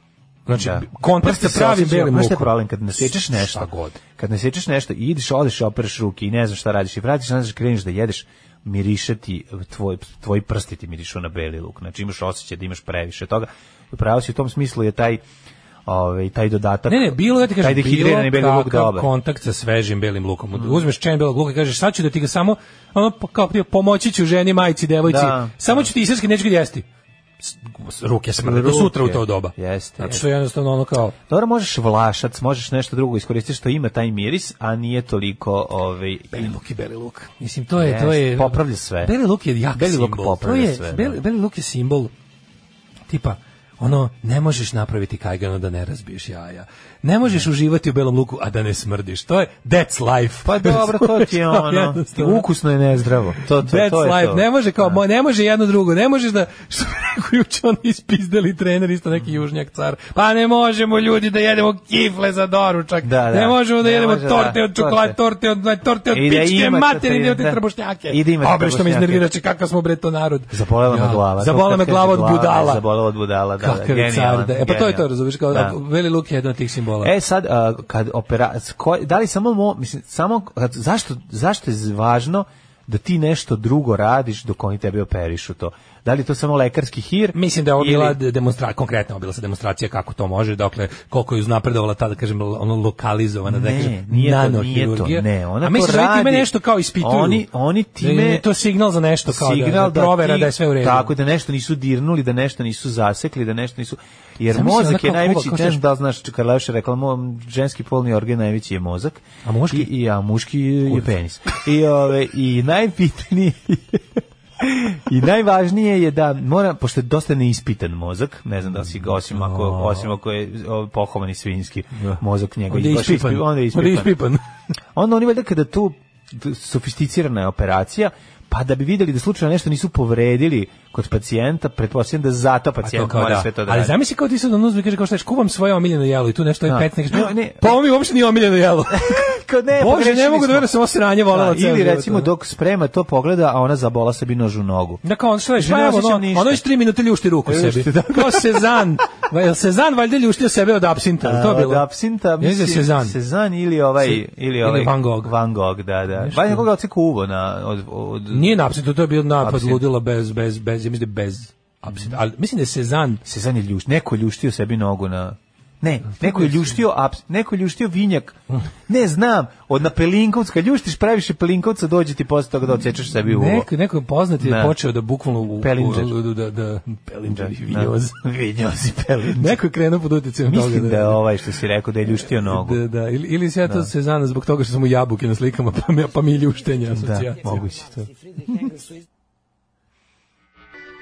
[SPEAKER 6] znači
[SPEAKER 7] Da.
[SPEAKER 6] kontakt
[SPEAKER 7] Prste
[SPEAKER 6] sa
[SPEAKER 7] se
[SPEAKER 6] pravim
[SPEAKER 7] osjećaju,
[SPEAKER 6] belim
[SPEAKER 7] znaš šta je
[SPEAKER 6] lukom.
[SPEAKER 7] problem kad nasečeš nešto.
[SPEAKER 6] Šta god.
[SPEAKER 7] Kad nasečeš nešto i ideš, odeš, i opereš ruke i ne znaš šta radiš i vratiš, ne znaš kreneš da jedeš, miriše ti tvoj tvoji prsti ti mirišu na beli luk. Znači imaš osjećaj da imaš previše toga. I Pravo si u tom smislu je taj ovaj taj dodatak.
[SPEAKER 6] Ne, ne, bilo ja ti
[SPEAKER 7] taj
[SPEAKER 6] kažem,
[SPEAKER 7] dehidrirani
[SPEAKER 6] bilo
[SPEAKER 7] beli luk
[SPEAKER 6] kakav
[SPEAKER 7] dobar. Mm.
[SPEAKER 6] kontakt sa svežim belim lukom. Uzmeš čem belog luka i kažeš, sad ću da ti ga samo, ono, po- kao prije, pomoći ću ženi, majici, devojci,
[SPEAKER 7] Da.
[SPEAKER 6] samo ću ti isrski, neću ga jesti. S- s- Ruke smrde, do
[SPEAKER 7] Ruke.
[SPEAKER 6] sutra u to doba.
[SPEAKER 7] Jeste,
[SPEAKER 6] Zato
[SPEAKER 7] jeste.
[SPEAKER 6] što je jednostavno ono kao,
[SPEAKER 7] Dobro, možeš vlašac, možeš nešto drugo iskoristiti što ima taj miris, a nije toliko ovaj
[SPEAKER 6] beli luk i beli luk. Mislim, to je,
[SPEAKER 7] Jeste,
[SPEAKER 6] to je...
[SPEAKER 7] popravlja sve.
[SPEAKER 6] Beli luk je jak
[SPEAKER 7] Beli luk
[SPEAKER 6] simbol.
[SPEAKER 7] popravlja
[SPEAKER 6] to je,
[SPEAKER 7] sve, da.
[SPEAKER 6] Beli, beli luk je simbol tipa ono, ne možeš napraviti kajgano da ne razbiješ jaja. Ne možeš uživati u belom luku, a da ne smrdiš. To je, that's life. [laughs]
[SPEAKER 7] Pa dobro, to ti je ono.
[SPEAKER 6] Jednostavno.
[SPEAKER 7] Ukusno je nezdravo. To, to,
[SPEAKER 6] That's
[SPEAKER 7] to je
[SPEAKER 6] life.
[SPEAKER 7] to.
[SPEAKER 6] Ne može kao, mo- ne može jedno drugo. Ne možeš da što bi rekao juče on ispizdeli trener isto neki južnjak car. Pa ne možemo ljudi da jedemo kifle za doručak.
[SPEAKER 7] Da, da.
[SPEAKER 6] Ne možemo da
[SPEAKER 7] Ne
[SPEAKER 6] jedemo
[SPEAKER 7] može, da,
[SPEAKER 6] torte od
[SPEAKER 7] torte.
[SPEAKER 6] čokolade, torte od torte od
[SPEAKER 7] I da
[SPEAKER 6] pičke
[SPEAKER 7] imate
[SPEAKER 6] materine
[SPEAKER 7] tri-
[SPEAKER 6] od te
[SPEAKER 7] da.
[SPEAKER 6] trbušnjake.
[SPEAKER 7] I da imate
[SPEAKER 6] A, bre, što me
[SPEAKER 7] trbušnjake.
[SPEAKER 6] iznervira, če kakav smo bre to narod.
[SPEAKER 7] Zabolela me
[SPEAKER 6] Ja.
[SPEAKER 7] glava. e,
[SPEAKER 6] Zabolela me glava od budala.
[SPEAKER 7] Zabolela od budala, da. da,
[SPEAKER 6] Kakav je
[SPEAKER 7] genijalan,
[SPEAKER 6] car. da. E pa to je to,
[SPEAKER 7] genijalan.
[SPEAKER 6] razumiješ, kao
[SPEAKER 7] Da.
[SPEAKER 6] Veli Luk je jedan od tih simbola.
[SPEAKER 7] E sad a, kad opera s koj- da li samo mo- mislim samo kad- zašto zašto je z- važno da ti nešto drugo radiš dok oni tebe operišu to. Da li je to samo lekarski hir?
[SPEAKER 6] Mislim da je ovo
[SPEAKER 7] ili-
[SPEAKER 6] bila demonstra konkretno obila se demonstracija kako to može, dokle koliko je uznapredovala ta da kažem lo- ono lokalizovana da
[SPEAKER 7] Ne,
[SPEAKER 6] kažem
[SPEAKER 7] nije to-
[SPEAKER 6] nanohirurgija.
[SPEAKER 7] nije to, ne, ona
[SPEAKER 6] A
[SPEAKER 7] to
[SPEAKER 6] misliš da oni time
[SPEAKER 7] radi-
[SPEAKER 6] nešto kao ispituju.
[SPEAKER 7] Oni- oni time-
[SPEAKER 6] da je to signal za nešto kao da-
[SPEAKER 7] signal
[SPEAKER 6] da, provera
[SPEAKER 7] ti-
[SPEAKER 6] da je sve u redu.
[SPEAKER 7] Tako da nešto nisu dirnuli, da nešto nisu zasekli, da nešto nisu jer
[SPEAKER 6] Zamisli
[SPEAKER 7] mozak
[SPEAKER 6] onako
[SPEAKER 7] je najveći,
[SPEAKER 6] koga, ko
[SPEAKER 7] ne znam
[SPEAKER 6] što-
[SPEAKER 7] da li znaš, Karlaš je rekla, mom ženski polni organ najveći je mozak.
[SPEAKER 6] A muški?
[SPEAKER 7] I, i- a muški je penis. I ove i najbitniji [laughs] I najvažnije je da mora, pošto je dosta neispitan mozak, ne znam da li si ga, osim ako, osim ako je o, pohovani svinjski mozak njegov.
[SPEAKER 6] Onda je
[SPEAKER 7] baš ispi-
[SPEAKER 6] ispipan.
[SPEAKER 7] Onda je
[SPEAKER 6] Onda je
[SPEAKER 7] ispipan.
[SPEAKER 6] ispipan.
[SPEAKER 7] Onda oni valjda kada tu d- sofisticirana je operacija, pa da bi videli da slučajno nešto nisu povredili kod pacijenta, pretpostavljam da zato
[SPEAKER 6] Pa to
[SPEAKER 7] pacijent
[SPEAKER 6] kao
[SPEAKER 7] mora
[SPEAKER 6] da.
[SPEAKER 7] sve to da
[SPEAKER 6] Ali
[SPEAKER 7] radi.
[SPEAKER 6] zamisli kao ti sad on uzme i kaže kao šta ješ, kuvam svoje omiljeno jelo i tu nešto je
[SPEAKER 7] Da.
[SPEAKER 6] pecnik.
[SPEAKER 7] Ne, ne. E,
[SPEAKER 6] Pa ovo mi uopšte nije omiljeno
[SPEAKER 7] [laughs]
[SPEAKER 6] jelo.
[SPEAKER 7] Kao, ne,
[SPEAKER 6] Bože,
[SPEAKER 7] pogrešili
[SPEAKER 6] ne mogu da
[SPEAKER 7] smo.
[SPEAKER 6] verujem da sam ovo sranje volela
[SPEAKER 7] Da,
[SPEAKER 6] ceo
[SPEAKER 7] Ili
[SPEAKER 6] život,
[SPEAKER 7] recimo
[SPEAKER 6] ono.
[SPEAKER 7] dok sprema to pogleda, a ona zabola sebi nož u nogu.
[SPEAKER 6] Da kao on šta je,
[SPEAKER 7] Ne
[SPEAKER 6] pa evo,
[SPEAKER 7] osjećam
[SPEAKER 6] ono,
[SPEAKER 7] ništa.
[SPEAKER 6] ono još tri minute ljušti ruku
[SPEAKER 7] Ljušti,
[SPEAKER 6] sebi.
[SPEAKER 7] da.
[SPEAKER 6] Kao Sezan, va- jel Sezan valjda ljuštio sebe od apsinta, jel to je bilo?
[SPEAKER 7] Od apsinta,
[SPEAKER 6] Jel da je Sezan.
[SPEAKER 7] Sezan ili ovaj,
[SPEAKER 6] Se-
[SPEAKER 7] ili ovaj
[SPEAKER 6] Van Gogh.
[SPEAKER 7] Van Gogh, da, da. Baš nekoga odseku uvo na, od, od,
[SPEAKER 6] Nije na apsintu, to je bio napad
[SPEAKER 7] Apsint.
[SPEAKER 6] ludila bez, bez, bez, ja mislim da je bez apsinta. Ali mislim da je Sezan,
[SPEAKER 7] Sezan je ljuš, neko je ljuštio sebi nogu na, Ne, neko je ljuštio, aps- neko je ljuštio vinjak. Ne znam, od na Pelinkovca, ljuštiš previše Pelinkovca, dođe ti posle toga da odsečeš sebi uvo.
[SPEAKER 6] Neko, neko poznat je
[SPEAKER 7] Da.
[SPEAKER 6] počeo da bukvalno u, u,
[SPEAKER 7] Pelinđer.
[SPEAKER 6] u- da, da, Pelinđer i
[SPEAKER 7] Da.
[SPEAKER 6] vinjoz.
[SPEAKER 7] Vinjoz i Pelinđer.
[SPEAKER 6] Neko je krenuo pod utjecajem toga.
[SPEAKER 7] Mislim da je ovaj što si rekao da je ljuštio nogu.
[SPEAKER 6] Da, da, ili, ili se ja to se znam zbog toga što sam u jabuke na slikama, [laughs] pa mi, pa mi ljuštenja
[SPEAKER 7] Da,
[SPEAKER 6] asocijacija.
[SPEAKER 7] moguće to.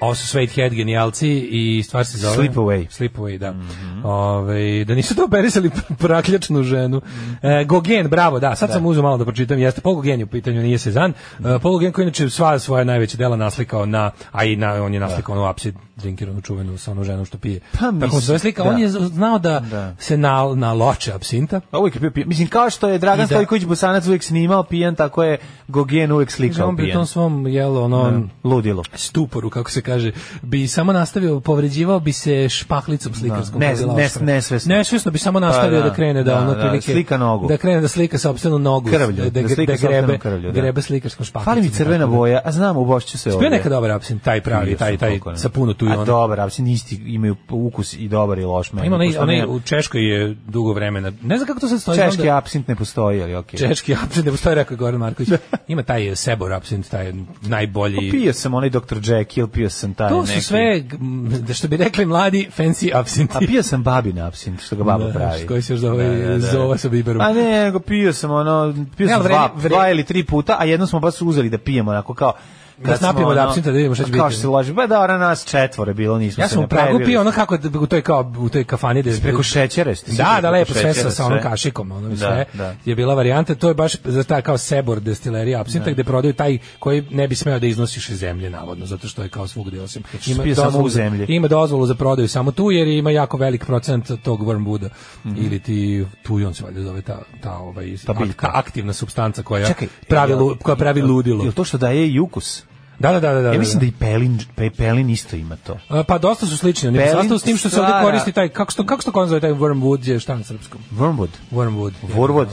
[SPEAKER 6] Ovo su Suede Head genijalci i stvar se zove...
[SPEAKER 7] Sleep Away.
[SPEAKER 6] Sleep Away, da.
[SPEAKER 7] Mhm.
[SPEAKER 6] Ovaj, da nisu to operisali [laughs] prakljačnu ženu. E, Gogen, bravo, da, sad sam uzeo malo da pročitam, jeste Paul Gogen je u pitanju, nije Sezan. E, Paul Gogen koji je inače sva svoja najveća dela naslikao na, a i na, on je naslikao onu apsid drinker, onu čuvenu sa onom ženom što pije. Tako mu se
[SPEAKER 7] Pa, mislim,
[SPEAKER 6] zove slika,
[SPEAKER 7] da.
[SPEAKER 6] on je znao da, se na, naloče apsinta.
[SPEAKER 7] A Pa Uvijek je bio pijan. Mislim, kao što je
[SPEAKER 6] I
[SPEAKER 7] Dragan
[SPEAKER 6] da-
[SPEAKER 7] Stojković Bosanac uvijek snimao pijan, tako je Gogen uvijek slikao
[SPEAKER 6] On bi u
[SPEAKER 7] pijan. Mm.
[SPEAKER 6] tom svom jelu, ono,
[SPEAKER 7] Ludilo.
[SPEAKER 6] stuporu, kako se kaže, bi samo nastavio, povređivao bi se špahlicom slikarskom.
[SPEAKER 7] Da,
[SPEAKER 6] kako je
[SPEAKER 7] ne-
[SPEAKER 6] bila
[SPEAKER 7] ne-
[SPEAKER 6] oštra.
[SPEAKER 7] nesvesno.
[SPEAKER 6] Nesvesno bi samo nastavio
[SPEAKER 7] Pa, da,
[SPEAKER 6] da, krene da,
[SPEAKER 7] da,
[SPEAKER 6] ono
[SPEAKER 7] da,
[SPEAKER 6] otprilike-
[SPEAKER 7] slika nogu.
[SPEAKER 6] Da krene da slika sopstvenu nogu.
[SPEAKER 7] Krvlju,
[SPEAKER 6] da,
[SPEAKER 7] da
[SPEAKER 6] gre-
[SPEAKER 7] slika
[SPEAKER 6] da grebe,
[SPEAKER 7] sopstvenu krvlju, da.
[SPEAKER 6] grebe slikarskom špahlicom.
[SPEAKER 7] Fali mi crvena
[SPEAKER 6] tako da.
[SPEAKER 7] boja, a znam, ubošću se ovdje.
[SPEAKER 6] Bio neka dobar apsin, taj pravi, taj, taj, sa puno tu i
[SPEAKER 7] A
[SPEAKER 6] ono.
[SPEAKER 7] dobar, apsin isti imaju ukus i dobar i loš.
[SPEAKER 6] Pa
[SPEAKER 7] meni,
[SPEAKER 6] Ima onaj,
[SPEAKER 7] pošto
[SPEAKER 6] onaj
[SPEAKER 7] nema-
[SPEAKER 6] u Češkoj je dugo vremena, ne znam kako to sad stoji. znam
[SPEAKER 7] Češki
[SPEAKER 6] da-
[SPEAKER 7] apsint ne postoji, ali okej.
[SPEAKER 6] Češki apsin, ne postoji, rekao je Goran
[SPEAKER 7] [laughs]
[SPEAKER 6] Marković. Ima taj Sebor apsint, taj najbolji.
[SPEAKER 7] Pa Pio sam onaj Dr. Jekyll, pio sam taj
[SPEAKER 6] To
[SPEAKER 7] neki.
[SPEAKER 6] su sve, m, da što bi rekli mladi, fancy apsinti.
[SPEAKER 7] A pio sam babin apsint, što ga baba
[SPEAKER 6] Da,
[SPEAKER 7] pravi.
[SPEAKER 6] koji se još zove, zova sa biberom.
[SPEAKER 7] A Pa ne, nego pio sam ono, pio
[SPEAKER 6] Ne,
[SPEAKER 7] sam
[SPEAKER 6] ali
[SPEAKER 7] dva,
[SPEAKER 6] vredi- vre-
[SPEAKER 7] dva ili tri puta, a jedno smo baš uzeli da pijemo, onako kao... ono-
[SPEAKER 6] Da snapimo od apsinta, da vidimo šta će
[SPEAKER 7] Kao
[SPEAKER 6] biti.
[SPEAKER 7] što se loži, ba da, ona nas četvore bilo, nismo
[SPEAKER 6] Ja
[SPEAKER 7] se
[SPEAKER 6] sam u
[SPEAKER 7] ne
[SPEAKER 6] Pragu
[SPEAKER 7] prejavili.
[SPEAKER 6] pio ono kako da- u toj kao u toj kafani da
[SPEAKER 7] Preko šećera ste se
[SPEAKER 6] Da, da
[SPEAKER 7] preko
[SPEAKER 6] lepo sve sa,
[SPEAKER 7] šećera,
[SPEAKER 6] sa onom
[SPEAKER 7] sve.
[SPEAKER 6] kašikom, ono
[SPEAKER 7] Da,
[SPEAKER 6] sve.
[SPEAKER 7] da.
[SPEAKER 6] Je bila varijanta, to je baš za ta kao Sebor destilerija apsinta gde prodaju taj koji ne bi smeo da iznosiš iz zemlje navodno, zato što je kao svugde osim
[SPEAKER 7] što pije Znači, samo u
[SPEAKER 6] za-
[SPEAKER 7] zemlji.
[SPEAKER 6] Ima dozvolu za prodaju samo tu jer ima jako velik procenat tog wormwooda ili ti tujon se valjda zove ta ta ovaj
[SPEAKER 7] Mhm. Ta
[SPEAKER 6] ak-
[SPEAKER 7] biljka.
[SPEAKER 6] ta aktivna supstanca koja
[SPEAKER 7] Čekaj,
[SPEAKER 6] pravi
[SPEAKER 7] jel-
[SPEAKER 6] lu- koja pravi ludilo.
[SPEAKER 7] Jel to što daje i ukus?
[SPEAKER 6] Da, da, da, da.
[SPEAKER 7] Ja mislim da i Pelin, pe, Pelin isto ima to.
[SPEAKER 6] A, Pa dosta su slični, oni
[SPEAKER 7] Pelin
[SPEAKER 6] sastav s tim što se ovdje
[SPEAKER 7] stvara-
[SPEAKER 6] koristi taj, kako se to, kako se to kon zove, taj wormwood je šta na srpskom?
[SPEAKER 7] Wormwood.
[SPEAKER 6] Wormwood.
[SPEAKER 7] Vorvod.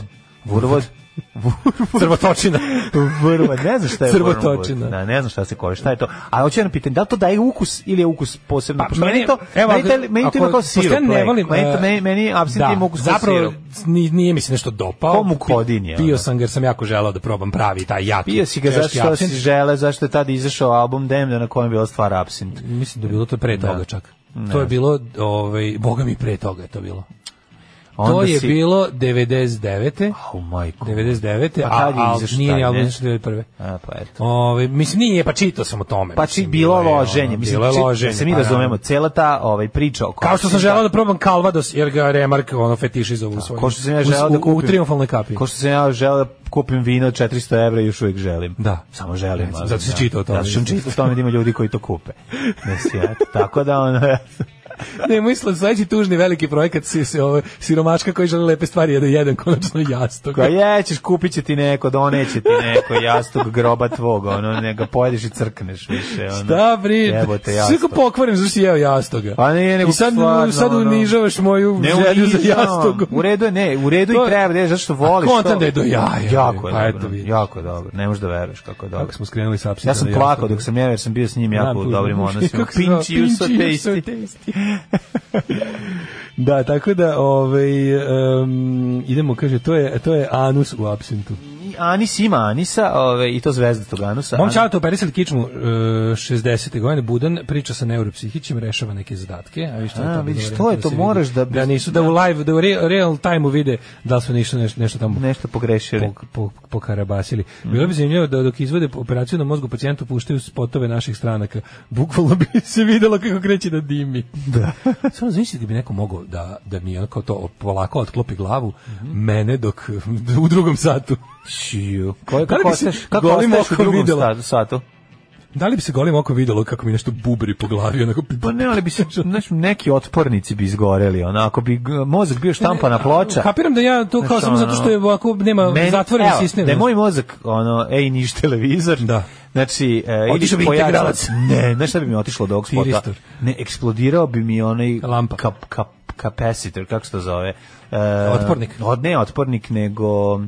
[SPEAKER 7] Vorvod.
[SPEAKER 6] Crvotočina.
[SPEAKER 7] Vrva, ne znam šta je
[SPEAKER 6] Crvotočina.
[SPEAKER 7] Crvotočina. Da, ne znam šta se koristi, šta je to. A hoću jedno pitanje, da li to daje ukus ili je ukus posebno?
[SPEAKER 6] Pa,
[SPEAKER 7] Pošto
[SPEAKER 6] meni-
[SPEAKER 7] meni to,
[SPEAKER 6] evo,
[SPEAKER 7] meni,
[SPEAKER 6] ako-
[SPEAKER 7] to- meni to
[SPEAKER 6] ako-
[SPEAKER 7] ima kao
[SPEAKER 6] pošto ja
[SPEAKER 7] sirup.
[SPEAKER 6] ne
[SPEAKER 7] lek.
[SPEAKER 6] volim,
[SPEAKER 7] meni,
[SPEAKER 6] e,
[SPEAKER 7] to, meni, meni absint ima ukus kao
[SPEAKER 6] zapravo
[SPEAKER 7] sirup.
[SPEAKER 6] ni- nije mi se nešto dopao.
[SPEAKER 7] Ko mukodin je,
[SPEAKER 6] Pio
[SPEAKER 7] ono?
[SPEAKER 6] sam ga jer sam jako želao da probam pravi taj jaki.
[SPEAKER 7] Pio si ga
[SPEAKER 6] češki
[SPEAKER 7] zato što si
[SPEAKER 6] apsint.
[SPEAKER 7] žele, zašto je tada izašao album Demda na kojem je bila stvar absint.
[SPEAKER 6] Mislim da je bilo to pre toga čak. To je bilo, ovaj, boga mi pre toga je to bilo. to je
[SPEAKER 7] si-
[SPEAKER 6] bilo 99.
[SPEAKER 7] Au, majko.
[SPEAKER 6] 99.
[SPEAKER 7] Pa
[SPEAKER 6] a,
[SPEAKER 7] tad je
[SPEAKER 6] a
[SPEAKER 7] izašao
[SPEAKER 6] nije
[SPEAKER 7] taj,
[SPEAKER 6] ni
[SPEAKER 7] ne?
[SPEAKER 6] album izašao 91.
[SPEAKER 7] A, pa eto.
[SPEAKER 6] Ove, mislim, nije, pa čitao sam o tome.
[SPEAKER 7] Pa či
[SPEAKER 6] mislim,
[SPEAKER 7] bilo
[SPEAKER 6] je, ono,
[SPEAKER 7] loženje, mislim,
[SPEAKER 6] bilo je
[SPEAKER 7] či-
[SPEAKER 6] loženje.
[SPEAKER 7] da se mi
[SPEAKER 6] pa
[SPEAKER 7] razumemo,
[SPEAKER 6] naravno.
[SPEAKER 7] cela ta ovaj, priča oko
[SPEAKER 6] Kao što sam
[SPEAKER 7] absinta-
[SPEAKER 6] želao da probam Calvados, jer ga Remark ono fetišizovao u svojim.
[SPEAKER 7] Ko što sam ja želeo da kupim.
[SPEAKER 6] U, u triumfalnoj kapi.
[SPEAKER 7] Ko što sam ja želeo da kupim vino od 400 evra i još uvijek želim.
[SPEAKER 6] Da.
[SPEAKER 7] Samo želim.
[SPEAKER 6] Zato
[SPEAKER 7] ali
[SPEAKER 6] si
[SPEAKER 7] da.
[SPEAKER 6] čitao o tome.
[SPEAKER 7] Zato sam čitao o tome da ima ljudi koji to
[SPEAKER 6] [laughs]
[SPEAKER 7] kupe. Ne sjeti. Tako da ono...
[SPEAKER 6] Ne, mislim, sledeći tužni veliki projekat si, si, ovo, siromaška koji žele lepe stvari je da jedan konačno jastok.
[SPEAKER 7] Koja jećeš, kupit će ti neko, doneće ti neko jastuk groba tvog, ono, ne ga pojedeš i crkneš više. Ono.
[SPEAKER 6] Da, bri,
[SPEAKER 7] Jebote,
[SPEAKER 6] sve ko
[SPEAKER 7] jastuk.
[SPEAKER 6] pokvarim, zašto si jeo jastoga.
[SPEAKER 7] Pa nije, nego
[SPEAKER 6] I sad,
[SPEAKER 7] stvarno,
[SPEAKER 6] sad
[SPEAKER 7] ono.
[SPEAKER 6] unižavaš moju
[SPEAKER 7] Ne
[SPEAKER 6] želju za
[SPEAKER 7] unižavam.
[SPEAKER 6] jastogom.
[SPEAKER 7] U redu je, ne, u redu i
[SPEAKER 6] To je-
[SPEAKER 7] treba, ne, zašto voliš
[SPEAKER 6] kontam
[SPEAKER 7] to.
[SPEAKER 6] da je do jaja,
[SPEAKER 7] Jako je
[SPEAKER 6] pa eto
[SPEAKER 7] dobro,
[SPEAKER 6] vidiš.
[SPEAKER 7] jako je dobro, ne možeš da veruješ kako je dobro.
[SPEAKER 6] Kako smo skrenuli sa apsintom
[SPEAKER 7] Ja sam
[SPEAKER 6] na
[SPEAKER 7] plakao
[SPEAKER 6] jastogu.
[SPEAKER 7] dok sam ja, jer sam bio s njim jako u
[SPEAKER 6] Znam,
[SPEAKER 7] dobrim
[SPEAKER 6] tužno.
[SPEAKER 7] odnosima.
[SPEAKER 6] [laughs] Kako se zove?
[SPEAKER 7] Pinči you so
[SPEAKER 6] Pinch you so
[SPEAKER 7] tasty.
[SPEAKER 6] tasty. [laughs] da, tako da ovaj em, idemo kaže to je to je anus u absintu.
[SPEAKER 7] Anis ima Anisa, ove, i to zvezdatog Anusa.
[SPEAKER 6] Mom
[SPEAKER 7] An-
[SPEAKER 6] čalete operisali kičmu e, 60. godine Budan priča sa neuropsihićem, rešava neke zadatke, a vi što je
[SPEAKER 7] A,
[SPEAKER 6] to?
[SPEAKER 7] vidiš,
[SPEAKER 6] bilo
[SPEAKER 7] to je,
[SPEAKER 6] da
[SPEAKER 7] to
[SPEAKER 6] se
[SPEAKER 7] moraš
[SPEAKER 6] vidi
[SPEAKER 7] da-
[SPEAKER 6] da nisu da u live, da u re- real time vide da li su nešto nešto, nešto tamo
[SPEAKER 7] Nešto pogrešili.
[SPEAKER 6] po, po, pokarabasili. Bilo
[SPEAKER 7] Mhm.
[SPEAKER 6] bi zanimljivo da dok izvode operaciju na mozgu pacijentu puštaju spotove naših stranaka. Bukvalno bi [laughs] se videlo kako kreće da dimi. Da. [laughs] Samo zamislite da bi neko mogao da, da mi onako to polako otklopi glavu
[SPEAKER 7] Mhm.
[SPEAKER 6] mene dok [laughs] u drugom satu.
[SPEAKER 7] Čiju. Koje,
[SPEAKER 6] Da li
[SPEAKER 7] kako
[SPEAKER 6] bi se
[SPEAKER 7] ostaješ, kako
[SPEAKER 6] golim
[SPEAKER 7] ostaješ u
[SPEAKER 6] okom
[SPEAKER 7] drugom
[SPEAKER 6] videla?
[SPEAKER 7] satu- satu?
[SPEAKER 6] Da li bi se golim okom videlo kako mi nešto bubri po glavi? Onako,
[SPEAKER 7] Pa ne, ali bi se, znaš, neki otpornici bi izgoreli, onako bi g- mozak bio štampana ploča.
[SPEAKER 6] Kapiram da ja to kao
[SPEAKER 7] Znaš,
[SPEAKER 6] samo zato što je ovako nema
[SPEAKER 7] Znači, ono, Meni-
[SPEAKER 6] zatvoren
[SPEAKER 7] evo,
[SPEAKER 6] sistem.
[SPEAKER 7] Da je moj mozak, ono, ej, niš televizor.
[SPEAKER 6] Da.
[SPEAKER 7] Znači, e,
[SPEAKER 6] Otišao bi
[SPEAKER 7] pojačalo-
[SPEAKER 6] integralac.
[SPEAKER 7] Ne, znaš šta bi mi otišlo od ovog spota?
[SPEAKER 6] Tiristor.
[SPEAKER 7] Ne, eksplodirao bi mi onaj...
[SPEAKER 6] Lampa.
[SPEAKER 7] Kap, kap, kapacitor, kako se to zove? E,
[SPEAKER 6] Otpornik.
[SPEAKER 7] Od, ne, otpornik, nego...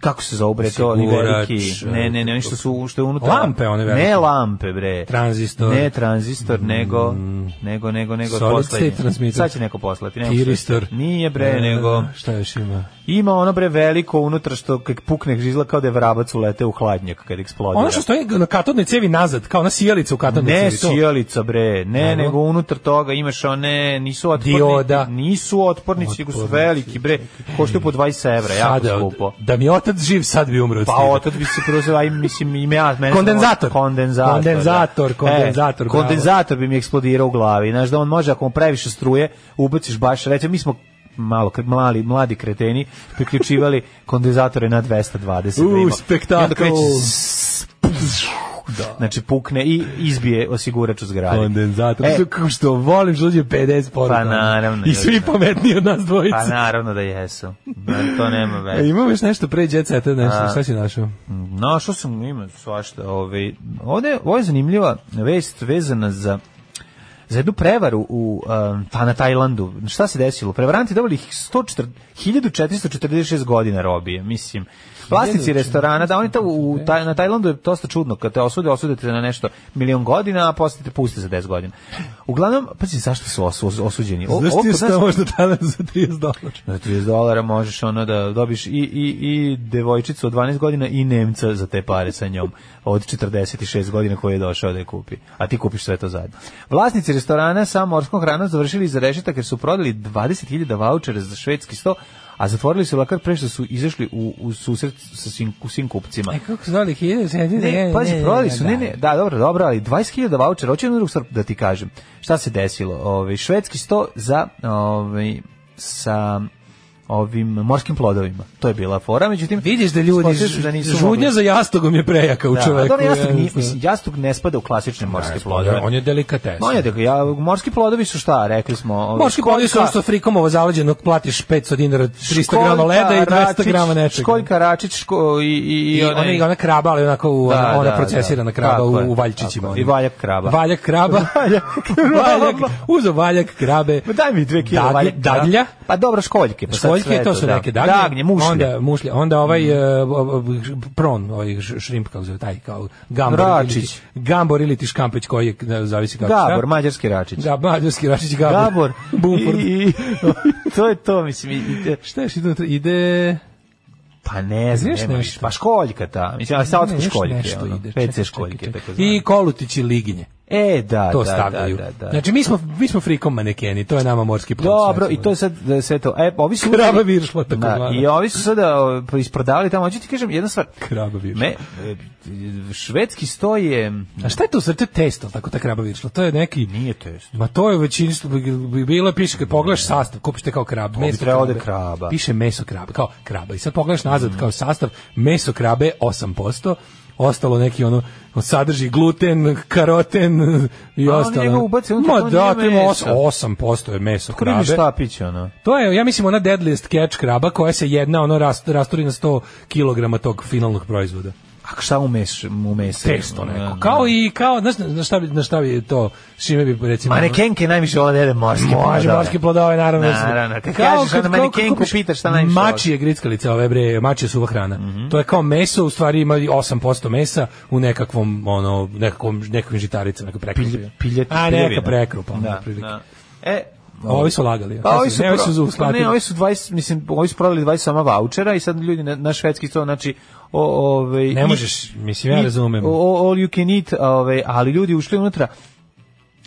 [SPEAKER 7] kako se zove bre to, oni
[SPEAKER 6] Osigurač,
[SPEAKER 7] veliki, ne, ne, ne, oni što su, što je unutra.
[SPEAKER 6] Lampe, one velike.
[SPEAKER 7] Ne lampe, bre.
[SPEAKER 6] Tranzistor. Mm.
[SPEAKER 7] Ne tranzistor, nego, nego, nego, nego
[SPEAKER 6] Solid
[SPEAKER 7] poslednje.
[SPEAKER 6] state transmitter.
[SPEAKER 7] Sad će neko poslati. ne mogu
[SPEAKER 6] Tiristor.
[SPEAKER 7] se- Nije bre,
[SPEAKER 6] ono, E,
[SPEAKER 7] nego,
[SPEAKER 6] Šta još ima?
[SPEAKER 7] ima ono bre veliko unutra što kad pukne žizla kao da je vrabac ulete u hladnjak kad eksplodira.
[SPEAKER 6] Ono što stoji na katodnoj cevi nazad, kao ona sijalica u katodnoj
[SPEAKER 7] Pa Ne
[SPEAKER 6] cevi. to.
[SPEAKER 7] sijalica bre, ne,
[SPEAKER 6] Ajmo.
[SPEAKER 7] nego unutar toga imaš one, nisu otporni,
[SPEAKER 6] Dioda.
[SPEAKER 7] nisu otpornici, nego su
[SPEAKER 6] Otpornici.
[SPEAKER 7] veliki bre, koštaju po 20 evra, jako
[SPEAKER 6] Sada,
[SPEAKER 7] skupo.
[SPEAKER 6] Da mi otac živ, sad bi umro od
[SPEAKER 7] Pa
[SPEAKER 6] stida.
[SPEAKER 7] otac bi se prozvao, aj mislim ime ja, mene
[SPEAKER 6] Kondenzator.
[SPEAKER 7] kondenzator.
[SPEAKER 6] Kondenzator, kondenzator,
[SPEAKER 7] E,
[SPEAKER 6] bravo.
[SPEAKER 7] kondenzator bi mi eksplodirao u glavi. Znaš da on može ako mu previše struje, ubaciš baš, reče mi smo malo kad mali mladi kreteni priključivali [laughs] kondenzatore na 220.
[SPEAKER 6] U,
[SPEAKER 7] da ima.
[SPEAKER 6] spektakl.
[SPEAKER 7] I onda kreće s- Znači pukne i izbije osigurač u zgradi.
[SPEAKER 6] kondenzator.
[SPEAKER 7] E, Pa
[SPEAKER 6] E. Kako što volim što dođe 50 poruka. ono.
[SPEAKER 7] naravno,
[SPEAKER 6] I svi
[SPEAKER 7] naravno.
[SPEAKER 6] pametniji od nas dvojice.
[SPEAKER 7] pa naravno da jesu. Na- To nema
[SPEAKER 6] E,
[SPEAKER 7] veze.
[SPEAKER 6] imamo još nešto pre Jet Seta, nešto,
[SPEAKER 7] A.
[SPEAKER 6] šta si našao?
[SPEAKER 7] Našao sam ima svašta. Ovaj. Ovde, ovo je zanimljiva vest vezana za za jednu prevaru u um, pa na Tajlandu. Šta se desilo? Prevaranti dobili 104 1446 godina robije, mislim. Vlasnici restorana, da oni to u, taj, na Tajlandu je dosta čudno, kad te osude, osude te na nešto milion godina, a posle te puste za 10 godina. Uglavnom, pa zašto su osu- osuđeni? O-
[SPEAKER 6] Znaš
[SPEAKER 7] ovo
[SPEAKER 6] ti je
[SPEAKER 7] kod nas-
[SPEAKER 6] stao možda tada za 30 dolara?
[SPEAKER 7] za 30 Znači, dolara možeš ono da dobiš i, i, i devojčicu od 12 godina i Nemca za te pare sa njom od 46 godina koji je došao da je kupi. A ti kupiš sve to zajedno. Vlasnici restorana sa morskom hranom završili za rešetak jer su prodali 20.000 vouchera za švedski sto, a zatvorili su lakar pre što su izašli u, u susret sa svim, svim kupcima.
[SPEAKER 6] E, kako su zvali? Hiljadu,
[SPEAKER 7] Ne, pazi, prodali su, ne, ne, da, dobro, dobro, ali 20.000 vouchera, hoću jednu drugu stvar da ti kažem. Šta se desilo? Ovaj švedski sto za, ovaj sa ovim morskim plodovima. To je bila fora, međutim...
[SPEAKER 6] Vidiš da ljudi,
[SPEAKER 7] spočeli su da nisu
[SPEAKER 6] žudnja
[SPEAKER 7] mogli-
[SPEAKER 6] za jastogom je prejaka u
[SPEAKER 7] Da, a
[SPEAKER 6] čoveku.
[SPEAKER 7] dobro, jastuk, nije,
[SPEAKER 6] jednostavno.
[SPEAKER 7] mislim, jastuk ne spada u klasične morske plodove.
[SPEAKER 6] On je delikates.
[SPEAKER 7] On je, da, ja, morski plodovi su šta, rekli smo... ovaj,
[SPEAKER 6] Morski plodi su
[SPEAKER 7] školjka-
[SPEAKER 6] usto frikomova ono zaleđeno, platiš 500 dinara, 300 grama leda i 200
[SPEAKER 7] Račić,
[SPEAKER 6] grama nečega.
[SPEAKER 7] Školjka, račić, ško, i, i,
[SPEAKER 6] I ona, ona kraba, ali onako u,
[SPEAKER 7] Da,
[SPEAKER 6] ona, ona
[SPEAKER 7] da,
[SPEAKER 6] procesirana
[SPEAKER 7] da.
[SPEAKER 6] kraba
[SPEAKER 7] Tako je,
[SPEAKER 6] u, u valjčićima. ono.
[SPEAKER 7] tako je. I valjak kraba.
[SPEAKER 6] Valjak kraba.
[SPEAKER 7] [laughs] Valjak kraba.
[SPEAKER 6] valjak, uzo valjak krabe.
[SPEAKER 7] Ma Daj mi dve kilo
[SPEAKER 6] Dadlja-
[SPEAKER 7] valjaka.
[SPEAKER 6] dadlja.
[SPEAKER 7] Pa dobro, školjke. Pa sad
[SPEAKER 6] Školjke,
[SPEAKER 7] sve
[SPEAKER 6] to su
[SPEAKER 7] da.
[SPEAKER 6] neke dagnje.
[SPEAKER 7] Dagnje, mušlje. Mm.
[SPEAKER 6] Onda, mušlje. Onda ovaj e, o- o- pron, ovaj š- šrimp, kako zove, taj, kao gambor.
[SPEAKER 7] Račić.
[SPEAKER 6] ili ti- Gambor ili ti škampić koji je, ne, zavisi kako
[SPEAKER 7] Gabor, mađarski račić.
[SPEAKER 6] Da, mađarski račić Gabor.
[SPEAKER 7] Gabor.
[SPEAKER 6] Bumford.
[SPEAKER 7] I, i- to je to, mislim. i- i-
[SPEAKER 6] Šta još ide? unutra? Ide...
[SPEAKER 7] pa ne znam,
[SPEAKER 6] Znaš
[SPEAKER 7] nema
[SPEAKER 6] nešto?
[SPEAKER 7] više. Pa školjka ta. Mislim, ali sa
[SPEAKER 6] Ne,
[SPEAKER 7] otkud
[SPEAKER 6] još
[SPEAKER 7] školjke.
[SPEAKER 6] nešto
[SPEAKER 7] ono,
[SPEAKER 6] ide. Čekaj,
[SPEAKER 7] PC
[SPEAKER 6] čekaj,
[SPEAKER 7] školjke,
[SPEAKER 6] čekaj.
[SPEAKER 7] tako
[SPEAKER 6] I kolutići liginje.
[SPEAKER 7] E, da,
[SPEAKER 6] to
[SPEAKER 7] da,
[SPEAKER 6] stavljaju.
[SPEAKER 7] Da, da, da.
[SPEAKER 6] Znači mi smo mi smo frikom manekeni, to je nama morski plod.
[SPEAKER 7] Dobro,
[SPEAKER 6] recimo.
[SPEAKER 7] i to je sad e, sve to. E, ovi su
[SPEAKER 6] Kraba viršla, tako
[SPEAKER 7] da,
[SPEAKER 6] zvana.
[SPEAKER 7] I ovi su sada o, pa isprodavali tamo. Hoću ti kažem jedna stvar.
[SPEAKER 6] Kraba viršla.
[SPEAKER 7] Me, e, švedski sto je...
[SPEAKER 6] A šta je to srce testo, tako ta kraba viršla? To je neki
[SPEAKER 7] Nije test.
[SPEAKER 6] Ma to je u većini što bi- bi bilo piše kad pogledaš sastav, kupiš te kao krab, to meso
[SPEAKER 7] trebalo da
[SPEAKER 6] krabe.
[SPEAKER 7] je kraba. Mm.
[SPEAKER 6] Piše meso krabe, kao kraba. I sad pogledaš nazad kao sastav, meso krabe 8%, ostalo neki ono sadrži gluten, karoten i
[SPEAKER 7] A, oni
[SPEAKER 6] ostalo.
[SPEAKER 7] njega ubace unutra,
[SPEAKER 6] Ma
[SPEAKER 7] to
[SPEAKER 6] da,
[SPEAKER 7] nije
[SPEAKER 6] to ima
[SPEAKER 7] meso.
[SPEAKER 6] os- 8% je meso
[SPEAKER 7] Kako ne
[SPEAKER 6] krabe.
[SPEAKER 7] šta piće, ono?
[SPEAKER 6] To je, ja mislim, ona deadliest catch kraba koja se jedna ono rast, rasturi na 100 kg tog finalnog proizvoda.
[SPEAKER 7] A šta umeš, umese?
[SPEAKER 6] Testo neko. Kao i, kao, znaš, na šta bi, na šta bi to, s čime bi, recimo...
[SPEAKER 7] Manekenke najviše vole da jede morske
[SPEAKER 6] Može,
[SPEAKER 7] plodove.
[SPEAKER 6] morski plodove, naravno.
[SPEAKER 7] Naravno, kad kažeš ono manekenku,
[SPEAKER 6] kupiš
[SPEAKER 7] pitaš šta najviše Mhm.
[SPEAKER 6] Mačije grickalice, ove bre, mačije suva hrana. To je kao meso, u stvari ima 8% mesa u nekakvom, ono, nekakvom, nekakvim žitaricama, nekakvom prekrupom.
[SPEAKER 7] Pilje- pilje-
[SPEAKER 6] A, neka
[SPEAKER 7] piljevina.
[SPEAKER 6] prekrupa, ono,
[SPEAKER 7] Da,
[SPEAKER 6] otprilike.
[SPEAKER 7] da. E,
[SPEAKER 6] Ovi su lagali.
[SPEAKER 7] Pa ovi su,
[SPEAKER 6] Ne, ovi su
[SPEAKER 7] pro- pa
[SPEAKER 6] uskladili.
[SPEAKER 7] ne, ovi su 20, mislim, ovi su prodali 20 sama vouchera i sad ljudi na, na švedski to, znači, o, ovaj, ove,
[SPEAKER 6] Ne možeš, mislim, ja razumem.
[SPEAKER 7] All you can eat, ove, ali ljudi ušli unutra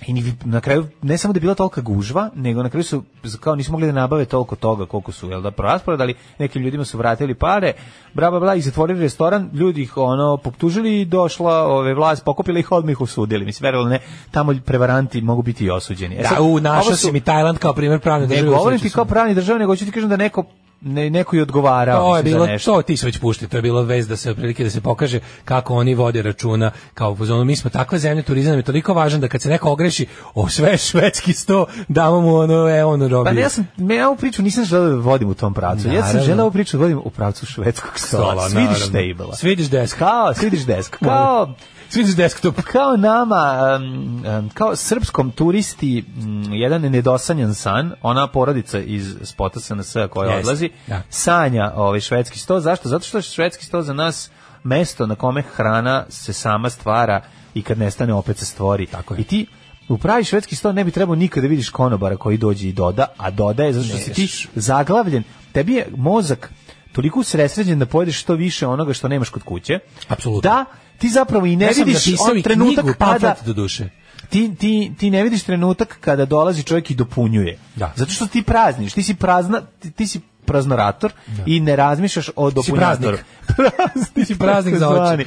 [SPEAKER 7] i ni- na kraju, ne samo da je bila tolika gužva, nego na kraju su, kao nisu mogli da nabave toliko toga koliko su, jel da, proraspodali, nekim ljudima su vratili pare, bra, bra, bra, i zatvorili restoran, ljudi ih, ono, poptužili i došla, ove, vlast pokupila ih, odmah ih osudili, mislim, verovali ne, tamo prevaranti mogu biti i osuđeni. E sad,
[SPEAKER 6] Da, u, našao
[SPEAKER 7] ovo su-
[SPEAKER 6] si mi Tajland kao primjer
[SPEAKER 7] ne
[SPEAKER 6] pravne države.
[SPEAKER 7] govorim
[SPEAKER 6] osjećao
[SPEAKER 7] ti
[SPEAKER 6] sam.
[SPEAKER 7] kao pravni država, nego ću ti kažem da neko ne, neko je odgovarao
[SPEAKER 6] To je
[SPEAKER 7] mislim,
[SPEAKER 6] bilo
[SPEAKER 7] za nešto.
[SPEAKER 6] to ti si već pušti, to je bilo vez da se otprilike da se pokaže kako oni vode računa kao u zonu mi smo takva zemlja turizam nam je toliko važan da kad se neko ogreši o sve švedski sto damo mu ono e ono robi.
[SPEAKER 7] Pa ne, ja sam, me, ja ovu priču nisam želeo da vodim u tom pravcu. Ja sam
[SPEAKER 6] Naravno.
[SPEAKER 7] želeo ovu priču da vodim u pravcu švedskog stola. Svidiš tabela.
[SPEAKER 6] Svidiš desk.
[SPEAKER 7] Kao, svidiš desk. Kao,
[SPEAKER 6] Svidiš desktop.
[SPEAKER 7] kao nama, um, um, kao srpskom turisti, um, jedan nedosanjan san, ona porodica iz spota SNS koja
[SPEAKER 6] Jeste.
[SPEAKER 7] odlazi, ljudi
[SPEAKER 6] Da.
[SPEAKER 7] sanja ovaj švedski sto. Zašto? Zato što je švedski sto za nas mesto na kome hrana se sama stvara i kad nestane opet se stvori.
[SPEAKER 6] Tako je.
[SPEAKER 7] I ti u pravi švedski sto ne bi trebao nikada vidiš konobara koji dođe i doda, a dodaje zato što si ti zaglavljen. Tebi je mozak toliko usresređen da pojedeš što više onoga što nemaš kod kuće.
[SPEAKER 6] Apsolutno.
[SPEAKER 7] Da, ti zapravo i ne
[SPEAKER 6] Ja sam
[SPEAKER 7] vidiš
[SPEAKER 6] napisao
[SPEAKER 7] on
[SPEAKER 6] i
[SPEAKER 7] trenutak
[SPEAKER 6] knjigu, pa
[SPEAKER 7] kada
[SPEAKER 6] pamflet do duše.
[SPEAKER 7] ti, ti, ti ne vidiš trenutak kada dolazi čovjek i dopunjuje.
[SPEAKER 6] Da.
[SPEAKER 7] Zato što ti prazniš, ti si prazna, ti, ti si praznorator i ne razmišljaš o dopunjatoru. [laughs] praznik. ti
[SPEAKER 6] si praznik za oči.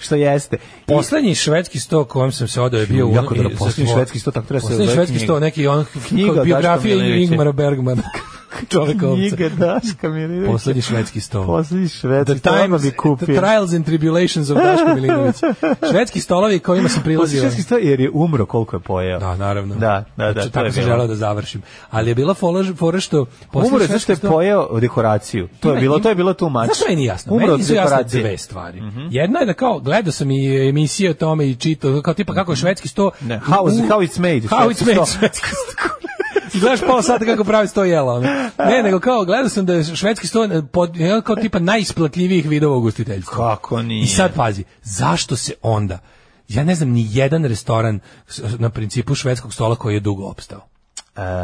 [SPEAKER 7] Što jeste. I-
[SPEAKER 6] Poslednji švedski sto kojem sam se odao je bio... u
[SPEAKER 7] Jako dobro,
[SPEAKER 6] i-
[SPEAKER 7] poslednji
[SPEAKER 6] za-
[SPEAKER 7] švedski sto, tako treba se
[SPEAKER 6] Poslednji
[SPEAKER 7] zove
[SPEAKER 6] švedski
[SPEAKER 7] knjiga.
[SPEAKER 6] sto, neki on...
[SPEAKER 7] Knjiga
[SPEAKER 6] Knjiga
[SPEAKER 7] Daška
[SPEAKER 6] biografija
[SPEAKER 7] Milinovića.
[SPEAKER 6] Ingmara Bergmana. [laughs] Čoveka ovca.
[SPEAKER 7] knjiga Daška Milinovića.
[SPEAKER 6] Poslednji švedski sto.
[SPEAKER 7] Poslednji švedski
[SPEAKER 6] The
[SPEAKER 7] sto, odmah
[SPEAKER 6] Times,
[SPEAKER 7] bi kupio.
[SPEAKER 6] The Trials and Tribulations of Daško Milinović. Švedski stolovi kojima sam
[SPEAKER 7] Poslednji
[SPEAKER 6] prilazio.
[SPEAKER 7] švedski sto, jer je umro koliko je pojeo.
[SPEAKER 6] Da, naravno.
[SPEAKER 7] Da, da, da,
[SPEAKER 6] Znači,
[SPEAKER 7] to je
[SPEAKER 6] tako sam
[SPEAKER 7] bilo.
[SPEAKER 6] želeo da završim. Ali je bila fola- fora što... poslednji
[SPEAKER 7] Umro je zato
[SPEAKER 6] švedski
[SPEAKER 7] što je
[SPEAKER 6] sto-
[SPEAKER 7] pojeo dekoraciju. To je
[SPEAKER 6] Ima-
[SPEAKER 7] bilo, to je
[SPEAKER 6] ima-
[SPEAKER 7] bilo tu mač.
[SPEAKER 6] Znaš što meni nije jasno?
[SPEAKER 7] Umro
[SPEAKER 6] Umro
[SPEAKER 7] od
[SPEAKER 6] meni su jasne
[SPEAKER 7] dekoracije. Mhm.
[SPEAKER 6] dve stvari. Jedna je da kao, gledao sam i emisije o tome i čitao, kao tipa kako je švedski sto...
[SPEAKER 7] Mhm. Ne, how is- how it's made,
[SPEAKER 6] How
[SPEAKER 7] švedski
[SPEAKER 6] it's made,
[SPEAKER 7] sto.
[SPEAKER 6] švedski sto. [laughs] I gledaš pola sata kako pravi sto jela. Ono. Ne, nego kao, gledao sam da je švedski sto eh, pod, eh, kao tipa najisplatljivijih vidova ugostiteljstva.
[SPEAKER 7] Kako nije?
[SPEAKER 6] I sad pazi, zašto se onda, ja ne znam, ni jedan restoran s- na principu švedskog stola koji je dugo opstao.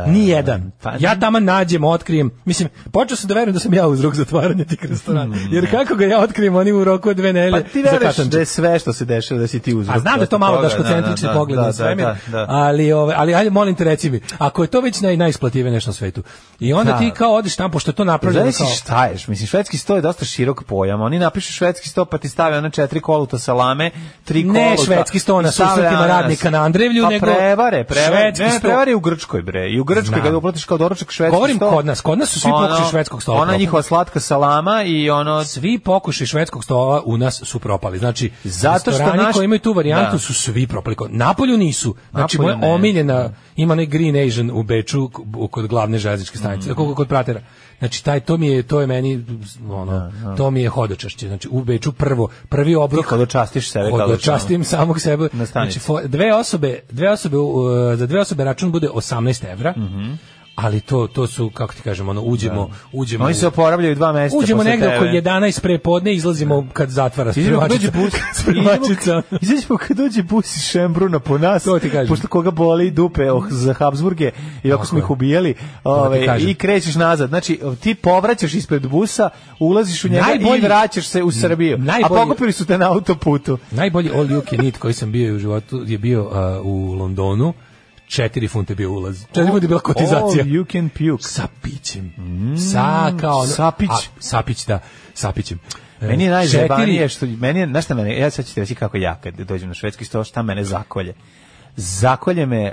[SPEAKER 6] Ni jedan.
[SPEAKER 7] pa-
[SPEAKER 6] ja tamo nađem, otkrijem. Mislim, počeo sam da verujem da sam ja uzrok zatvaranja tih restorana. Jer kako ga ja otkrijem, oni u roku od dve
[SPEAKER 7] Hmm. Pa
[SPEAKER 6] nelje
[SPEAKER 7] ti veruješ
[SPEAKER 6] zakatanče.
[SPEAKER 7] da je sve što se dešava da si ti uzrok.
[SPEAKER 6] A znam da je to malo
[SPEAKER 7] toga,
[SPEAKER 6] daškocentrični
[SPEAKER 7] da, da,
[SPEAKER 6] pogled
[SPEAKER 7] da,
[SPEAKER 6] na
[SPEAKER 7] da,
[SPEAKER 6] svemir,
[SPEAKER 7] da, da.
[SPEAKER 6] ali, ove, ali ajde, molim te, reci mi, ako je to već naj, najisplativije nešto na svetu, i onda
[SPEAKER 7] Da.
[SPEAKER 6] ti kao odeš tamo, pošto je to napravljeno
[SPEAKER 7] Znaš si
[SPEAKER 6] kao...
[SPEAKER 7] šta ješ, mislim, švedski sto je dosta širok pojam, oni napišu švedski sto pa ti stave ona četiri koluta salame, tri
[SPEAKER 6] Ne
[SPEAKER 7] koluta.
[SPEAKER 6] švedski sto na
[SPEAKER 7] i stave
[SPEAKER 6] susretima
[SPEAKER 7] ananas.
[SPEAKER 6] radnika na Andrevlju,
[SPEAKER 7] pa
[SPEAKER 6] nego
[SPEAKER 7] prevare, prevare,
[SPEAKER 6] švedski
[SPEAKER 7] ne,
[SPEAKER 6] sto.
[SPEAKER 7] prevare i u Grčkoj, bre, i u Grčkoj
[SPEAKER 6] Znam.
[SPEAKER 7] kada uplatiš kao doručak švedski
[SPEAKER 6] Govorim
[SPEAKER 7] sto.
[SPEAKER 6] kod nas, kod nas su svi
[SPEAKER 7] ono-
[SPEAKER 6] pokušaj švedskog stola
[SPEAKER 7] Ona
[SPEAKER 6] propali.
[SPEAKER 7] njihova slatka salama i ono...
[SPEAKER 6] Svi pokušaj švedskog stola u nas su propali. Znači,
[SPEAKER 7] Zato što
[SPEAKER 6] restorani
[SPEAKER 7] naš-
[SPEAKER 6] koji imaju tu varijantu
[SPEAKER 7] Da.
[SPEAKER 6] su svi propali. Kod- Napolju nisu. Znači,
[SPEAKER 7] Napolju
[SPEAKER 6] moja
[SPEAKER 7] ne.
[SPEAKER 6] omiljena, ima onaj Green Asian u Beču k- u- kod glavne železničke
[SPEAKER 7] Mm.
[SPEAKER 6] stanice, kako kod pratera. Znači, taj, to mi je, to je meni, ono, to mi je hodočašće. Znači, u Beču prvo, prvi obrok.
[SPEAKER 7] Ti hodočastiš sebe kao da
[SPEAKER 6] Hodočastim častim samog sebe.
[SPEAKER 7] Na stanici.
[SPEAKER 6] Znači, fo- dve osobe, dve osobe, u- e, za dve osobe račun bude 18 evra.
[SPEAKER 7] Mhm.
[SPEAKER 6] Ali to to su kako ti kažemo ono uđemo uđemo
[SPEAKER 7] Oni
[SPEAKER 6] u-
[SPEAKER 7] se oporavljaju dva meseca
[SPEAKER 6] Uđemo
[SPEAKER 7] posle
[SPEAKER 6] negde oko
[SPEAKER 7] tebe.
[SPEAKER 6] 11 pre podne, izlazimo kad zatvara
[SPEAKER 7] Izađemo kad dođe
[SPEAKER 6] spremačica. [laughs]
[SPEAKER 7] bus,
[SPEAKER 6] spremačica.
[SPEAKER 7] Izađemo- izađemo kad dođe bus iz Šembruna po nas,
[SPEAKER 6] To ti kažem.
[SPEAKER 7] pošto koga boli dupe oh, za Habsburge, i ako smo
[SPEAKER 6] je.
[SPEAKER 7] ih ubijali,
[SPEAKER 6] ti
[SPEAKER 7] ove,
[SPEAKER 6] kažem.
[SPEAKER 7] i krećeš nazad. Znači, ti povraćaš ispred busa, ulaziš u njega i
[SPEAKER 6] Najbolji-
[SPEAKER 7] vraćaš se u Srbiju. A
[SPEAKER 6] najbolji-
[SPEAKER 7] pokupili su te na autoputu.
[SPEAKER 6] Najbolji all you can eat koji sam bio u životu je bio a, u Londonu. 4 funte je bio ulaz. 4 funte je bila kotizacija.
[SPEAKER 7] Oh, you can puke.
[SPEAKER 6] Sa pićem. sa kao... ono-
[SPEAKER 7] sapić.
[SPEAKER 6] A, sapić, da. Sa pićem. E,
[SPEAKER 7] Meni je
[SPEAKER 6] četiri-
[SPEAKER 7] najzajebanije što meni je, znaš šta mene, ja sad ću ti reći kako ja kad dođem na švedski sto, šta mene zakolje. Zakolje me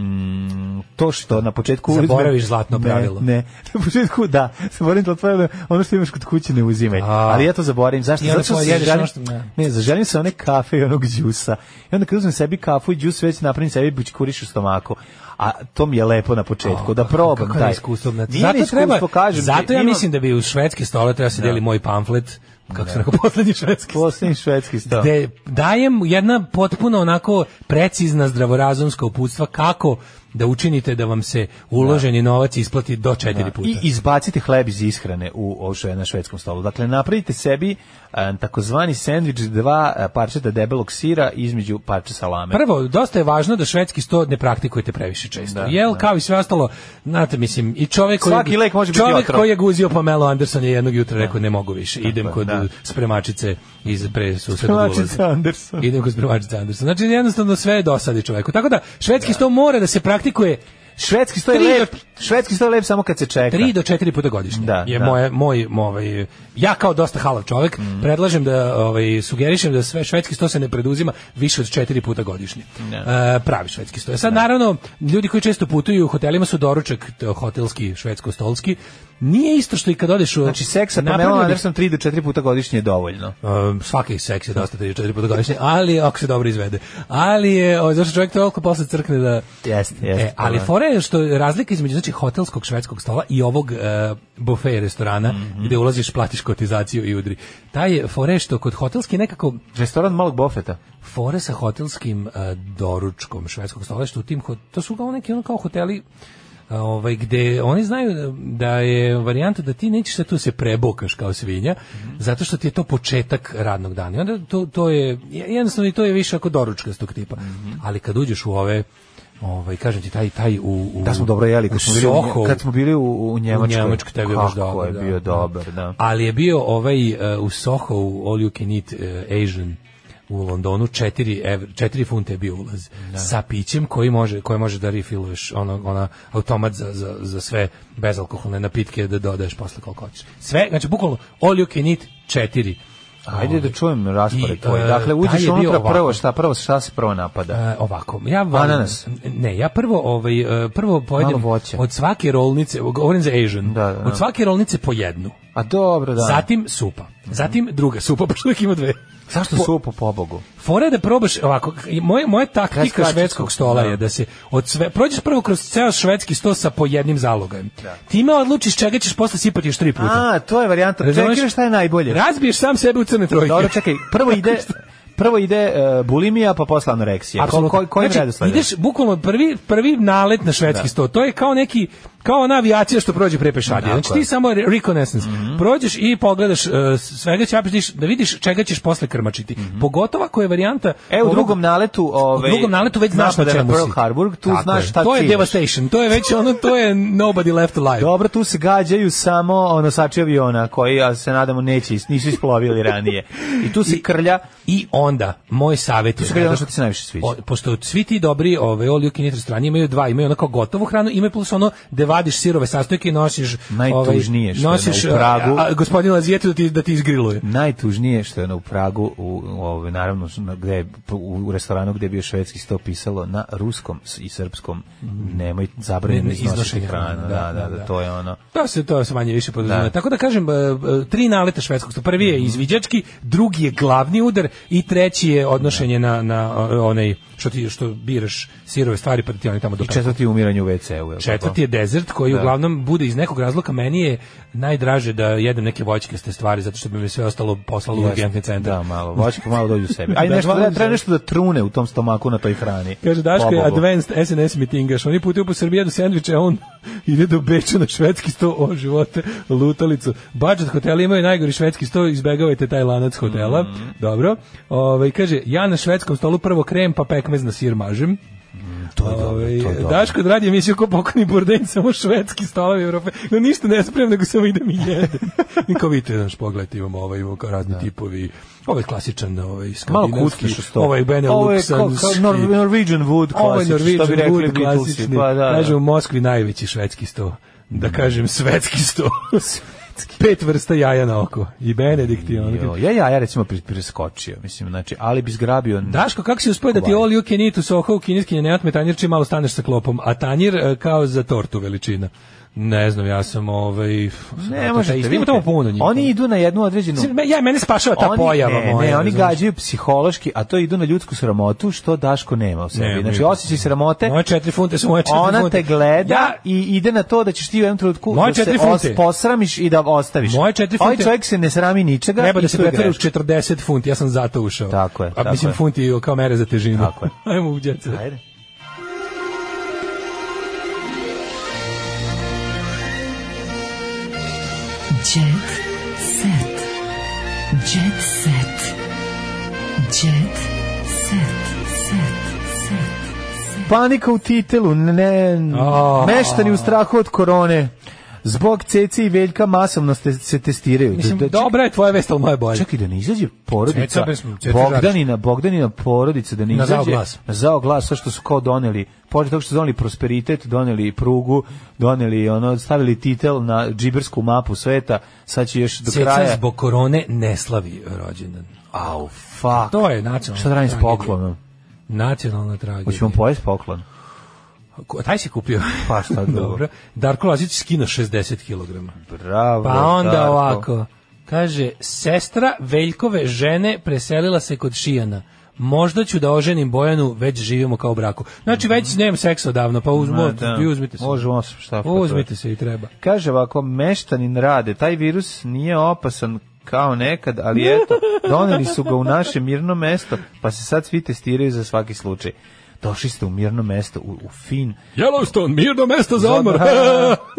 [SPEAKER 7] em, to što na početku uzmem-
[SPEAKER 6] Zaboraviš zlatno
[SPEAKER 7] Ne,
[SPEAKER 6] pravilo.
[SPEAKER 7] Ne, [laughs] na početku da, zaboravim zlatno pravilo, ono što imaš kod kuće ne uzimaj.
[SPEAKER 6] A.
[SPEAKER 7] Ali ja to zaboravim, zašto?
[SPEAKER 6] I onda
[SPEAKER 7] Zato što
[SPEAKER 6] pojedeš
[SPEAKER 7] se želim,
[SPEAKER 6] ono što- ne.
[SPEAKER 7] ne, zaželim se one kafe i onog džusa. I onda kad uzmem sebi kafu i džus, već napravim sebi bućkuriš u stomaku. A to mi je lepo na početku, da probam
[SPEAKER 6] Kako
[SPEAKER 7] taj.
[SPEAKER 6] iskustvo. znači,
[SPEAKER 7] Nije
[SPEAKER 6] zato
[SPEAKER 7] neiskustvo,
[SPEAKER 6] treba,
[SPEAKER 7] kažem ti,
[SPEAKER 6] zato ja
[SPEAKER 7] imam-
[SPEAKER 6] mislim da bi u švedske stole treba se deli moj pamflet, kako se rekao, [laughs] poslednji švedski stol.
[SPEAKER 7] Poslednji švedski sto.
[SPEAKER 6] gde dajem jedna potpuno onako precizna zdravorazumska uputstva kako da učinite da vam se uloženi novac isplati do četiri puta.
[SPEAKER 7] I izbacite hleb iz ishrane u ovo što je na švedskom stolu. Dakle, napravite sebi e, takozvani sendvič dva e, parčeta debelog sira između parče salame.
[SPEAKER 6] Prvo, dosta je važno da švedski sto ne praktikujete previše često. Jel, kao i sve ostalo, znate, mislim, i čovjek koji,
[SPEAKER 7] Svaki lek može biti
[SPEAKER 6] čovjek
[SPEAKER 7] otrov.
[SPEAKER 6] koji je guzio Pamelo Anderson je jednog jutra rekao ne mogu više, idem kod
[SPEAKER 7] da.
[SPEAKER 6] spremačice iz pre susednog
[SPEAKER 7] Prvačica
[SPEAKER 6] ulaza.
[SPEAKER 7] Anderson.
[SPEAKER 6] Idem kod spremačice Anderson. Znači, jednostavno sve dosadi čoveku. Tako da, švedski sto mora da se praktikuje
[SPEAKER 7] Švedski sto je
[SPEAKER 6] Tri do-
[SPEAKER 7] lep, švedski sto je lep samo kad se čeka.
[SPEAKER 6] tri do četiri puta godišnje.
[SPEAKER 7] Da,
[SPEAKER 6] je
[SPEAKER 7] da. Mm.
[SPEAKER 6] moje moj moj ovaj ja kao dosta halav čovjek predlažem da ovaj sugerišem da sve švedski sto se ne preduzima više od četiri puta godišnje. E, pravi švedski sto. E Sad naravno ljudi koji često putuju u hotelima su doručak t- hotelski švedsko-stolski. Nije isto što i kad odeš u
[SPEAKER 7] Znači, seksa pa
[SPEAKER 6] Napravio
[SPEAKER 7] Melon
[SPEAKER 6] bih-
[SPEAKER 7] Anderson tri do četiri puta godišnje je dovoljno.
[SPEAKER 6] Um, svaki seks je dosta 3-4 puta godišnje, ali ako se dobro izvede. Ali je, o, zašto čovjek toliko posle crkne da...
[SPEAKER 7] Jeste, jeste,
[SPEAKER 6] E, ali
[SPEAKER 7] da.
[SPEAKER 6] fora je što je razlika između znači, hotelskog švedskog stola i ovog e, bufe restorana
[SPEAKER 7] Mhm.
[SPEAKER 6] gde ulaziš, platiš kotizaciju i udri. Taj je fora je što kod hotelski nekako
[SPEAKER 7] Restoran malog bofeta.
[SPEAKER 6] fore sa hotelskim e, doručkom švedskog stola, što u tim hot- to su kao neki ono kao hoteli e, a, ovaj, gde oni znaju da je varijanta da ti nećeš da tu se prebokaš kao svinja, zato što ti je to početak radnog dana. I onda to, to je, jednostavno i to je više ako doručkastog tipa.
[SPEAKER 7] Mhm.
[SPEAKER 6] Ali kad uđeš u ove, ovaj, kažem ti, taj, taj u, u
[SPEAKER 7] Da smo dobro jeli kad
[SPEAKER 6] u
[SPEAKER 7] smo bili u,
[SPEAKER 6] Soho,
[SPEAKER 7] Nje- kad smo bili u, u Njemačkoj.
[SPEAKER 6] u Njemačkoj taj je bio baš dobar,
[SPEAKER 7] je
[SPEAKER 6] da.
[SPEAKER 7] bio dobar, da.
[SPEAKER 6] Ali je bio ovaj e, u Soho u All You Can Eat e, Asian u Londonu 4 evra, 4 funte je bio ulaz sa pićem koji može koje može da refilluješ ono ona automat za, za, za sve bezalkoholne napitke da dodaješ posle koliko hoćeš. Sve, znači bukvalno All You Can Eat 4.
[SPEAKER 7] Ajde da
[SPEAKER 6] Ovaj,
[SPEAKER 7] čujem raspored
[SPEAKER 6] I,
[SPEAKER 7] tvoj.
[SPEAKER 6] e,
[SPEAKER 7] Dakle,
[SPEAKER 6] taj
[SPEAKER 7] uđeš
[SPEAKER 6] je bio
[SPEAKER 7] unutra
[SPEAKER 6] ovako.
[SPEAKER 7] prvo, šta, prvo, šta se prvo napada?
[SPEAKER 6] E, ovako, ja volim,
[SPEAKER 7] Ananas.
[SPEAKER 6] ne, ja prvo ovaj e, prvo pojedem
[SPEAKER 7] Malo voća.
[SPEAKER 6] od svake rolnice, govorim za Asian,
[SPEAKER 7] Da, da, da.
[SPEAKER 6] od svake rolnice po jednu.
[SPEAKER 7] A dobro, da.
[SPEAKER 6] Zatim supa. Zatim druga supa, [laughs] pošto uvijek ima dve.
[SPEAKER 7] Zašto
[SPEAKER 6] Po-
[SPEAKER 7] su po pobogu?
[SPEAKER 6] Fora je da probaš ovako, k- i moje, moja
[SPEAKER 7] Kraj
[SPEAKER 6] taktika
[SPEAKER 7] skraćicu,
[SPEAKER 6] švedskog stola
[SPEAKER 7] da.
[SPEAKER 6] je da se od sve, prođeš prvo kroz ceo švedski sto sa po jednim zalogajem. Time odlučiš čega ćeš posle sipati još tri puta.
[SPEAKER 7] A, to je varijanta.
[SPEAKER 6] Razumeš?
[SPEAKER 7] Čekaj šta je najbolje.
[SPEAKER 6] Razbiješ sam sebe u crne trojke.
[SPEAKER 7] Dobro, čekaj, prvo [laughs] ide prvo ide e, bulimija, pa posle anoreksija. Ko, ko, kojim
[SPEAKER 6] znači,
[SPEAKER 7] redosledom?
[SPEAKER 6] ideš bukvalno prvi, prvi nalet na švedski sto. To je kao neki kao ona avijacija što prođe pre pešadije.
[SPEAKER 7] Tako
[SPEAKER 6] Znači ti
[SPEAKER 7] je. Mhm.
[SPEAKER 6] samo re- reconnaissance. Prođeš i pogledaš e, svega ćapiš da vidiš čega ćeš posle krmačiti. Pogotovo ako je varijanta
[SPEAKER 7] Mhm. E, u
[SPEAKER 6] ovog-
[SPEAKER 7] drugom naletu... Ovaj,
[SPEAKER 6] u drugom naletu već znaš na
[SPEAKER 7] napada
[SPEAKER 6] čemu si.
[SPEAKER 7] Pearl Harbor, tu
[SPEAKER 6] Tako
[SPEAKER 7] znaš
[SPEAKER 6] je.
[SPEAKER 7] šta
[SPEAKER 6] To je
[SPEAKER 7] ciljaš.
[SPEAKER 6] devastation, to je već ono, to
[SPEAKER 7] [laughs]
[SPEAKER 6] je nobody left alive.
[SPEAKER 7] Dobro, tu se gađaju samo nosači aviona koji, ja se nadamo, neće, is- nisu isplovili ranije. I tu se krlja,
[SPEAKER 6] I onda, moj savjet je...
[SPEAKER 7] tu se krlja ono
[SPEAKER 6] da-
[SPEAKER 7] što ti se najviše sviđa.
[SPEAKER 6] O, pošto svi ti dobri ove all you can eat restorani imaju dva, imaju onako gotovu hranu, imaju plus ono da vadiš sirove sastojke i nosiš
[SPEAKER 7] Najtužnije
[SPEAKER 6] ovaj,
[SPEAKER 7] što je
[SPEAKER 6] nosiš
[SPEAKER 7] na- u Pragu.
[SPEAKER 6] a, a, gospodin Lazijetu da ti da ti izgriluje.
[SPEAKER 7] Najtužnije što je ono u Pragu, u, u ovaj, naravno na- gde, je- u restoranu gdje je bio švedski sto pisalo na ruskom s- i srpskom, Mhm. nemoj zabranjeno
[SPEAKER 6] Ne- ne-
[SPEAKER 7] iznositi
[SPEAKER 6] iznošenje
[SPEAKER 7] hranu. Da, da, da, to je ono.
[SPEAKER 6] To se to se manje više podrazumeva.
[SPEAKER 7] Da. Mhm.
[SPEAKER 6] Tako da kažem e, e, tri naleta švedskog stola. Prvi je izviđački, drugi je glavni udar i treći je odnošenje na na e, onaj što ti što biraš sirove stvari pa ti oni tamo
[SPEAKER 7] I
[SPEAKER 6] dopeku.
[SPEAKER 7] četvrti umiranje u WC-u. je li
[SPEAKER 6] Četvrti
[SPEAKER 7] tako?
[SPEAKER 6] je desert koji
[SPEAKER 7] Da.
[SPEAKER 6] uglavnom bude iz nekog razloka meni je najdraže da jedem neke voćkaste stvari zato što bi mi sve ostalo poslalo u
[SPEAKER 7] Jeste.
[SPEAKER 6] urgentni centar.
[SPEAKER 7] Da, malo, voćko malo dođu u
[SPEAKER 6] [laughs]
[SPEAKER 7] sebi.
[SPEAKER 6] Da,
[SPEAKER 7] Ajde, nešto,
[SPEAKER 6] malo
[SPEAKER 7] treba,
[SPEAKER 6] dođu
[SPEAKER 7] treba
[SPEAKER 6] u
[SPEAKER 7] nešto da trune u tom stomaku na toj hrani.
[SPEAKER 6] Kaže Daško je
[SPEAKER 7] Pobogu.
[SPEAKER 6] advanced SNS mitingaš. Oni putuju po Srbiji do sendviče, a on [laughs] ide do Beča na švedski sto o živote lutalicu. Budget hoteli imaju najgori švedski sto, izbegavajte taj lanac hotela.
[SPEAKER 7] Mhm.
[SPEAKER 6] Dobro. Ovaj kaže ja na švedskom stolu prvo krem pa pekmez na sir mažem.
[SPEAKER 7] Mhm, To je dobro, to je
[SPEAKER 6] Ovaj,
[SPEAKER 7] dobro.
[SPEAKER 6] Daško dragi emisiju ko pokoni burden samo švedski stolovi Evrope. No ništa ne spremam nego samo idem i
[SPEAKER 7] [laughs]
[SPEAKER 6] jedem. Niko vidite naš pogled imamo ovaj imamo kao razni tipovi. Ovaj klasičan ovaj
[SPEAKER 7] Malo
[SPEAKER 6] skandinavski,
[SPEAKER 7] kutkiš u sto.
[SPEAKER 6] Ovaj
[SPEAKER 7] Ovo je kao-
[SPEAKER 6] Beneluksanski.
[SPEAKER 7] kao Nor- Norwegian wood
[SPEAKER 6] Ovo je
[SPEAKER 7] klasič, što bi
[SPEAKER 6] Norwegian
[SPEAKER 7] rekli
[SPEAKER 6] Wood
[SPEAKER 7] Beatlesi,
[SPEAKER 6] klasični.
[SPEAKER 7] pa da, da. Mm.
[SPEAKER 6] Kaže, u Moskvi najveći švedski sto. Da kažem, svetski
[SPEAKER 7] [laughs]
[SPEAKER 6] sto. Pet vrsta jaja na oko. I Benedikt i ono.
[SPEAKER 7] Jo, Ja, ja, ja recimo pri- preskočio, mislim, znači, ali bi zgrabio...
[SPEAKER 6] Daško, kako si uspio da ti all you can eat u Soho u kineskinje ne otme tanjir čim malo staneš sa klopom, a tanjir e, kao za tortu veličina? Ne znam, ja sam ovaj...
[SPEAKER 7] Ne možete,
[SPEAKER 6] Ima
[SPEAKER 7] vidite.
[SPEAKER 6] tamo puno njih.
[SPEAKER 7] Oni idu na jednu određenu...
[SPEAKER 6] Mislim, me- Ja, mene spašava ta
[SPEAKER 7] Oni-
[SPEAKER 6] pojava
[SPEAKER 7] ne,
[SPEAKER 6] moja.
[SPEAKER 7] ne, oni
[SPEAKER 6] razumeš?
[SPEAKER 7] gađaju psihološki, a to idu na ljudsku sramotu, što Daško nema u sebi.
[SPEAKER 6] Nema,
[SPEAKER 7] znači,
[SPEAKER 6] ima.
[SPEAKER 7] osjećaj sramote,
[SPEAKER 6] Moje četiri funte su moje Pa četiri funte.
[SPEAKER 7] ona te gleda
[SPEAKER 6] Ja,
[SPEAKER 7] i ide na to da ćeš ti u jednom trenutku
[SPEAKER 6] Moje
[SPEAKER 7] da se
[SPEAKER 6] četiri funte.
[SPEAKER 7] os- posramiš i da ostaviš.
[SPEAKER 6] Moje četiri
[SPEAKER 7] Ovaj
[SPEAKER 6] funte.
[SPEAKER 7] čovjek se ne srami ničega.
[SPEAKER 6] treba
[SPEAKER 7] i
[SPEAKER 6] da se
[SPEAKER 7] tu je
[SPEAKER 6] pretvara u
[SPEAKER 7] greška.
[SPEAKER 6] 40 funti, ja sam zato ušao.
[SPEAKER 7] Tako je,
[SPEAKER 6] A,
[SPEAKER 7] tako
[SPEAKER 6] mislim,
[SPEAKER 7] je.
[SPEAKER 6] funti kao mere za težinu.
[SPEAKER 7] Tako je.
[SPEAKER 6] [laughs] Ajmo u djeca.
[SPEAKER 7] Ajde.
[SPEAKER 5] Jet set. Jet set. Jet set. Set. Set.
[SPEAKER 7] Panika u titelu, ne,
[SPEAKER 6] A.
[SPEAKER 7] meštani u strahu od korone. Zbog Ceci i Veljka masovno ste, se testiraju.
[SPEAKER 6] Mislim,
[SPEAKER 7] Da- da-
[SPEAKER 6] dobra je tvoja vest, ali moja je bolja.
[SPEAKER 7] Čekaj da ne izađe porodica
[SPEAKER 6] Ceca bez- Ceca
[SPEAKER 7] Bogdanina, Bogdanina porodica da ne
[SPEAKER 6] Na
[SPEAKER 7] izađe.
[SPEAKER 6] zao glas.
[SPEAKER 7] Na zao glas, sve što su kao doneli, pored toga što su doneli prosperitet, doneli prugu, doneli ono, stavili titel na džibersku mapu sveta, sad će još do
[SPEAKER 6] Ceca
[SPEAKER 7] kraja.
[SPEAKER 6] zbog korone ne slavi rođendan.
[SPEAKER 7] Au, fuck.
[SPEAKER 6] To je nacionalna
[SPEAKER 7] Šta da radim s
[SPEAKER 6] tragedija.
[SPEAKER 7] poklonom?
[SPEAKER 6] Nacionalna tragedija.
[SPEAKER 7] Hoćemo pojesti poklon.
[SPEAKER 6] Ko- Taj si kupio.
[SPEAKER 7] Pa
[SPEAKER 6] [laughs]
[SPEAKER 7] šta drugo.
[SPEAKER 6] Dobro. Darko Lazić skino 60 kg.
[SPEAKER 7] Bravo.
[SPEAKER 6] Pa onda
[SPEAKER 7] Darko.
[SPEAKER 6] ovako. Kaže, sestra Veljkove žene preselila se kod Šijana. Možda ću da oženim Bojanu, već živimo kao u braku. Znači, već nemam seksa odavno, pa uzmo,
[SPEAKER 7] Mhm. Ma, da.
[SPEAKER 6] vi uzmite se.
[SPEAKER 7] Može, može, šta pa to je.
[SPEAKER 6] Uzmite se i treba.
[SPEAKER 7] Kaže ovako, meštanin rade, taj virus nije opasan kao nekad,
[SPEAKER 6] [laughs]
[SPEAKER 7] ali eto, doneli su ga u naše mirno mesto, pa se sad svi testiraju za svaki slučaj. došli ste u mirno mesto, u, u fin.
[SPEAKER 6] Yellowstone, mirno mesto za
[SPEAKER 7] [laughs]
[SPEAKER 6] odmor.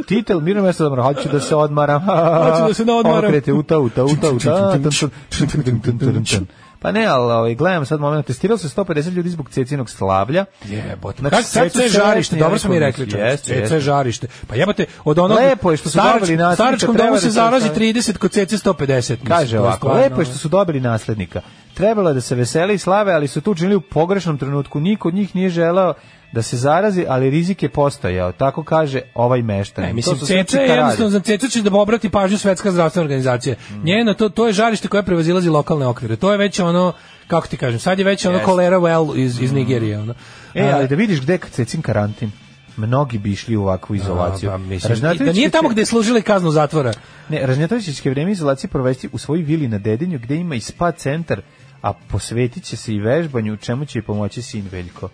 [SPEAKER 7] Titel, mirno mesto za odmor, hoću da se odmaram.
[SPEAKER 6] Hoću da se naodmaram.
[SPEAKER 7] Okrete, Ono uta, uta, uta, uta. tun, tun, tun, tun, tun, tun, tun, tun. Pa ne, ali ovaj, gledam sad moment, testiralo se 150 ljudi zbog cecinog slavlja.
[SPEAKER 6] Jebote.
[SPEAKER 7] Znači,
[SPEAKER 6] Kako
[SPEAKER 7] sve su
[SPEAKER 6] ceca je žarište,
[SPEAKER 7] sretni,
[SPEAKER 6] dobro smo mi
[SPEAKER 7] rekao,
[SPEAKER 6] rekli. čovječe,
[SPEAKER 7] jeste,
[SPEAKER 6] Ceca
[SPEAKER 7] jeste.
[SPEAKER 6] je žarište. Pa jebote, od onog...
[SPEAKER 7] Lepo je što su dobili nasljednika,
[SPEAKER 6] Staračkom
[SPEAKER 7] treba
[SPEAKER 6] domu
[SPEAKER 7] da
[SPEAKER 6] se
[SPEAKER 7] se
[SPEAKER 6] zarazi
[SPEAKER 7] ostane.
[SPEAKER 6] 30, kod cece 150. mislim, to
[SPEAKER 7] Kaže
[SPEAKER 6] je
[SPEAKER 7] ovako,
[SPEAKER 6] stvarno,
[SPEAKER 7] lepo je što su dobili naslednika. Trebalo je da se veseli i slave, ali su to učinili u pogrešnom trenutku. Niko od njih nije želeo da se zarazi, ali rizik je postojao. Tako kaže ovaj meštan.
[SPEAKER 6] Ne, mislim, ceca je jednostavno, za ceca će da obrati pažnju Svetska zdravstvena organizacija. Njeno, to, to je žarište koje prevazilazi lokalne okvire. To je već ono, kako ti kažem, sad je već ono
[SPEAKER 7] Jeste.
[SPEAKER 6] kolera well iz, iz Nigerije. Ono.
[SPEAKER 7] E,
[SPEAKER 6] A,
[SPEAKER 7] ali da vidiš gde je cecin karantin. Mnogi bi išli u ovakvu izolaciju.
[SPEAKER 6] a, pa, mislim,
[SPEAKER 7] Ražnjatović
[SPEAKER 6] da nije
[SPEAKER 7] će-
[SPEAKER 6] tamo gde je služila i kaznu zatvora.
[SPEAKER 7] Ne, Ražnjatović će vreme izolacije provesti u svojoj vili na Dedinju, gde ima i spa centar, a posvetit će se i vežbanju, čemu će i pomoći sin Veljko.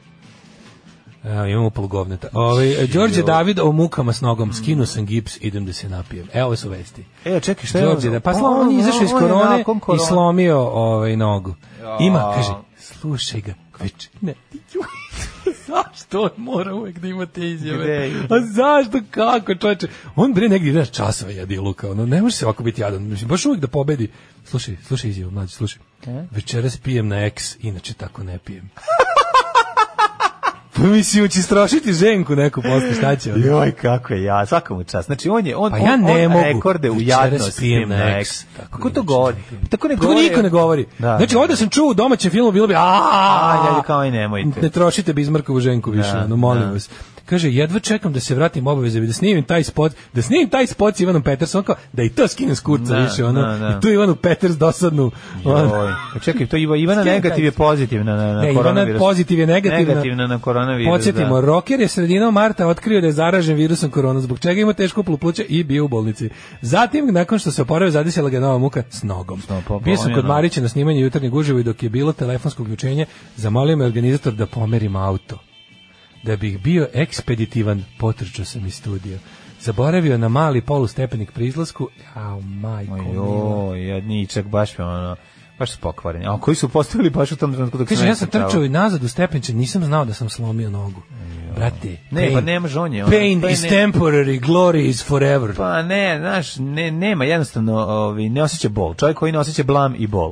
[SPEAKER 6] Evo, E, imamo polgovneta. Ovaj, Đorđe David o mukama s nogom, skinuo sam gips, idem da se napijem. Evo su vesti.
[SPEAKER 7] E, čekaj, šta je
[SPEAKER 6] Đorđe,
[SPEAKER 7] ono?
[SPEAKER 6] da, pa
[SPEAKER 7] O,
[SPEAKER 6] slavo, on je izašao iz
[SPEAKER 7] on je
[SPEAKER 6] korone
[SPEAKER 7] nakon
[SPEAKER 6] i
[SPEAKER 7] korone.
[SPEAKER 6] slomio ovaj nogu. Ima, kaže, slušaj ga, već, ne, ju, [laughs] zašto on mora uvek da ima te
[SPEAKER 7] Gde
[SPEAKER 6] izjave?
[SPEAKER 7] je?
[SPEAKER 6] A zašto, kako, čoveče? On bre negdje ide časove jadi luka, ono, ne može se ovako biti jadan, mislim, baš uvek da pobedi. Slušaj, slušaj izjavu, mlađi, slušaj. Večeras pijem na eks, inače tako ne pijem. [laughs] Pa mislim, će strašiti ženku neku posle, šta [laughs] će ono?
[SPEAKER 7] Joj, kako je ja, svaka mu čast. Znači, on je, on,
[SPEAKER 6] Pa ja ne
[SPEAKER 7] on,
[SPEAKER 6] mogu.
[SPEAKER 7] on rekorde u
[SPEAKER 6] Večeras
[SPEAKER 7] jadnosti pijem
[SPEAKER 6] pijem na
[SPEAKER 7] na
[SPEAKER 6] X.
[SPEAKER 7] X.
[SPEAKER 6] Tako
[SPEAKER 7] Pa Kako to
[SPEAKER 6] inače
[SPEAKER 7] govori? Tako ne
[SPEAKER 6] Pa Tako
[SPEAKER 7] govori.
[SPEAKER 6] niko ne govori.
[SPEAKER 7] Da.
[SPEAKER 6] znači, ovdje sam čuo u domaćem filmu, bilo bi
[SPEAKER 7] A, ja
[SPEAKER 6] a
[SPEAKER 7] bi kao i nemojte.
[SPEAKER 6] ne trošite Bizmarkovu ženku više,
[SPEAKER 7] Da,
[SPEAKER 6] ono, molim
[SPEAKER 7] da.
[SPEAKER 6] vas. Kaže, jedva čekam da se vratim obaveze, da snimim taj spot, da snimim taj spot s Ivanom Petersom, on kao, da i to skinem s kurca
[SPEAKER 7] Da,
[SPEAKER 6] više, ono,
[SPEAKER 7] da, da.
[SPEAKER 6] i tu Ivanu Peters dosadnu. ono.
[SPEAKER 7] Joj. Pa Čekaj, to Iva, Ivana
[SPEAKER 6] Skine
[SPEAKER 7] negativ je
[SPEAKER 6] taj-
[SPEAKER 7] pozitivna na, na
[SPEAKER 6] Ne, Ivana
[SPEAKER 7] koronavirus.
[SPEAKER 6] pozitiv je negativna.
[SPEAKER 7] Negativna na koronavirus,
[SPEAKER 6] Podsjetimo,
[SPEAKER 7] da.
[SPEAKER 6] roker je sredinom marta otkrio da je zaražen virusom korona, zbog čega ima teško pluća i bio u bolnici. Zatim, nakon što se oporavio, zadesila ga je nova muka s nogom.
[SPEAKER 7] nopom,
[SPEAKER 6] bio sam
[SPEAKER 7] on je
[SPEAKER 6] kod
[SPEAKER 7] na-
[SPEAKER 6] Marića na snimanju jutarnje guževo i dok je bilo telefonsko uključenje, zamolio me organizator da pomerim auto. Da bih bio ekspeditivan, potrčao sam iz studija. Zaboravio na mali polustepenik pri izlasku, au majko mila.
[SPEAKER 7] Joj, jadničak, baš me ono, baš su pokvareni. A koji su postavili baš u tom trenutku dok
[SPEAKER 6] Kaže,
[SPEAKER 7] ne
[SPEAKER 6] ja sam
[SPEAKER 7] ispričavao?
[SPEAKER 6] trčao i nazad u stepenice, nisam znao da sam slomio nogu. Brate,
[SPEAKER 7] Ne,
[SPEAKER 6] pain-
[SPEAKER 7] pa ne može, on je ono-
[SPEAKER 6] Pain
[SPEAKER 7] pa
[SPEAKER 6] is
[SPEAKER 7] ne-
[SPEAKER 6] temporary, glory is forever.
[SPEAKER 7] Pa ne, znaš, ne, nema, jednostavno ovi, ne osjeća bol. Čovjek koji ne osjeća blam i bol.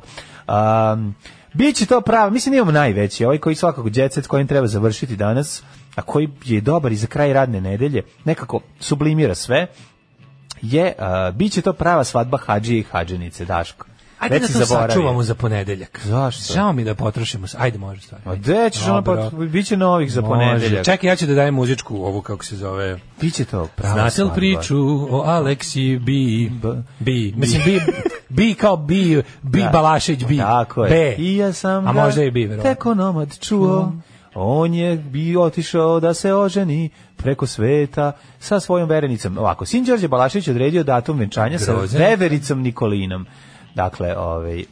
[SPEAKER 7] Um, Biće to pravo, mislim da imamo najveći, ovaj koji svakako djecet kojim treba završiti danas, a koji je dobar i za kraj radne nedelje, nekako sublimira sve, je, uh, biće to prava svadba hađije i hađenice, Daško.
[SPEAKER 6] Ajde
[SPEAKER 7] Već
[SPEAKER 6] da
[SPEAKER 7] si
[SPEAKER 6] to
[SPEAKER 7] zaboravio.
[SPEAKER 6] sačuvamo za ponedeljak.
[SPEAKER 7] Zašto?
[SPEAKER 6] Žao mi da potrošimo. se. Ajde, može stvar.
[SPEAKER 7] A gde ćeš ono, pa,
[SPEAKER 6] Dobro.
[SPEAKER 7] bit će novih za
[SPEAKER 6] Može.
[SPEAKER 7] ponedeljak.
[SPEAKER 6] Čekaj, ja ću da dajem muzičku ovu, kako se zove.
[SPEAKER 7] Biće to prava
[SPEAKER 6] Znate li
[SPEAKER 7] svadba.
[SPEAKER 6] priču o Aleksi B? B. Mislim, B, B kao B, B
[SPEAKER 7] Da.
[SPEAKER 6] Balašić B.
[SPEAKER 7] Tako je.
[SPEAKER 6] B.
[SPEAKER 7] I ja sam
[SPEAKER 6] A
[SPEAKER 7] ga
[SPEAKER 6] možda i B, verovatno.
[SPEAKER 7] Teko nomad čuo. On je bio otišao da se oženi preko sveta sa svojom verenicom. Ovako, sin Đorđe Balašić odredio datum venčanja sa
[SPEAKER 6] Grozan.
[SPEAKER 7] vevericom Nikolinom. Dakle, ovaj,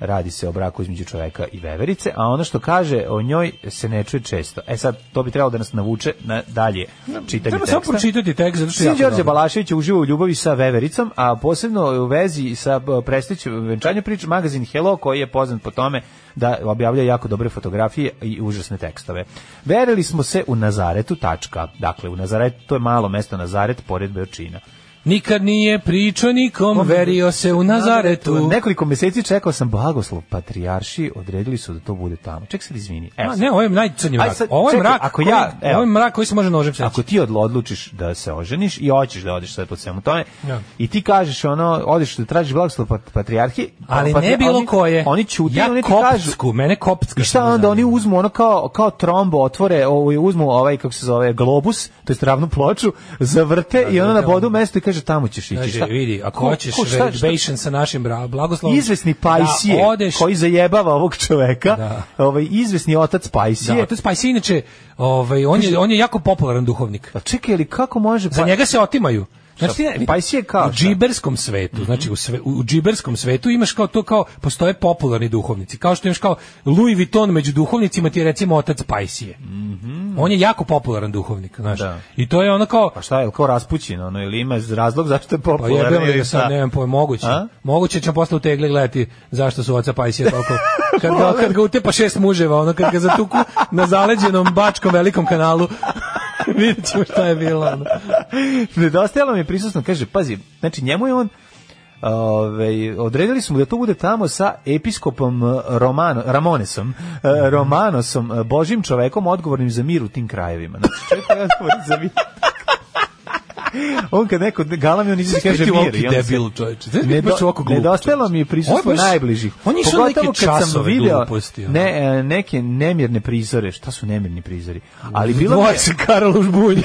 [SPEAKER 7] radi se o braku između čoveka i veverice, a ono što kaže o njoj se ne čuje često. E sad, to bi trebalo da nas navuče na dalje čitanje
[SPEAKER 6] Treba samo
[SPEAKER 7] teksta.
[SPEAKER 6] pročitati tekst, zato što je
[SPEAKER 7] Sin
[SPEAKER 6] Znači, jako
[SPEAKER 7] Đorđe
[SPEAKER 6] dobro.
[SPEAKER 7] Balašević je uživao u ljubavi sa vevericom, a posebno u vezi sa b- prestićem venčanja priča magazin Hello koji je poznat po tome da objavlja jako dobre fotografije i užasne tekstove. Verili smo se u Nazaretu, tačka. Dakle, u Nazaretu, to je malo mesto Nazaret pored Beočina.
[SPEAKER 6] Nikad nije pričao nikom, verio se u Nazaretu.
[SPEAKER 7] Nekoliko meseci čekao sam blagoslov patrijarši, odredili su da to bude tamo. Ček sad izvini. Evo
[SPEAKER 6] A,
[SPEAKER 7] sad.
[SPEAKER 6] ne, ovo je najcrnji
[SPEAKER 7] Aj,
[SPEAKER 6] mrak.
[SPEAKER 7] sad,
[SPEAKER 6] Ovo je
[SPEAKER 7] čekaj,
[SPEAKER 6] mrak,
[SPEAKER 7] ako ja-
[SPEAKER 6] koji,
[SPEAKER 7] evo.
[SPEAKER 6] ovo je mrak koji se može nožem seći.
[SPEAKER 7] Ako ti odlo- odlučiš da se oženiš i hoćeš da odeš sad po svemu tome
[SPEAKER 6] Ja.
[SPEAKER 7] i ti kažeš ono, odeš da tražiš blagoslov pat- patrijarhi,
[SPEAKER 6] Ali
[SPEAKER 7] pa-
[SPEAKER 6] ne bilo
[SPEAKER 7] oni,
[SPEAKER 6] koje.
[SPEAKER 7] Oni ćute,
[SPEAKER 6] ja
[SPEAKER 7] oni ti kažu.
[SPEAKER 6] koptsku, mene koptska.
[SPEAKER 7] I šta onda oni uzmu ono kao kao trombo otvore, ovaj uzmu ovaj kako se zove globus, to jest ravnu ploču, zavrte i ono na bodu mesto i kaže tamo ćeš ići.
[SPEAKER 6] Kaže,
[SPEAKER 7] Šta-
[SPEAKER 6] vidi, ako
[SPEAKER 7] ko-
[SPEAKER 6] hoćeš
[SPEAKER 7] ko- šta- šta-
[SPEAKER 6] reservation sa našim bra- blagoslovom...
[SPEAKER 7] izvesni Pajsije
[SPEAKER 6] da odeš,
[SPEAKER 7] koji zajebava ovog čoveka, ovaj izvesni otac
[SPEAKER 6] Da,
[SPEAKER 7] Pajsije.
[SPEAKER 6] otac Pajsije, inače, ovaj, on, je, on je jako popularan duhovnik.
[SPEAKER 7] Pa čekaj, ali kako može
[SPEAKER 6] Za
[SPEAKER 7] Pa-
[SPEAKER 6] njega se otimaju. Znači, ti ne-
[SPEAKER 7] Pa si je kao
[SPEAKER 6] u
[SPEAKER 7] šta? Mhm.
[SPEAKER 6] džiberskom svetu, znači u, sve, u, u džiberskom svetu imaš kao to kao postoje popularni duhovnici, kao što imaš kao Louis Vuitton među duhovnicima ti je recimo otac Pajsije. On je jako popularan duhovnik, znaš.
[SPEAKER 7] Mhm. Da.
[SPEAKER 6] I to je ono kao
[SPEAKER 7] Pa šta je, kao raspućin, ono, ili ima razlog zašto je
[SPEAKER 6] pa
[SPEAKER 7] popularan?
[SPEAKER 6] jebem li
[SPEAKER 7] ili
[SPEAKER 6] ga
[SPEAKER 7] šta?
[SPEAKER 6] sad, nemam pojma, moguće.
[SPEAKER 7] A?
[SPEAKER 6] Moguće ćemo posle u tegli gledati zašto su oca Pajsije toliko...
[SPEAKER 7] [laughs]
[SPEAKER 6] Kad ga, kad ga utepa šest muževa, ono, kad ga zatuku na zaleđenom bačkom velikom kanalu, [laughs] vidjet ćemo šta je bilo. Ono.
[SPEAKER 7] [laughs] Nedostajalo mi je prisutno, kaže, pazi, znači njemu je on Ove, odredili smo da to bude tamo sa episkopom eh, Romano, Ramonesom, eh,
[SPEAKER 6] Mhm.
[SPEAKER 7] Romanosom, eh, božim čovekom odgovornim za mir u tim krajevima. Znači, čovjek koji je odgovoran za mir. [laughs] on kad neko galami, on izgleda kaže
[SPEAKER 6] Ti
[SPEAKER 7] mir.
[SPEAKER 6] ovaki
[SPEAKER 7] i onda se-
[SPEAKER 6] debil, čovječe. Znaš,
[SPEAKER 7] Nedo-
[SPEAKER 6] baš ovako glup.
[SPEAKER 7] nedostajalo mi je
[SPEAKER 6] Ovo
[SPEAKER 7] prisustvo
[SPEAKER 6] je baš-
[SPEAKER 7] najbližih.
[SPEAKER 6] On je išao na neke časove gluposti. ono.
[SPEAKER 7] ne, eh, neke nemirne prizore. Šta su nemirni prizori?
[SPEAKER 6] [laughs]
[SPEAKER 7] Ali bilo mi
[SPEAKER 6] Moj
[SPEAKER 7] je-
[SPEAKER 6] se Karol Užbulj.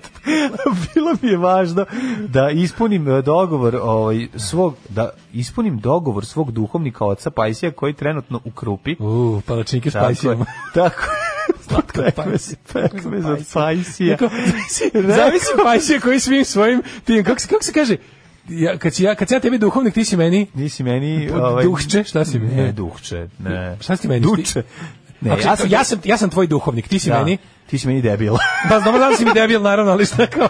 [SPEAKER 7] [laughs] bilo mi je važno da ispunim e, dogovor ovaj svog da ispunim dogovor svog duhovnika oca Pajsija koji je trenutno u Krupi.
[SPEAKER 6] U, palačinke s [laughs] pajsijama.
[SPEAKER 7] [laughs] Tako.
[SPEAKER 6] Slatko je
[SPEAKER 7] Pekme se,
[SPEAKER 6] pajsija.
[SPEAKER 7] pekme za Pajsija.
[SPEAKER 6] Neko-
[SPEAKER 7] Rekao-
[SPEAKER 6] Zavisi pajsija koji svim svojim tim, kako se, kako se kaže, ja, kad, si ja, kad sam ja tebi duhovnik, ti si meni
[SPEAKER 7] Nisi meni... ovaj-
[SPEAKER 6] Pod- duhče? Šta si mi?
[SPEAKER 7] Ne, duhče. Ne.
[SPEAKER 6] Šta si ti meni?
[SPEAKER 7] Duče. Ne,
[SPEAKER 6] Ako se-
[SPEAKER 7] ja sam...
[SPEAKER 6] ja, sam, ja sam tvoj duhovnik, ti si
[SPEAKER 7] da,
[SPEAKER 6] meni.
[SPEAKER 7] Ti si meni debil.
[SPEAKER 6] Pa dobro da si mi debil, naravno, ali šta kao,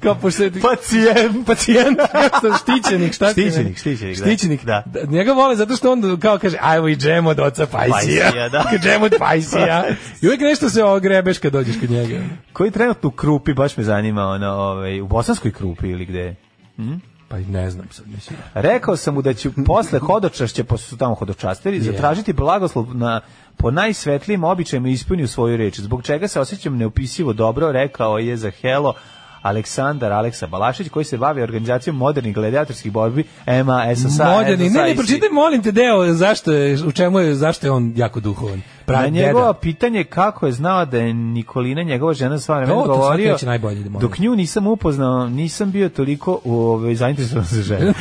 [SPEAKER 6] kao pošto je-
[SPEAKER 7] Pacijent.
[SPEAKER 6] pacijent, [laughs] kako sam štićenik, šta si mi?
[SPEAKER 7] Štićenik, štićenik, da.
[SPEAKER 6] štićenik.
[SPEAKER 7] Da.
[SPEAKER 6] Njega vole zato što on kao kaže, ajmo i džem od oca Pajsija.
[SPEAKER 7] Pajsija,
[SPEAKER 6] [laughs]
[SPEAKER 7] da.
[SPEAKER 6] džem od
[SPEAKER 7] [laughs]
[SPEAKER 6] Pajsija. I uvijek nešto se ogrebeš kad dođeš kod njega.
[SPEAKER 7] Koji je trenutno u Krupi, baš me zanima, ono, ovaj, u bosanskoj Krupi ili gde je?
[SPEAKER 6] Pa i ne znam sad, mislim.
[SPEAKER 7] Rekao sam mu da ću posle hodočašća, pošto su tamo hodočasteri, zatražiti blagoslov na po najsvetlijim običajima ispunio svoju reč. Zbog čega se osjećam neopisivo dobro, rekao je za Helo Aleksandar Aleksa Balašić, koji se bavi organizacijom modernih gladiatorskih borbi EMA, SSA,
[SPEAKER 6] Moderni, ne, ne,
[SPEAKER 7] SSIC.
[SPEAKER 6] pročitaj molim te deo zašto je, u čemu je, zašto je on jako duhovan.
[SPEAKER 7] Na
[SPEAKER 6] Pravi
[SPEAKER 7] Pa njegovo
[SPEAKER 6] deda.
[SPEAKER 7] pitanje kako je znao da je Nikolina njegova žena sva vremena
[SPEAKER 6] To, to svaki
[SPEAKER 7] govorio.
[SPEAKER 6] reći najbolje, da molim.
[SPEAKER 7] dok nju nisam upoznao, nisam bio toliko ovaj zainteresovan za
[SPEAKER 6] [laughs]
[SPEAKER 7] ženu.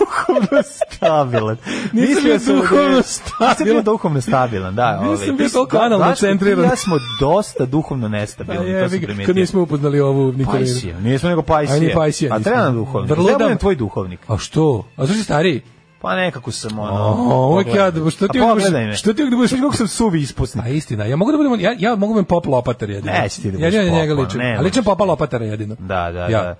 [SPEAKER 7] duhovno stabilan.
[SPEAKER 6] Nisam
[SPEAKER 7] Mislio
[SPEAKER 6] bio
[SPEAKER 7] sam da je-
[SPEAKER 6] duhovno
[SPEAKER 7] Nisam bio
[SPEAKER 6] stabilan.
[SPEAKER 7] duhovno stabilan, da. Ovaj.
[SPEAKER 6] Nisam bio
[SPEAKER 7] Ti si-
[SPEAKER 6] toliko
[SPEAKER 7] da,
[SPEAKER 6] analno
[SPEAKER 7] Daško, ti i
[SPEAKER 6] centriran.
[SPEAKER 7] Ja smo dosta duhovno
[SPEAKER 6] Pa
[SPEAKER 7] nestabilni, to
[SPEAKER 6] jebi
[SPEAKER 7] sam
[SPEAKER 6] ga,
[SPEAKER 7] primetio.
[SPEAKER 6] Kad nismo upoznali ovu Nikolinu.
[SPEAKER 7] Pajsija, nismo nego
[SPEAKER 6] A ni
[SPEAKER 7] Pajsija.
[SPEAKER 6] Pajsija
[SPEAKER 7] A
[SPEAKER 6] nismo.
[SPEAKER 7] treba nam duhovnik.
[SPEAKER 6] Vrledam.
[SPEAKER 7] Treba nam tvoj duhovnik.
[SPEAKER 6] A što? A zašto si stariji?
[SPEAKER 7] Pa nekako sam ono...
[SPEAKER 6] O, uvijek ja, da- što ti
[SPEAKER 7] A
[SPEAKER 6] uvijek
[SPEAKER 7] pogledaj
[SPEAKER 6] budeš-
[SPEAKER 7] me.
[SPEAKER 6] što ti uvijek da budeš-
[SPEAKER 7] Vidiš kako sam suvi ispusnik.
[SPEAKER 6] A Pa istina, ja mogu da budem, ja, ja mogu da budem pop lopatar jedino.
[SPEAKER 7] Neće ti da budeš
[SPEAKER 6] jedino na njega
[SPEAKER 7] pop, ono,
[SPEAKER 6] ličim.
[SPEAKER 7] ne
[SPEAKER 6] A ličim
[SPEAKER 7] možeš.
[SPEAKER 6] popa lopatara jedino.
[SPEAKER 7] Da, da,
[SPEAKER 6] ja.
[SPEAKER 7] da.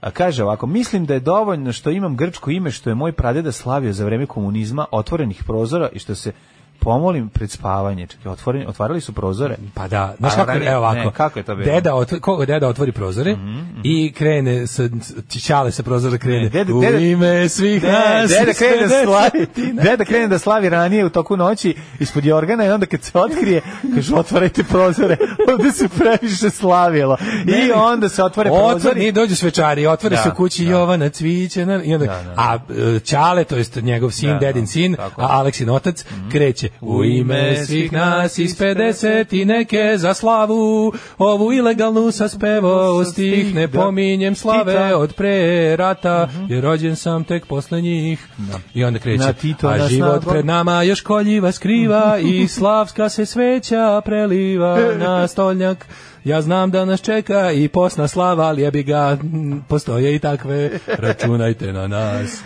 [SPEAKER 7] A kaže ovako, mislim da je dovoljno što imam grčko ime što je moj pradeda slavio za vreme komunizma, otvorenih prozora i što se pomolim pred spavanje. Čekaj, otvoreni, otvarali su prozore.
[SPEAKER 6] Pa da, znaš
[SPEAKER 7] A,
[SPEAKER 6] kako,
[SPEAKER 7] ranije-
[SPEAKER 6] evo ovako.
[SPEAKER 7] ne, kako je to bilo? Mhm,
[SPEAKER 6] Deda, otv, ko, deda otvori prozore i krene, sa, čičale sa prozora krene.
[SPEAKER 7] Ne, deda-
[SPEAKER 6] u
[SPEAKER 7] deda-
[SPEAKER 6] ime svih
[SPEAKER 7] Ne,
[SPEAKER 6] nas.
[SPEAKER 7] deda krene da
[SPEAKER 6] sve
[SPEAKER 7] slavi,
[SPEAKER 6] desetine.
[SPEAKER 7] deda krene da slavi ranije u toku noći ispod jorgana i onda kad se otkrije, kaže otvarajte prozore, [laughs] ovde se previše slavilo. I onda se otvore
[SPEAKER 6] Otvori,
[SPEAKER 7] prozori.
[SPEAKER 6] nije dođu svečari, otvori
[SPEAKER 7] Da,
[SPEAKER 6] se u kući
[SPEAKER 7] da.
[SPEAKER 6] Jovana Cvićena i onda,
[SPEAKER 7] da.
[SPEAKER 6] a e, Ćale, to jest njegov sin,
[SPEAKER 7] Da,
[SPEAKER 6] dedin
[SPEAKER 7] da,
[SPEAKER 6] sin,
[SPEAKER 7] tako je. Mhm.
[SPEAKER 6] a Aleksin otac, kreće u ime svih nas iz 50 i neke za slavu, ovu ilegalnu sa spevo stih, ne
[SPEAKER 7] Da. Mhm.
[SPEAKER 6] pominjem slave
[SPEAKER 7] Tita.
[SPEAKER 6] od pre rata, jer rođen sam tek posle njih. I onda kreće,
[SPEAKER 7] Na Tito
[SPEAKER 6] a
[SPEAKER 7] nas
[SPEAKER 6] život
[SPEAKER 7] naglo-
[SPEAKER 6] pred nama još
[SPEAKER 7] [laughs]
[SPEAKER 6] koljiva skriva i slavska se sveća preliva na stolnjak. Ja znam da nas čeka i posna slava, ali jebi ga, m, postoje i takve, računajte na
[SPEAKER 7] [laughs]
[SPEAKER 6] nas.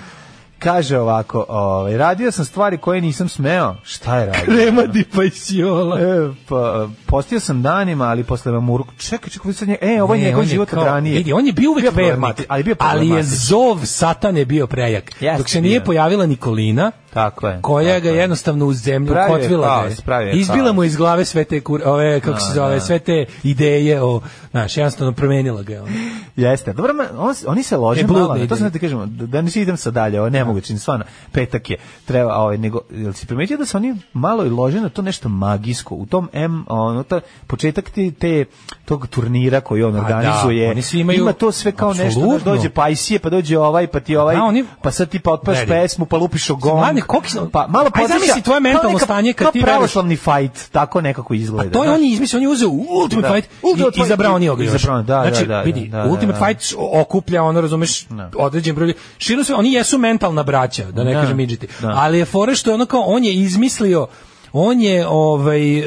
[SPEAKER 7] Kaže ovako, ovaj, radio sam stvari koje nisam smeo. Šta je radio?
[SPEAKER 6] Krema di
[SPEAKER 7] pa
[SPEAKER 6] pajsiola.
[SPEAKER 7] E, pa, postio sam danima, ali posle mamuru, čekaj, čekaj, vidi sad nje, e, ovo je
[SPEAKER 6] Ne,
[SPEAKER 7] njegov
[SPEAKER 6] on je
[SPEAKER 7] život
[SPEAKER 6] kao-
[SPEAKER 7] od ranije.
[SPEAKER 6] Vidi, on je bio uvek vernik,
[SPEAKER 7] problemati- ali bio
[SPEAKER 6] ali je
[SPEAKER 7] problematičan.
[SPEAKER 6] zov satane bio prejak.
[SPEAKER 7] Jeste,
[SPEAKER 6] Dok se nije
[SPEAKER 7] bio.
[SPEAKER 6] pojavila Nikolina,
[SPEAKER 7] Tako je.
[SPEAKER 6] koja
[SPEAKER 7] tako
[SPEAKER 6] ga jednostavno u zemlju
[SPEAKER 7] Pravio je
[SPEAKER 6] kotvila
[SPEAKER 7] kaos, pravio je
[SPEAKER 6] Izbila
[SPEAKER 7] kaos.
[SPEAKER 6] mu iz glave sve te kur, ove kako se zove, sve te ideje o, znaš, jednostavno promenila ga je ona.
[SPEAKER 7] Jeste. Dobro, ma, on, s- oni se lože
[SPEAKER 6] E, bludne
[SPEAKER 7] malo, na- to
[SPEAKER 6] ideje.
[SPEAKER 7] sam da ti kažemo, da, da ne idem sad dalje, ovo je nemoguće, stvarno, petak je, treba, ovaj, nego, jel si primetio da se oni malo i lože na to nešto magijsko, u tom M, ono, ta, početak te, te, tog turnira koji on
[SPEAKER 6] Pa da,
[SPEAKER 7] organizuje,
[SPEAKER 6] oni svi imaju-
[SPEAKER 7] ima to sve kao nešto, da
[SPEAKER 6] Apsolutno.
[SPEAKER 7] dođe Pajsije, pa dođe ovaj, pa ti ovaj,
[SPEAKER 6] Da, oni-
[SPEAKER 7] pa sad ti pa otpaš
[SPEAKER 6] Gledaj.
[SPEAKER 7] pesmu, pa lupiš o gong,
[SPEAKER 6] Mlade, koliki su-
[SPEAKER 7] pa malo
[SPEAKER 6] Aj, zamisli tvoje mentalno
[SPEAKER 7] kao neka-
[SPEAKER 6] stanje kad
[SPEAKER 7] kao
[SPEAKER 6] ti veruješ-
[SPEAKER 7] pravoslavni fight, tako nekako izgleda.
[SPEAKER 6] To je
[SPEAKER 7] znaš.
[SPEAKER 6] on je izmislio, on je uzeo Ultimate
[SPEAKER 7] Da.
[SPEAKER 6] Fight
[SPEAKER 7] Ultimate
[SPEAKER 6] i
[SPEAKER 7] Fight
[SPEAKER 6] izabrao nije ga još.
[SPEAKER 7] izabrao, da, da,
[SPEAKER 6] znači,
[SPEAKER 7] da, da,
[SPEAKER 6] vidi,
[SPEAKER 7] da, da,
[SPEAKER 6] Ultimate
[SPEAKER 7] da.
[SPEAKER 6] Fight okuplja, ono, razumeš, određen broj. ljudi. Širno se, oni jesu mentalna braća, da ne
[SPEAKER 7] Da,
[SPEAKER 6] kažem idžiti.
[SPEAKER 7] da.
[SPEAKER 6] Ali je fora što je ono kao, on je izmislio, on je, ovaj,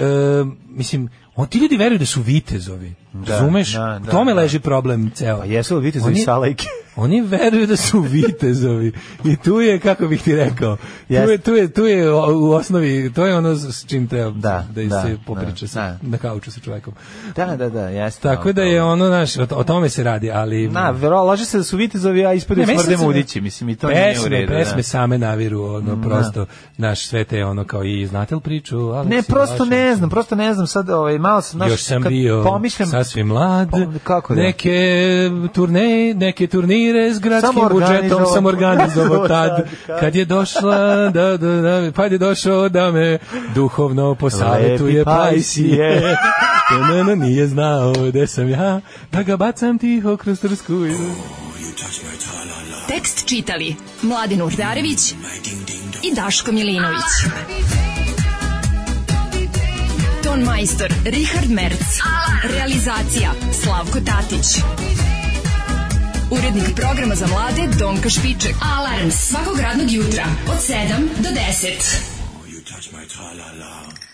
[SPEAKER 6] e, mislim, O, ti ljudi veruju da su vitezovi. Da, Razumeš?
[SPEAKER 7] da, da,
[SPEAKER 6] U tome
[SPEAKER 7] da.
[SPEAKER 6] leži problem ceo.
[SPEAKER 7] Pa jesu li vitezovi
[SPEAKER 6] Oni-
[SPEAKER 7] salajke?
[SPEAKER 6] [laughs] Oni veruju da su vitezovi. I tu je, kako bih ti rekao, tu
[SPEAKER 7] Jeste.
[SPEAKER 6] je, tu je, tu je o- u osnovi, to je ono s s čim treba
[SPEAKER 7] Da,
[SPEAKER 6] da,
[SPEAKER 7] da,
[SPEAKER 6] se popriča
[SPEAKER 7] da,
[SPEAKER 6] sa,
[SPEAKER 7] da.
[SPEAKER 6] na kauču sa čovekom.
[SPEAKER 7] [laughs] Da, da, da, jeste.
[SPEAKER 6] Tako da je ono, znaš, o, o tome se radi, ali...
[SPEAKER 7] Na, vero, laže se da su vitezovi, a ispred
[SPEAKER 6] Ne, meni
[SPEAKER 7] smrde
[SPEAKER 6] sad se-
[SPEAKER 7] mudići, mislim, i to nije u
[SPEAKER 6] pesme,
[SPEAKER 7] redu. da.
[SPEAKER 6] pesme same naviru, ono, prosto, naš sve te ono kao i znate li priču?
[SPEAKER 7] Ne,
[SPEAKER 6] Aleksi
[SPEAKER 7] prosto
[SPEAKER 6] Lašević?
[SPEAKER 7] ne znam, prosto ne znam sad, ovaj, malo sam, znaš,
[SPEAKER 6] Još sam
[SPEAKER 7] kad
[SPEAKER 6] bio
[SPEAKER 7] pomišljam,
[SPEAKER 6] sasvim mlad,
[SPEAKER 7] Pa, kako da?
[SPEAKER 6] neke, turne, neke turnire s gradskim
[SPEAKER 7] Samo
[SPEAKER 6] budžetom sam
[SPEAKER 7] organizovao [laughs]
[SPEAKER 6] organizovao tad,
[SPEAKER 7] tad,
[SPEAKER 6] kad je došla, da, da, da, pa je došao da me duhovno
[SPEAKER 7] Lepi
[SPEAKER 6] posavetuje pa
[SPEAKER 7] pajsije.
[SPEAKER 6] [laughs] pajsije. Ne, ne, nije znao gde sam ja, da ga bacam tiho kroz trsku.
[SPEAKER 5] Tekst čitali Mladin Urdarević i Daško Milinović. Ton majstor Richard Merc. Realizacija Slavko Tatić. Urednik programa za mlade Donka Špiček. Alarms svakog radnog jutra od 7 do 10.
[SPEAKER 8] You touch my tra-la-la.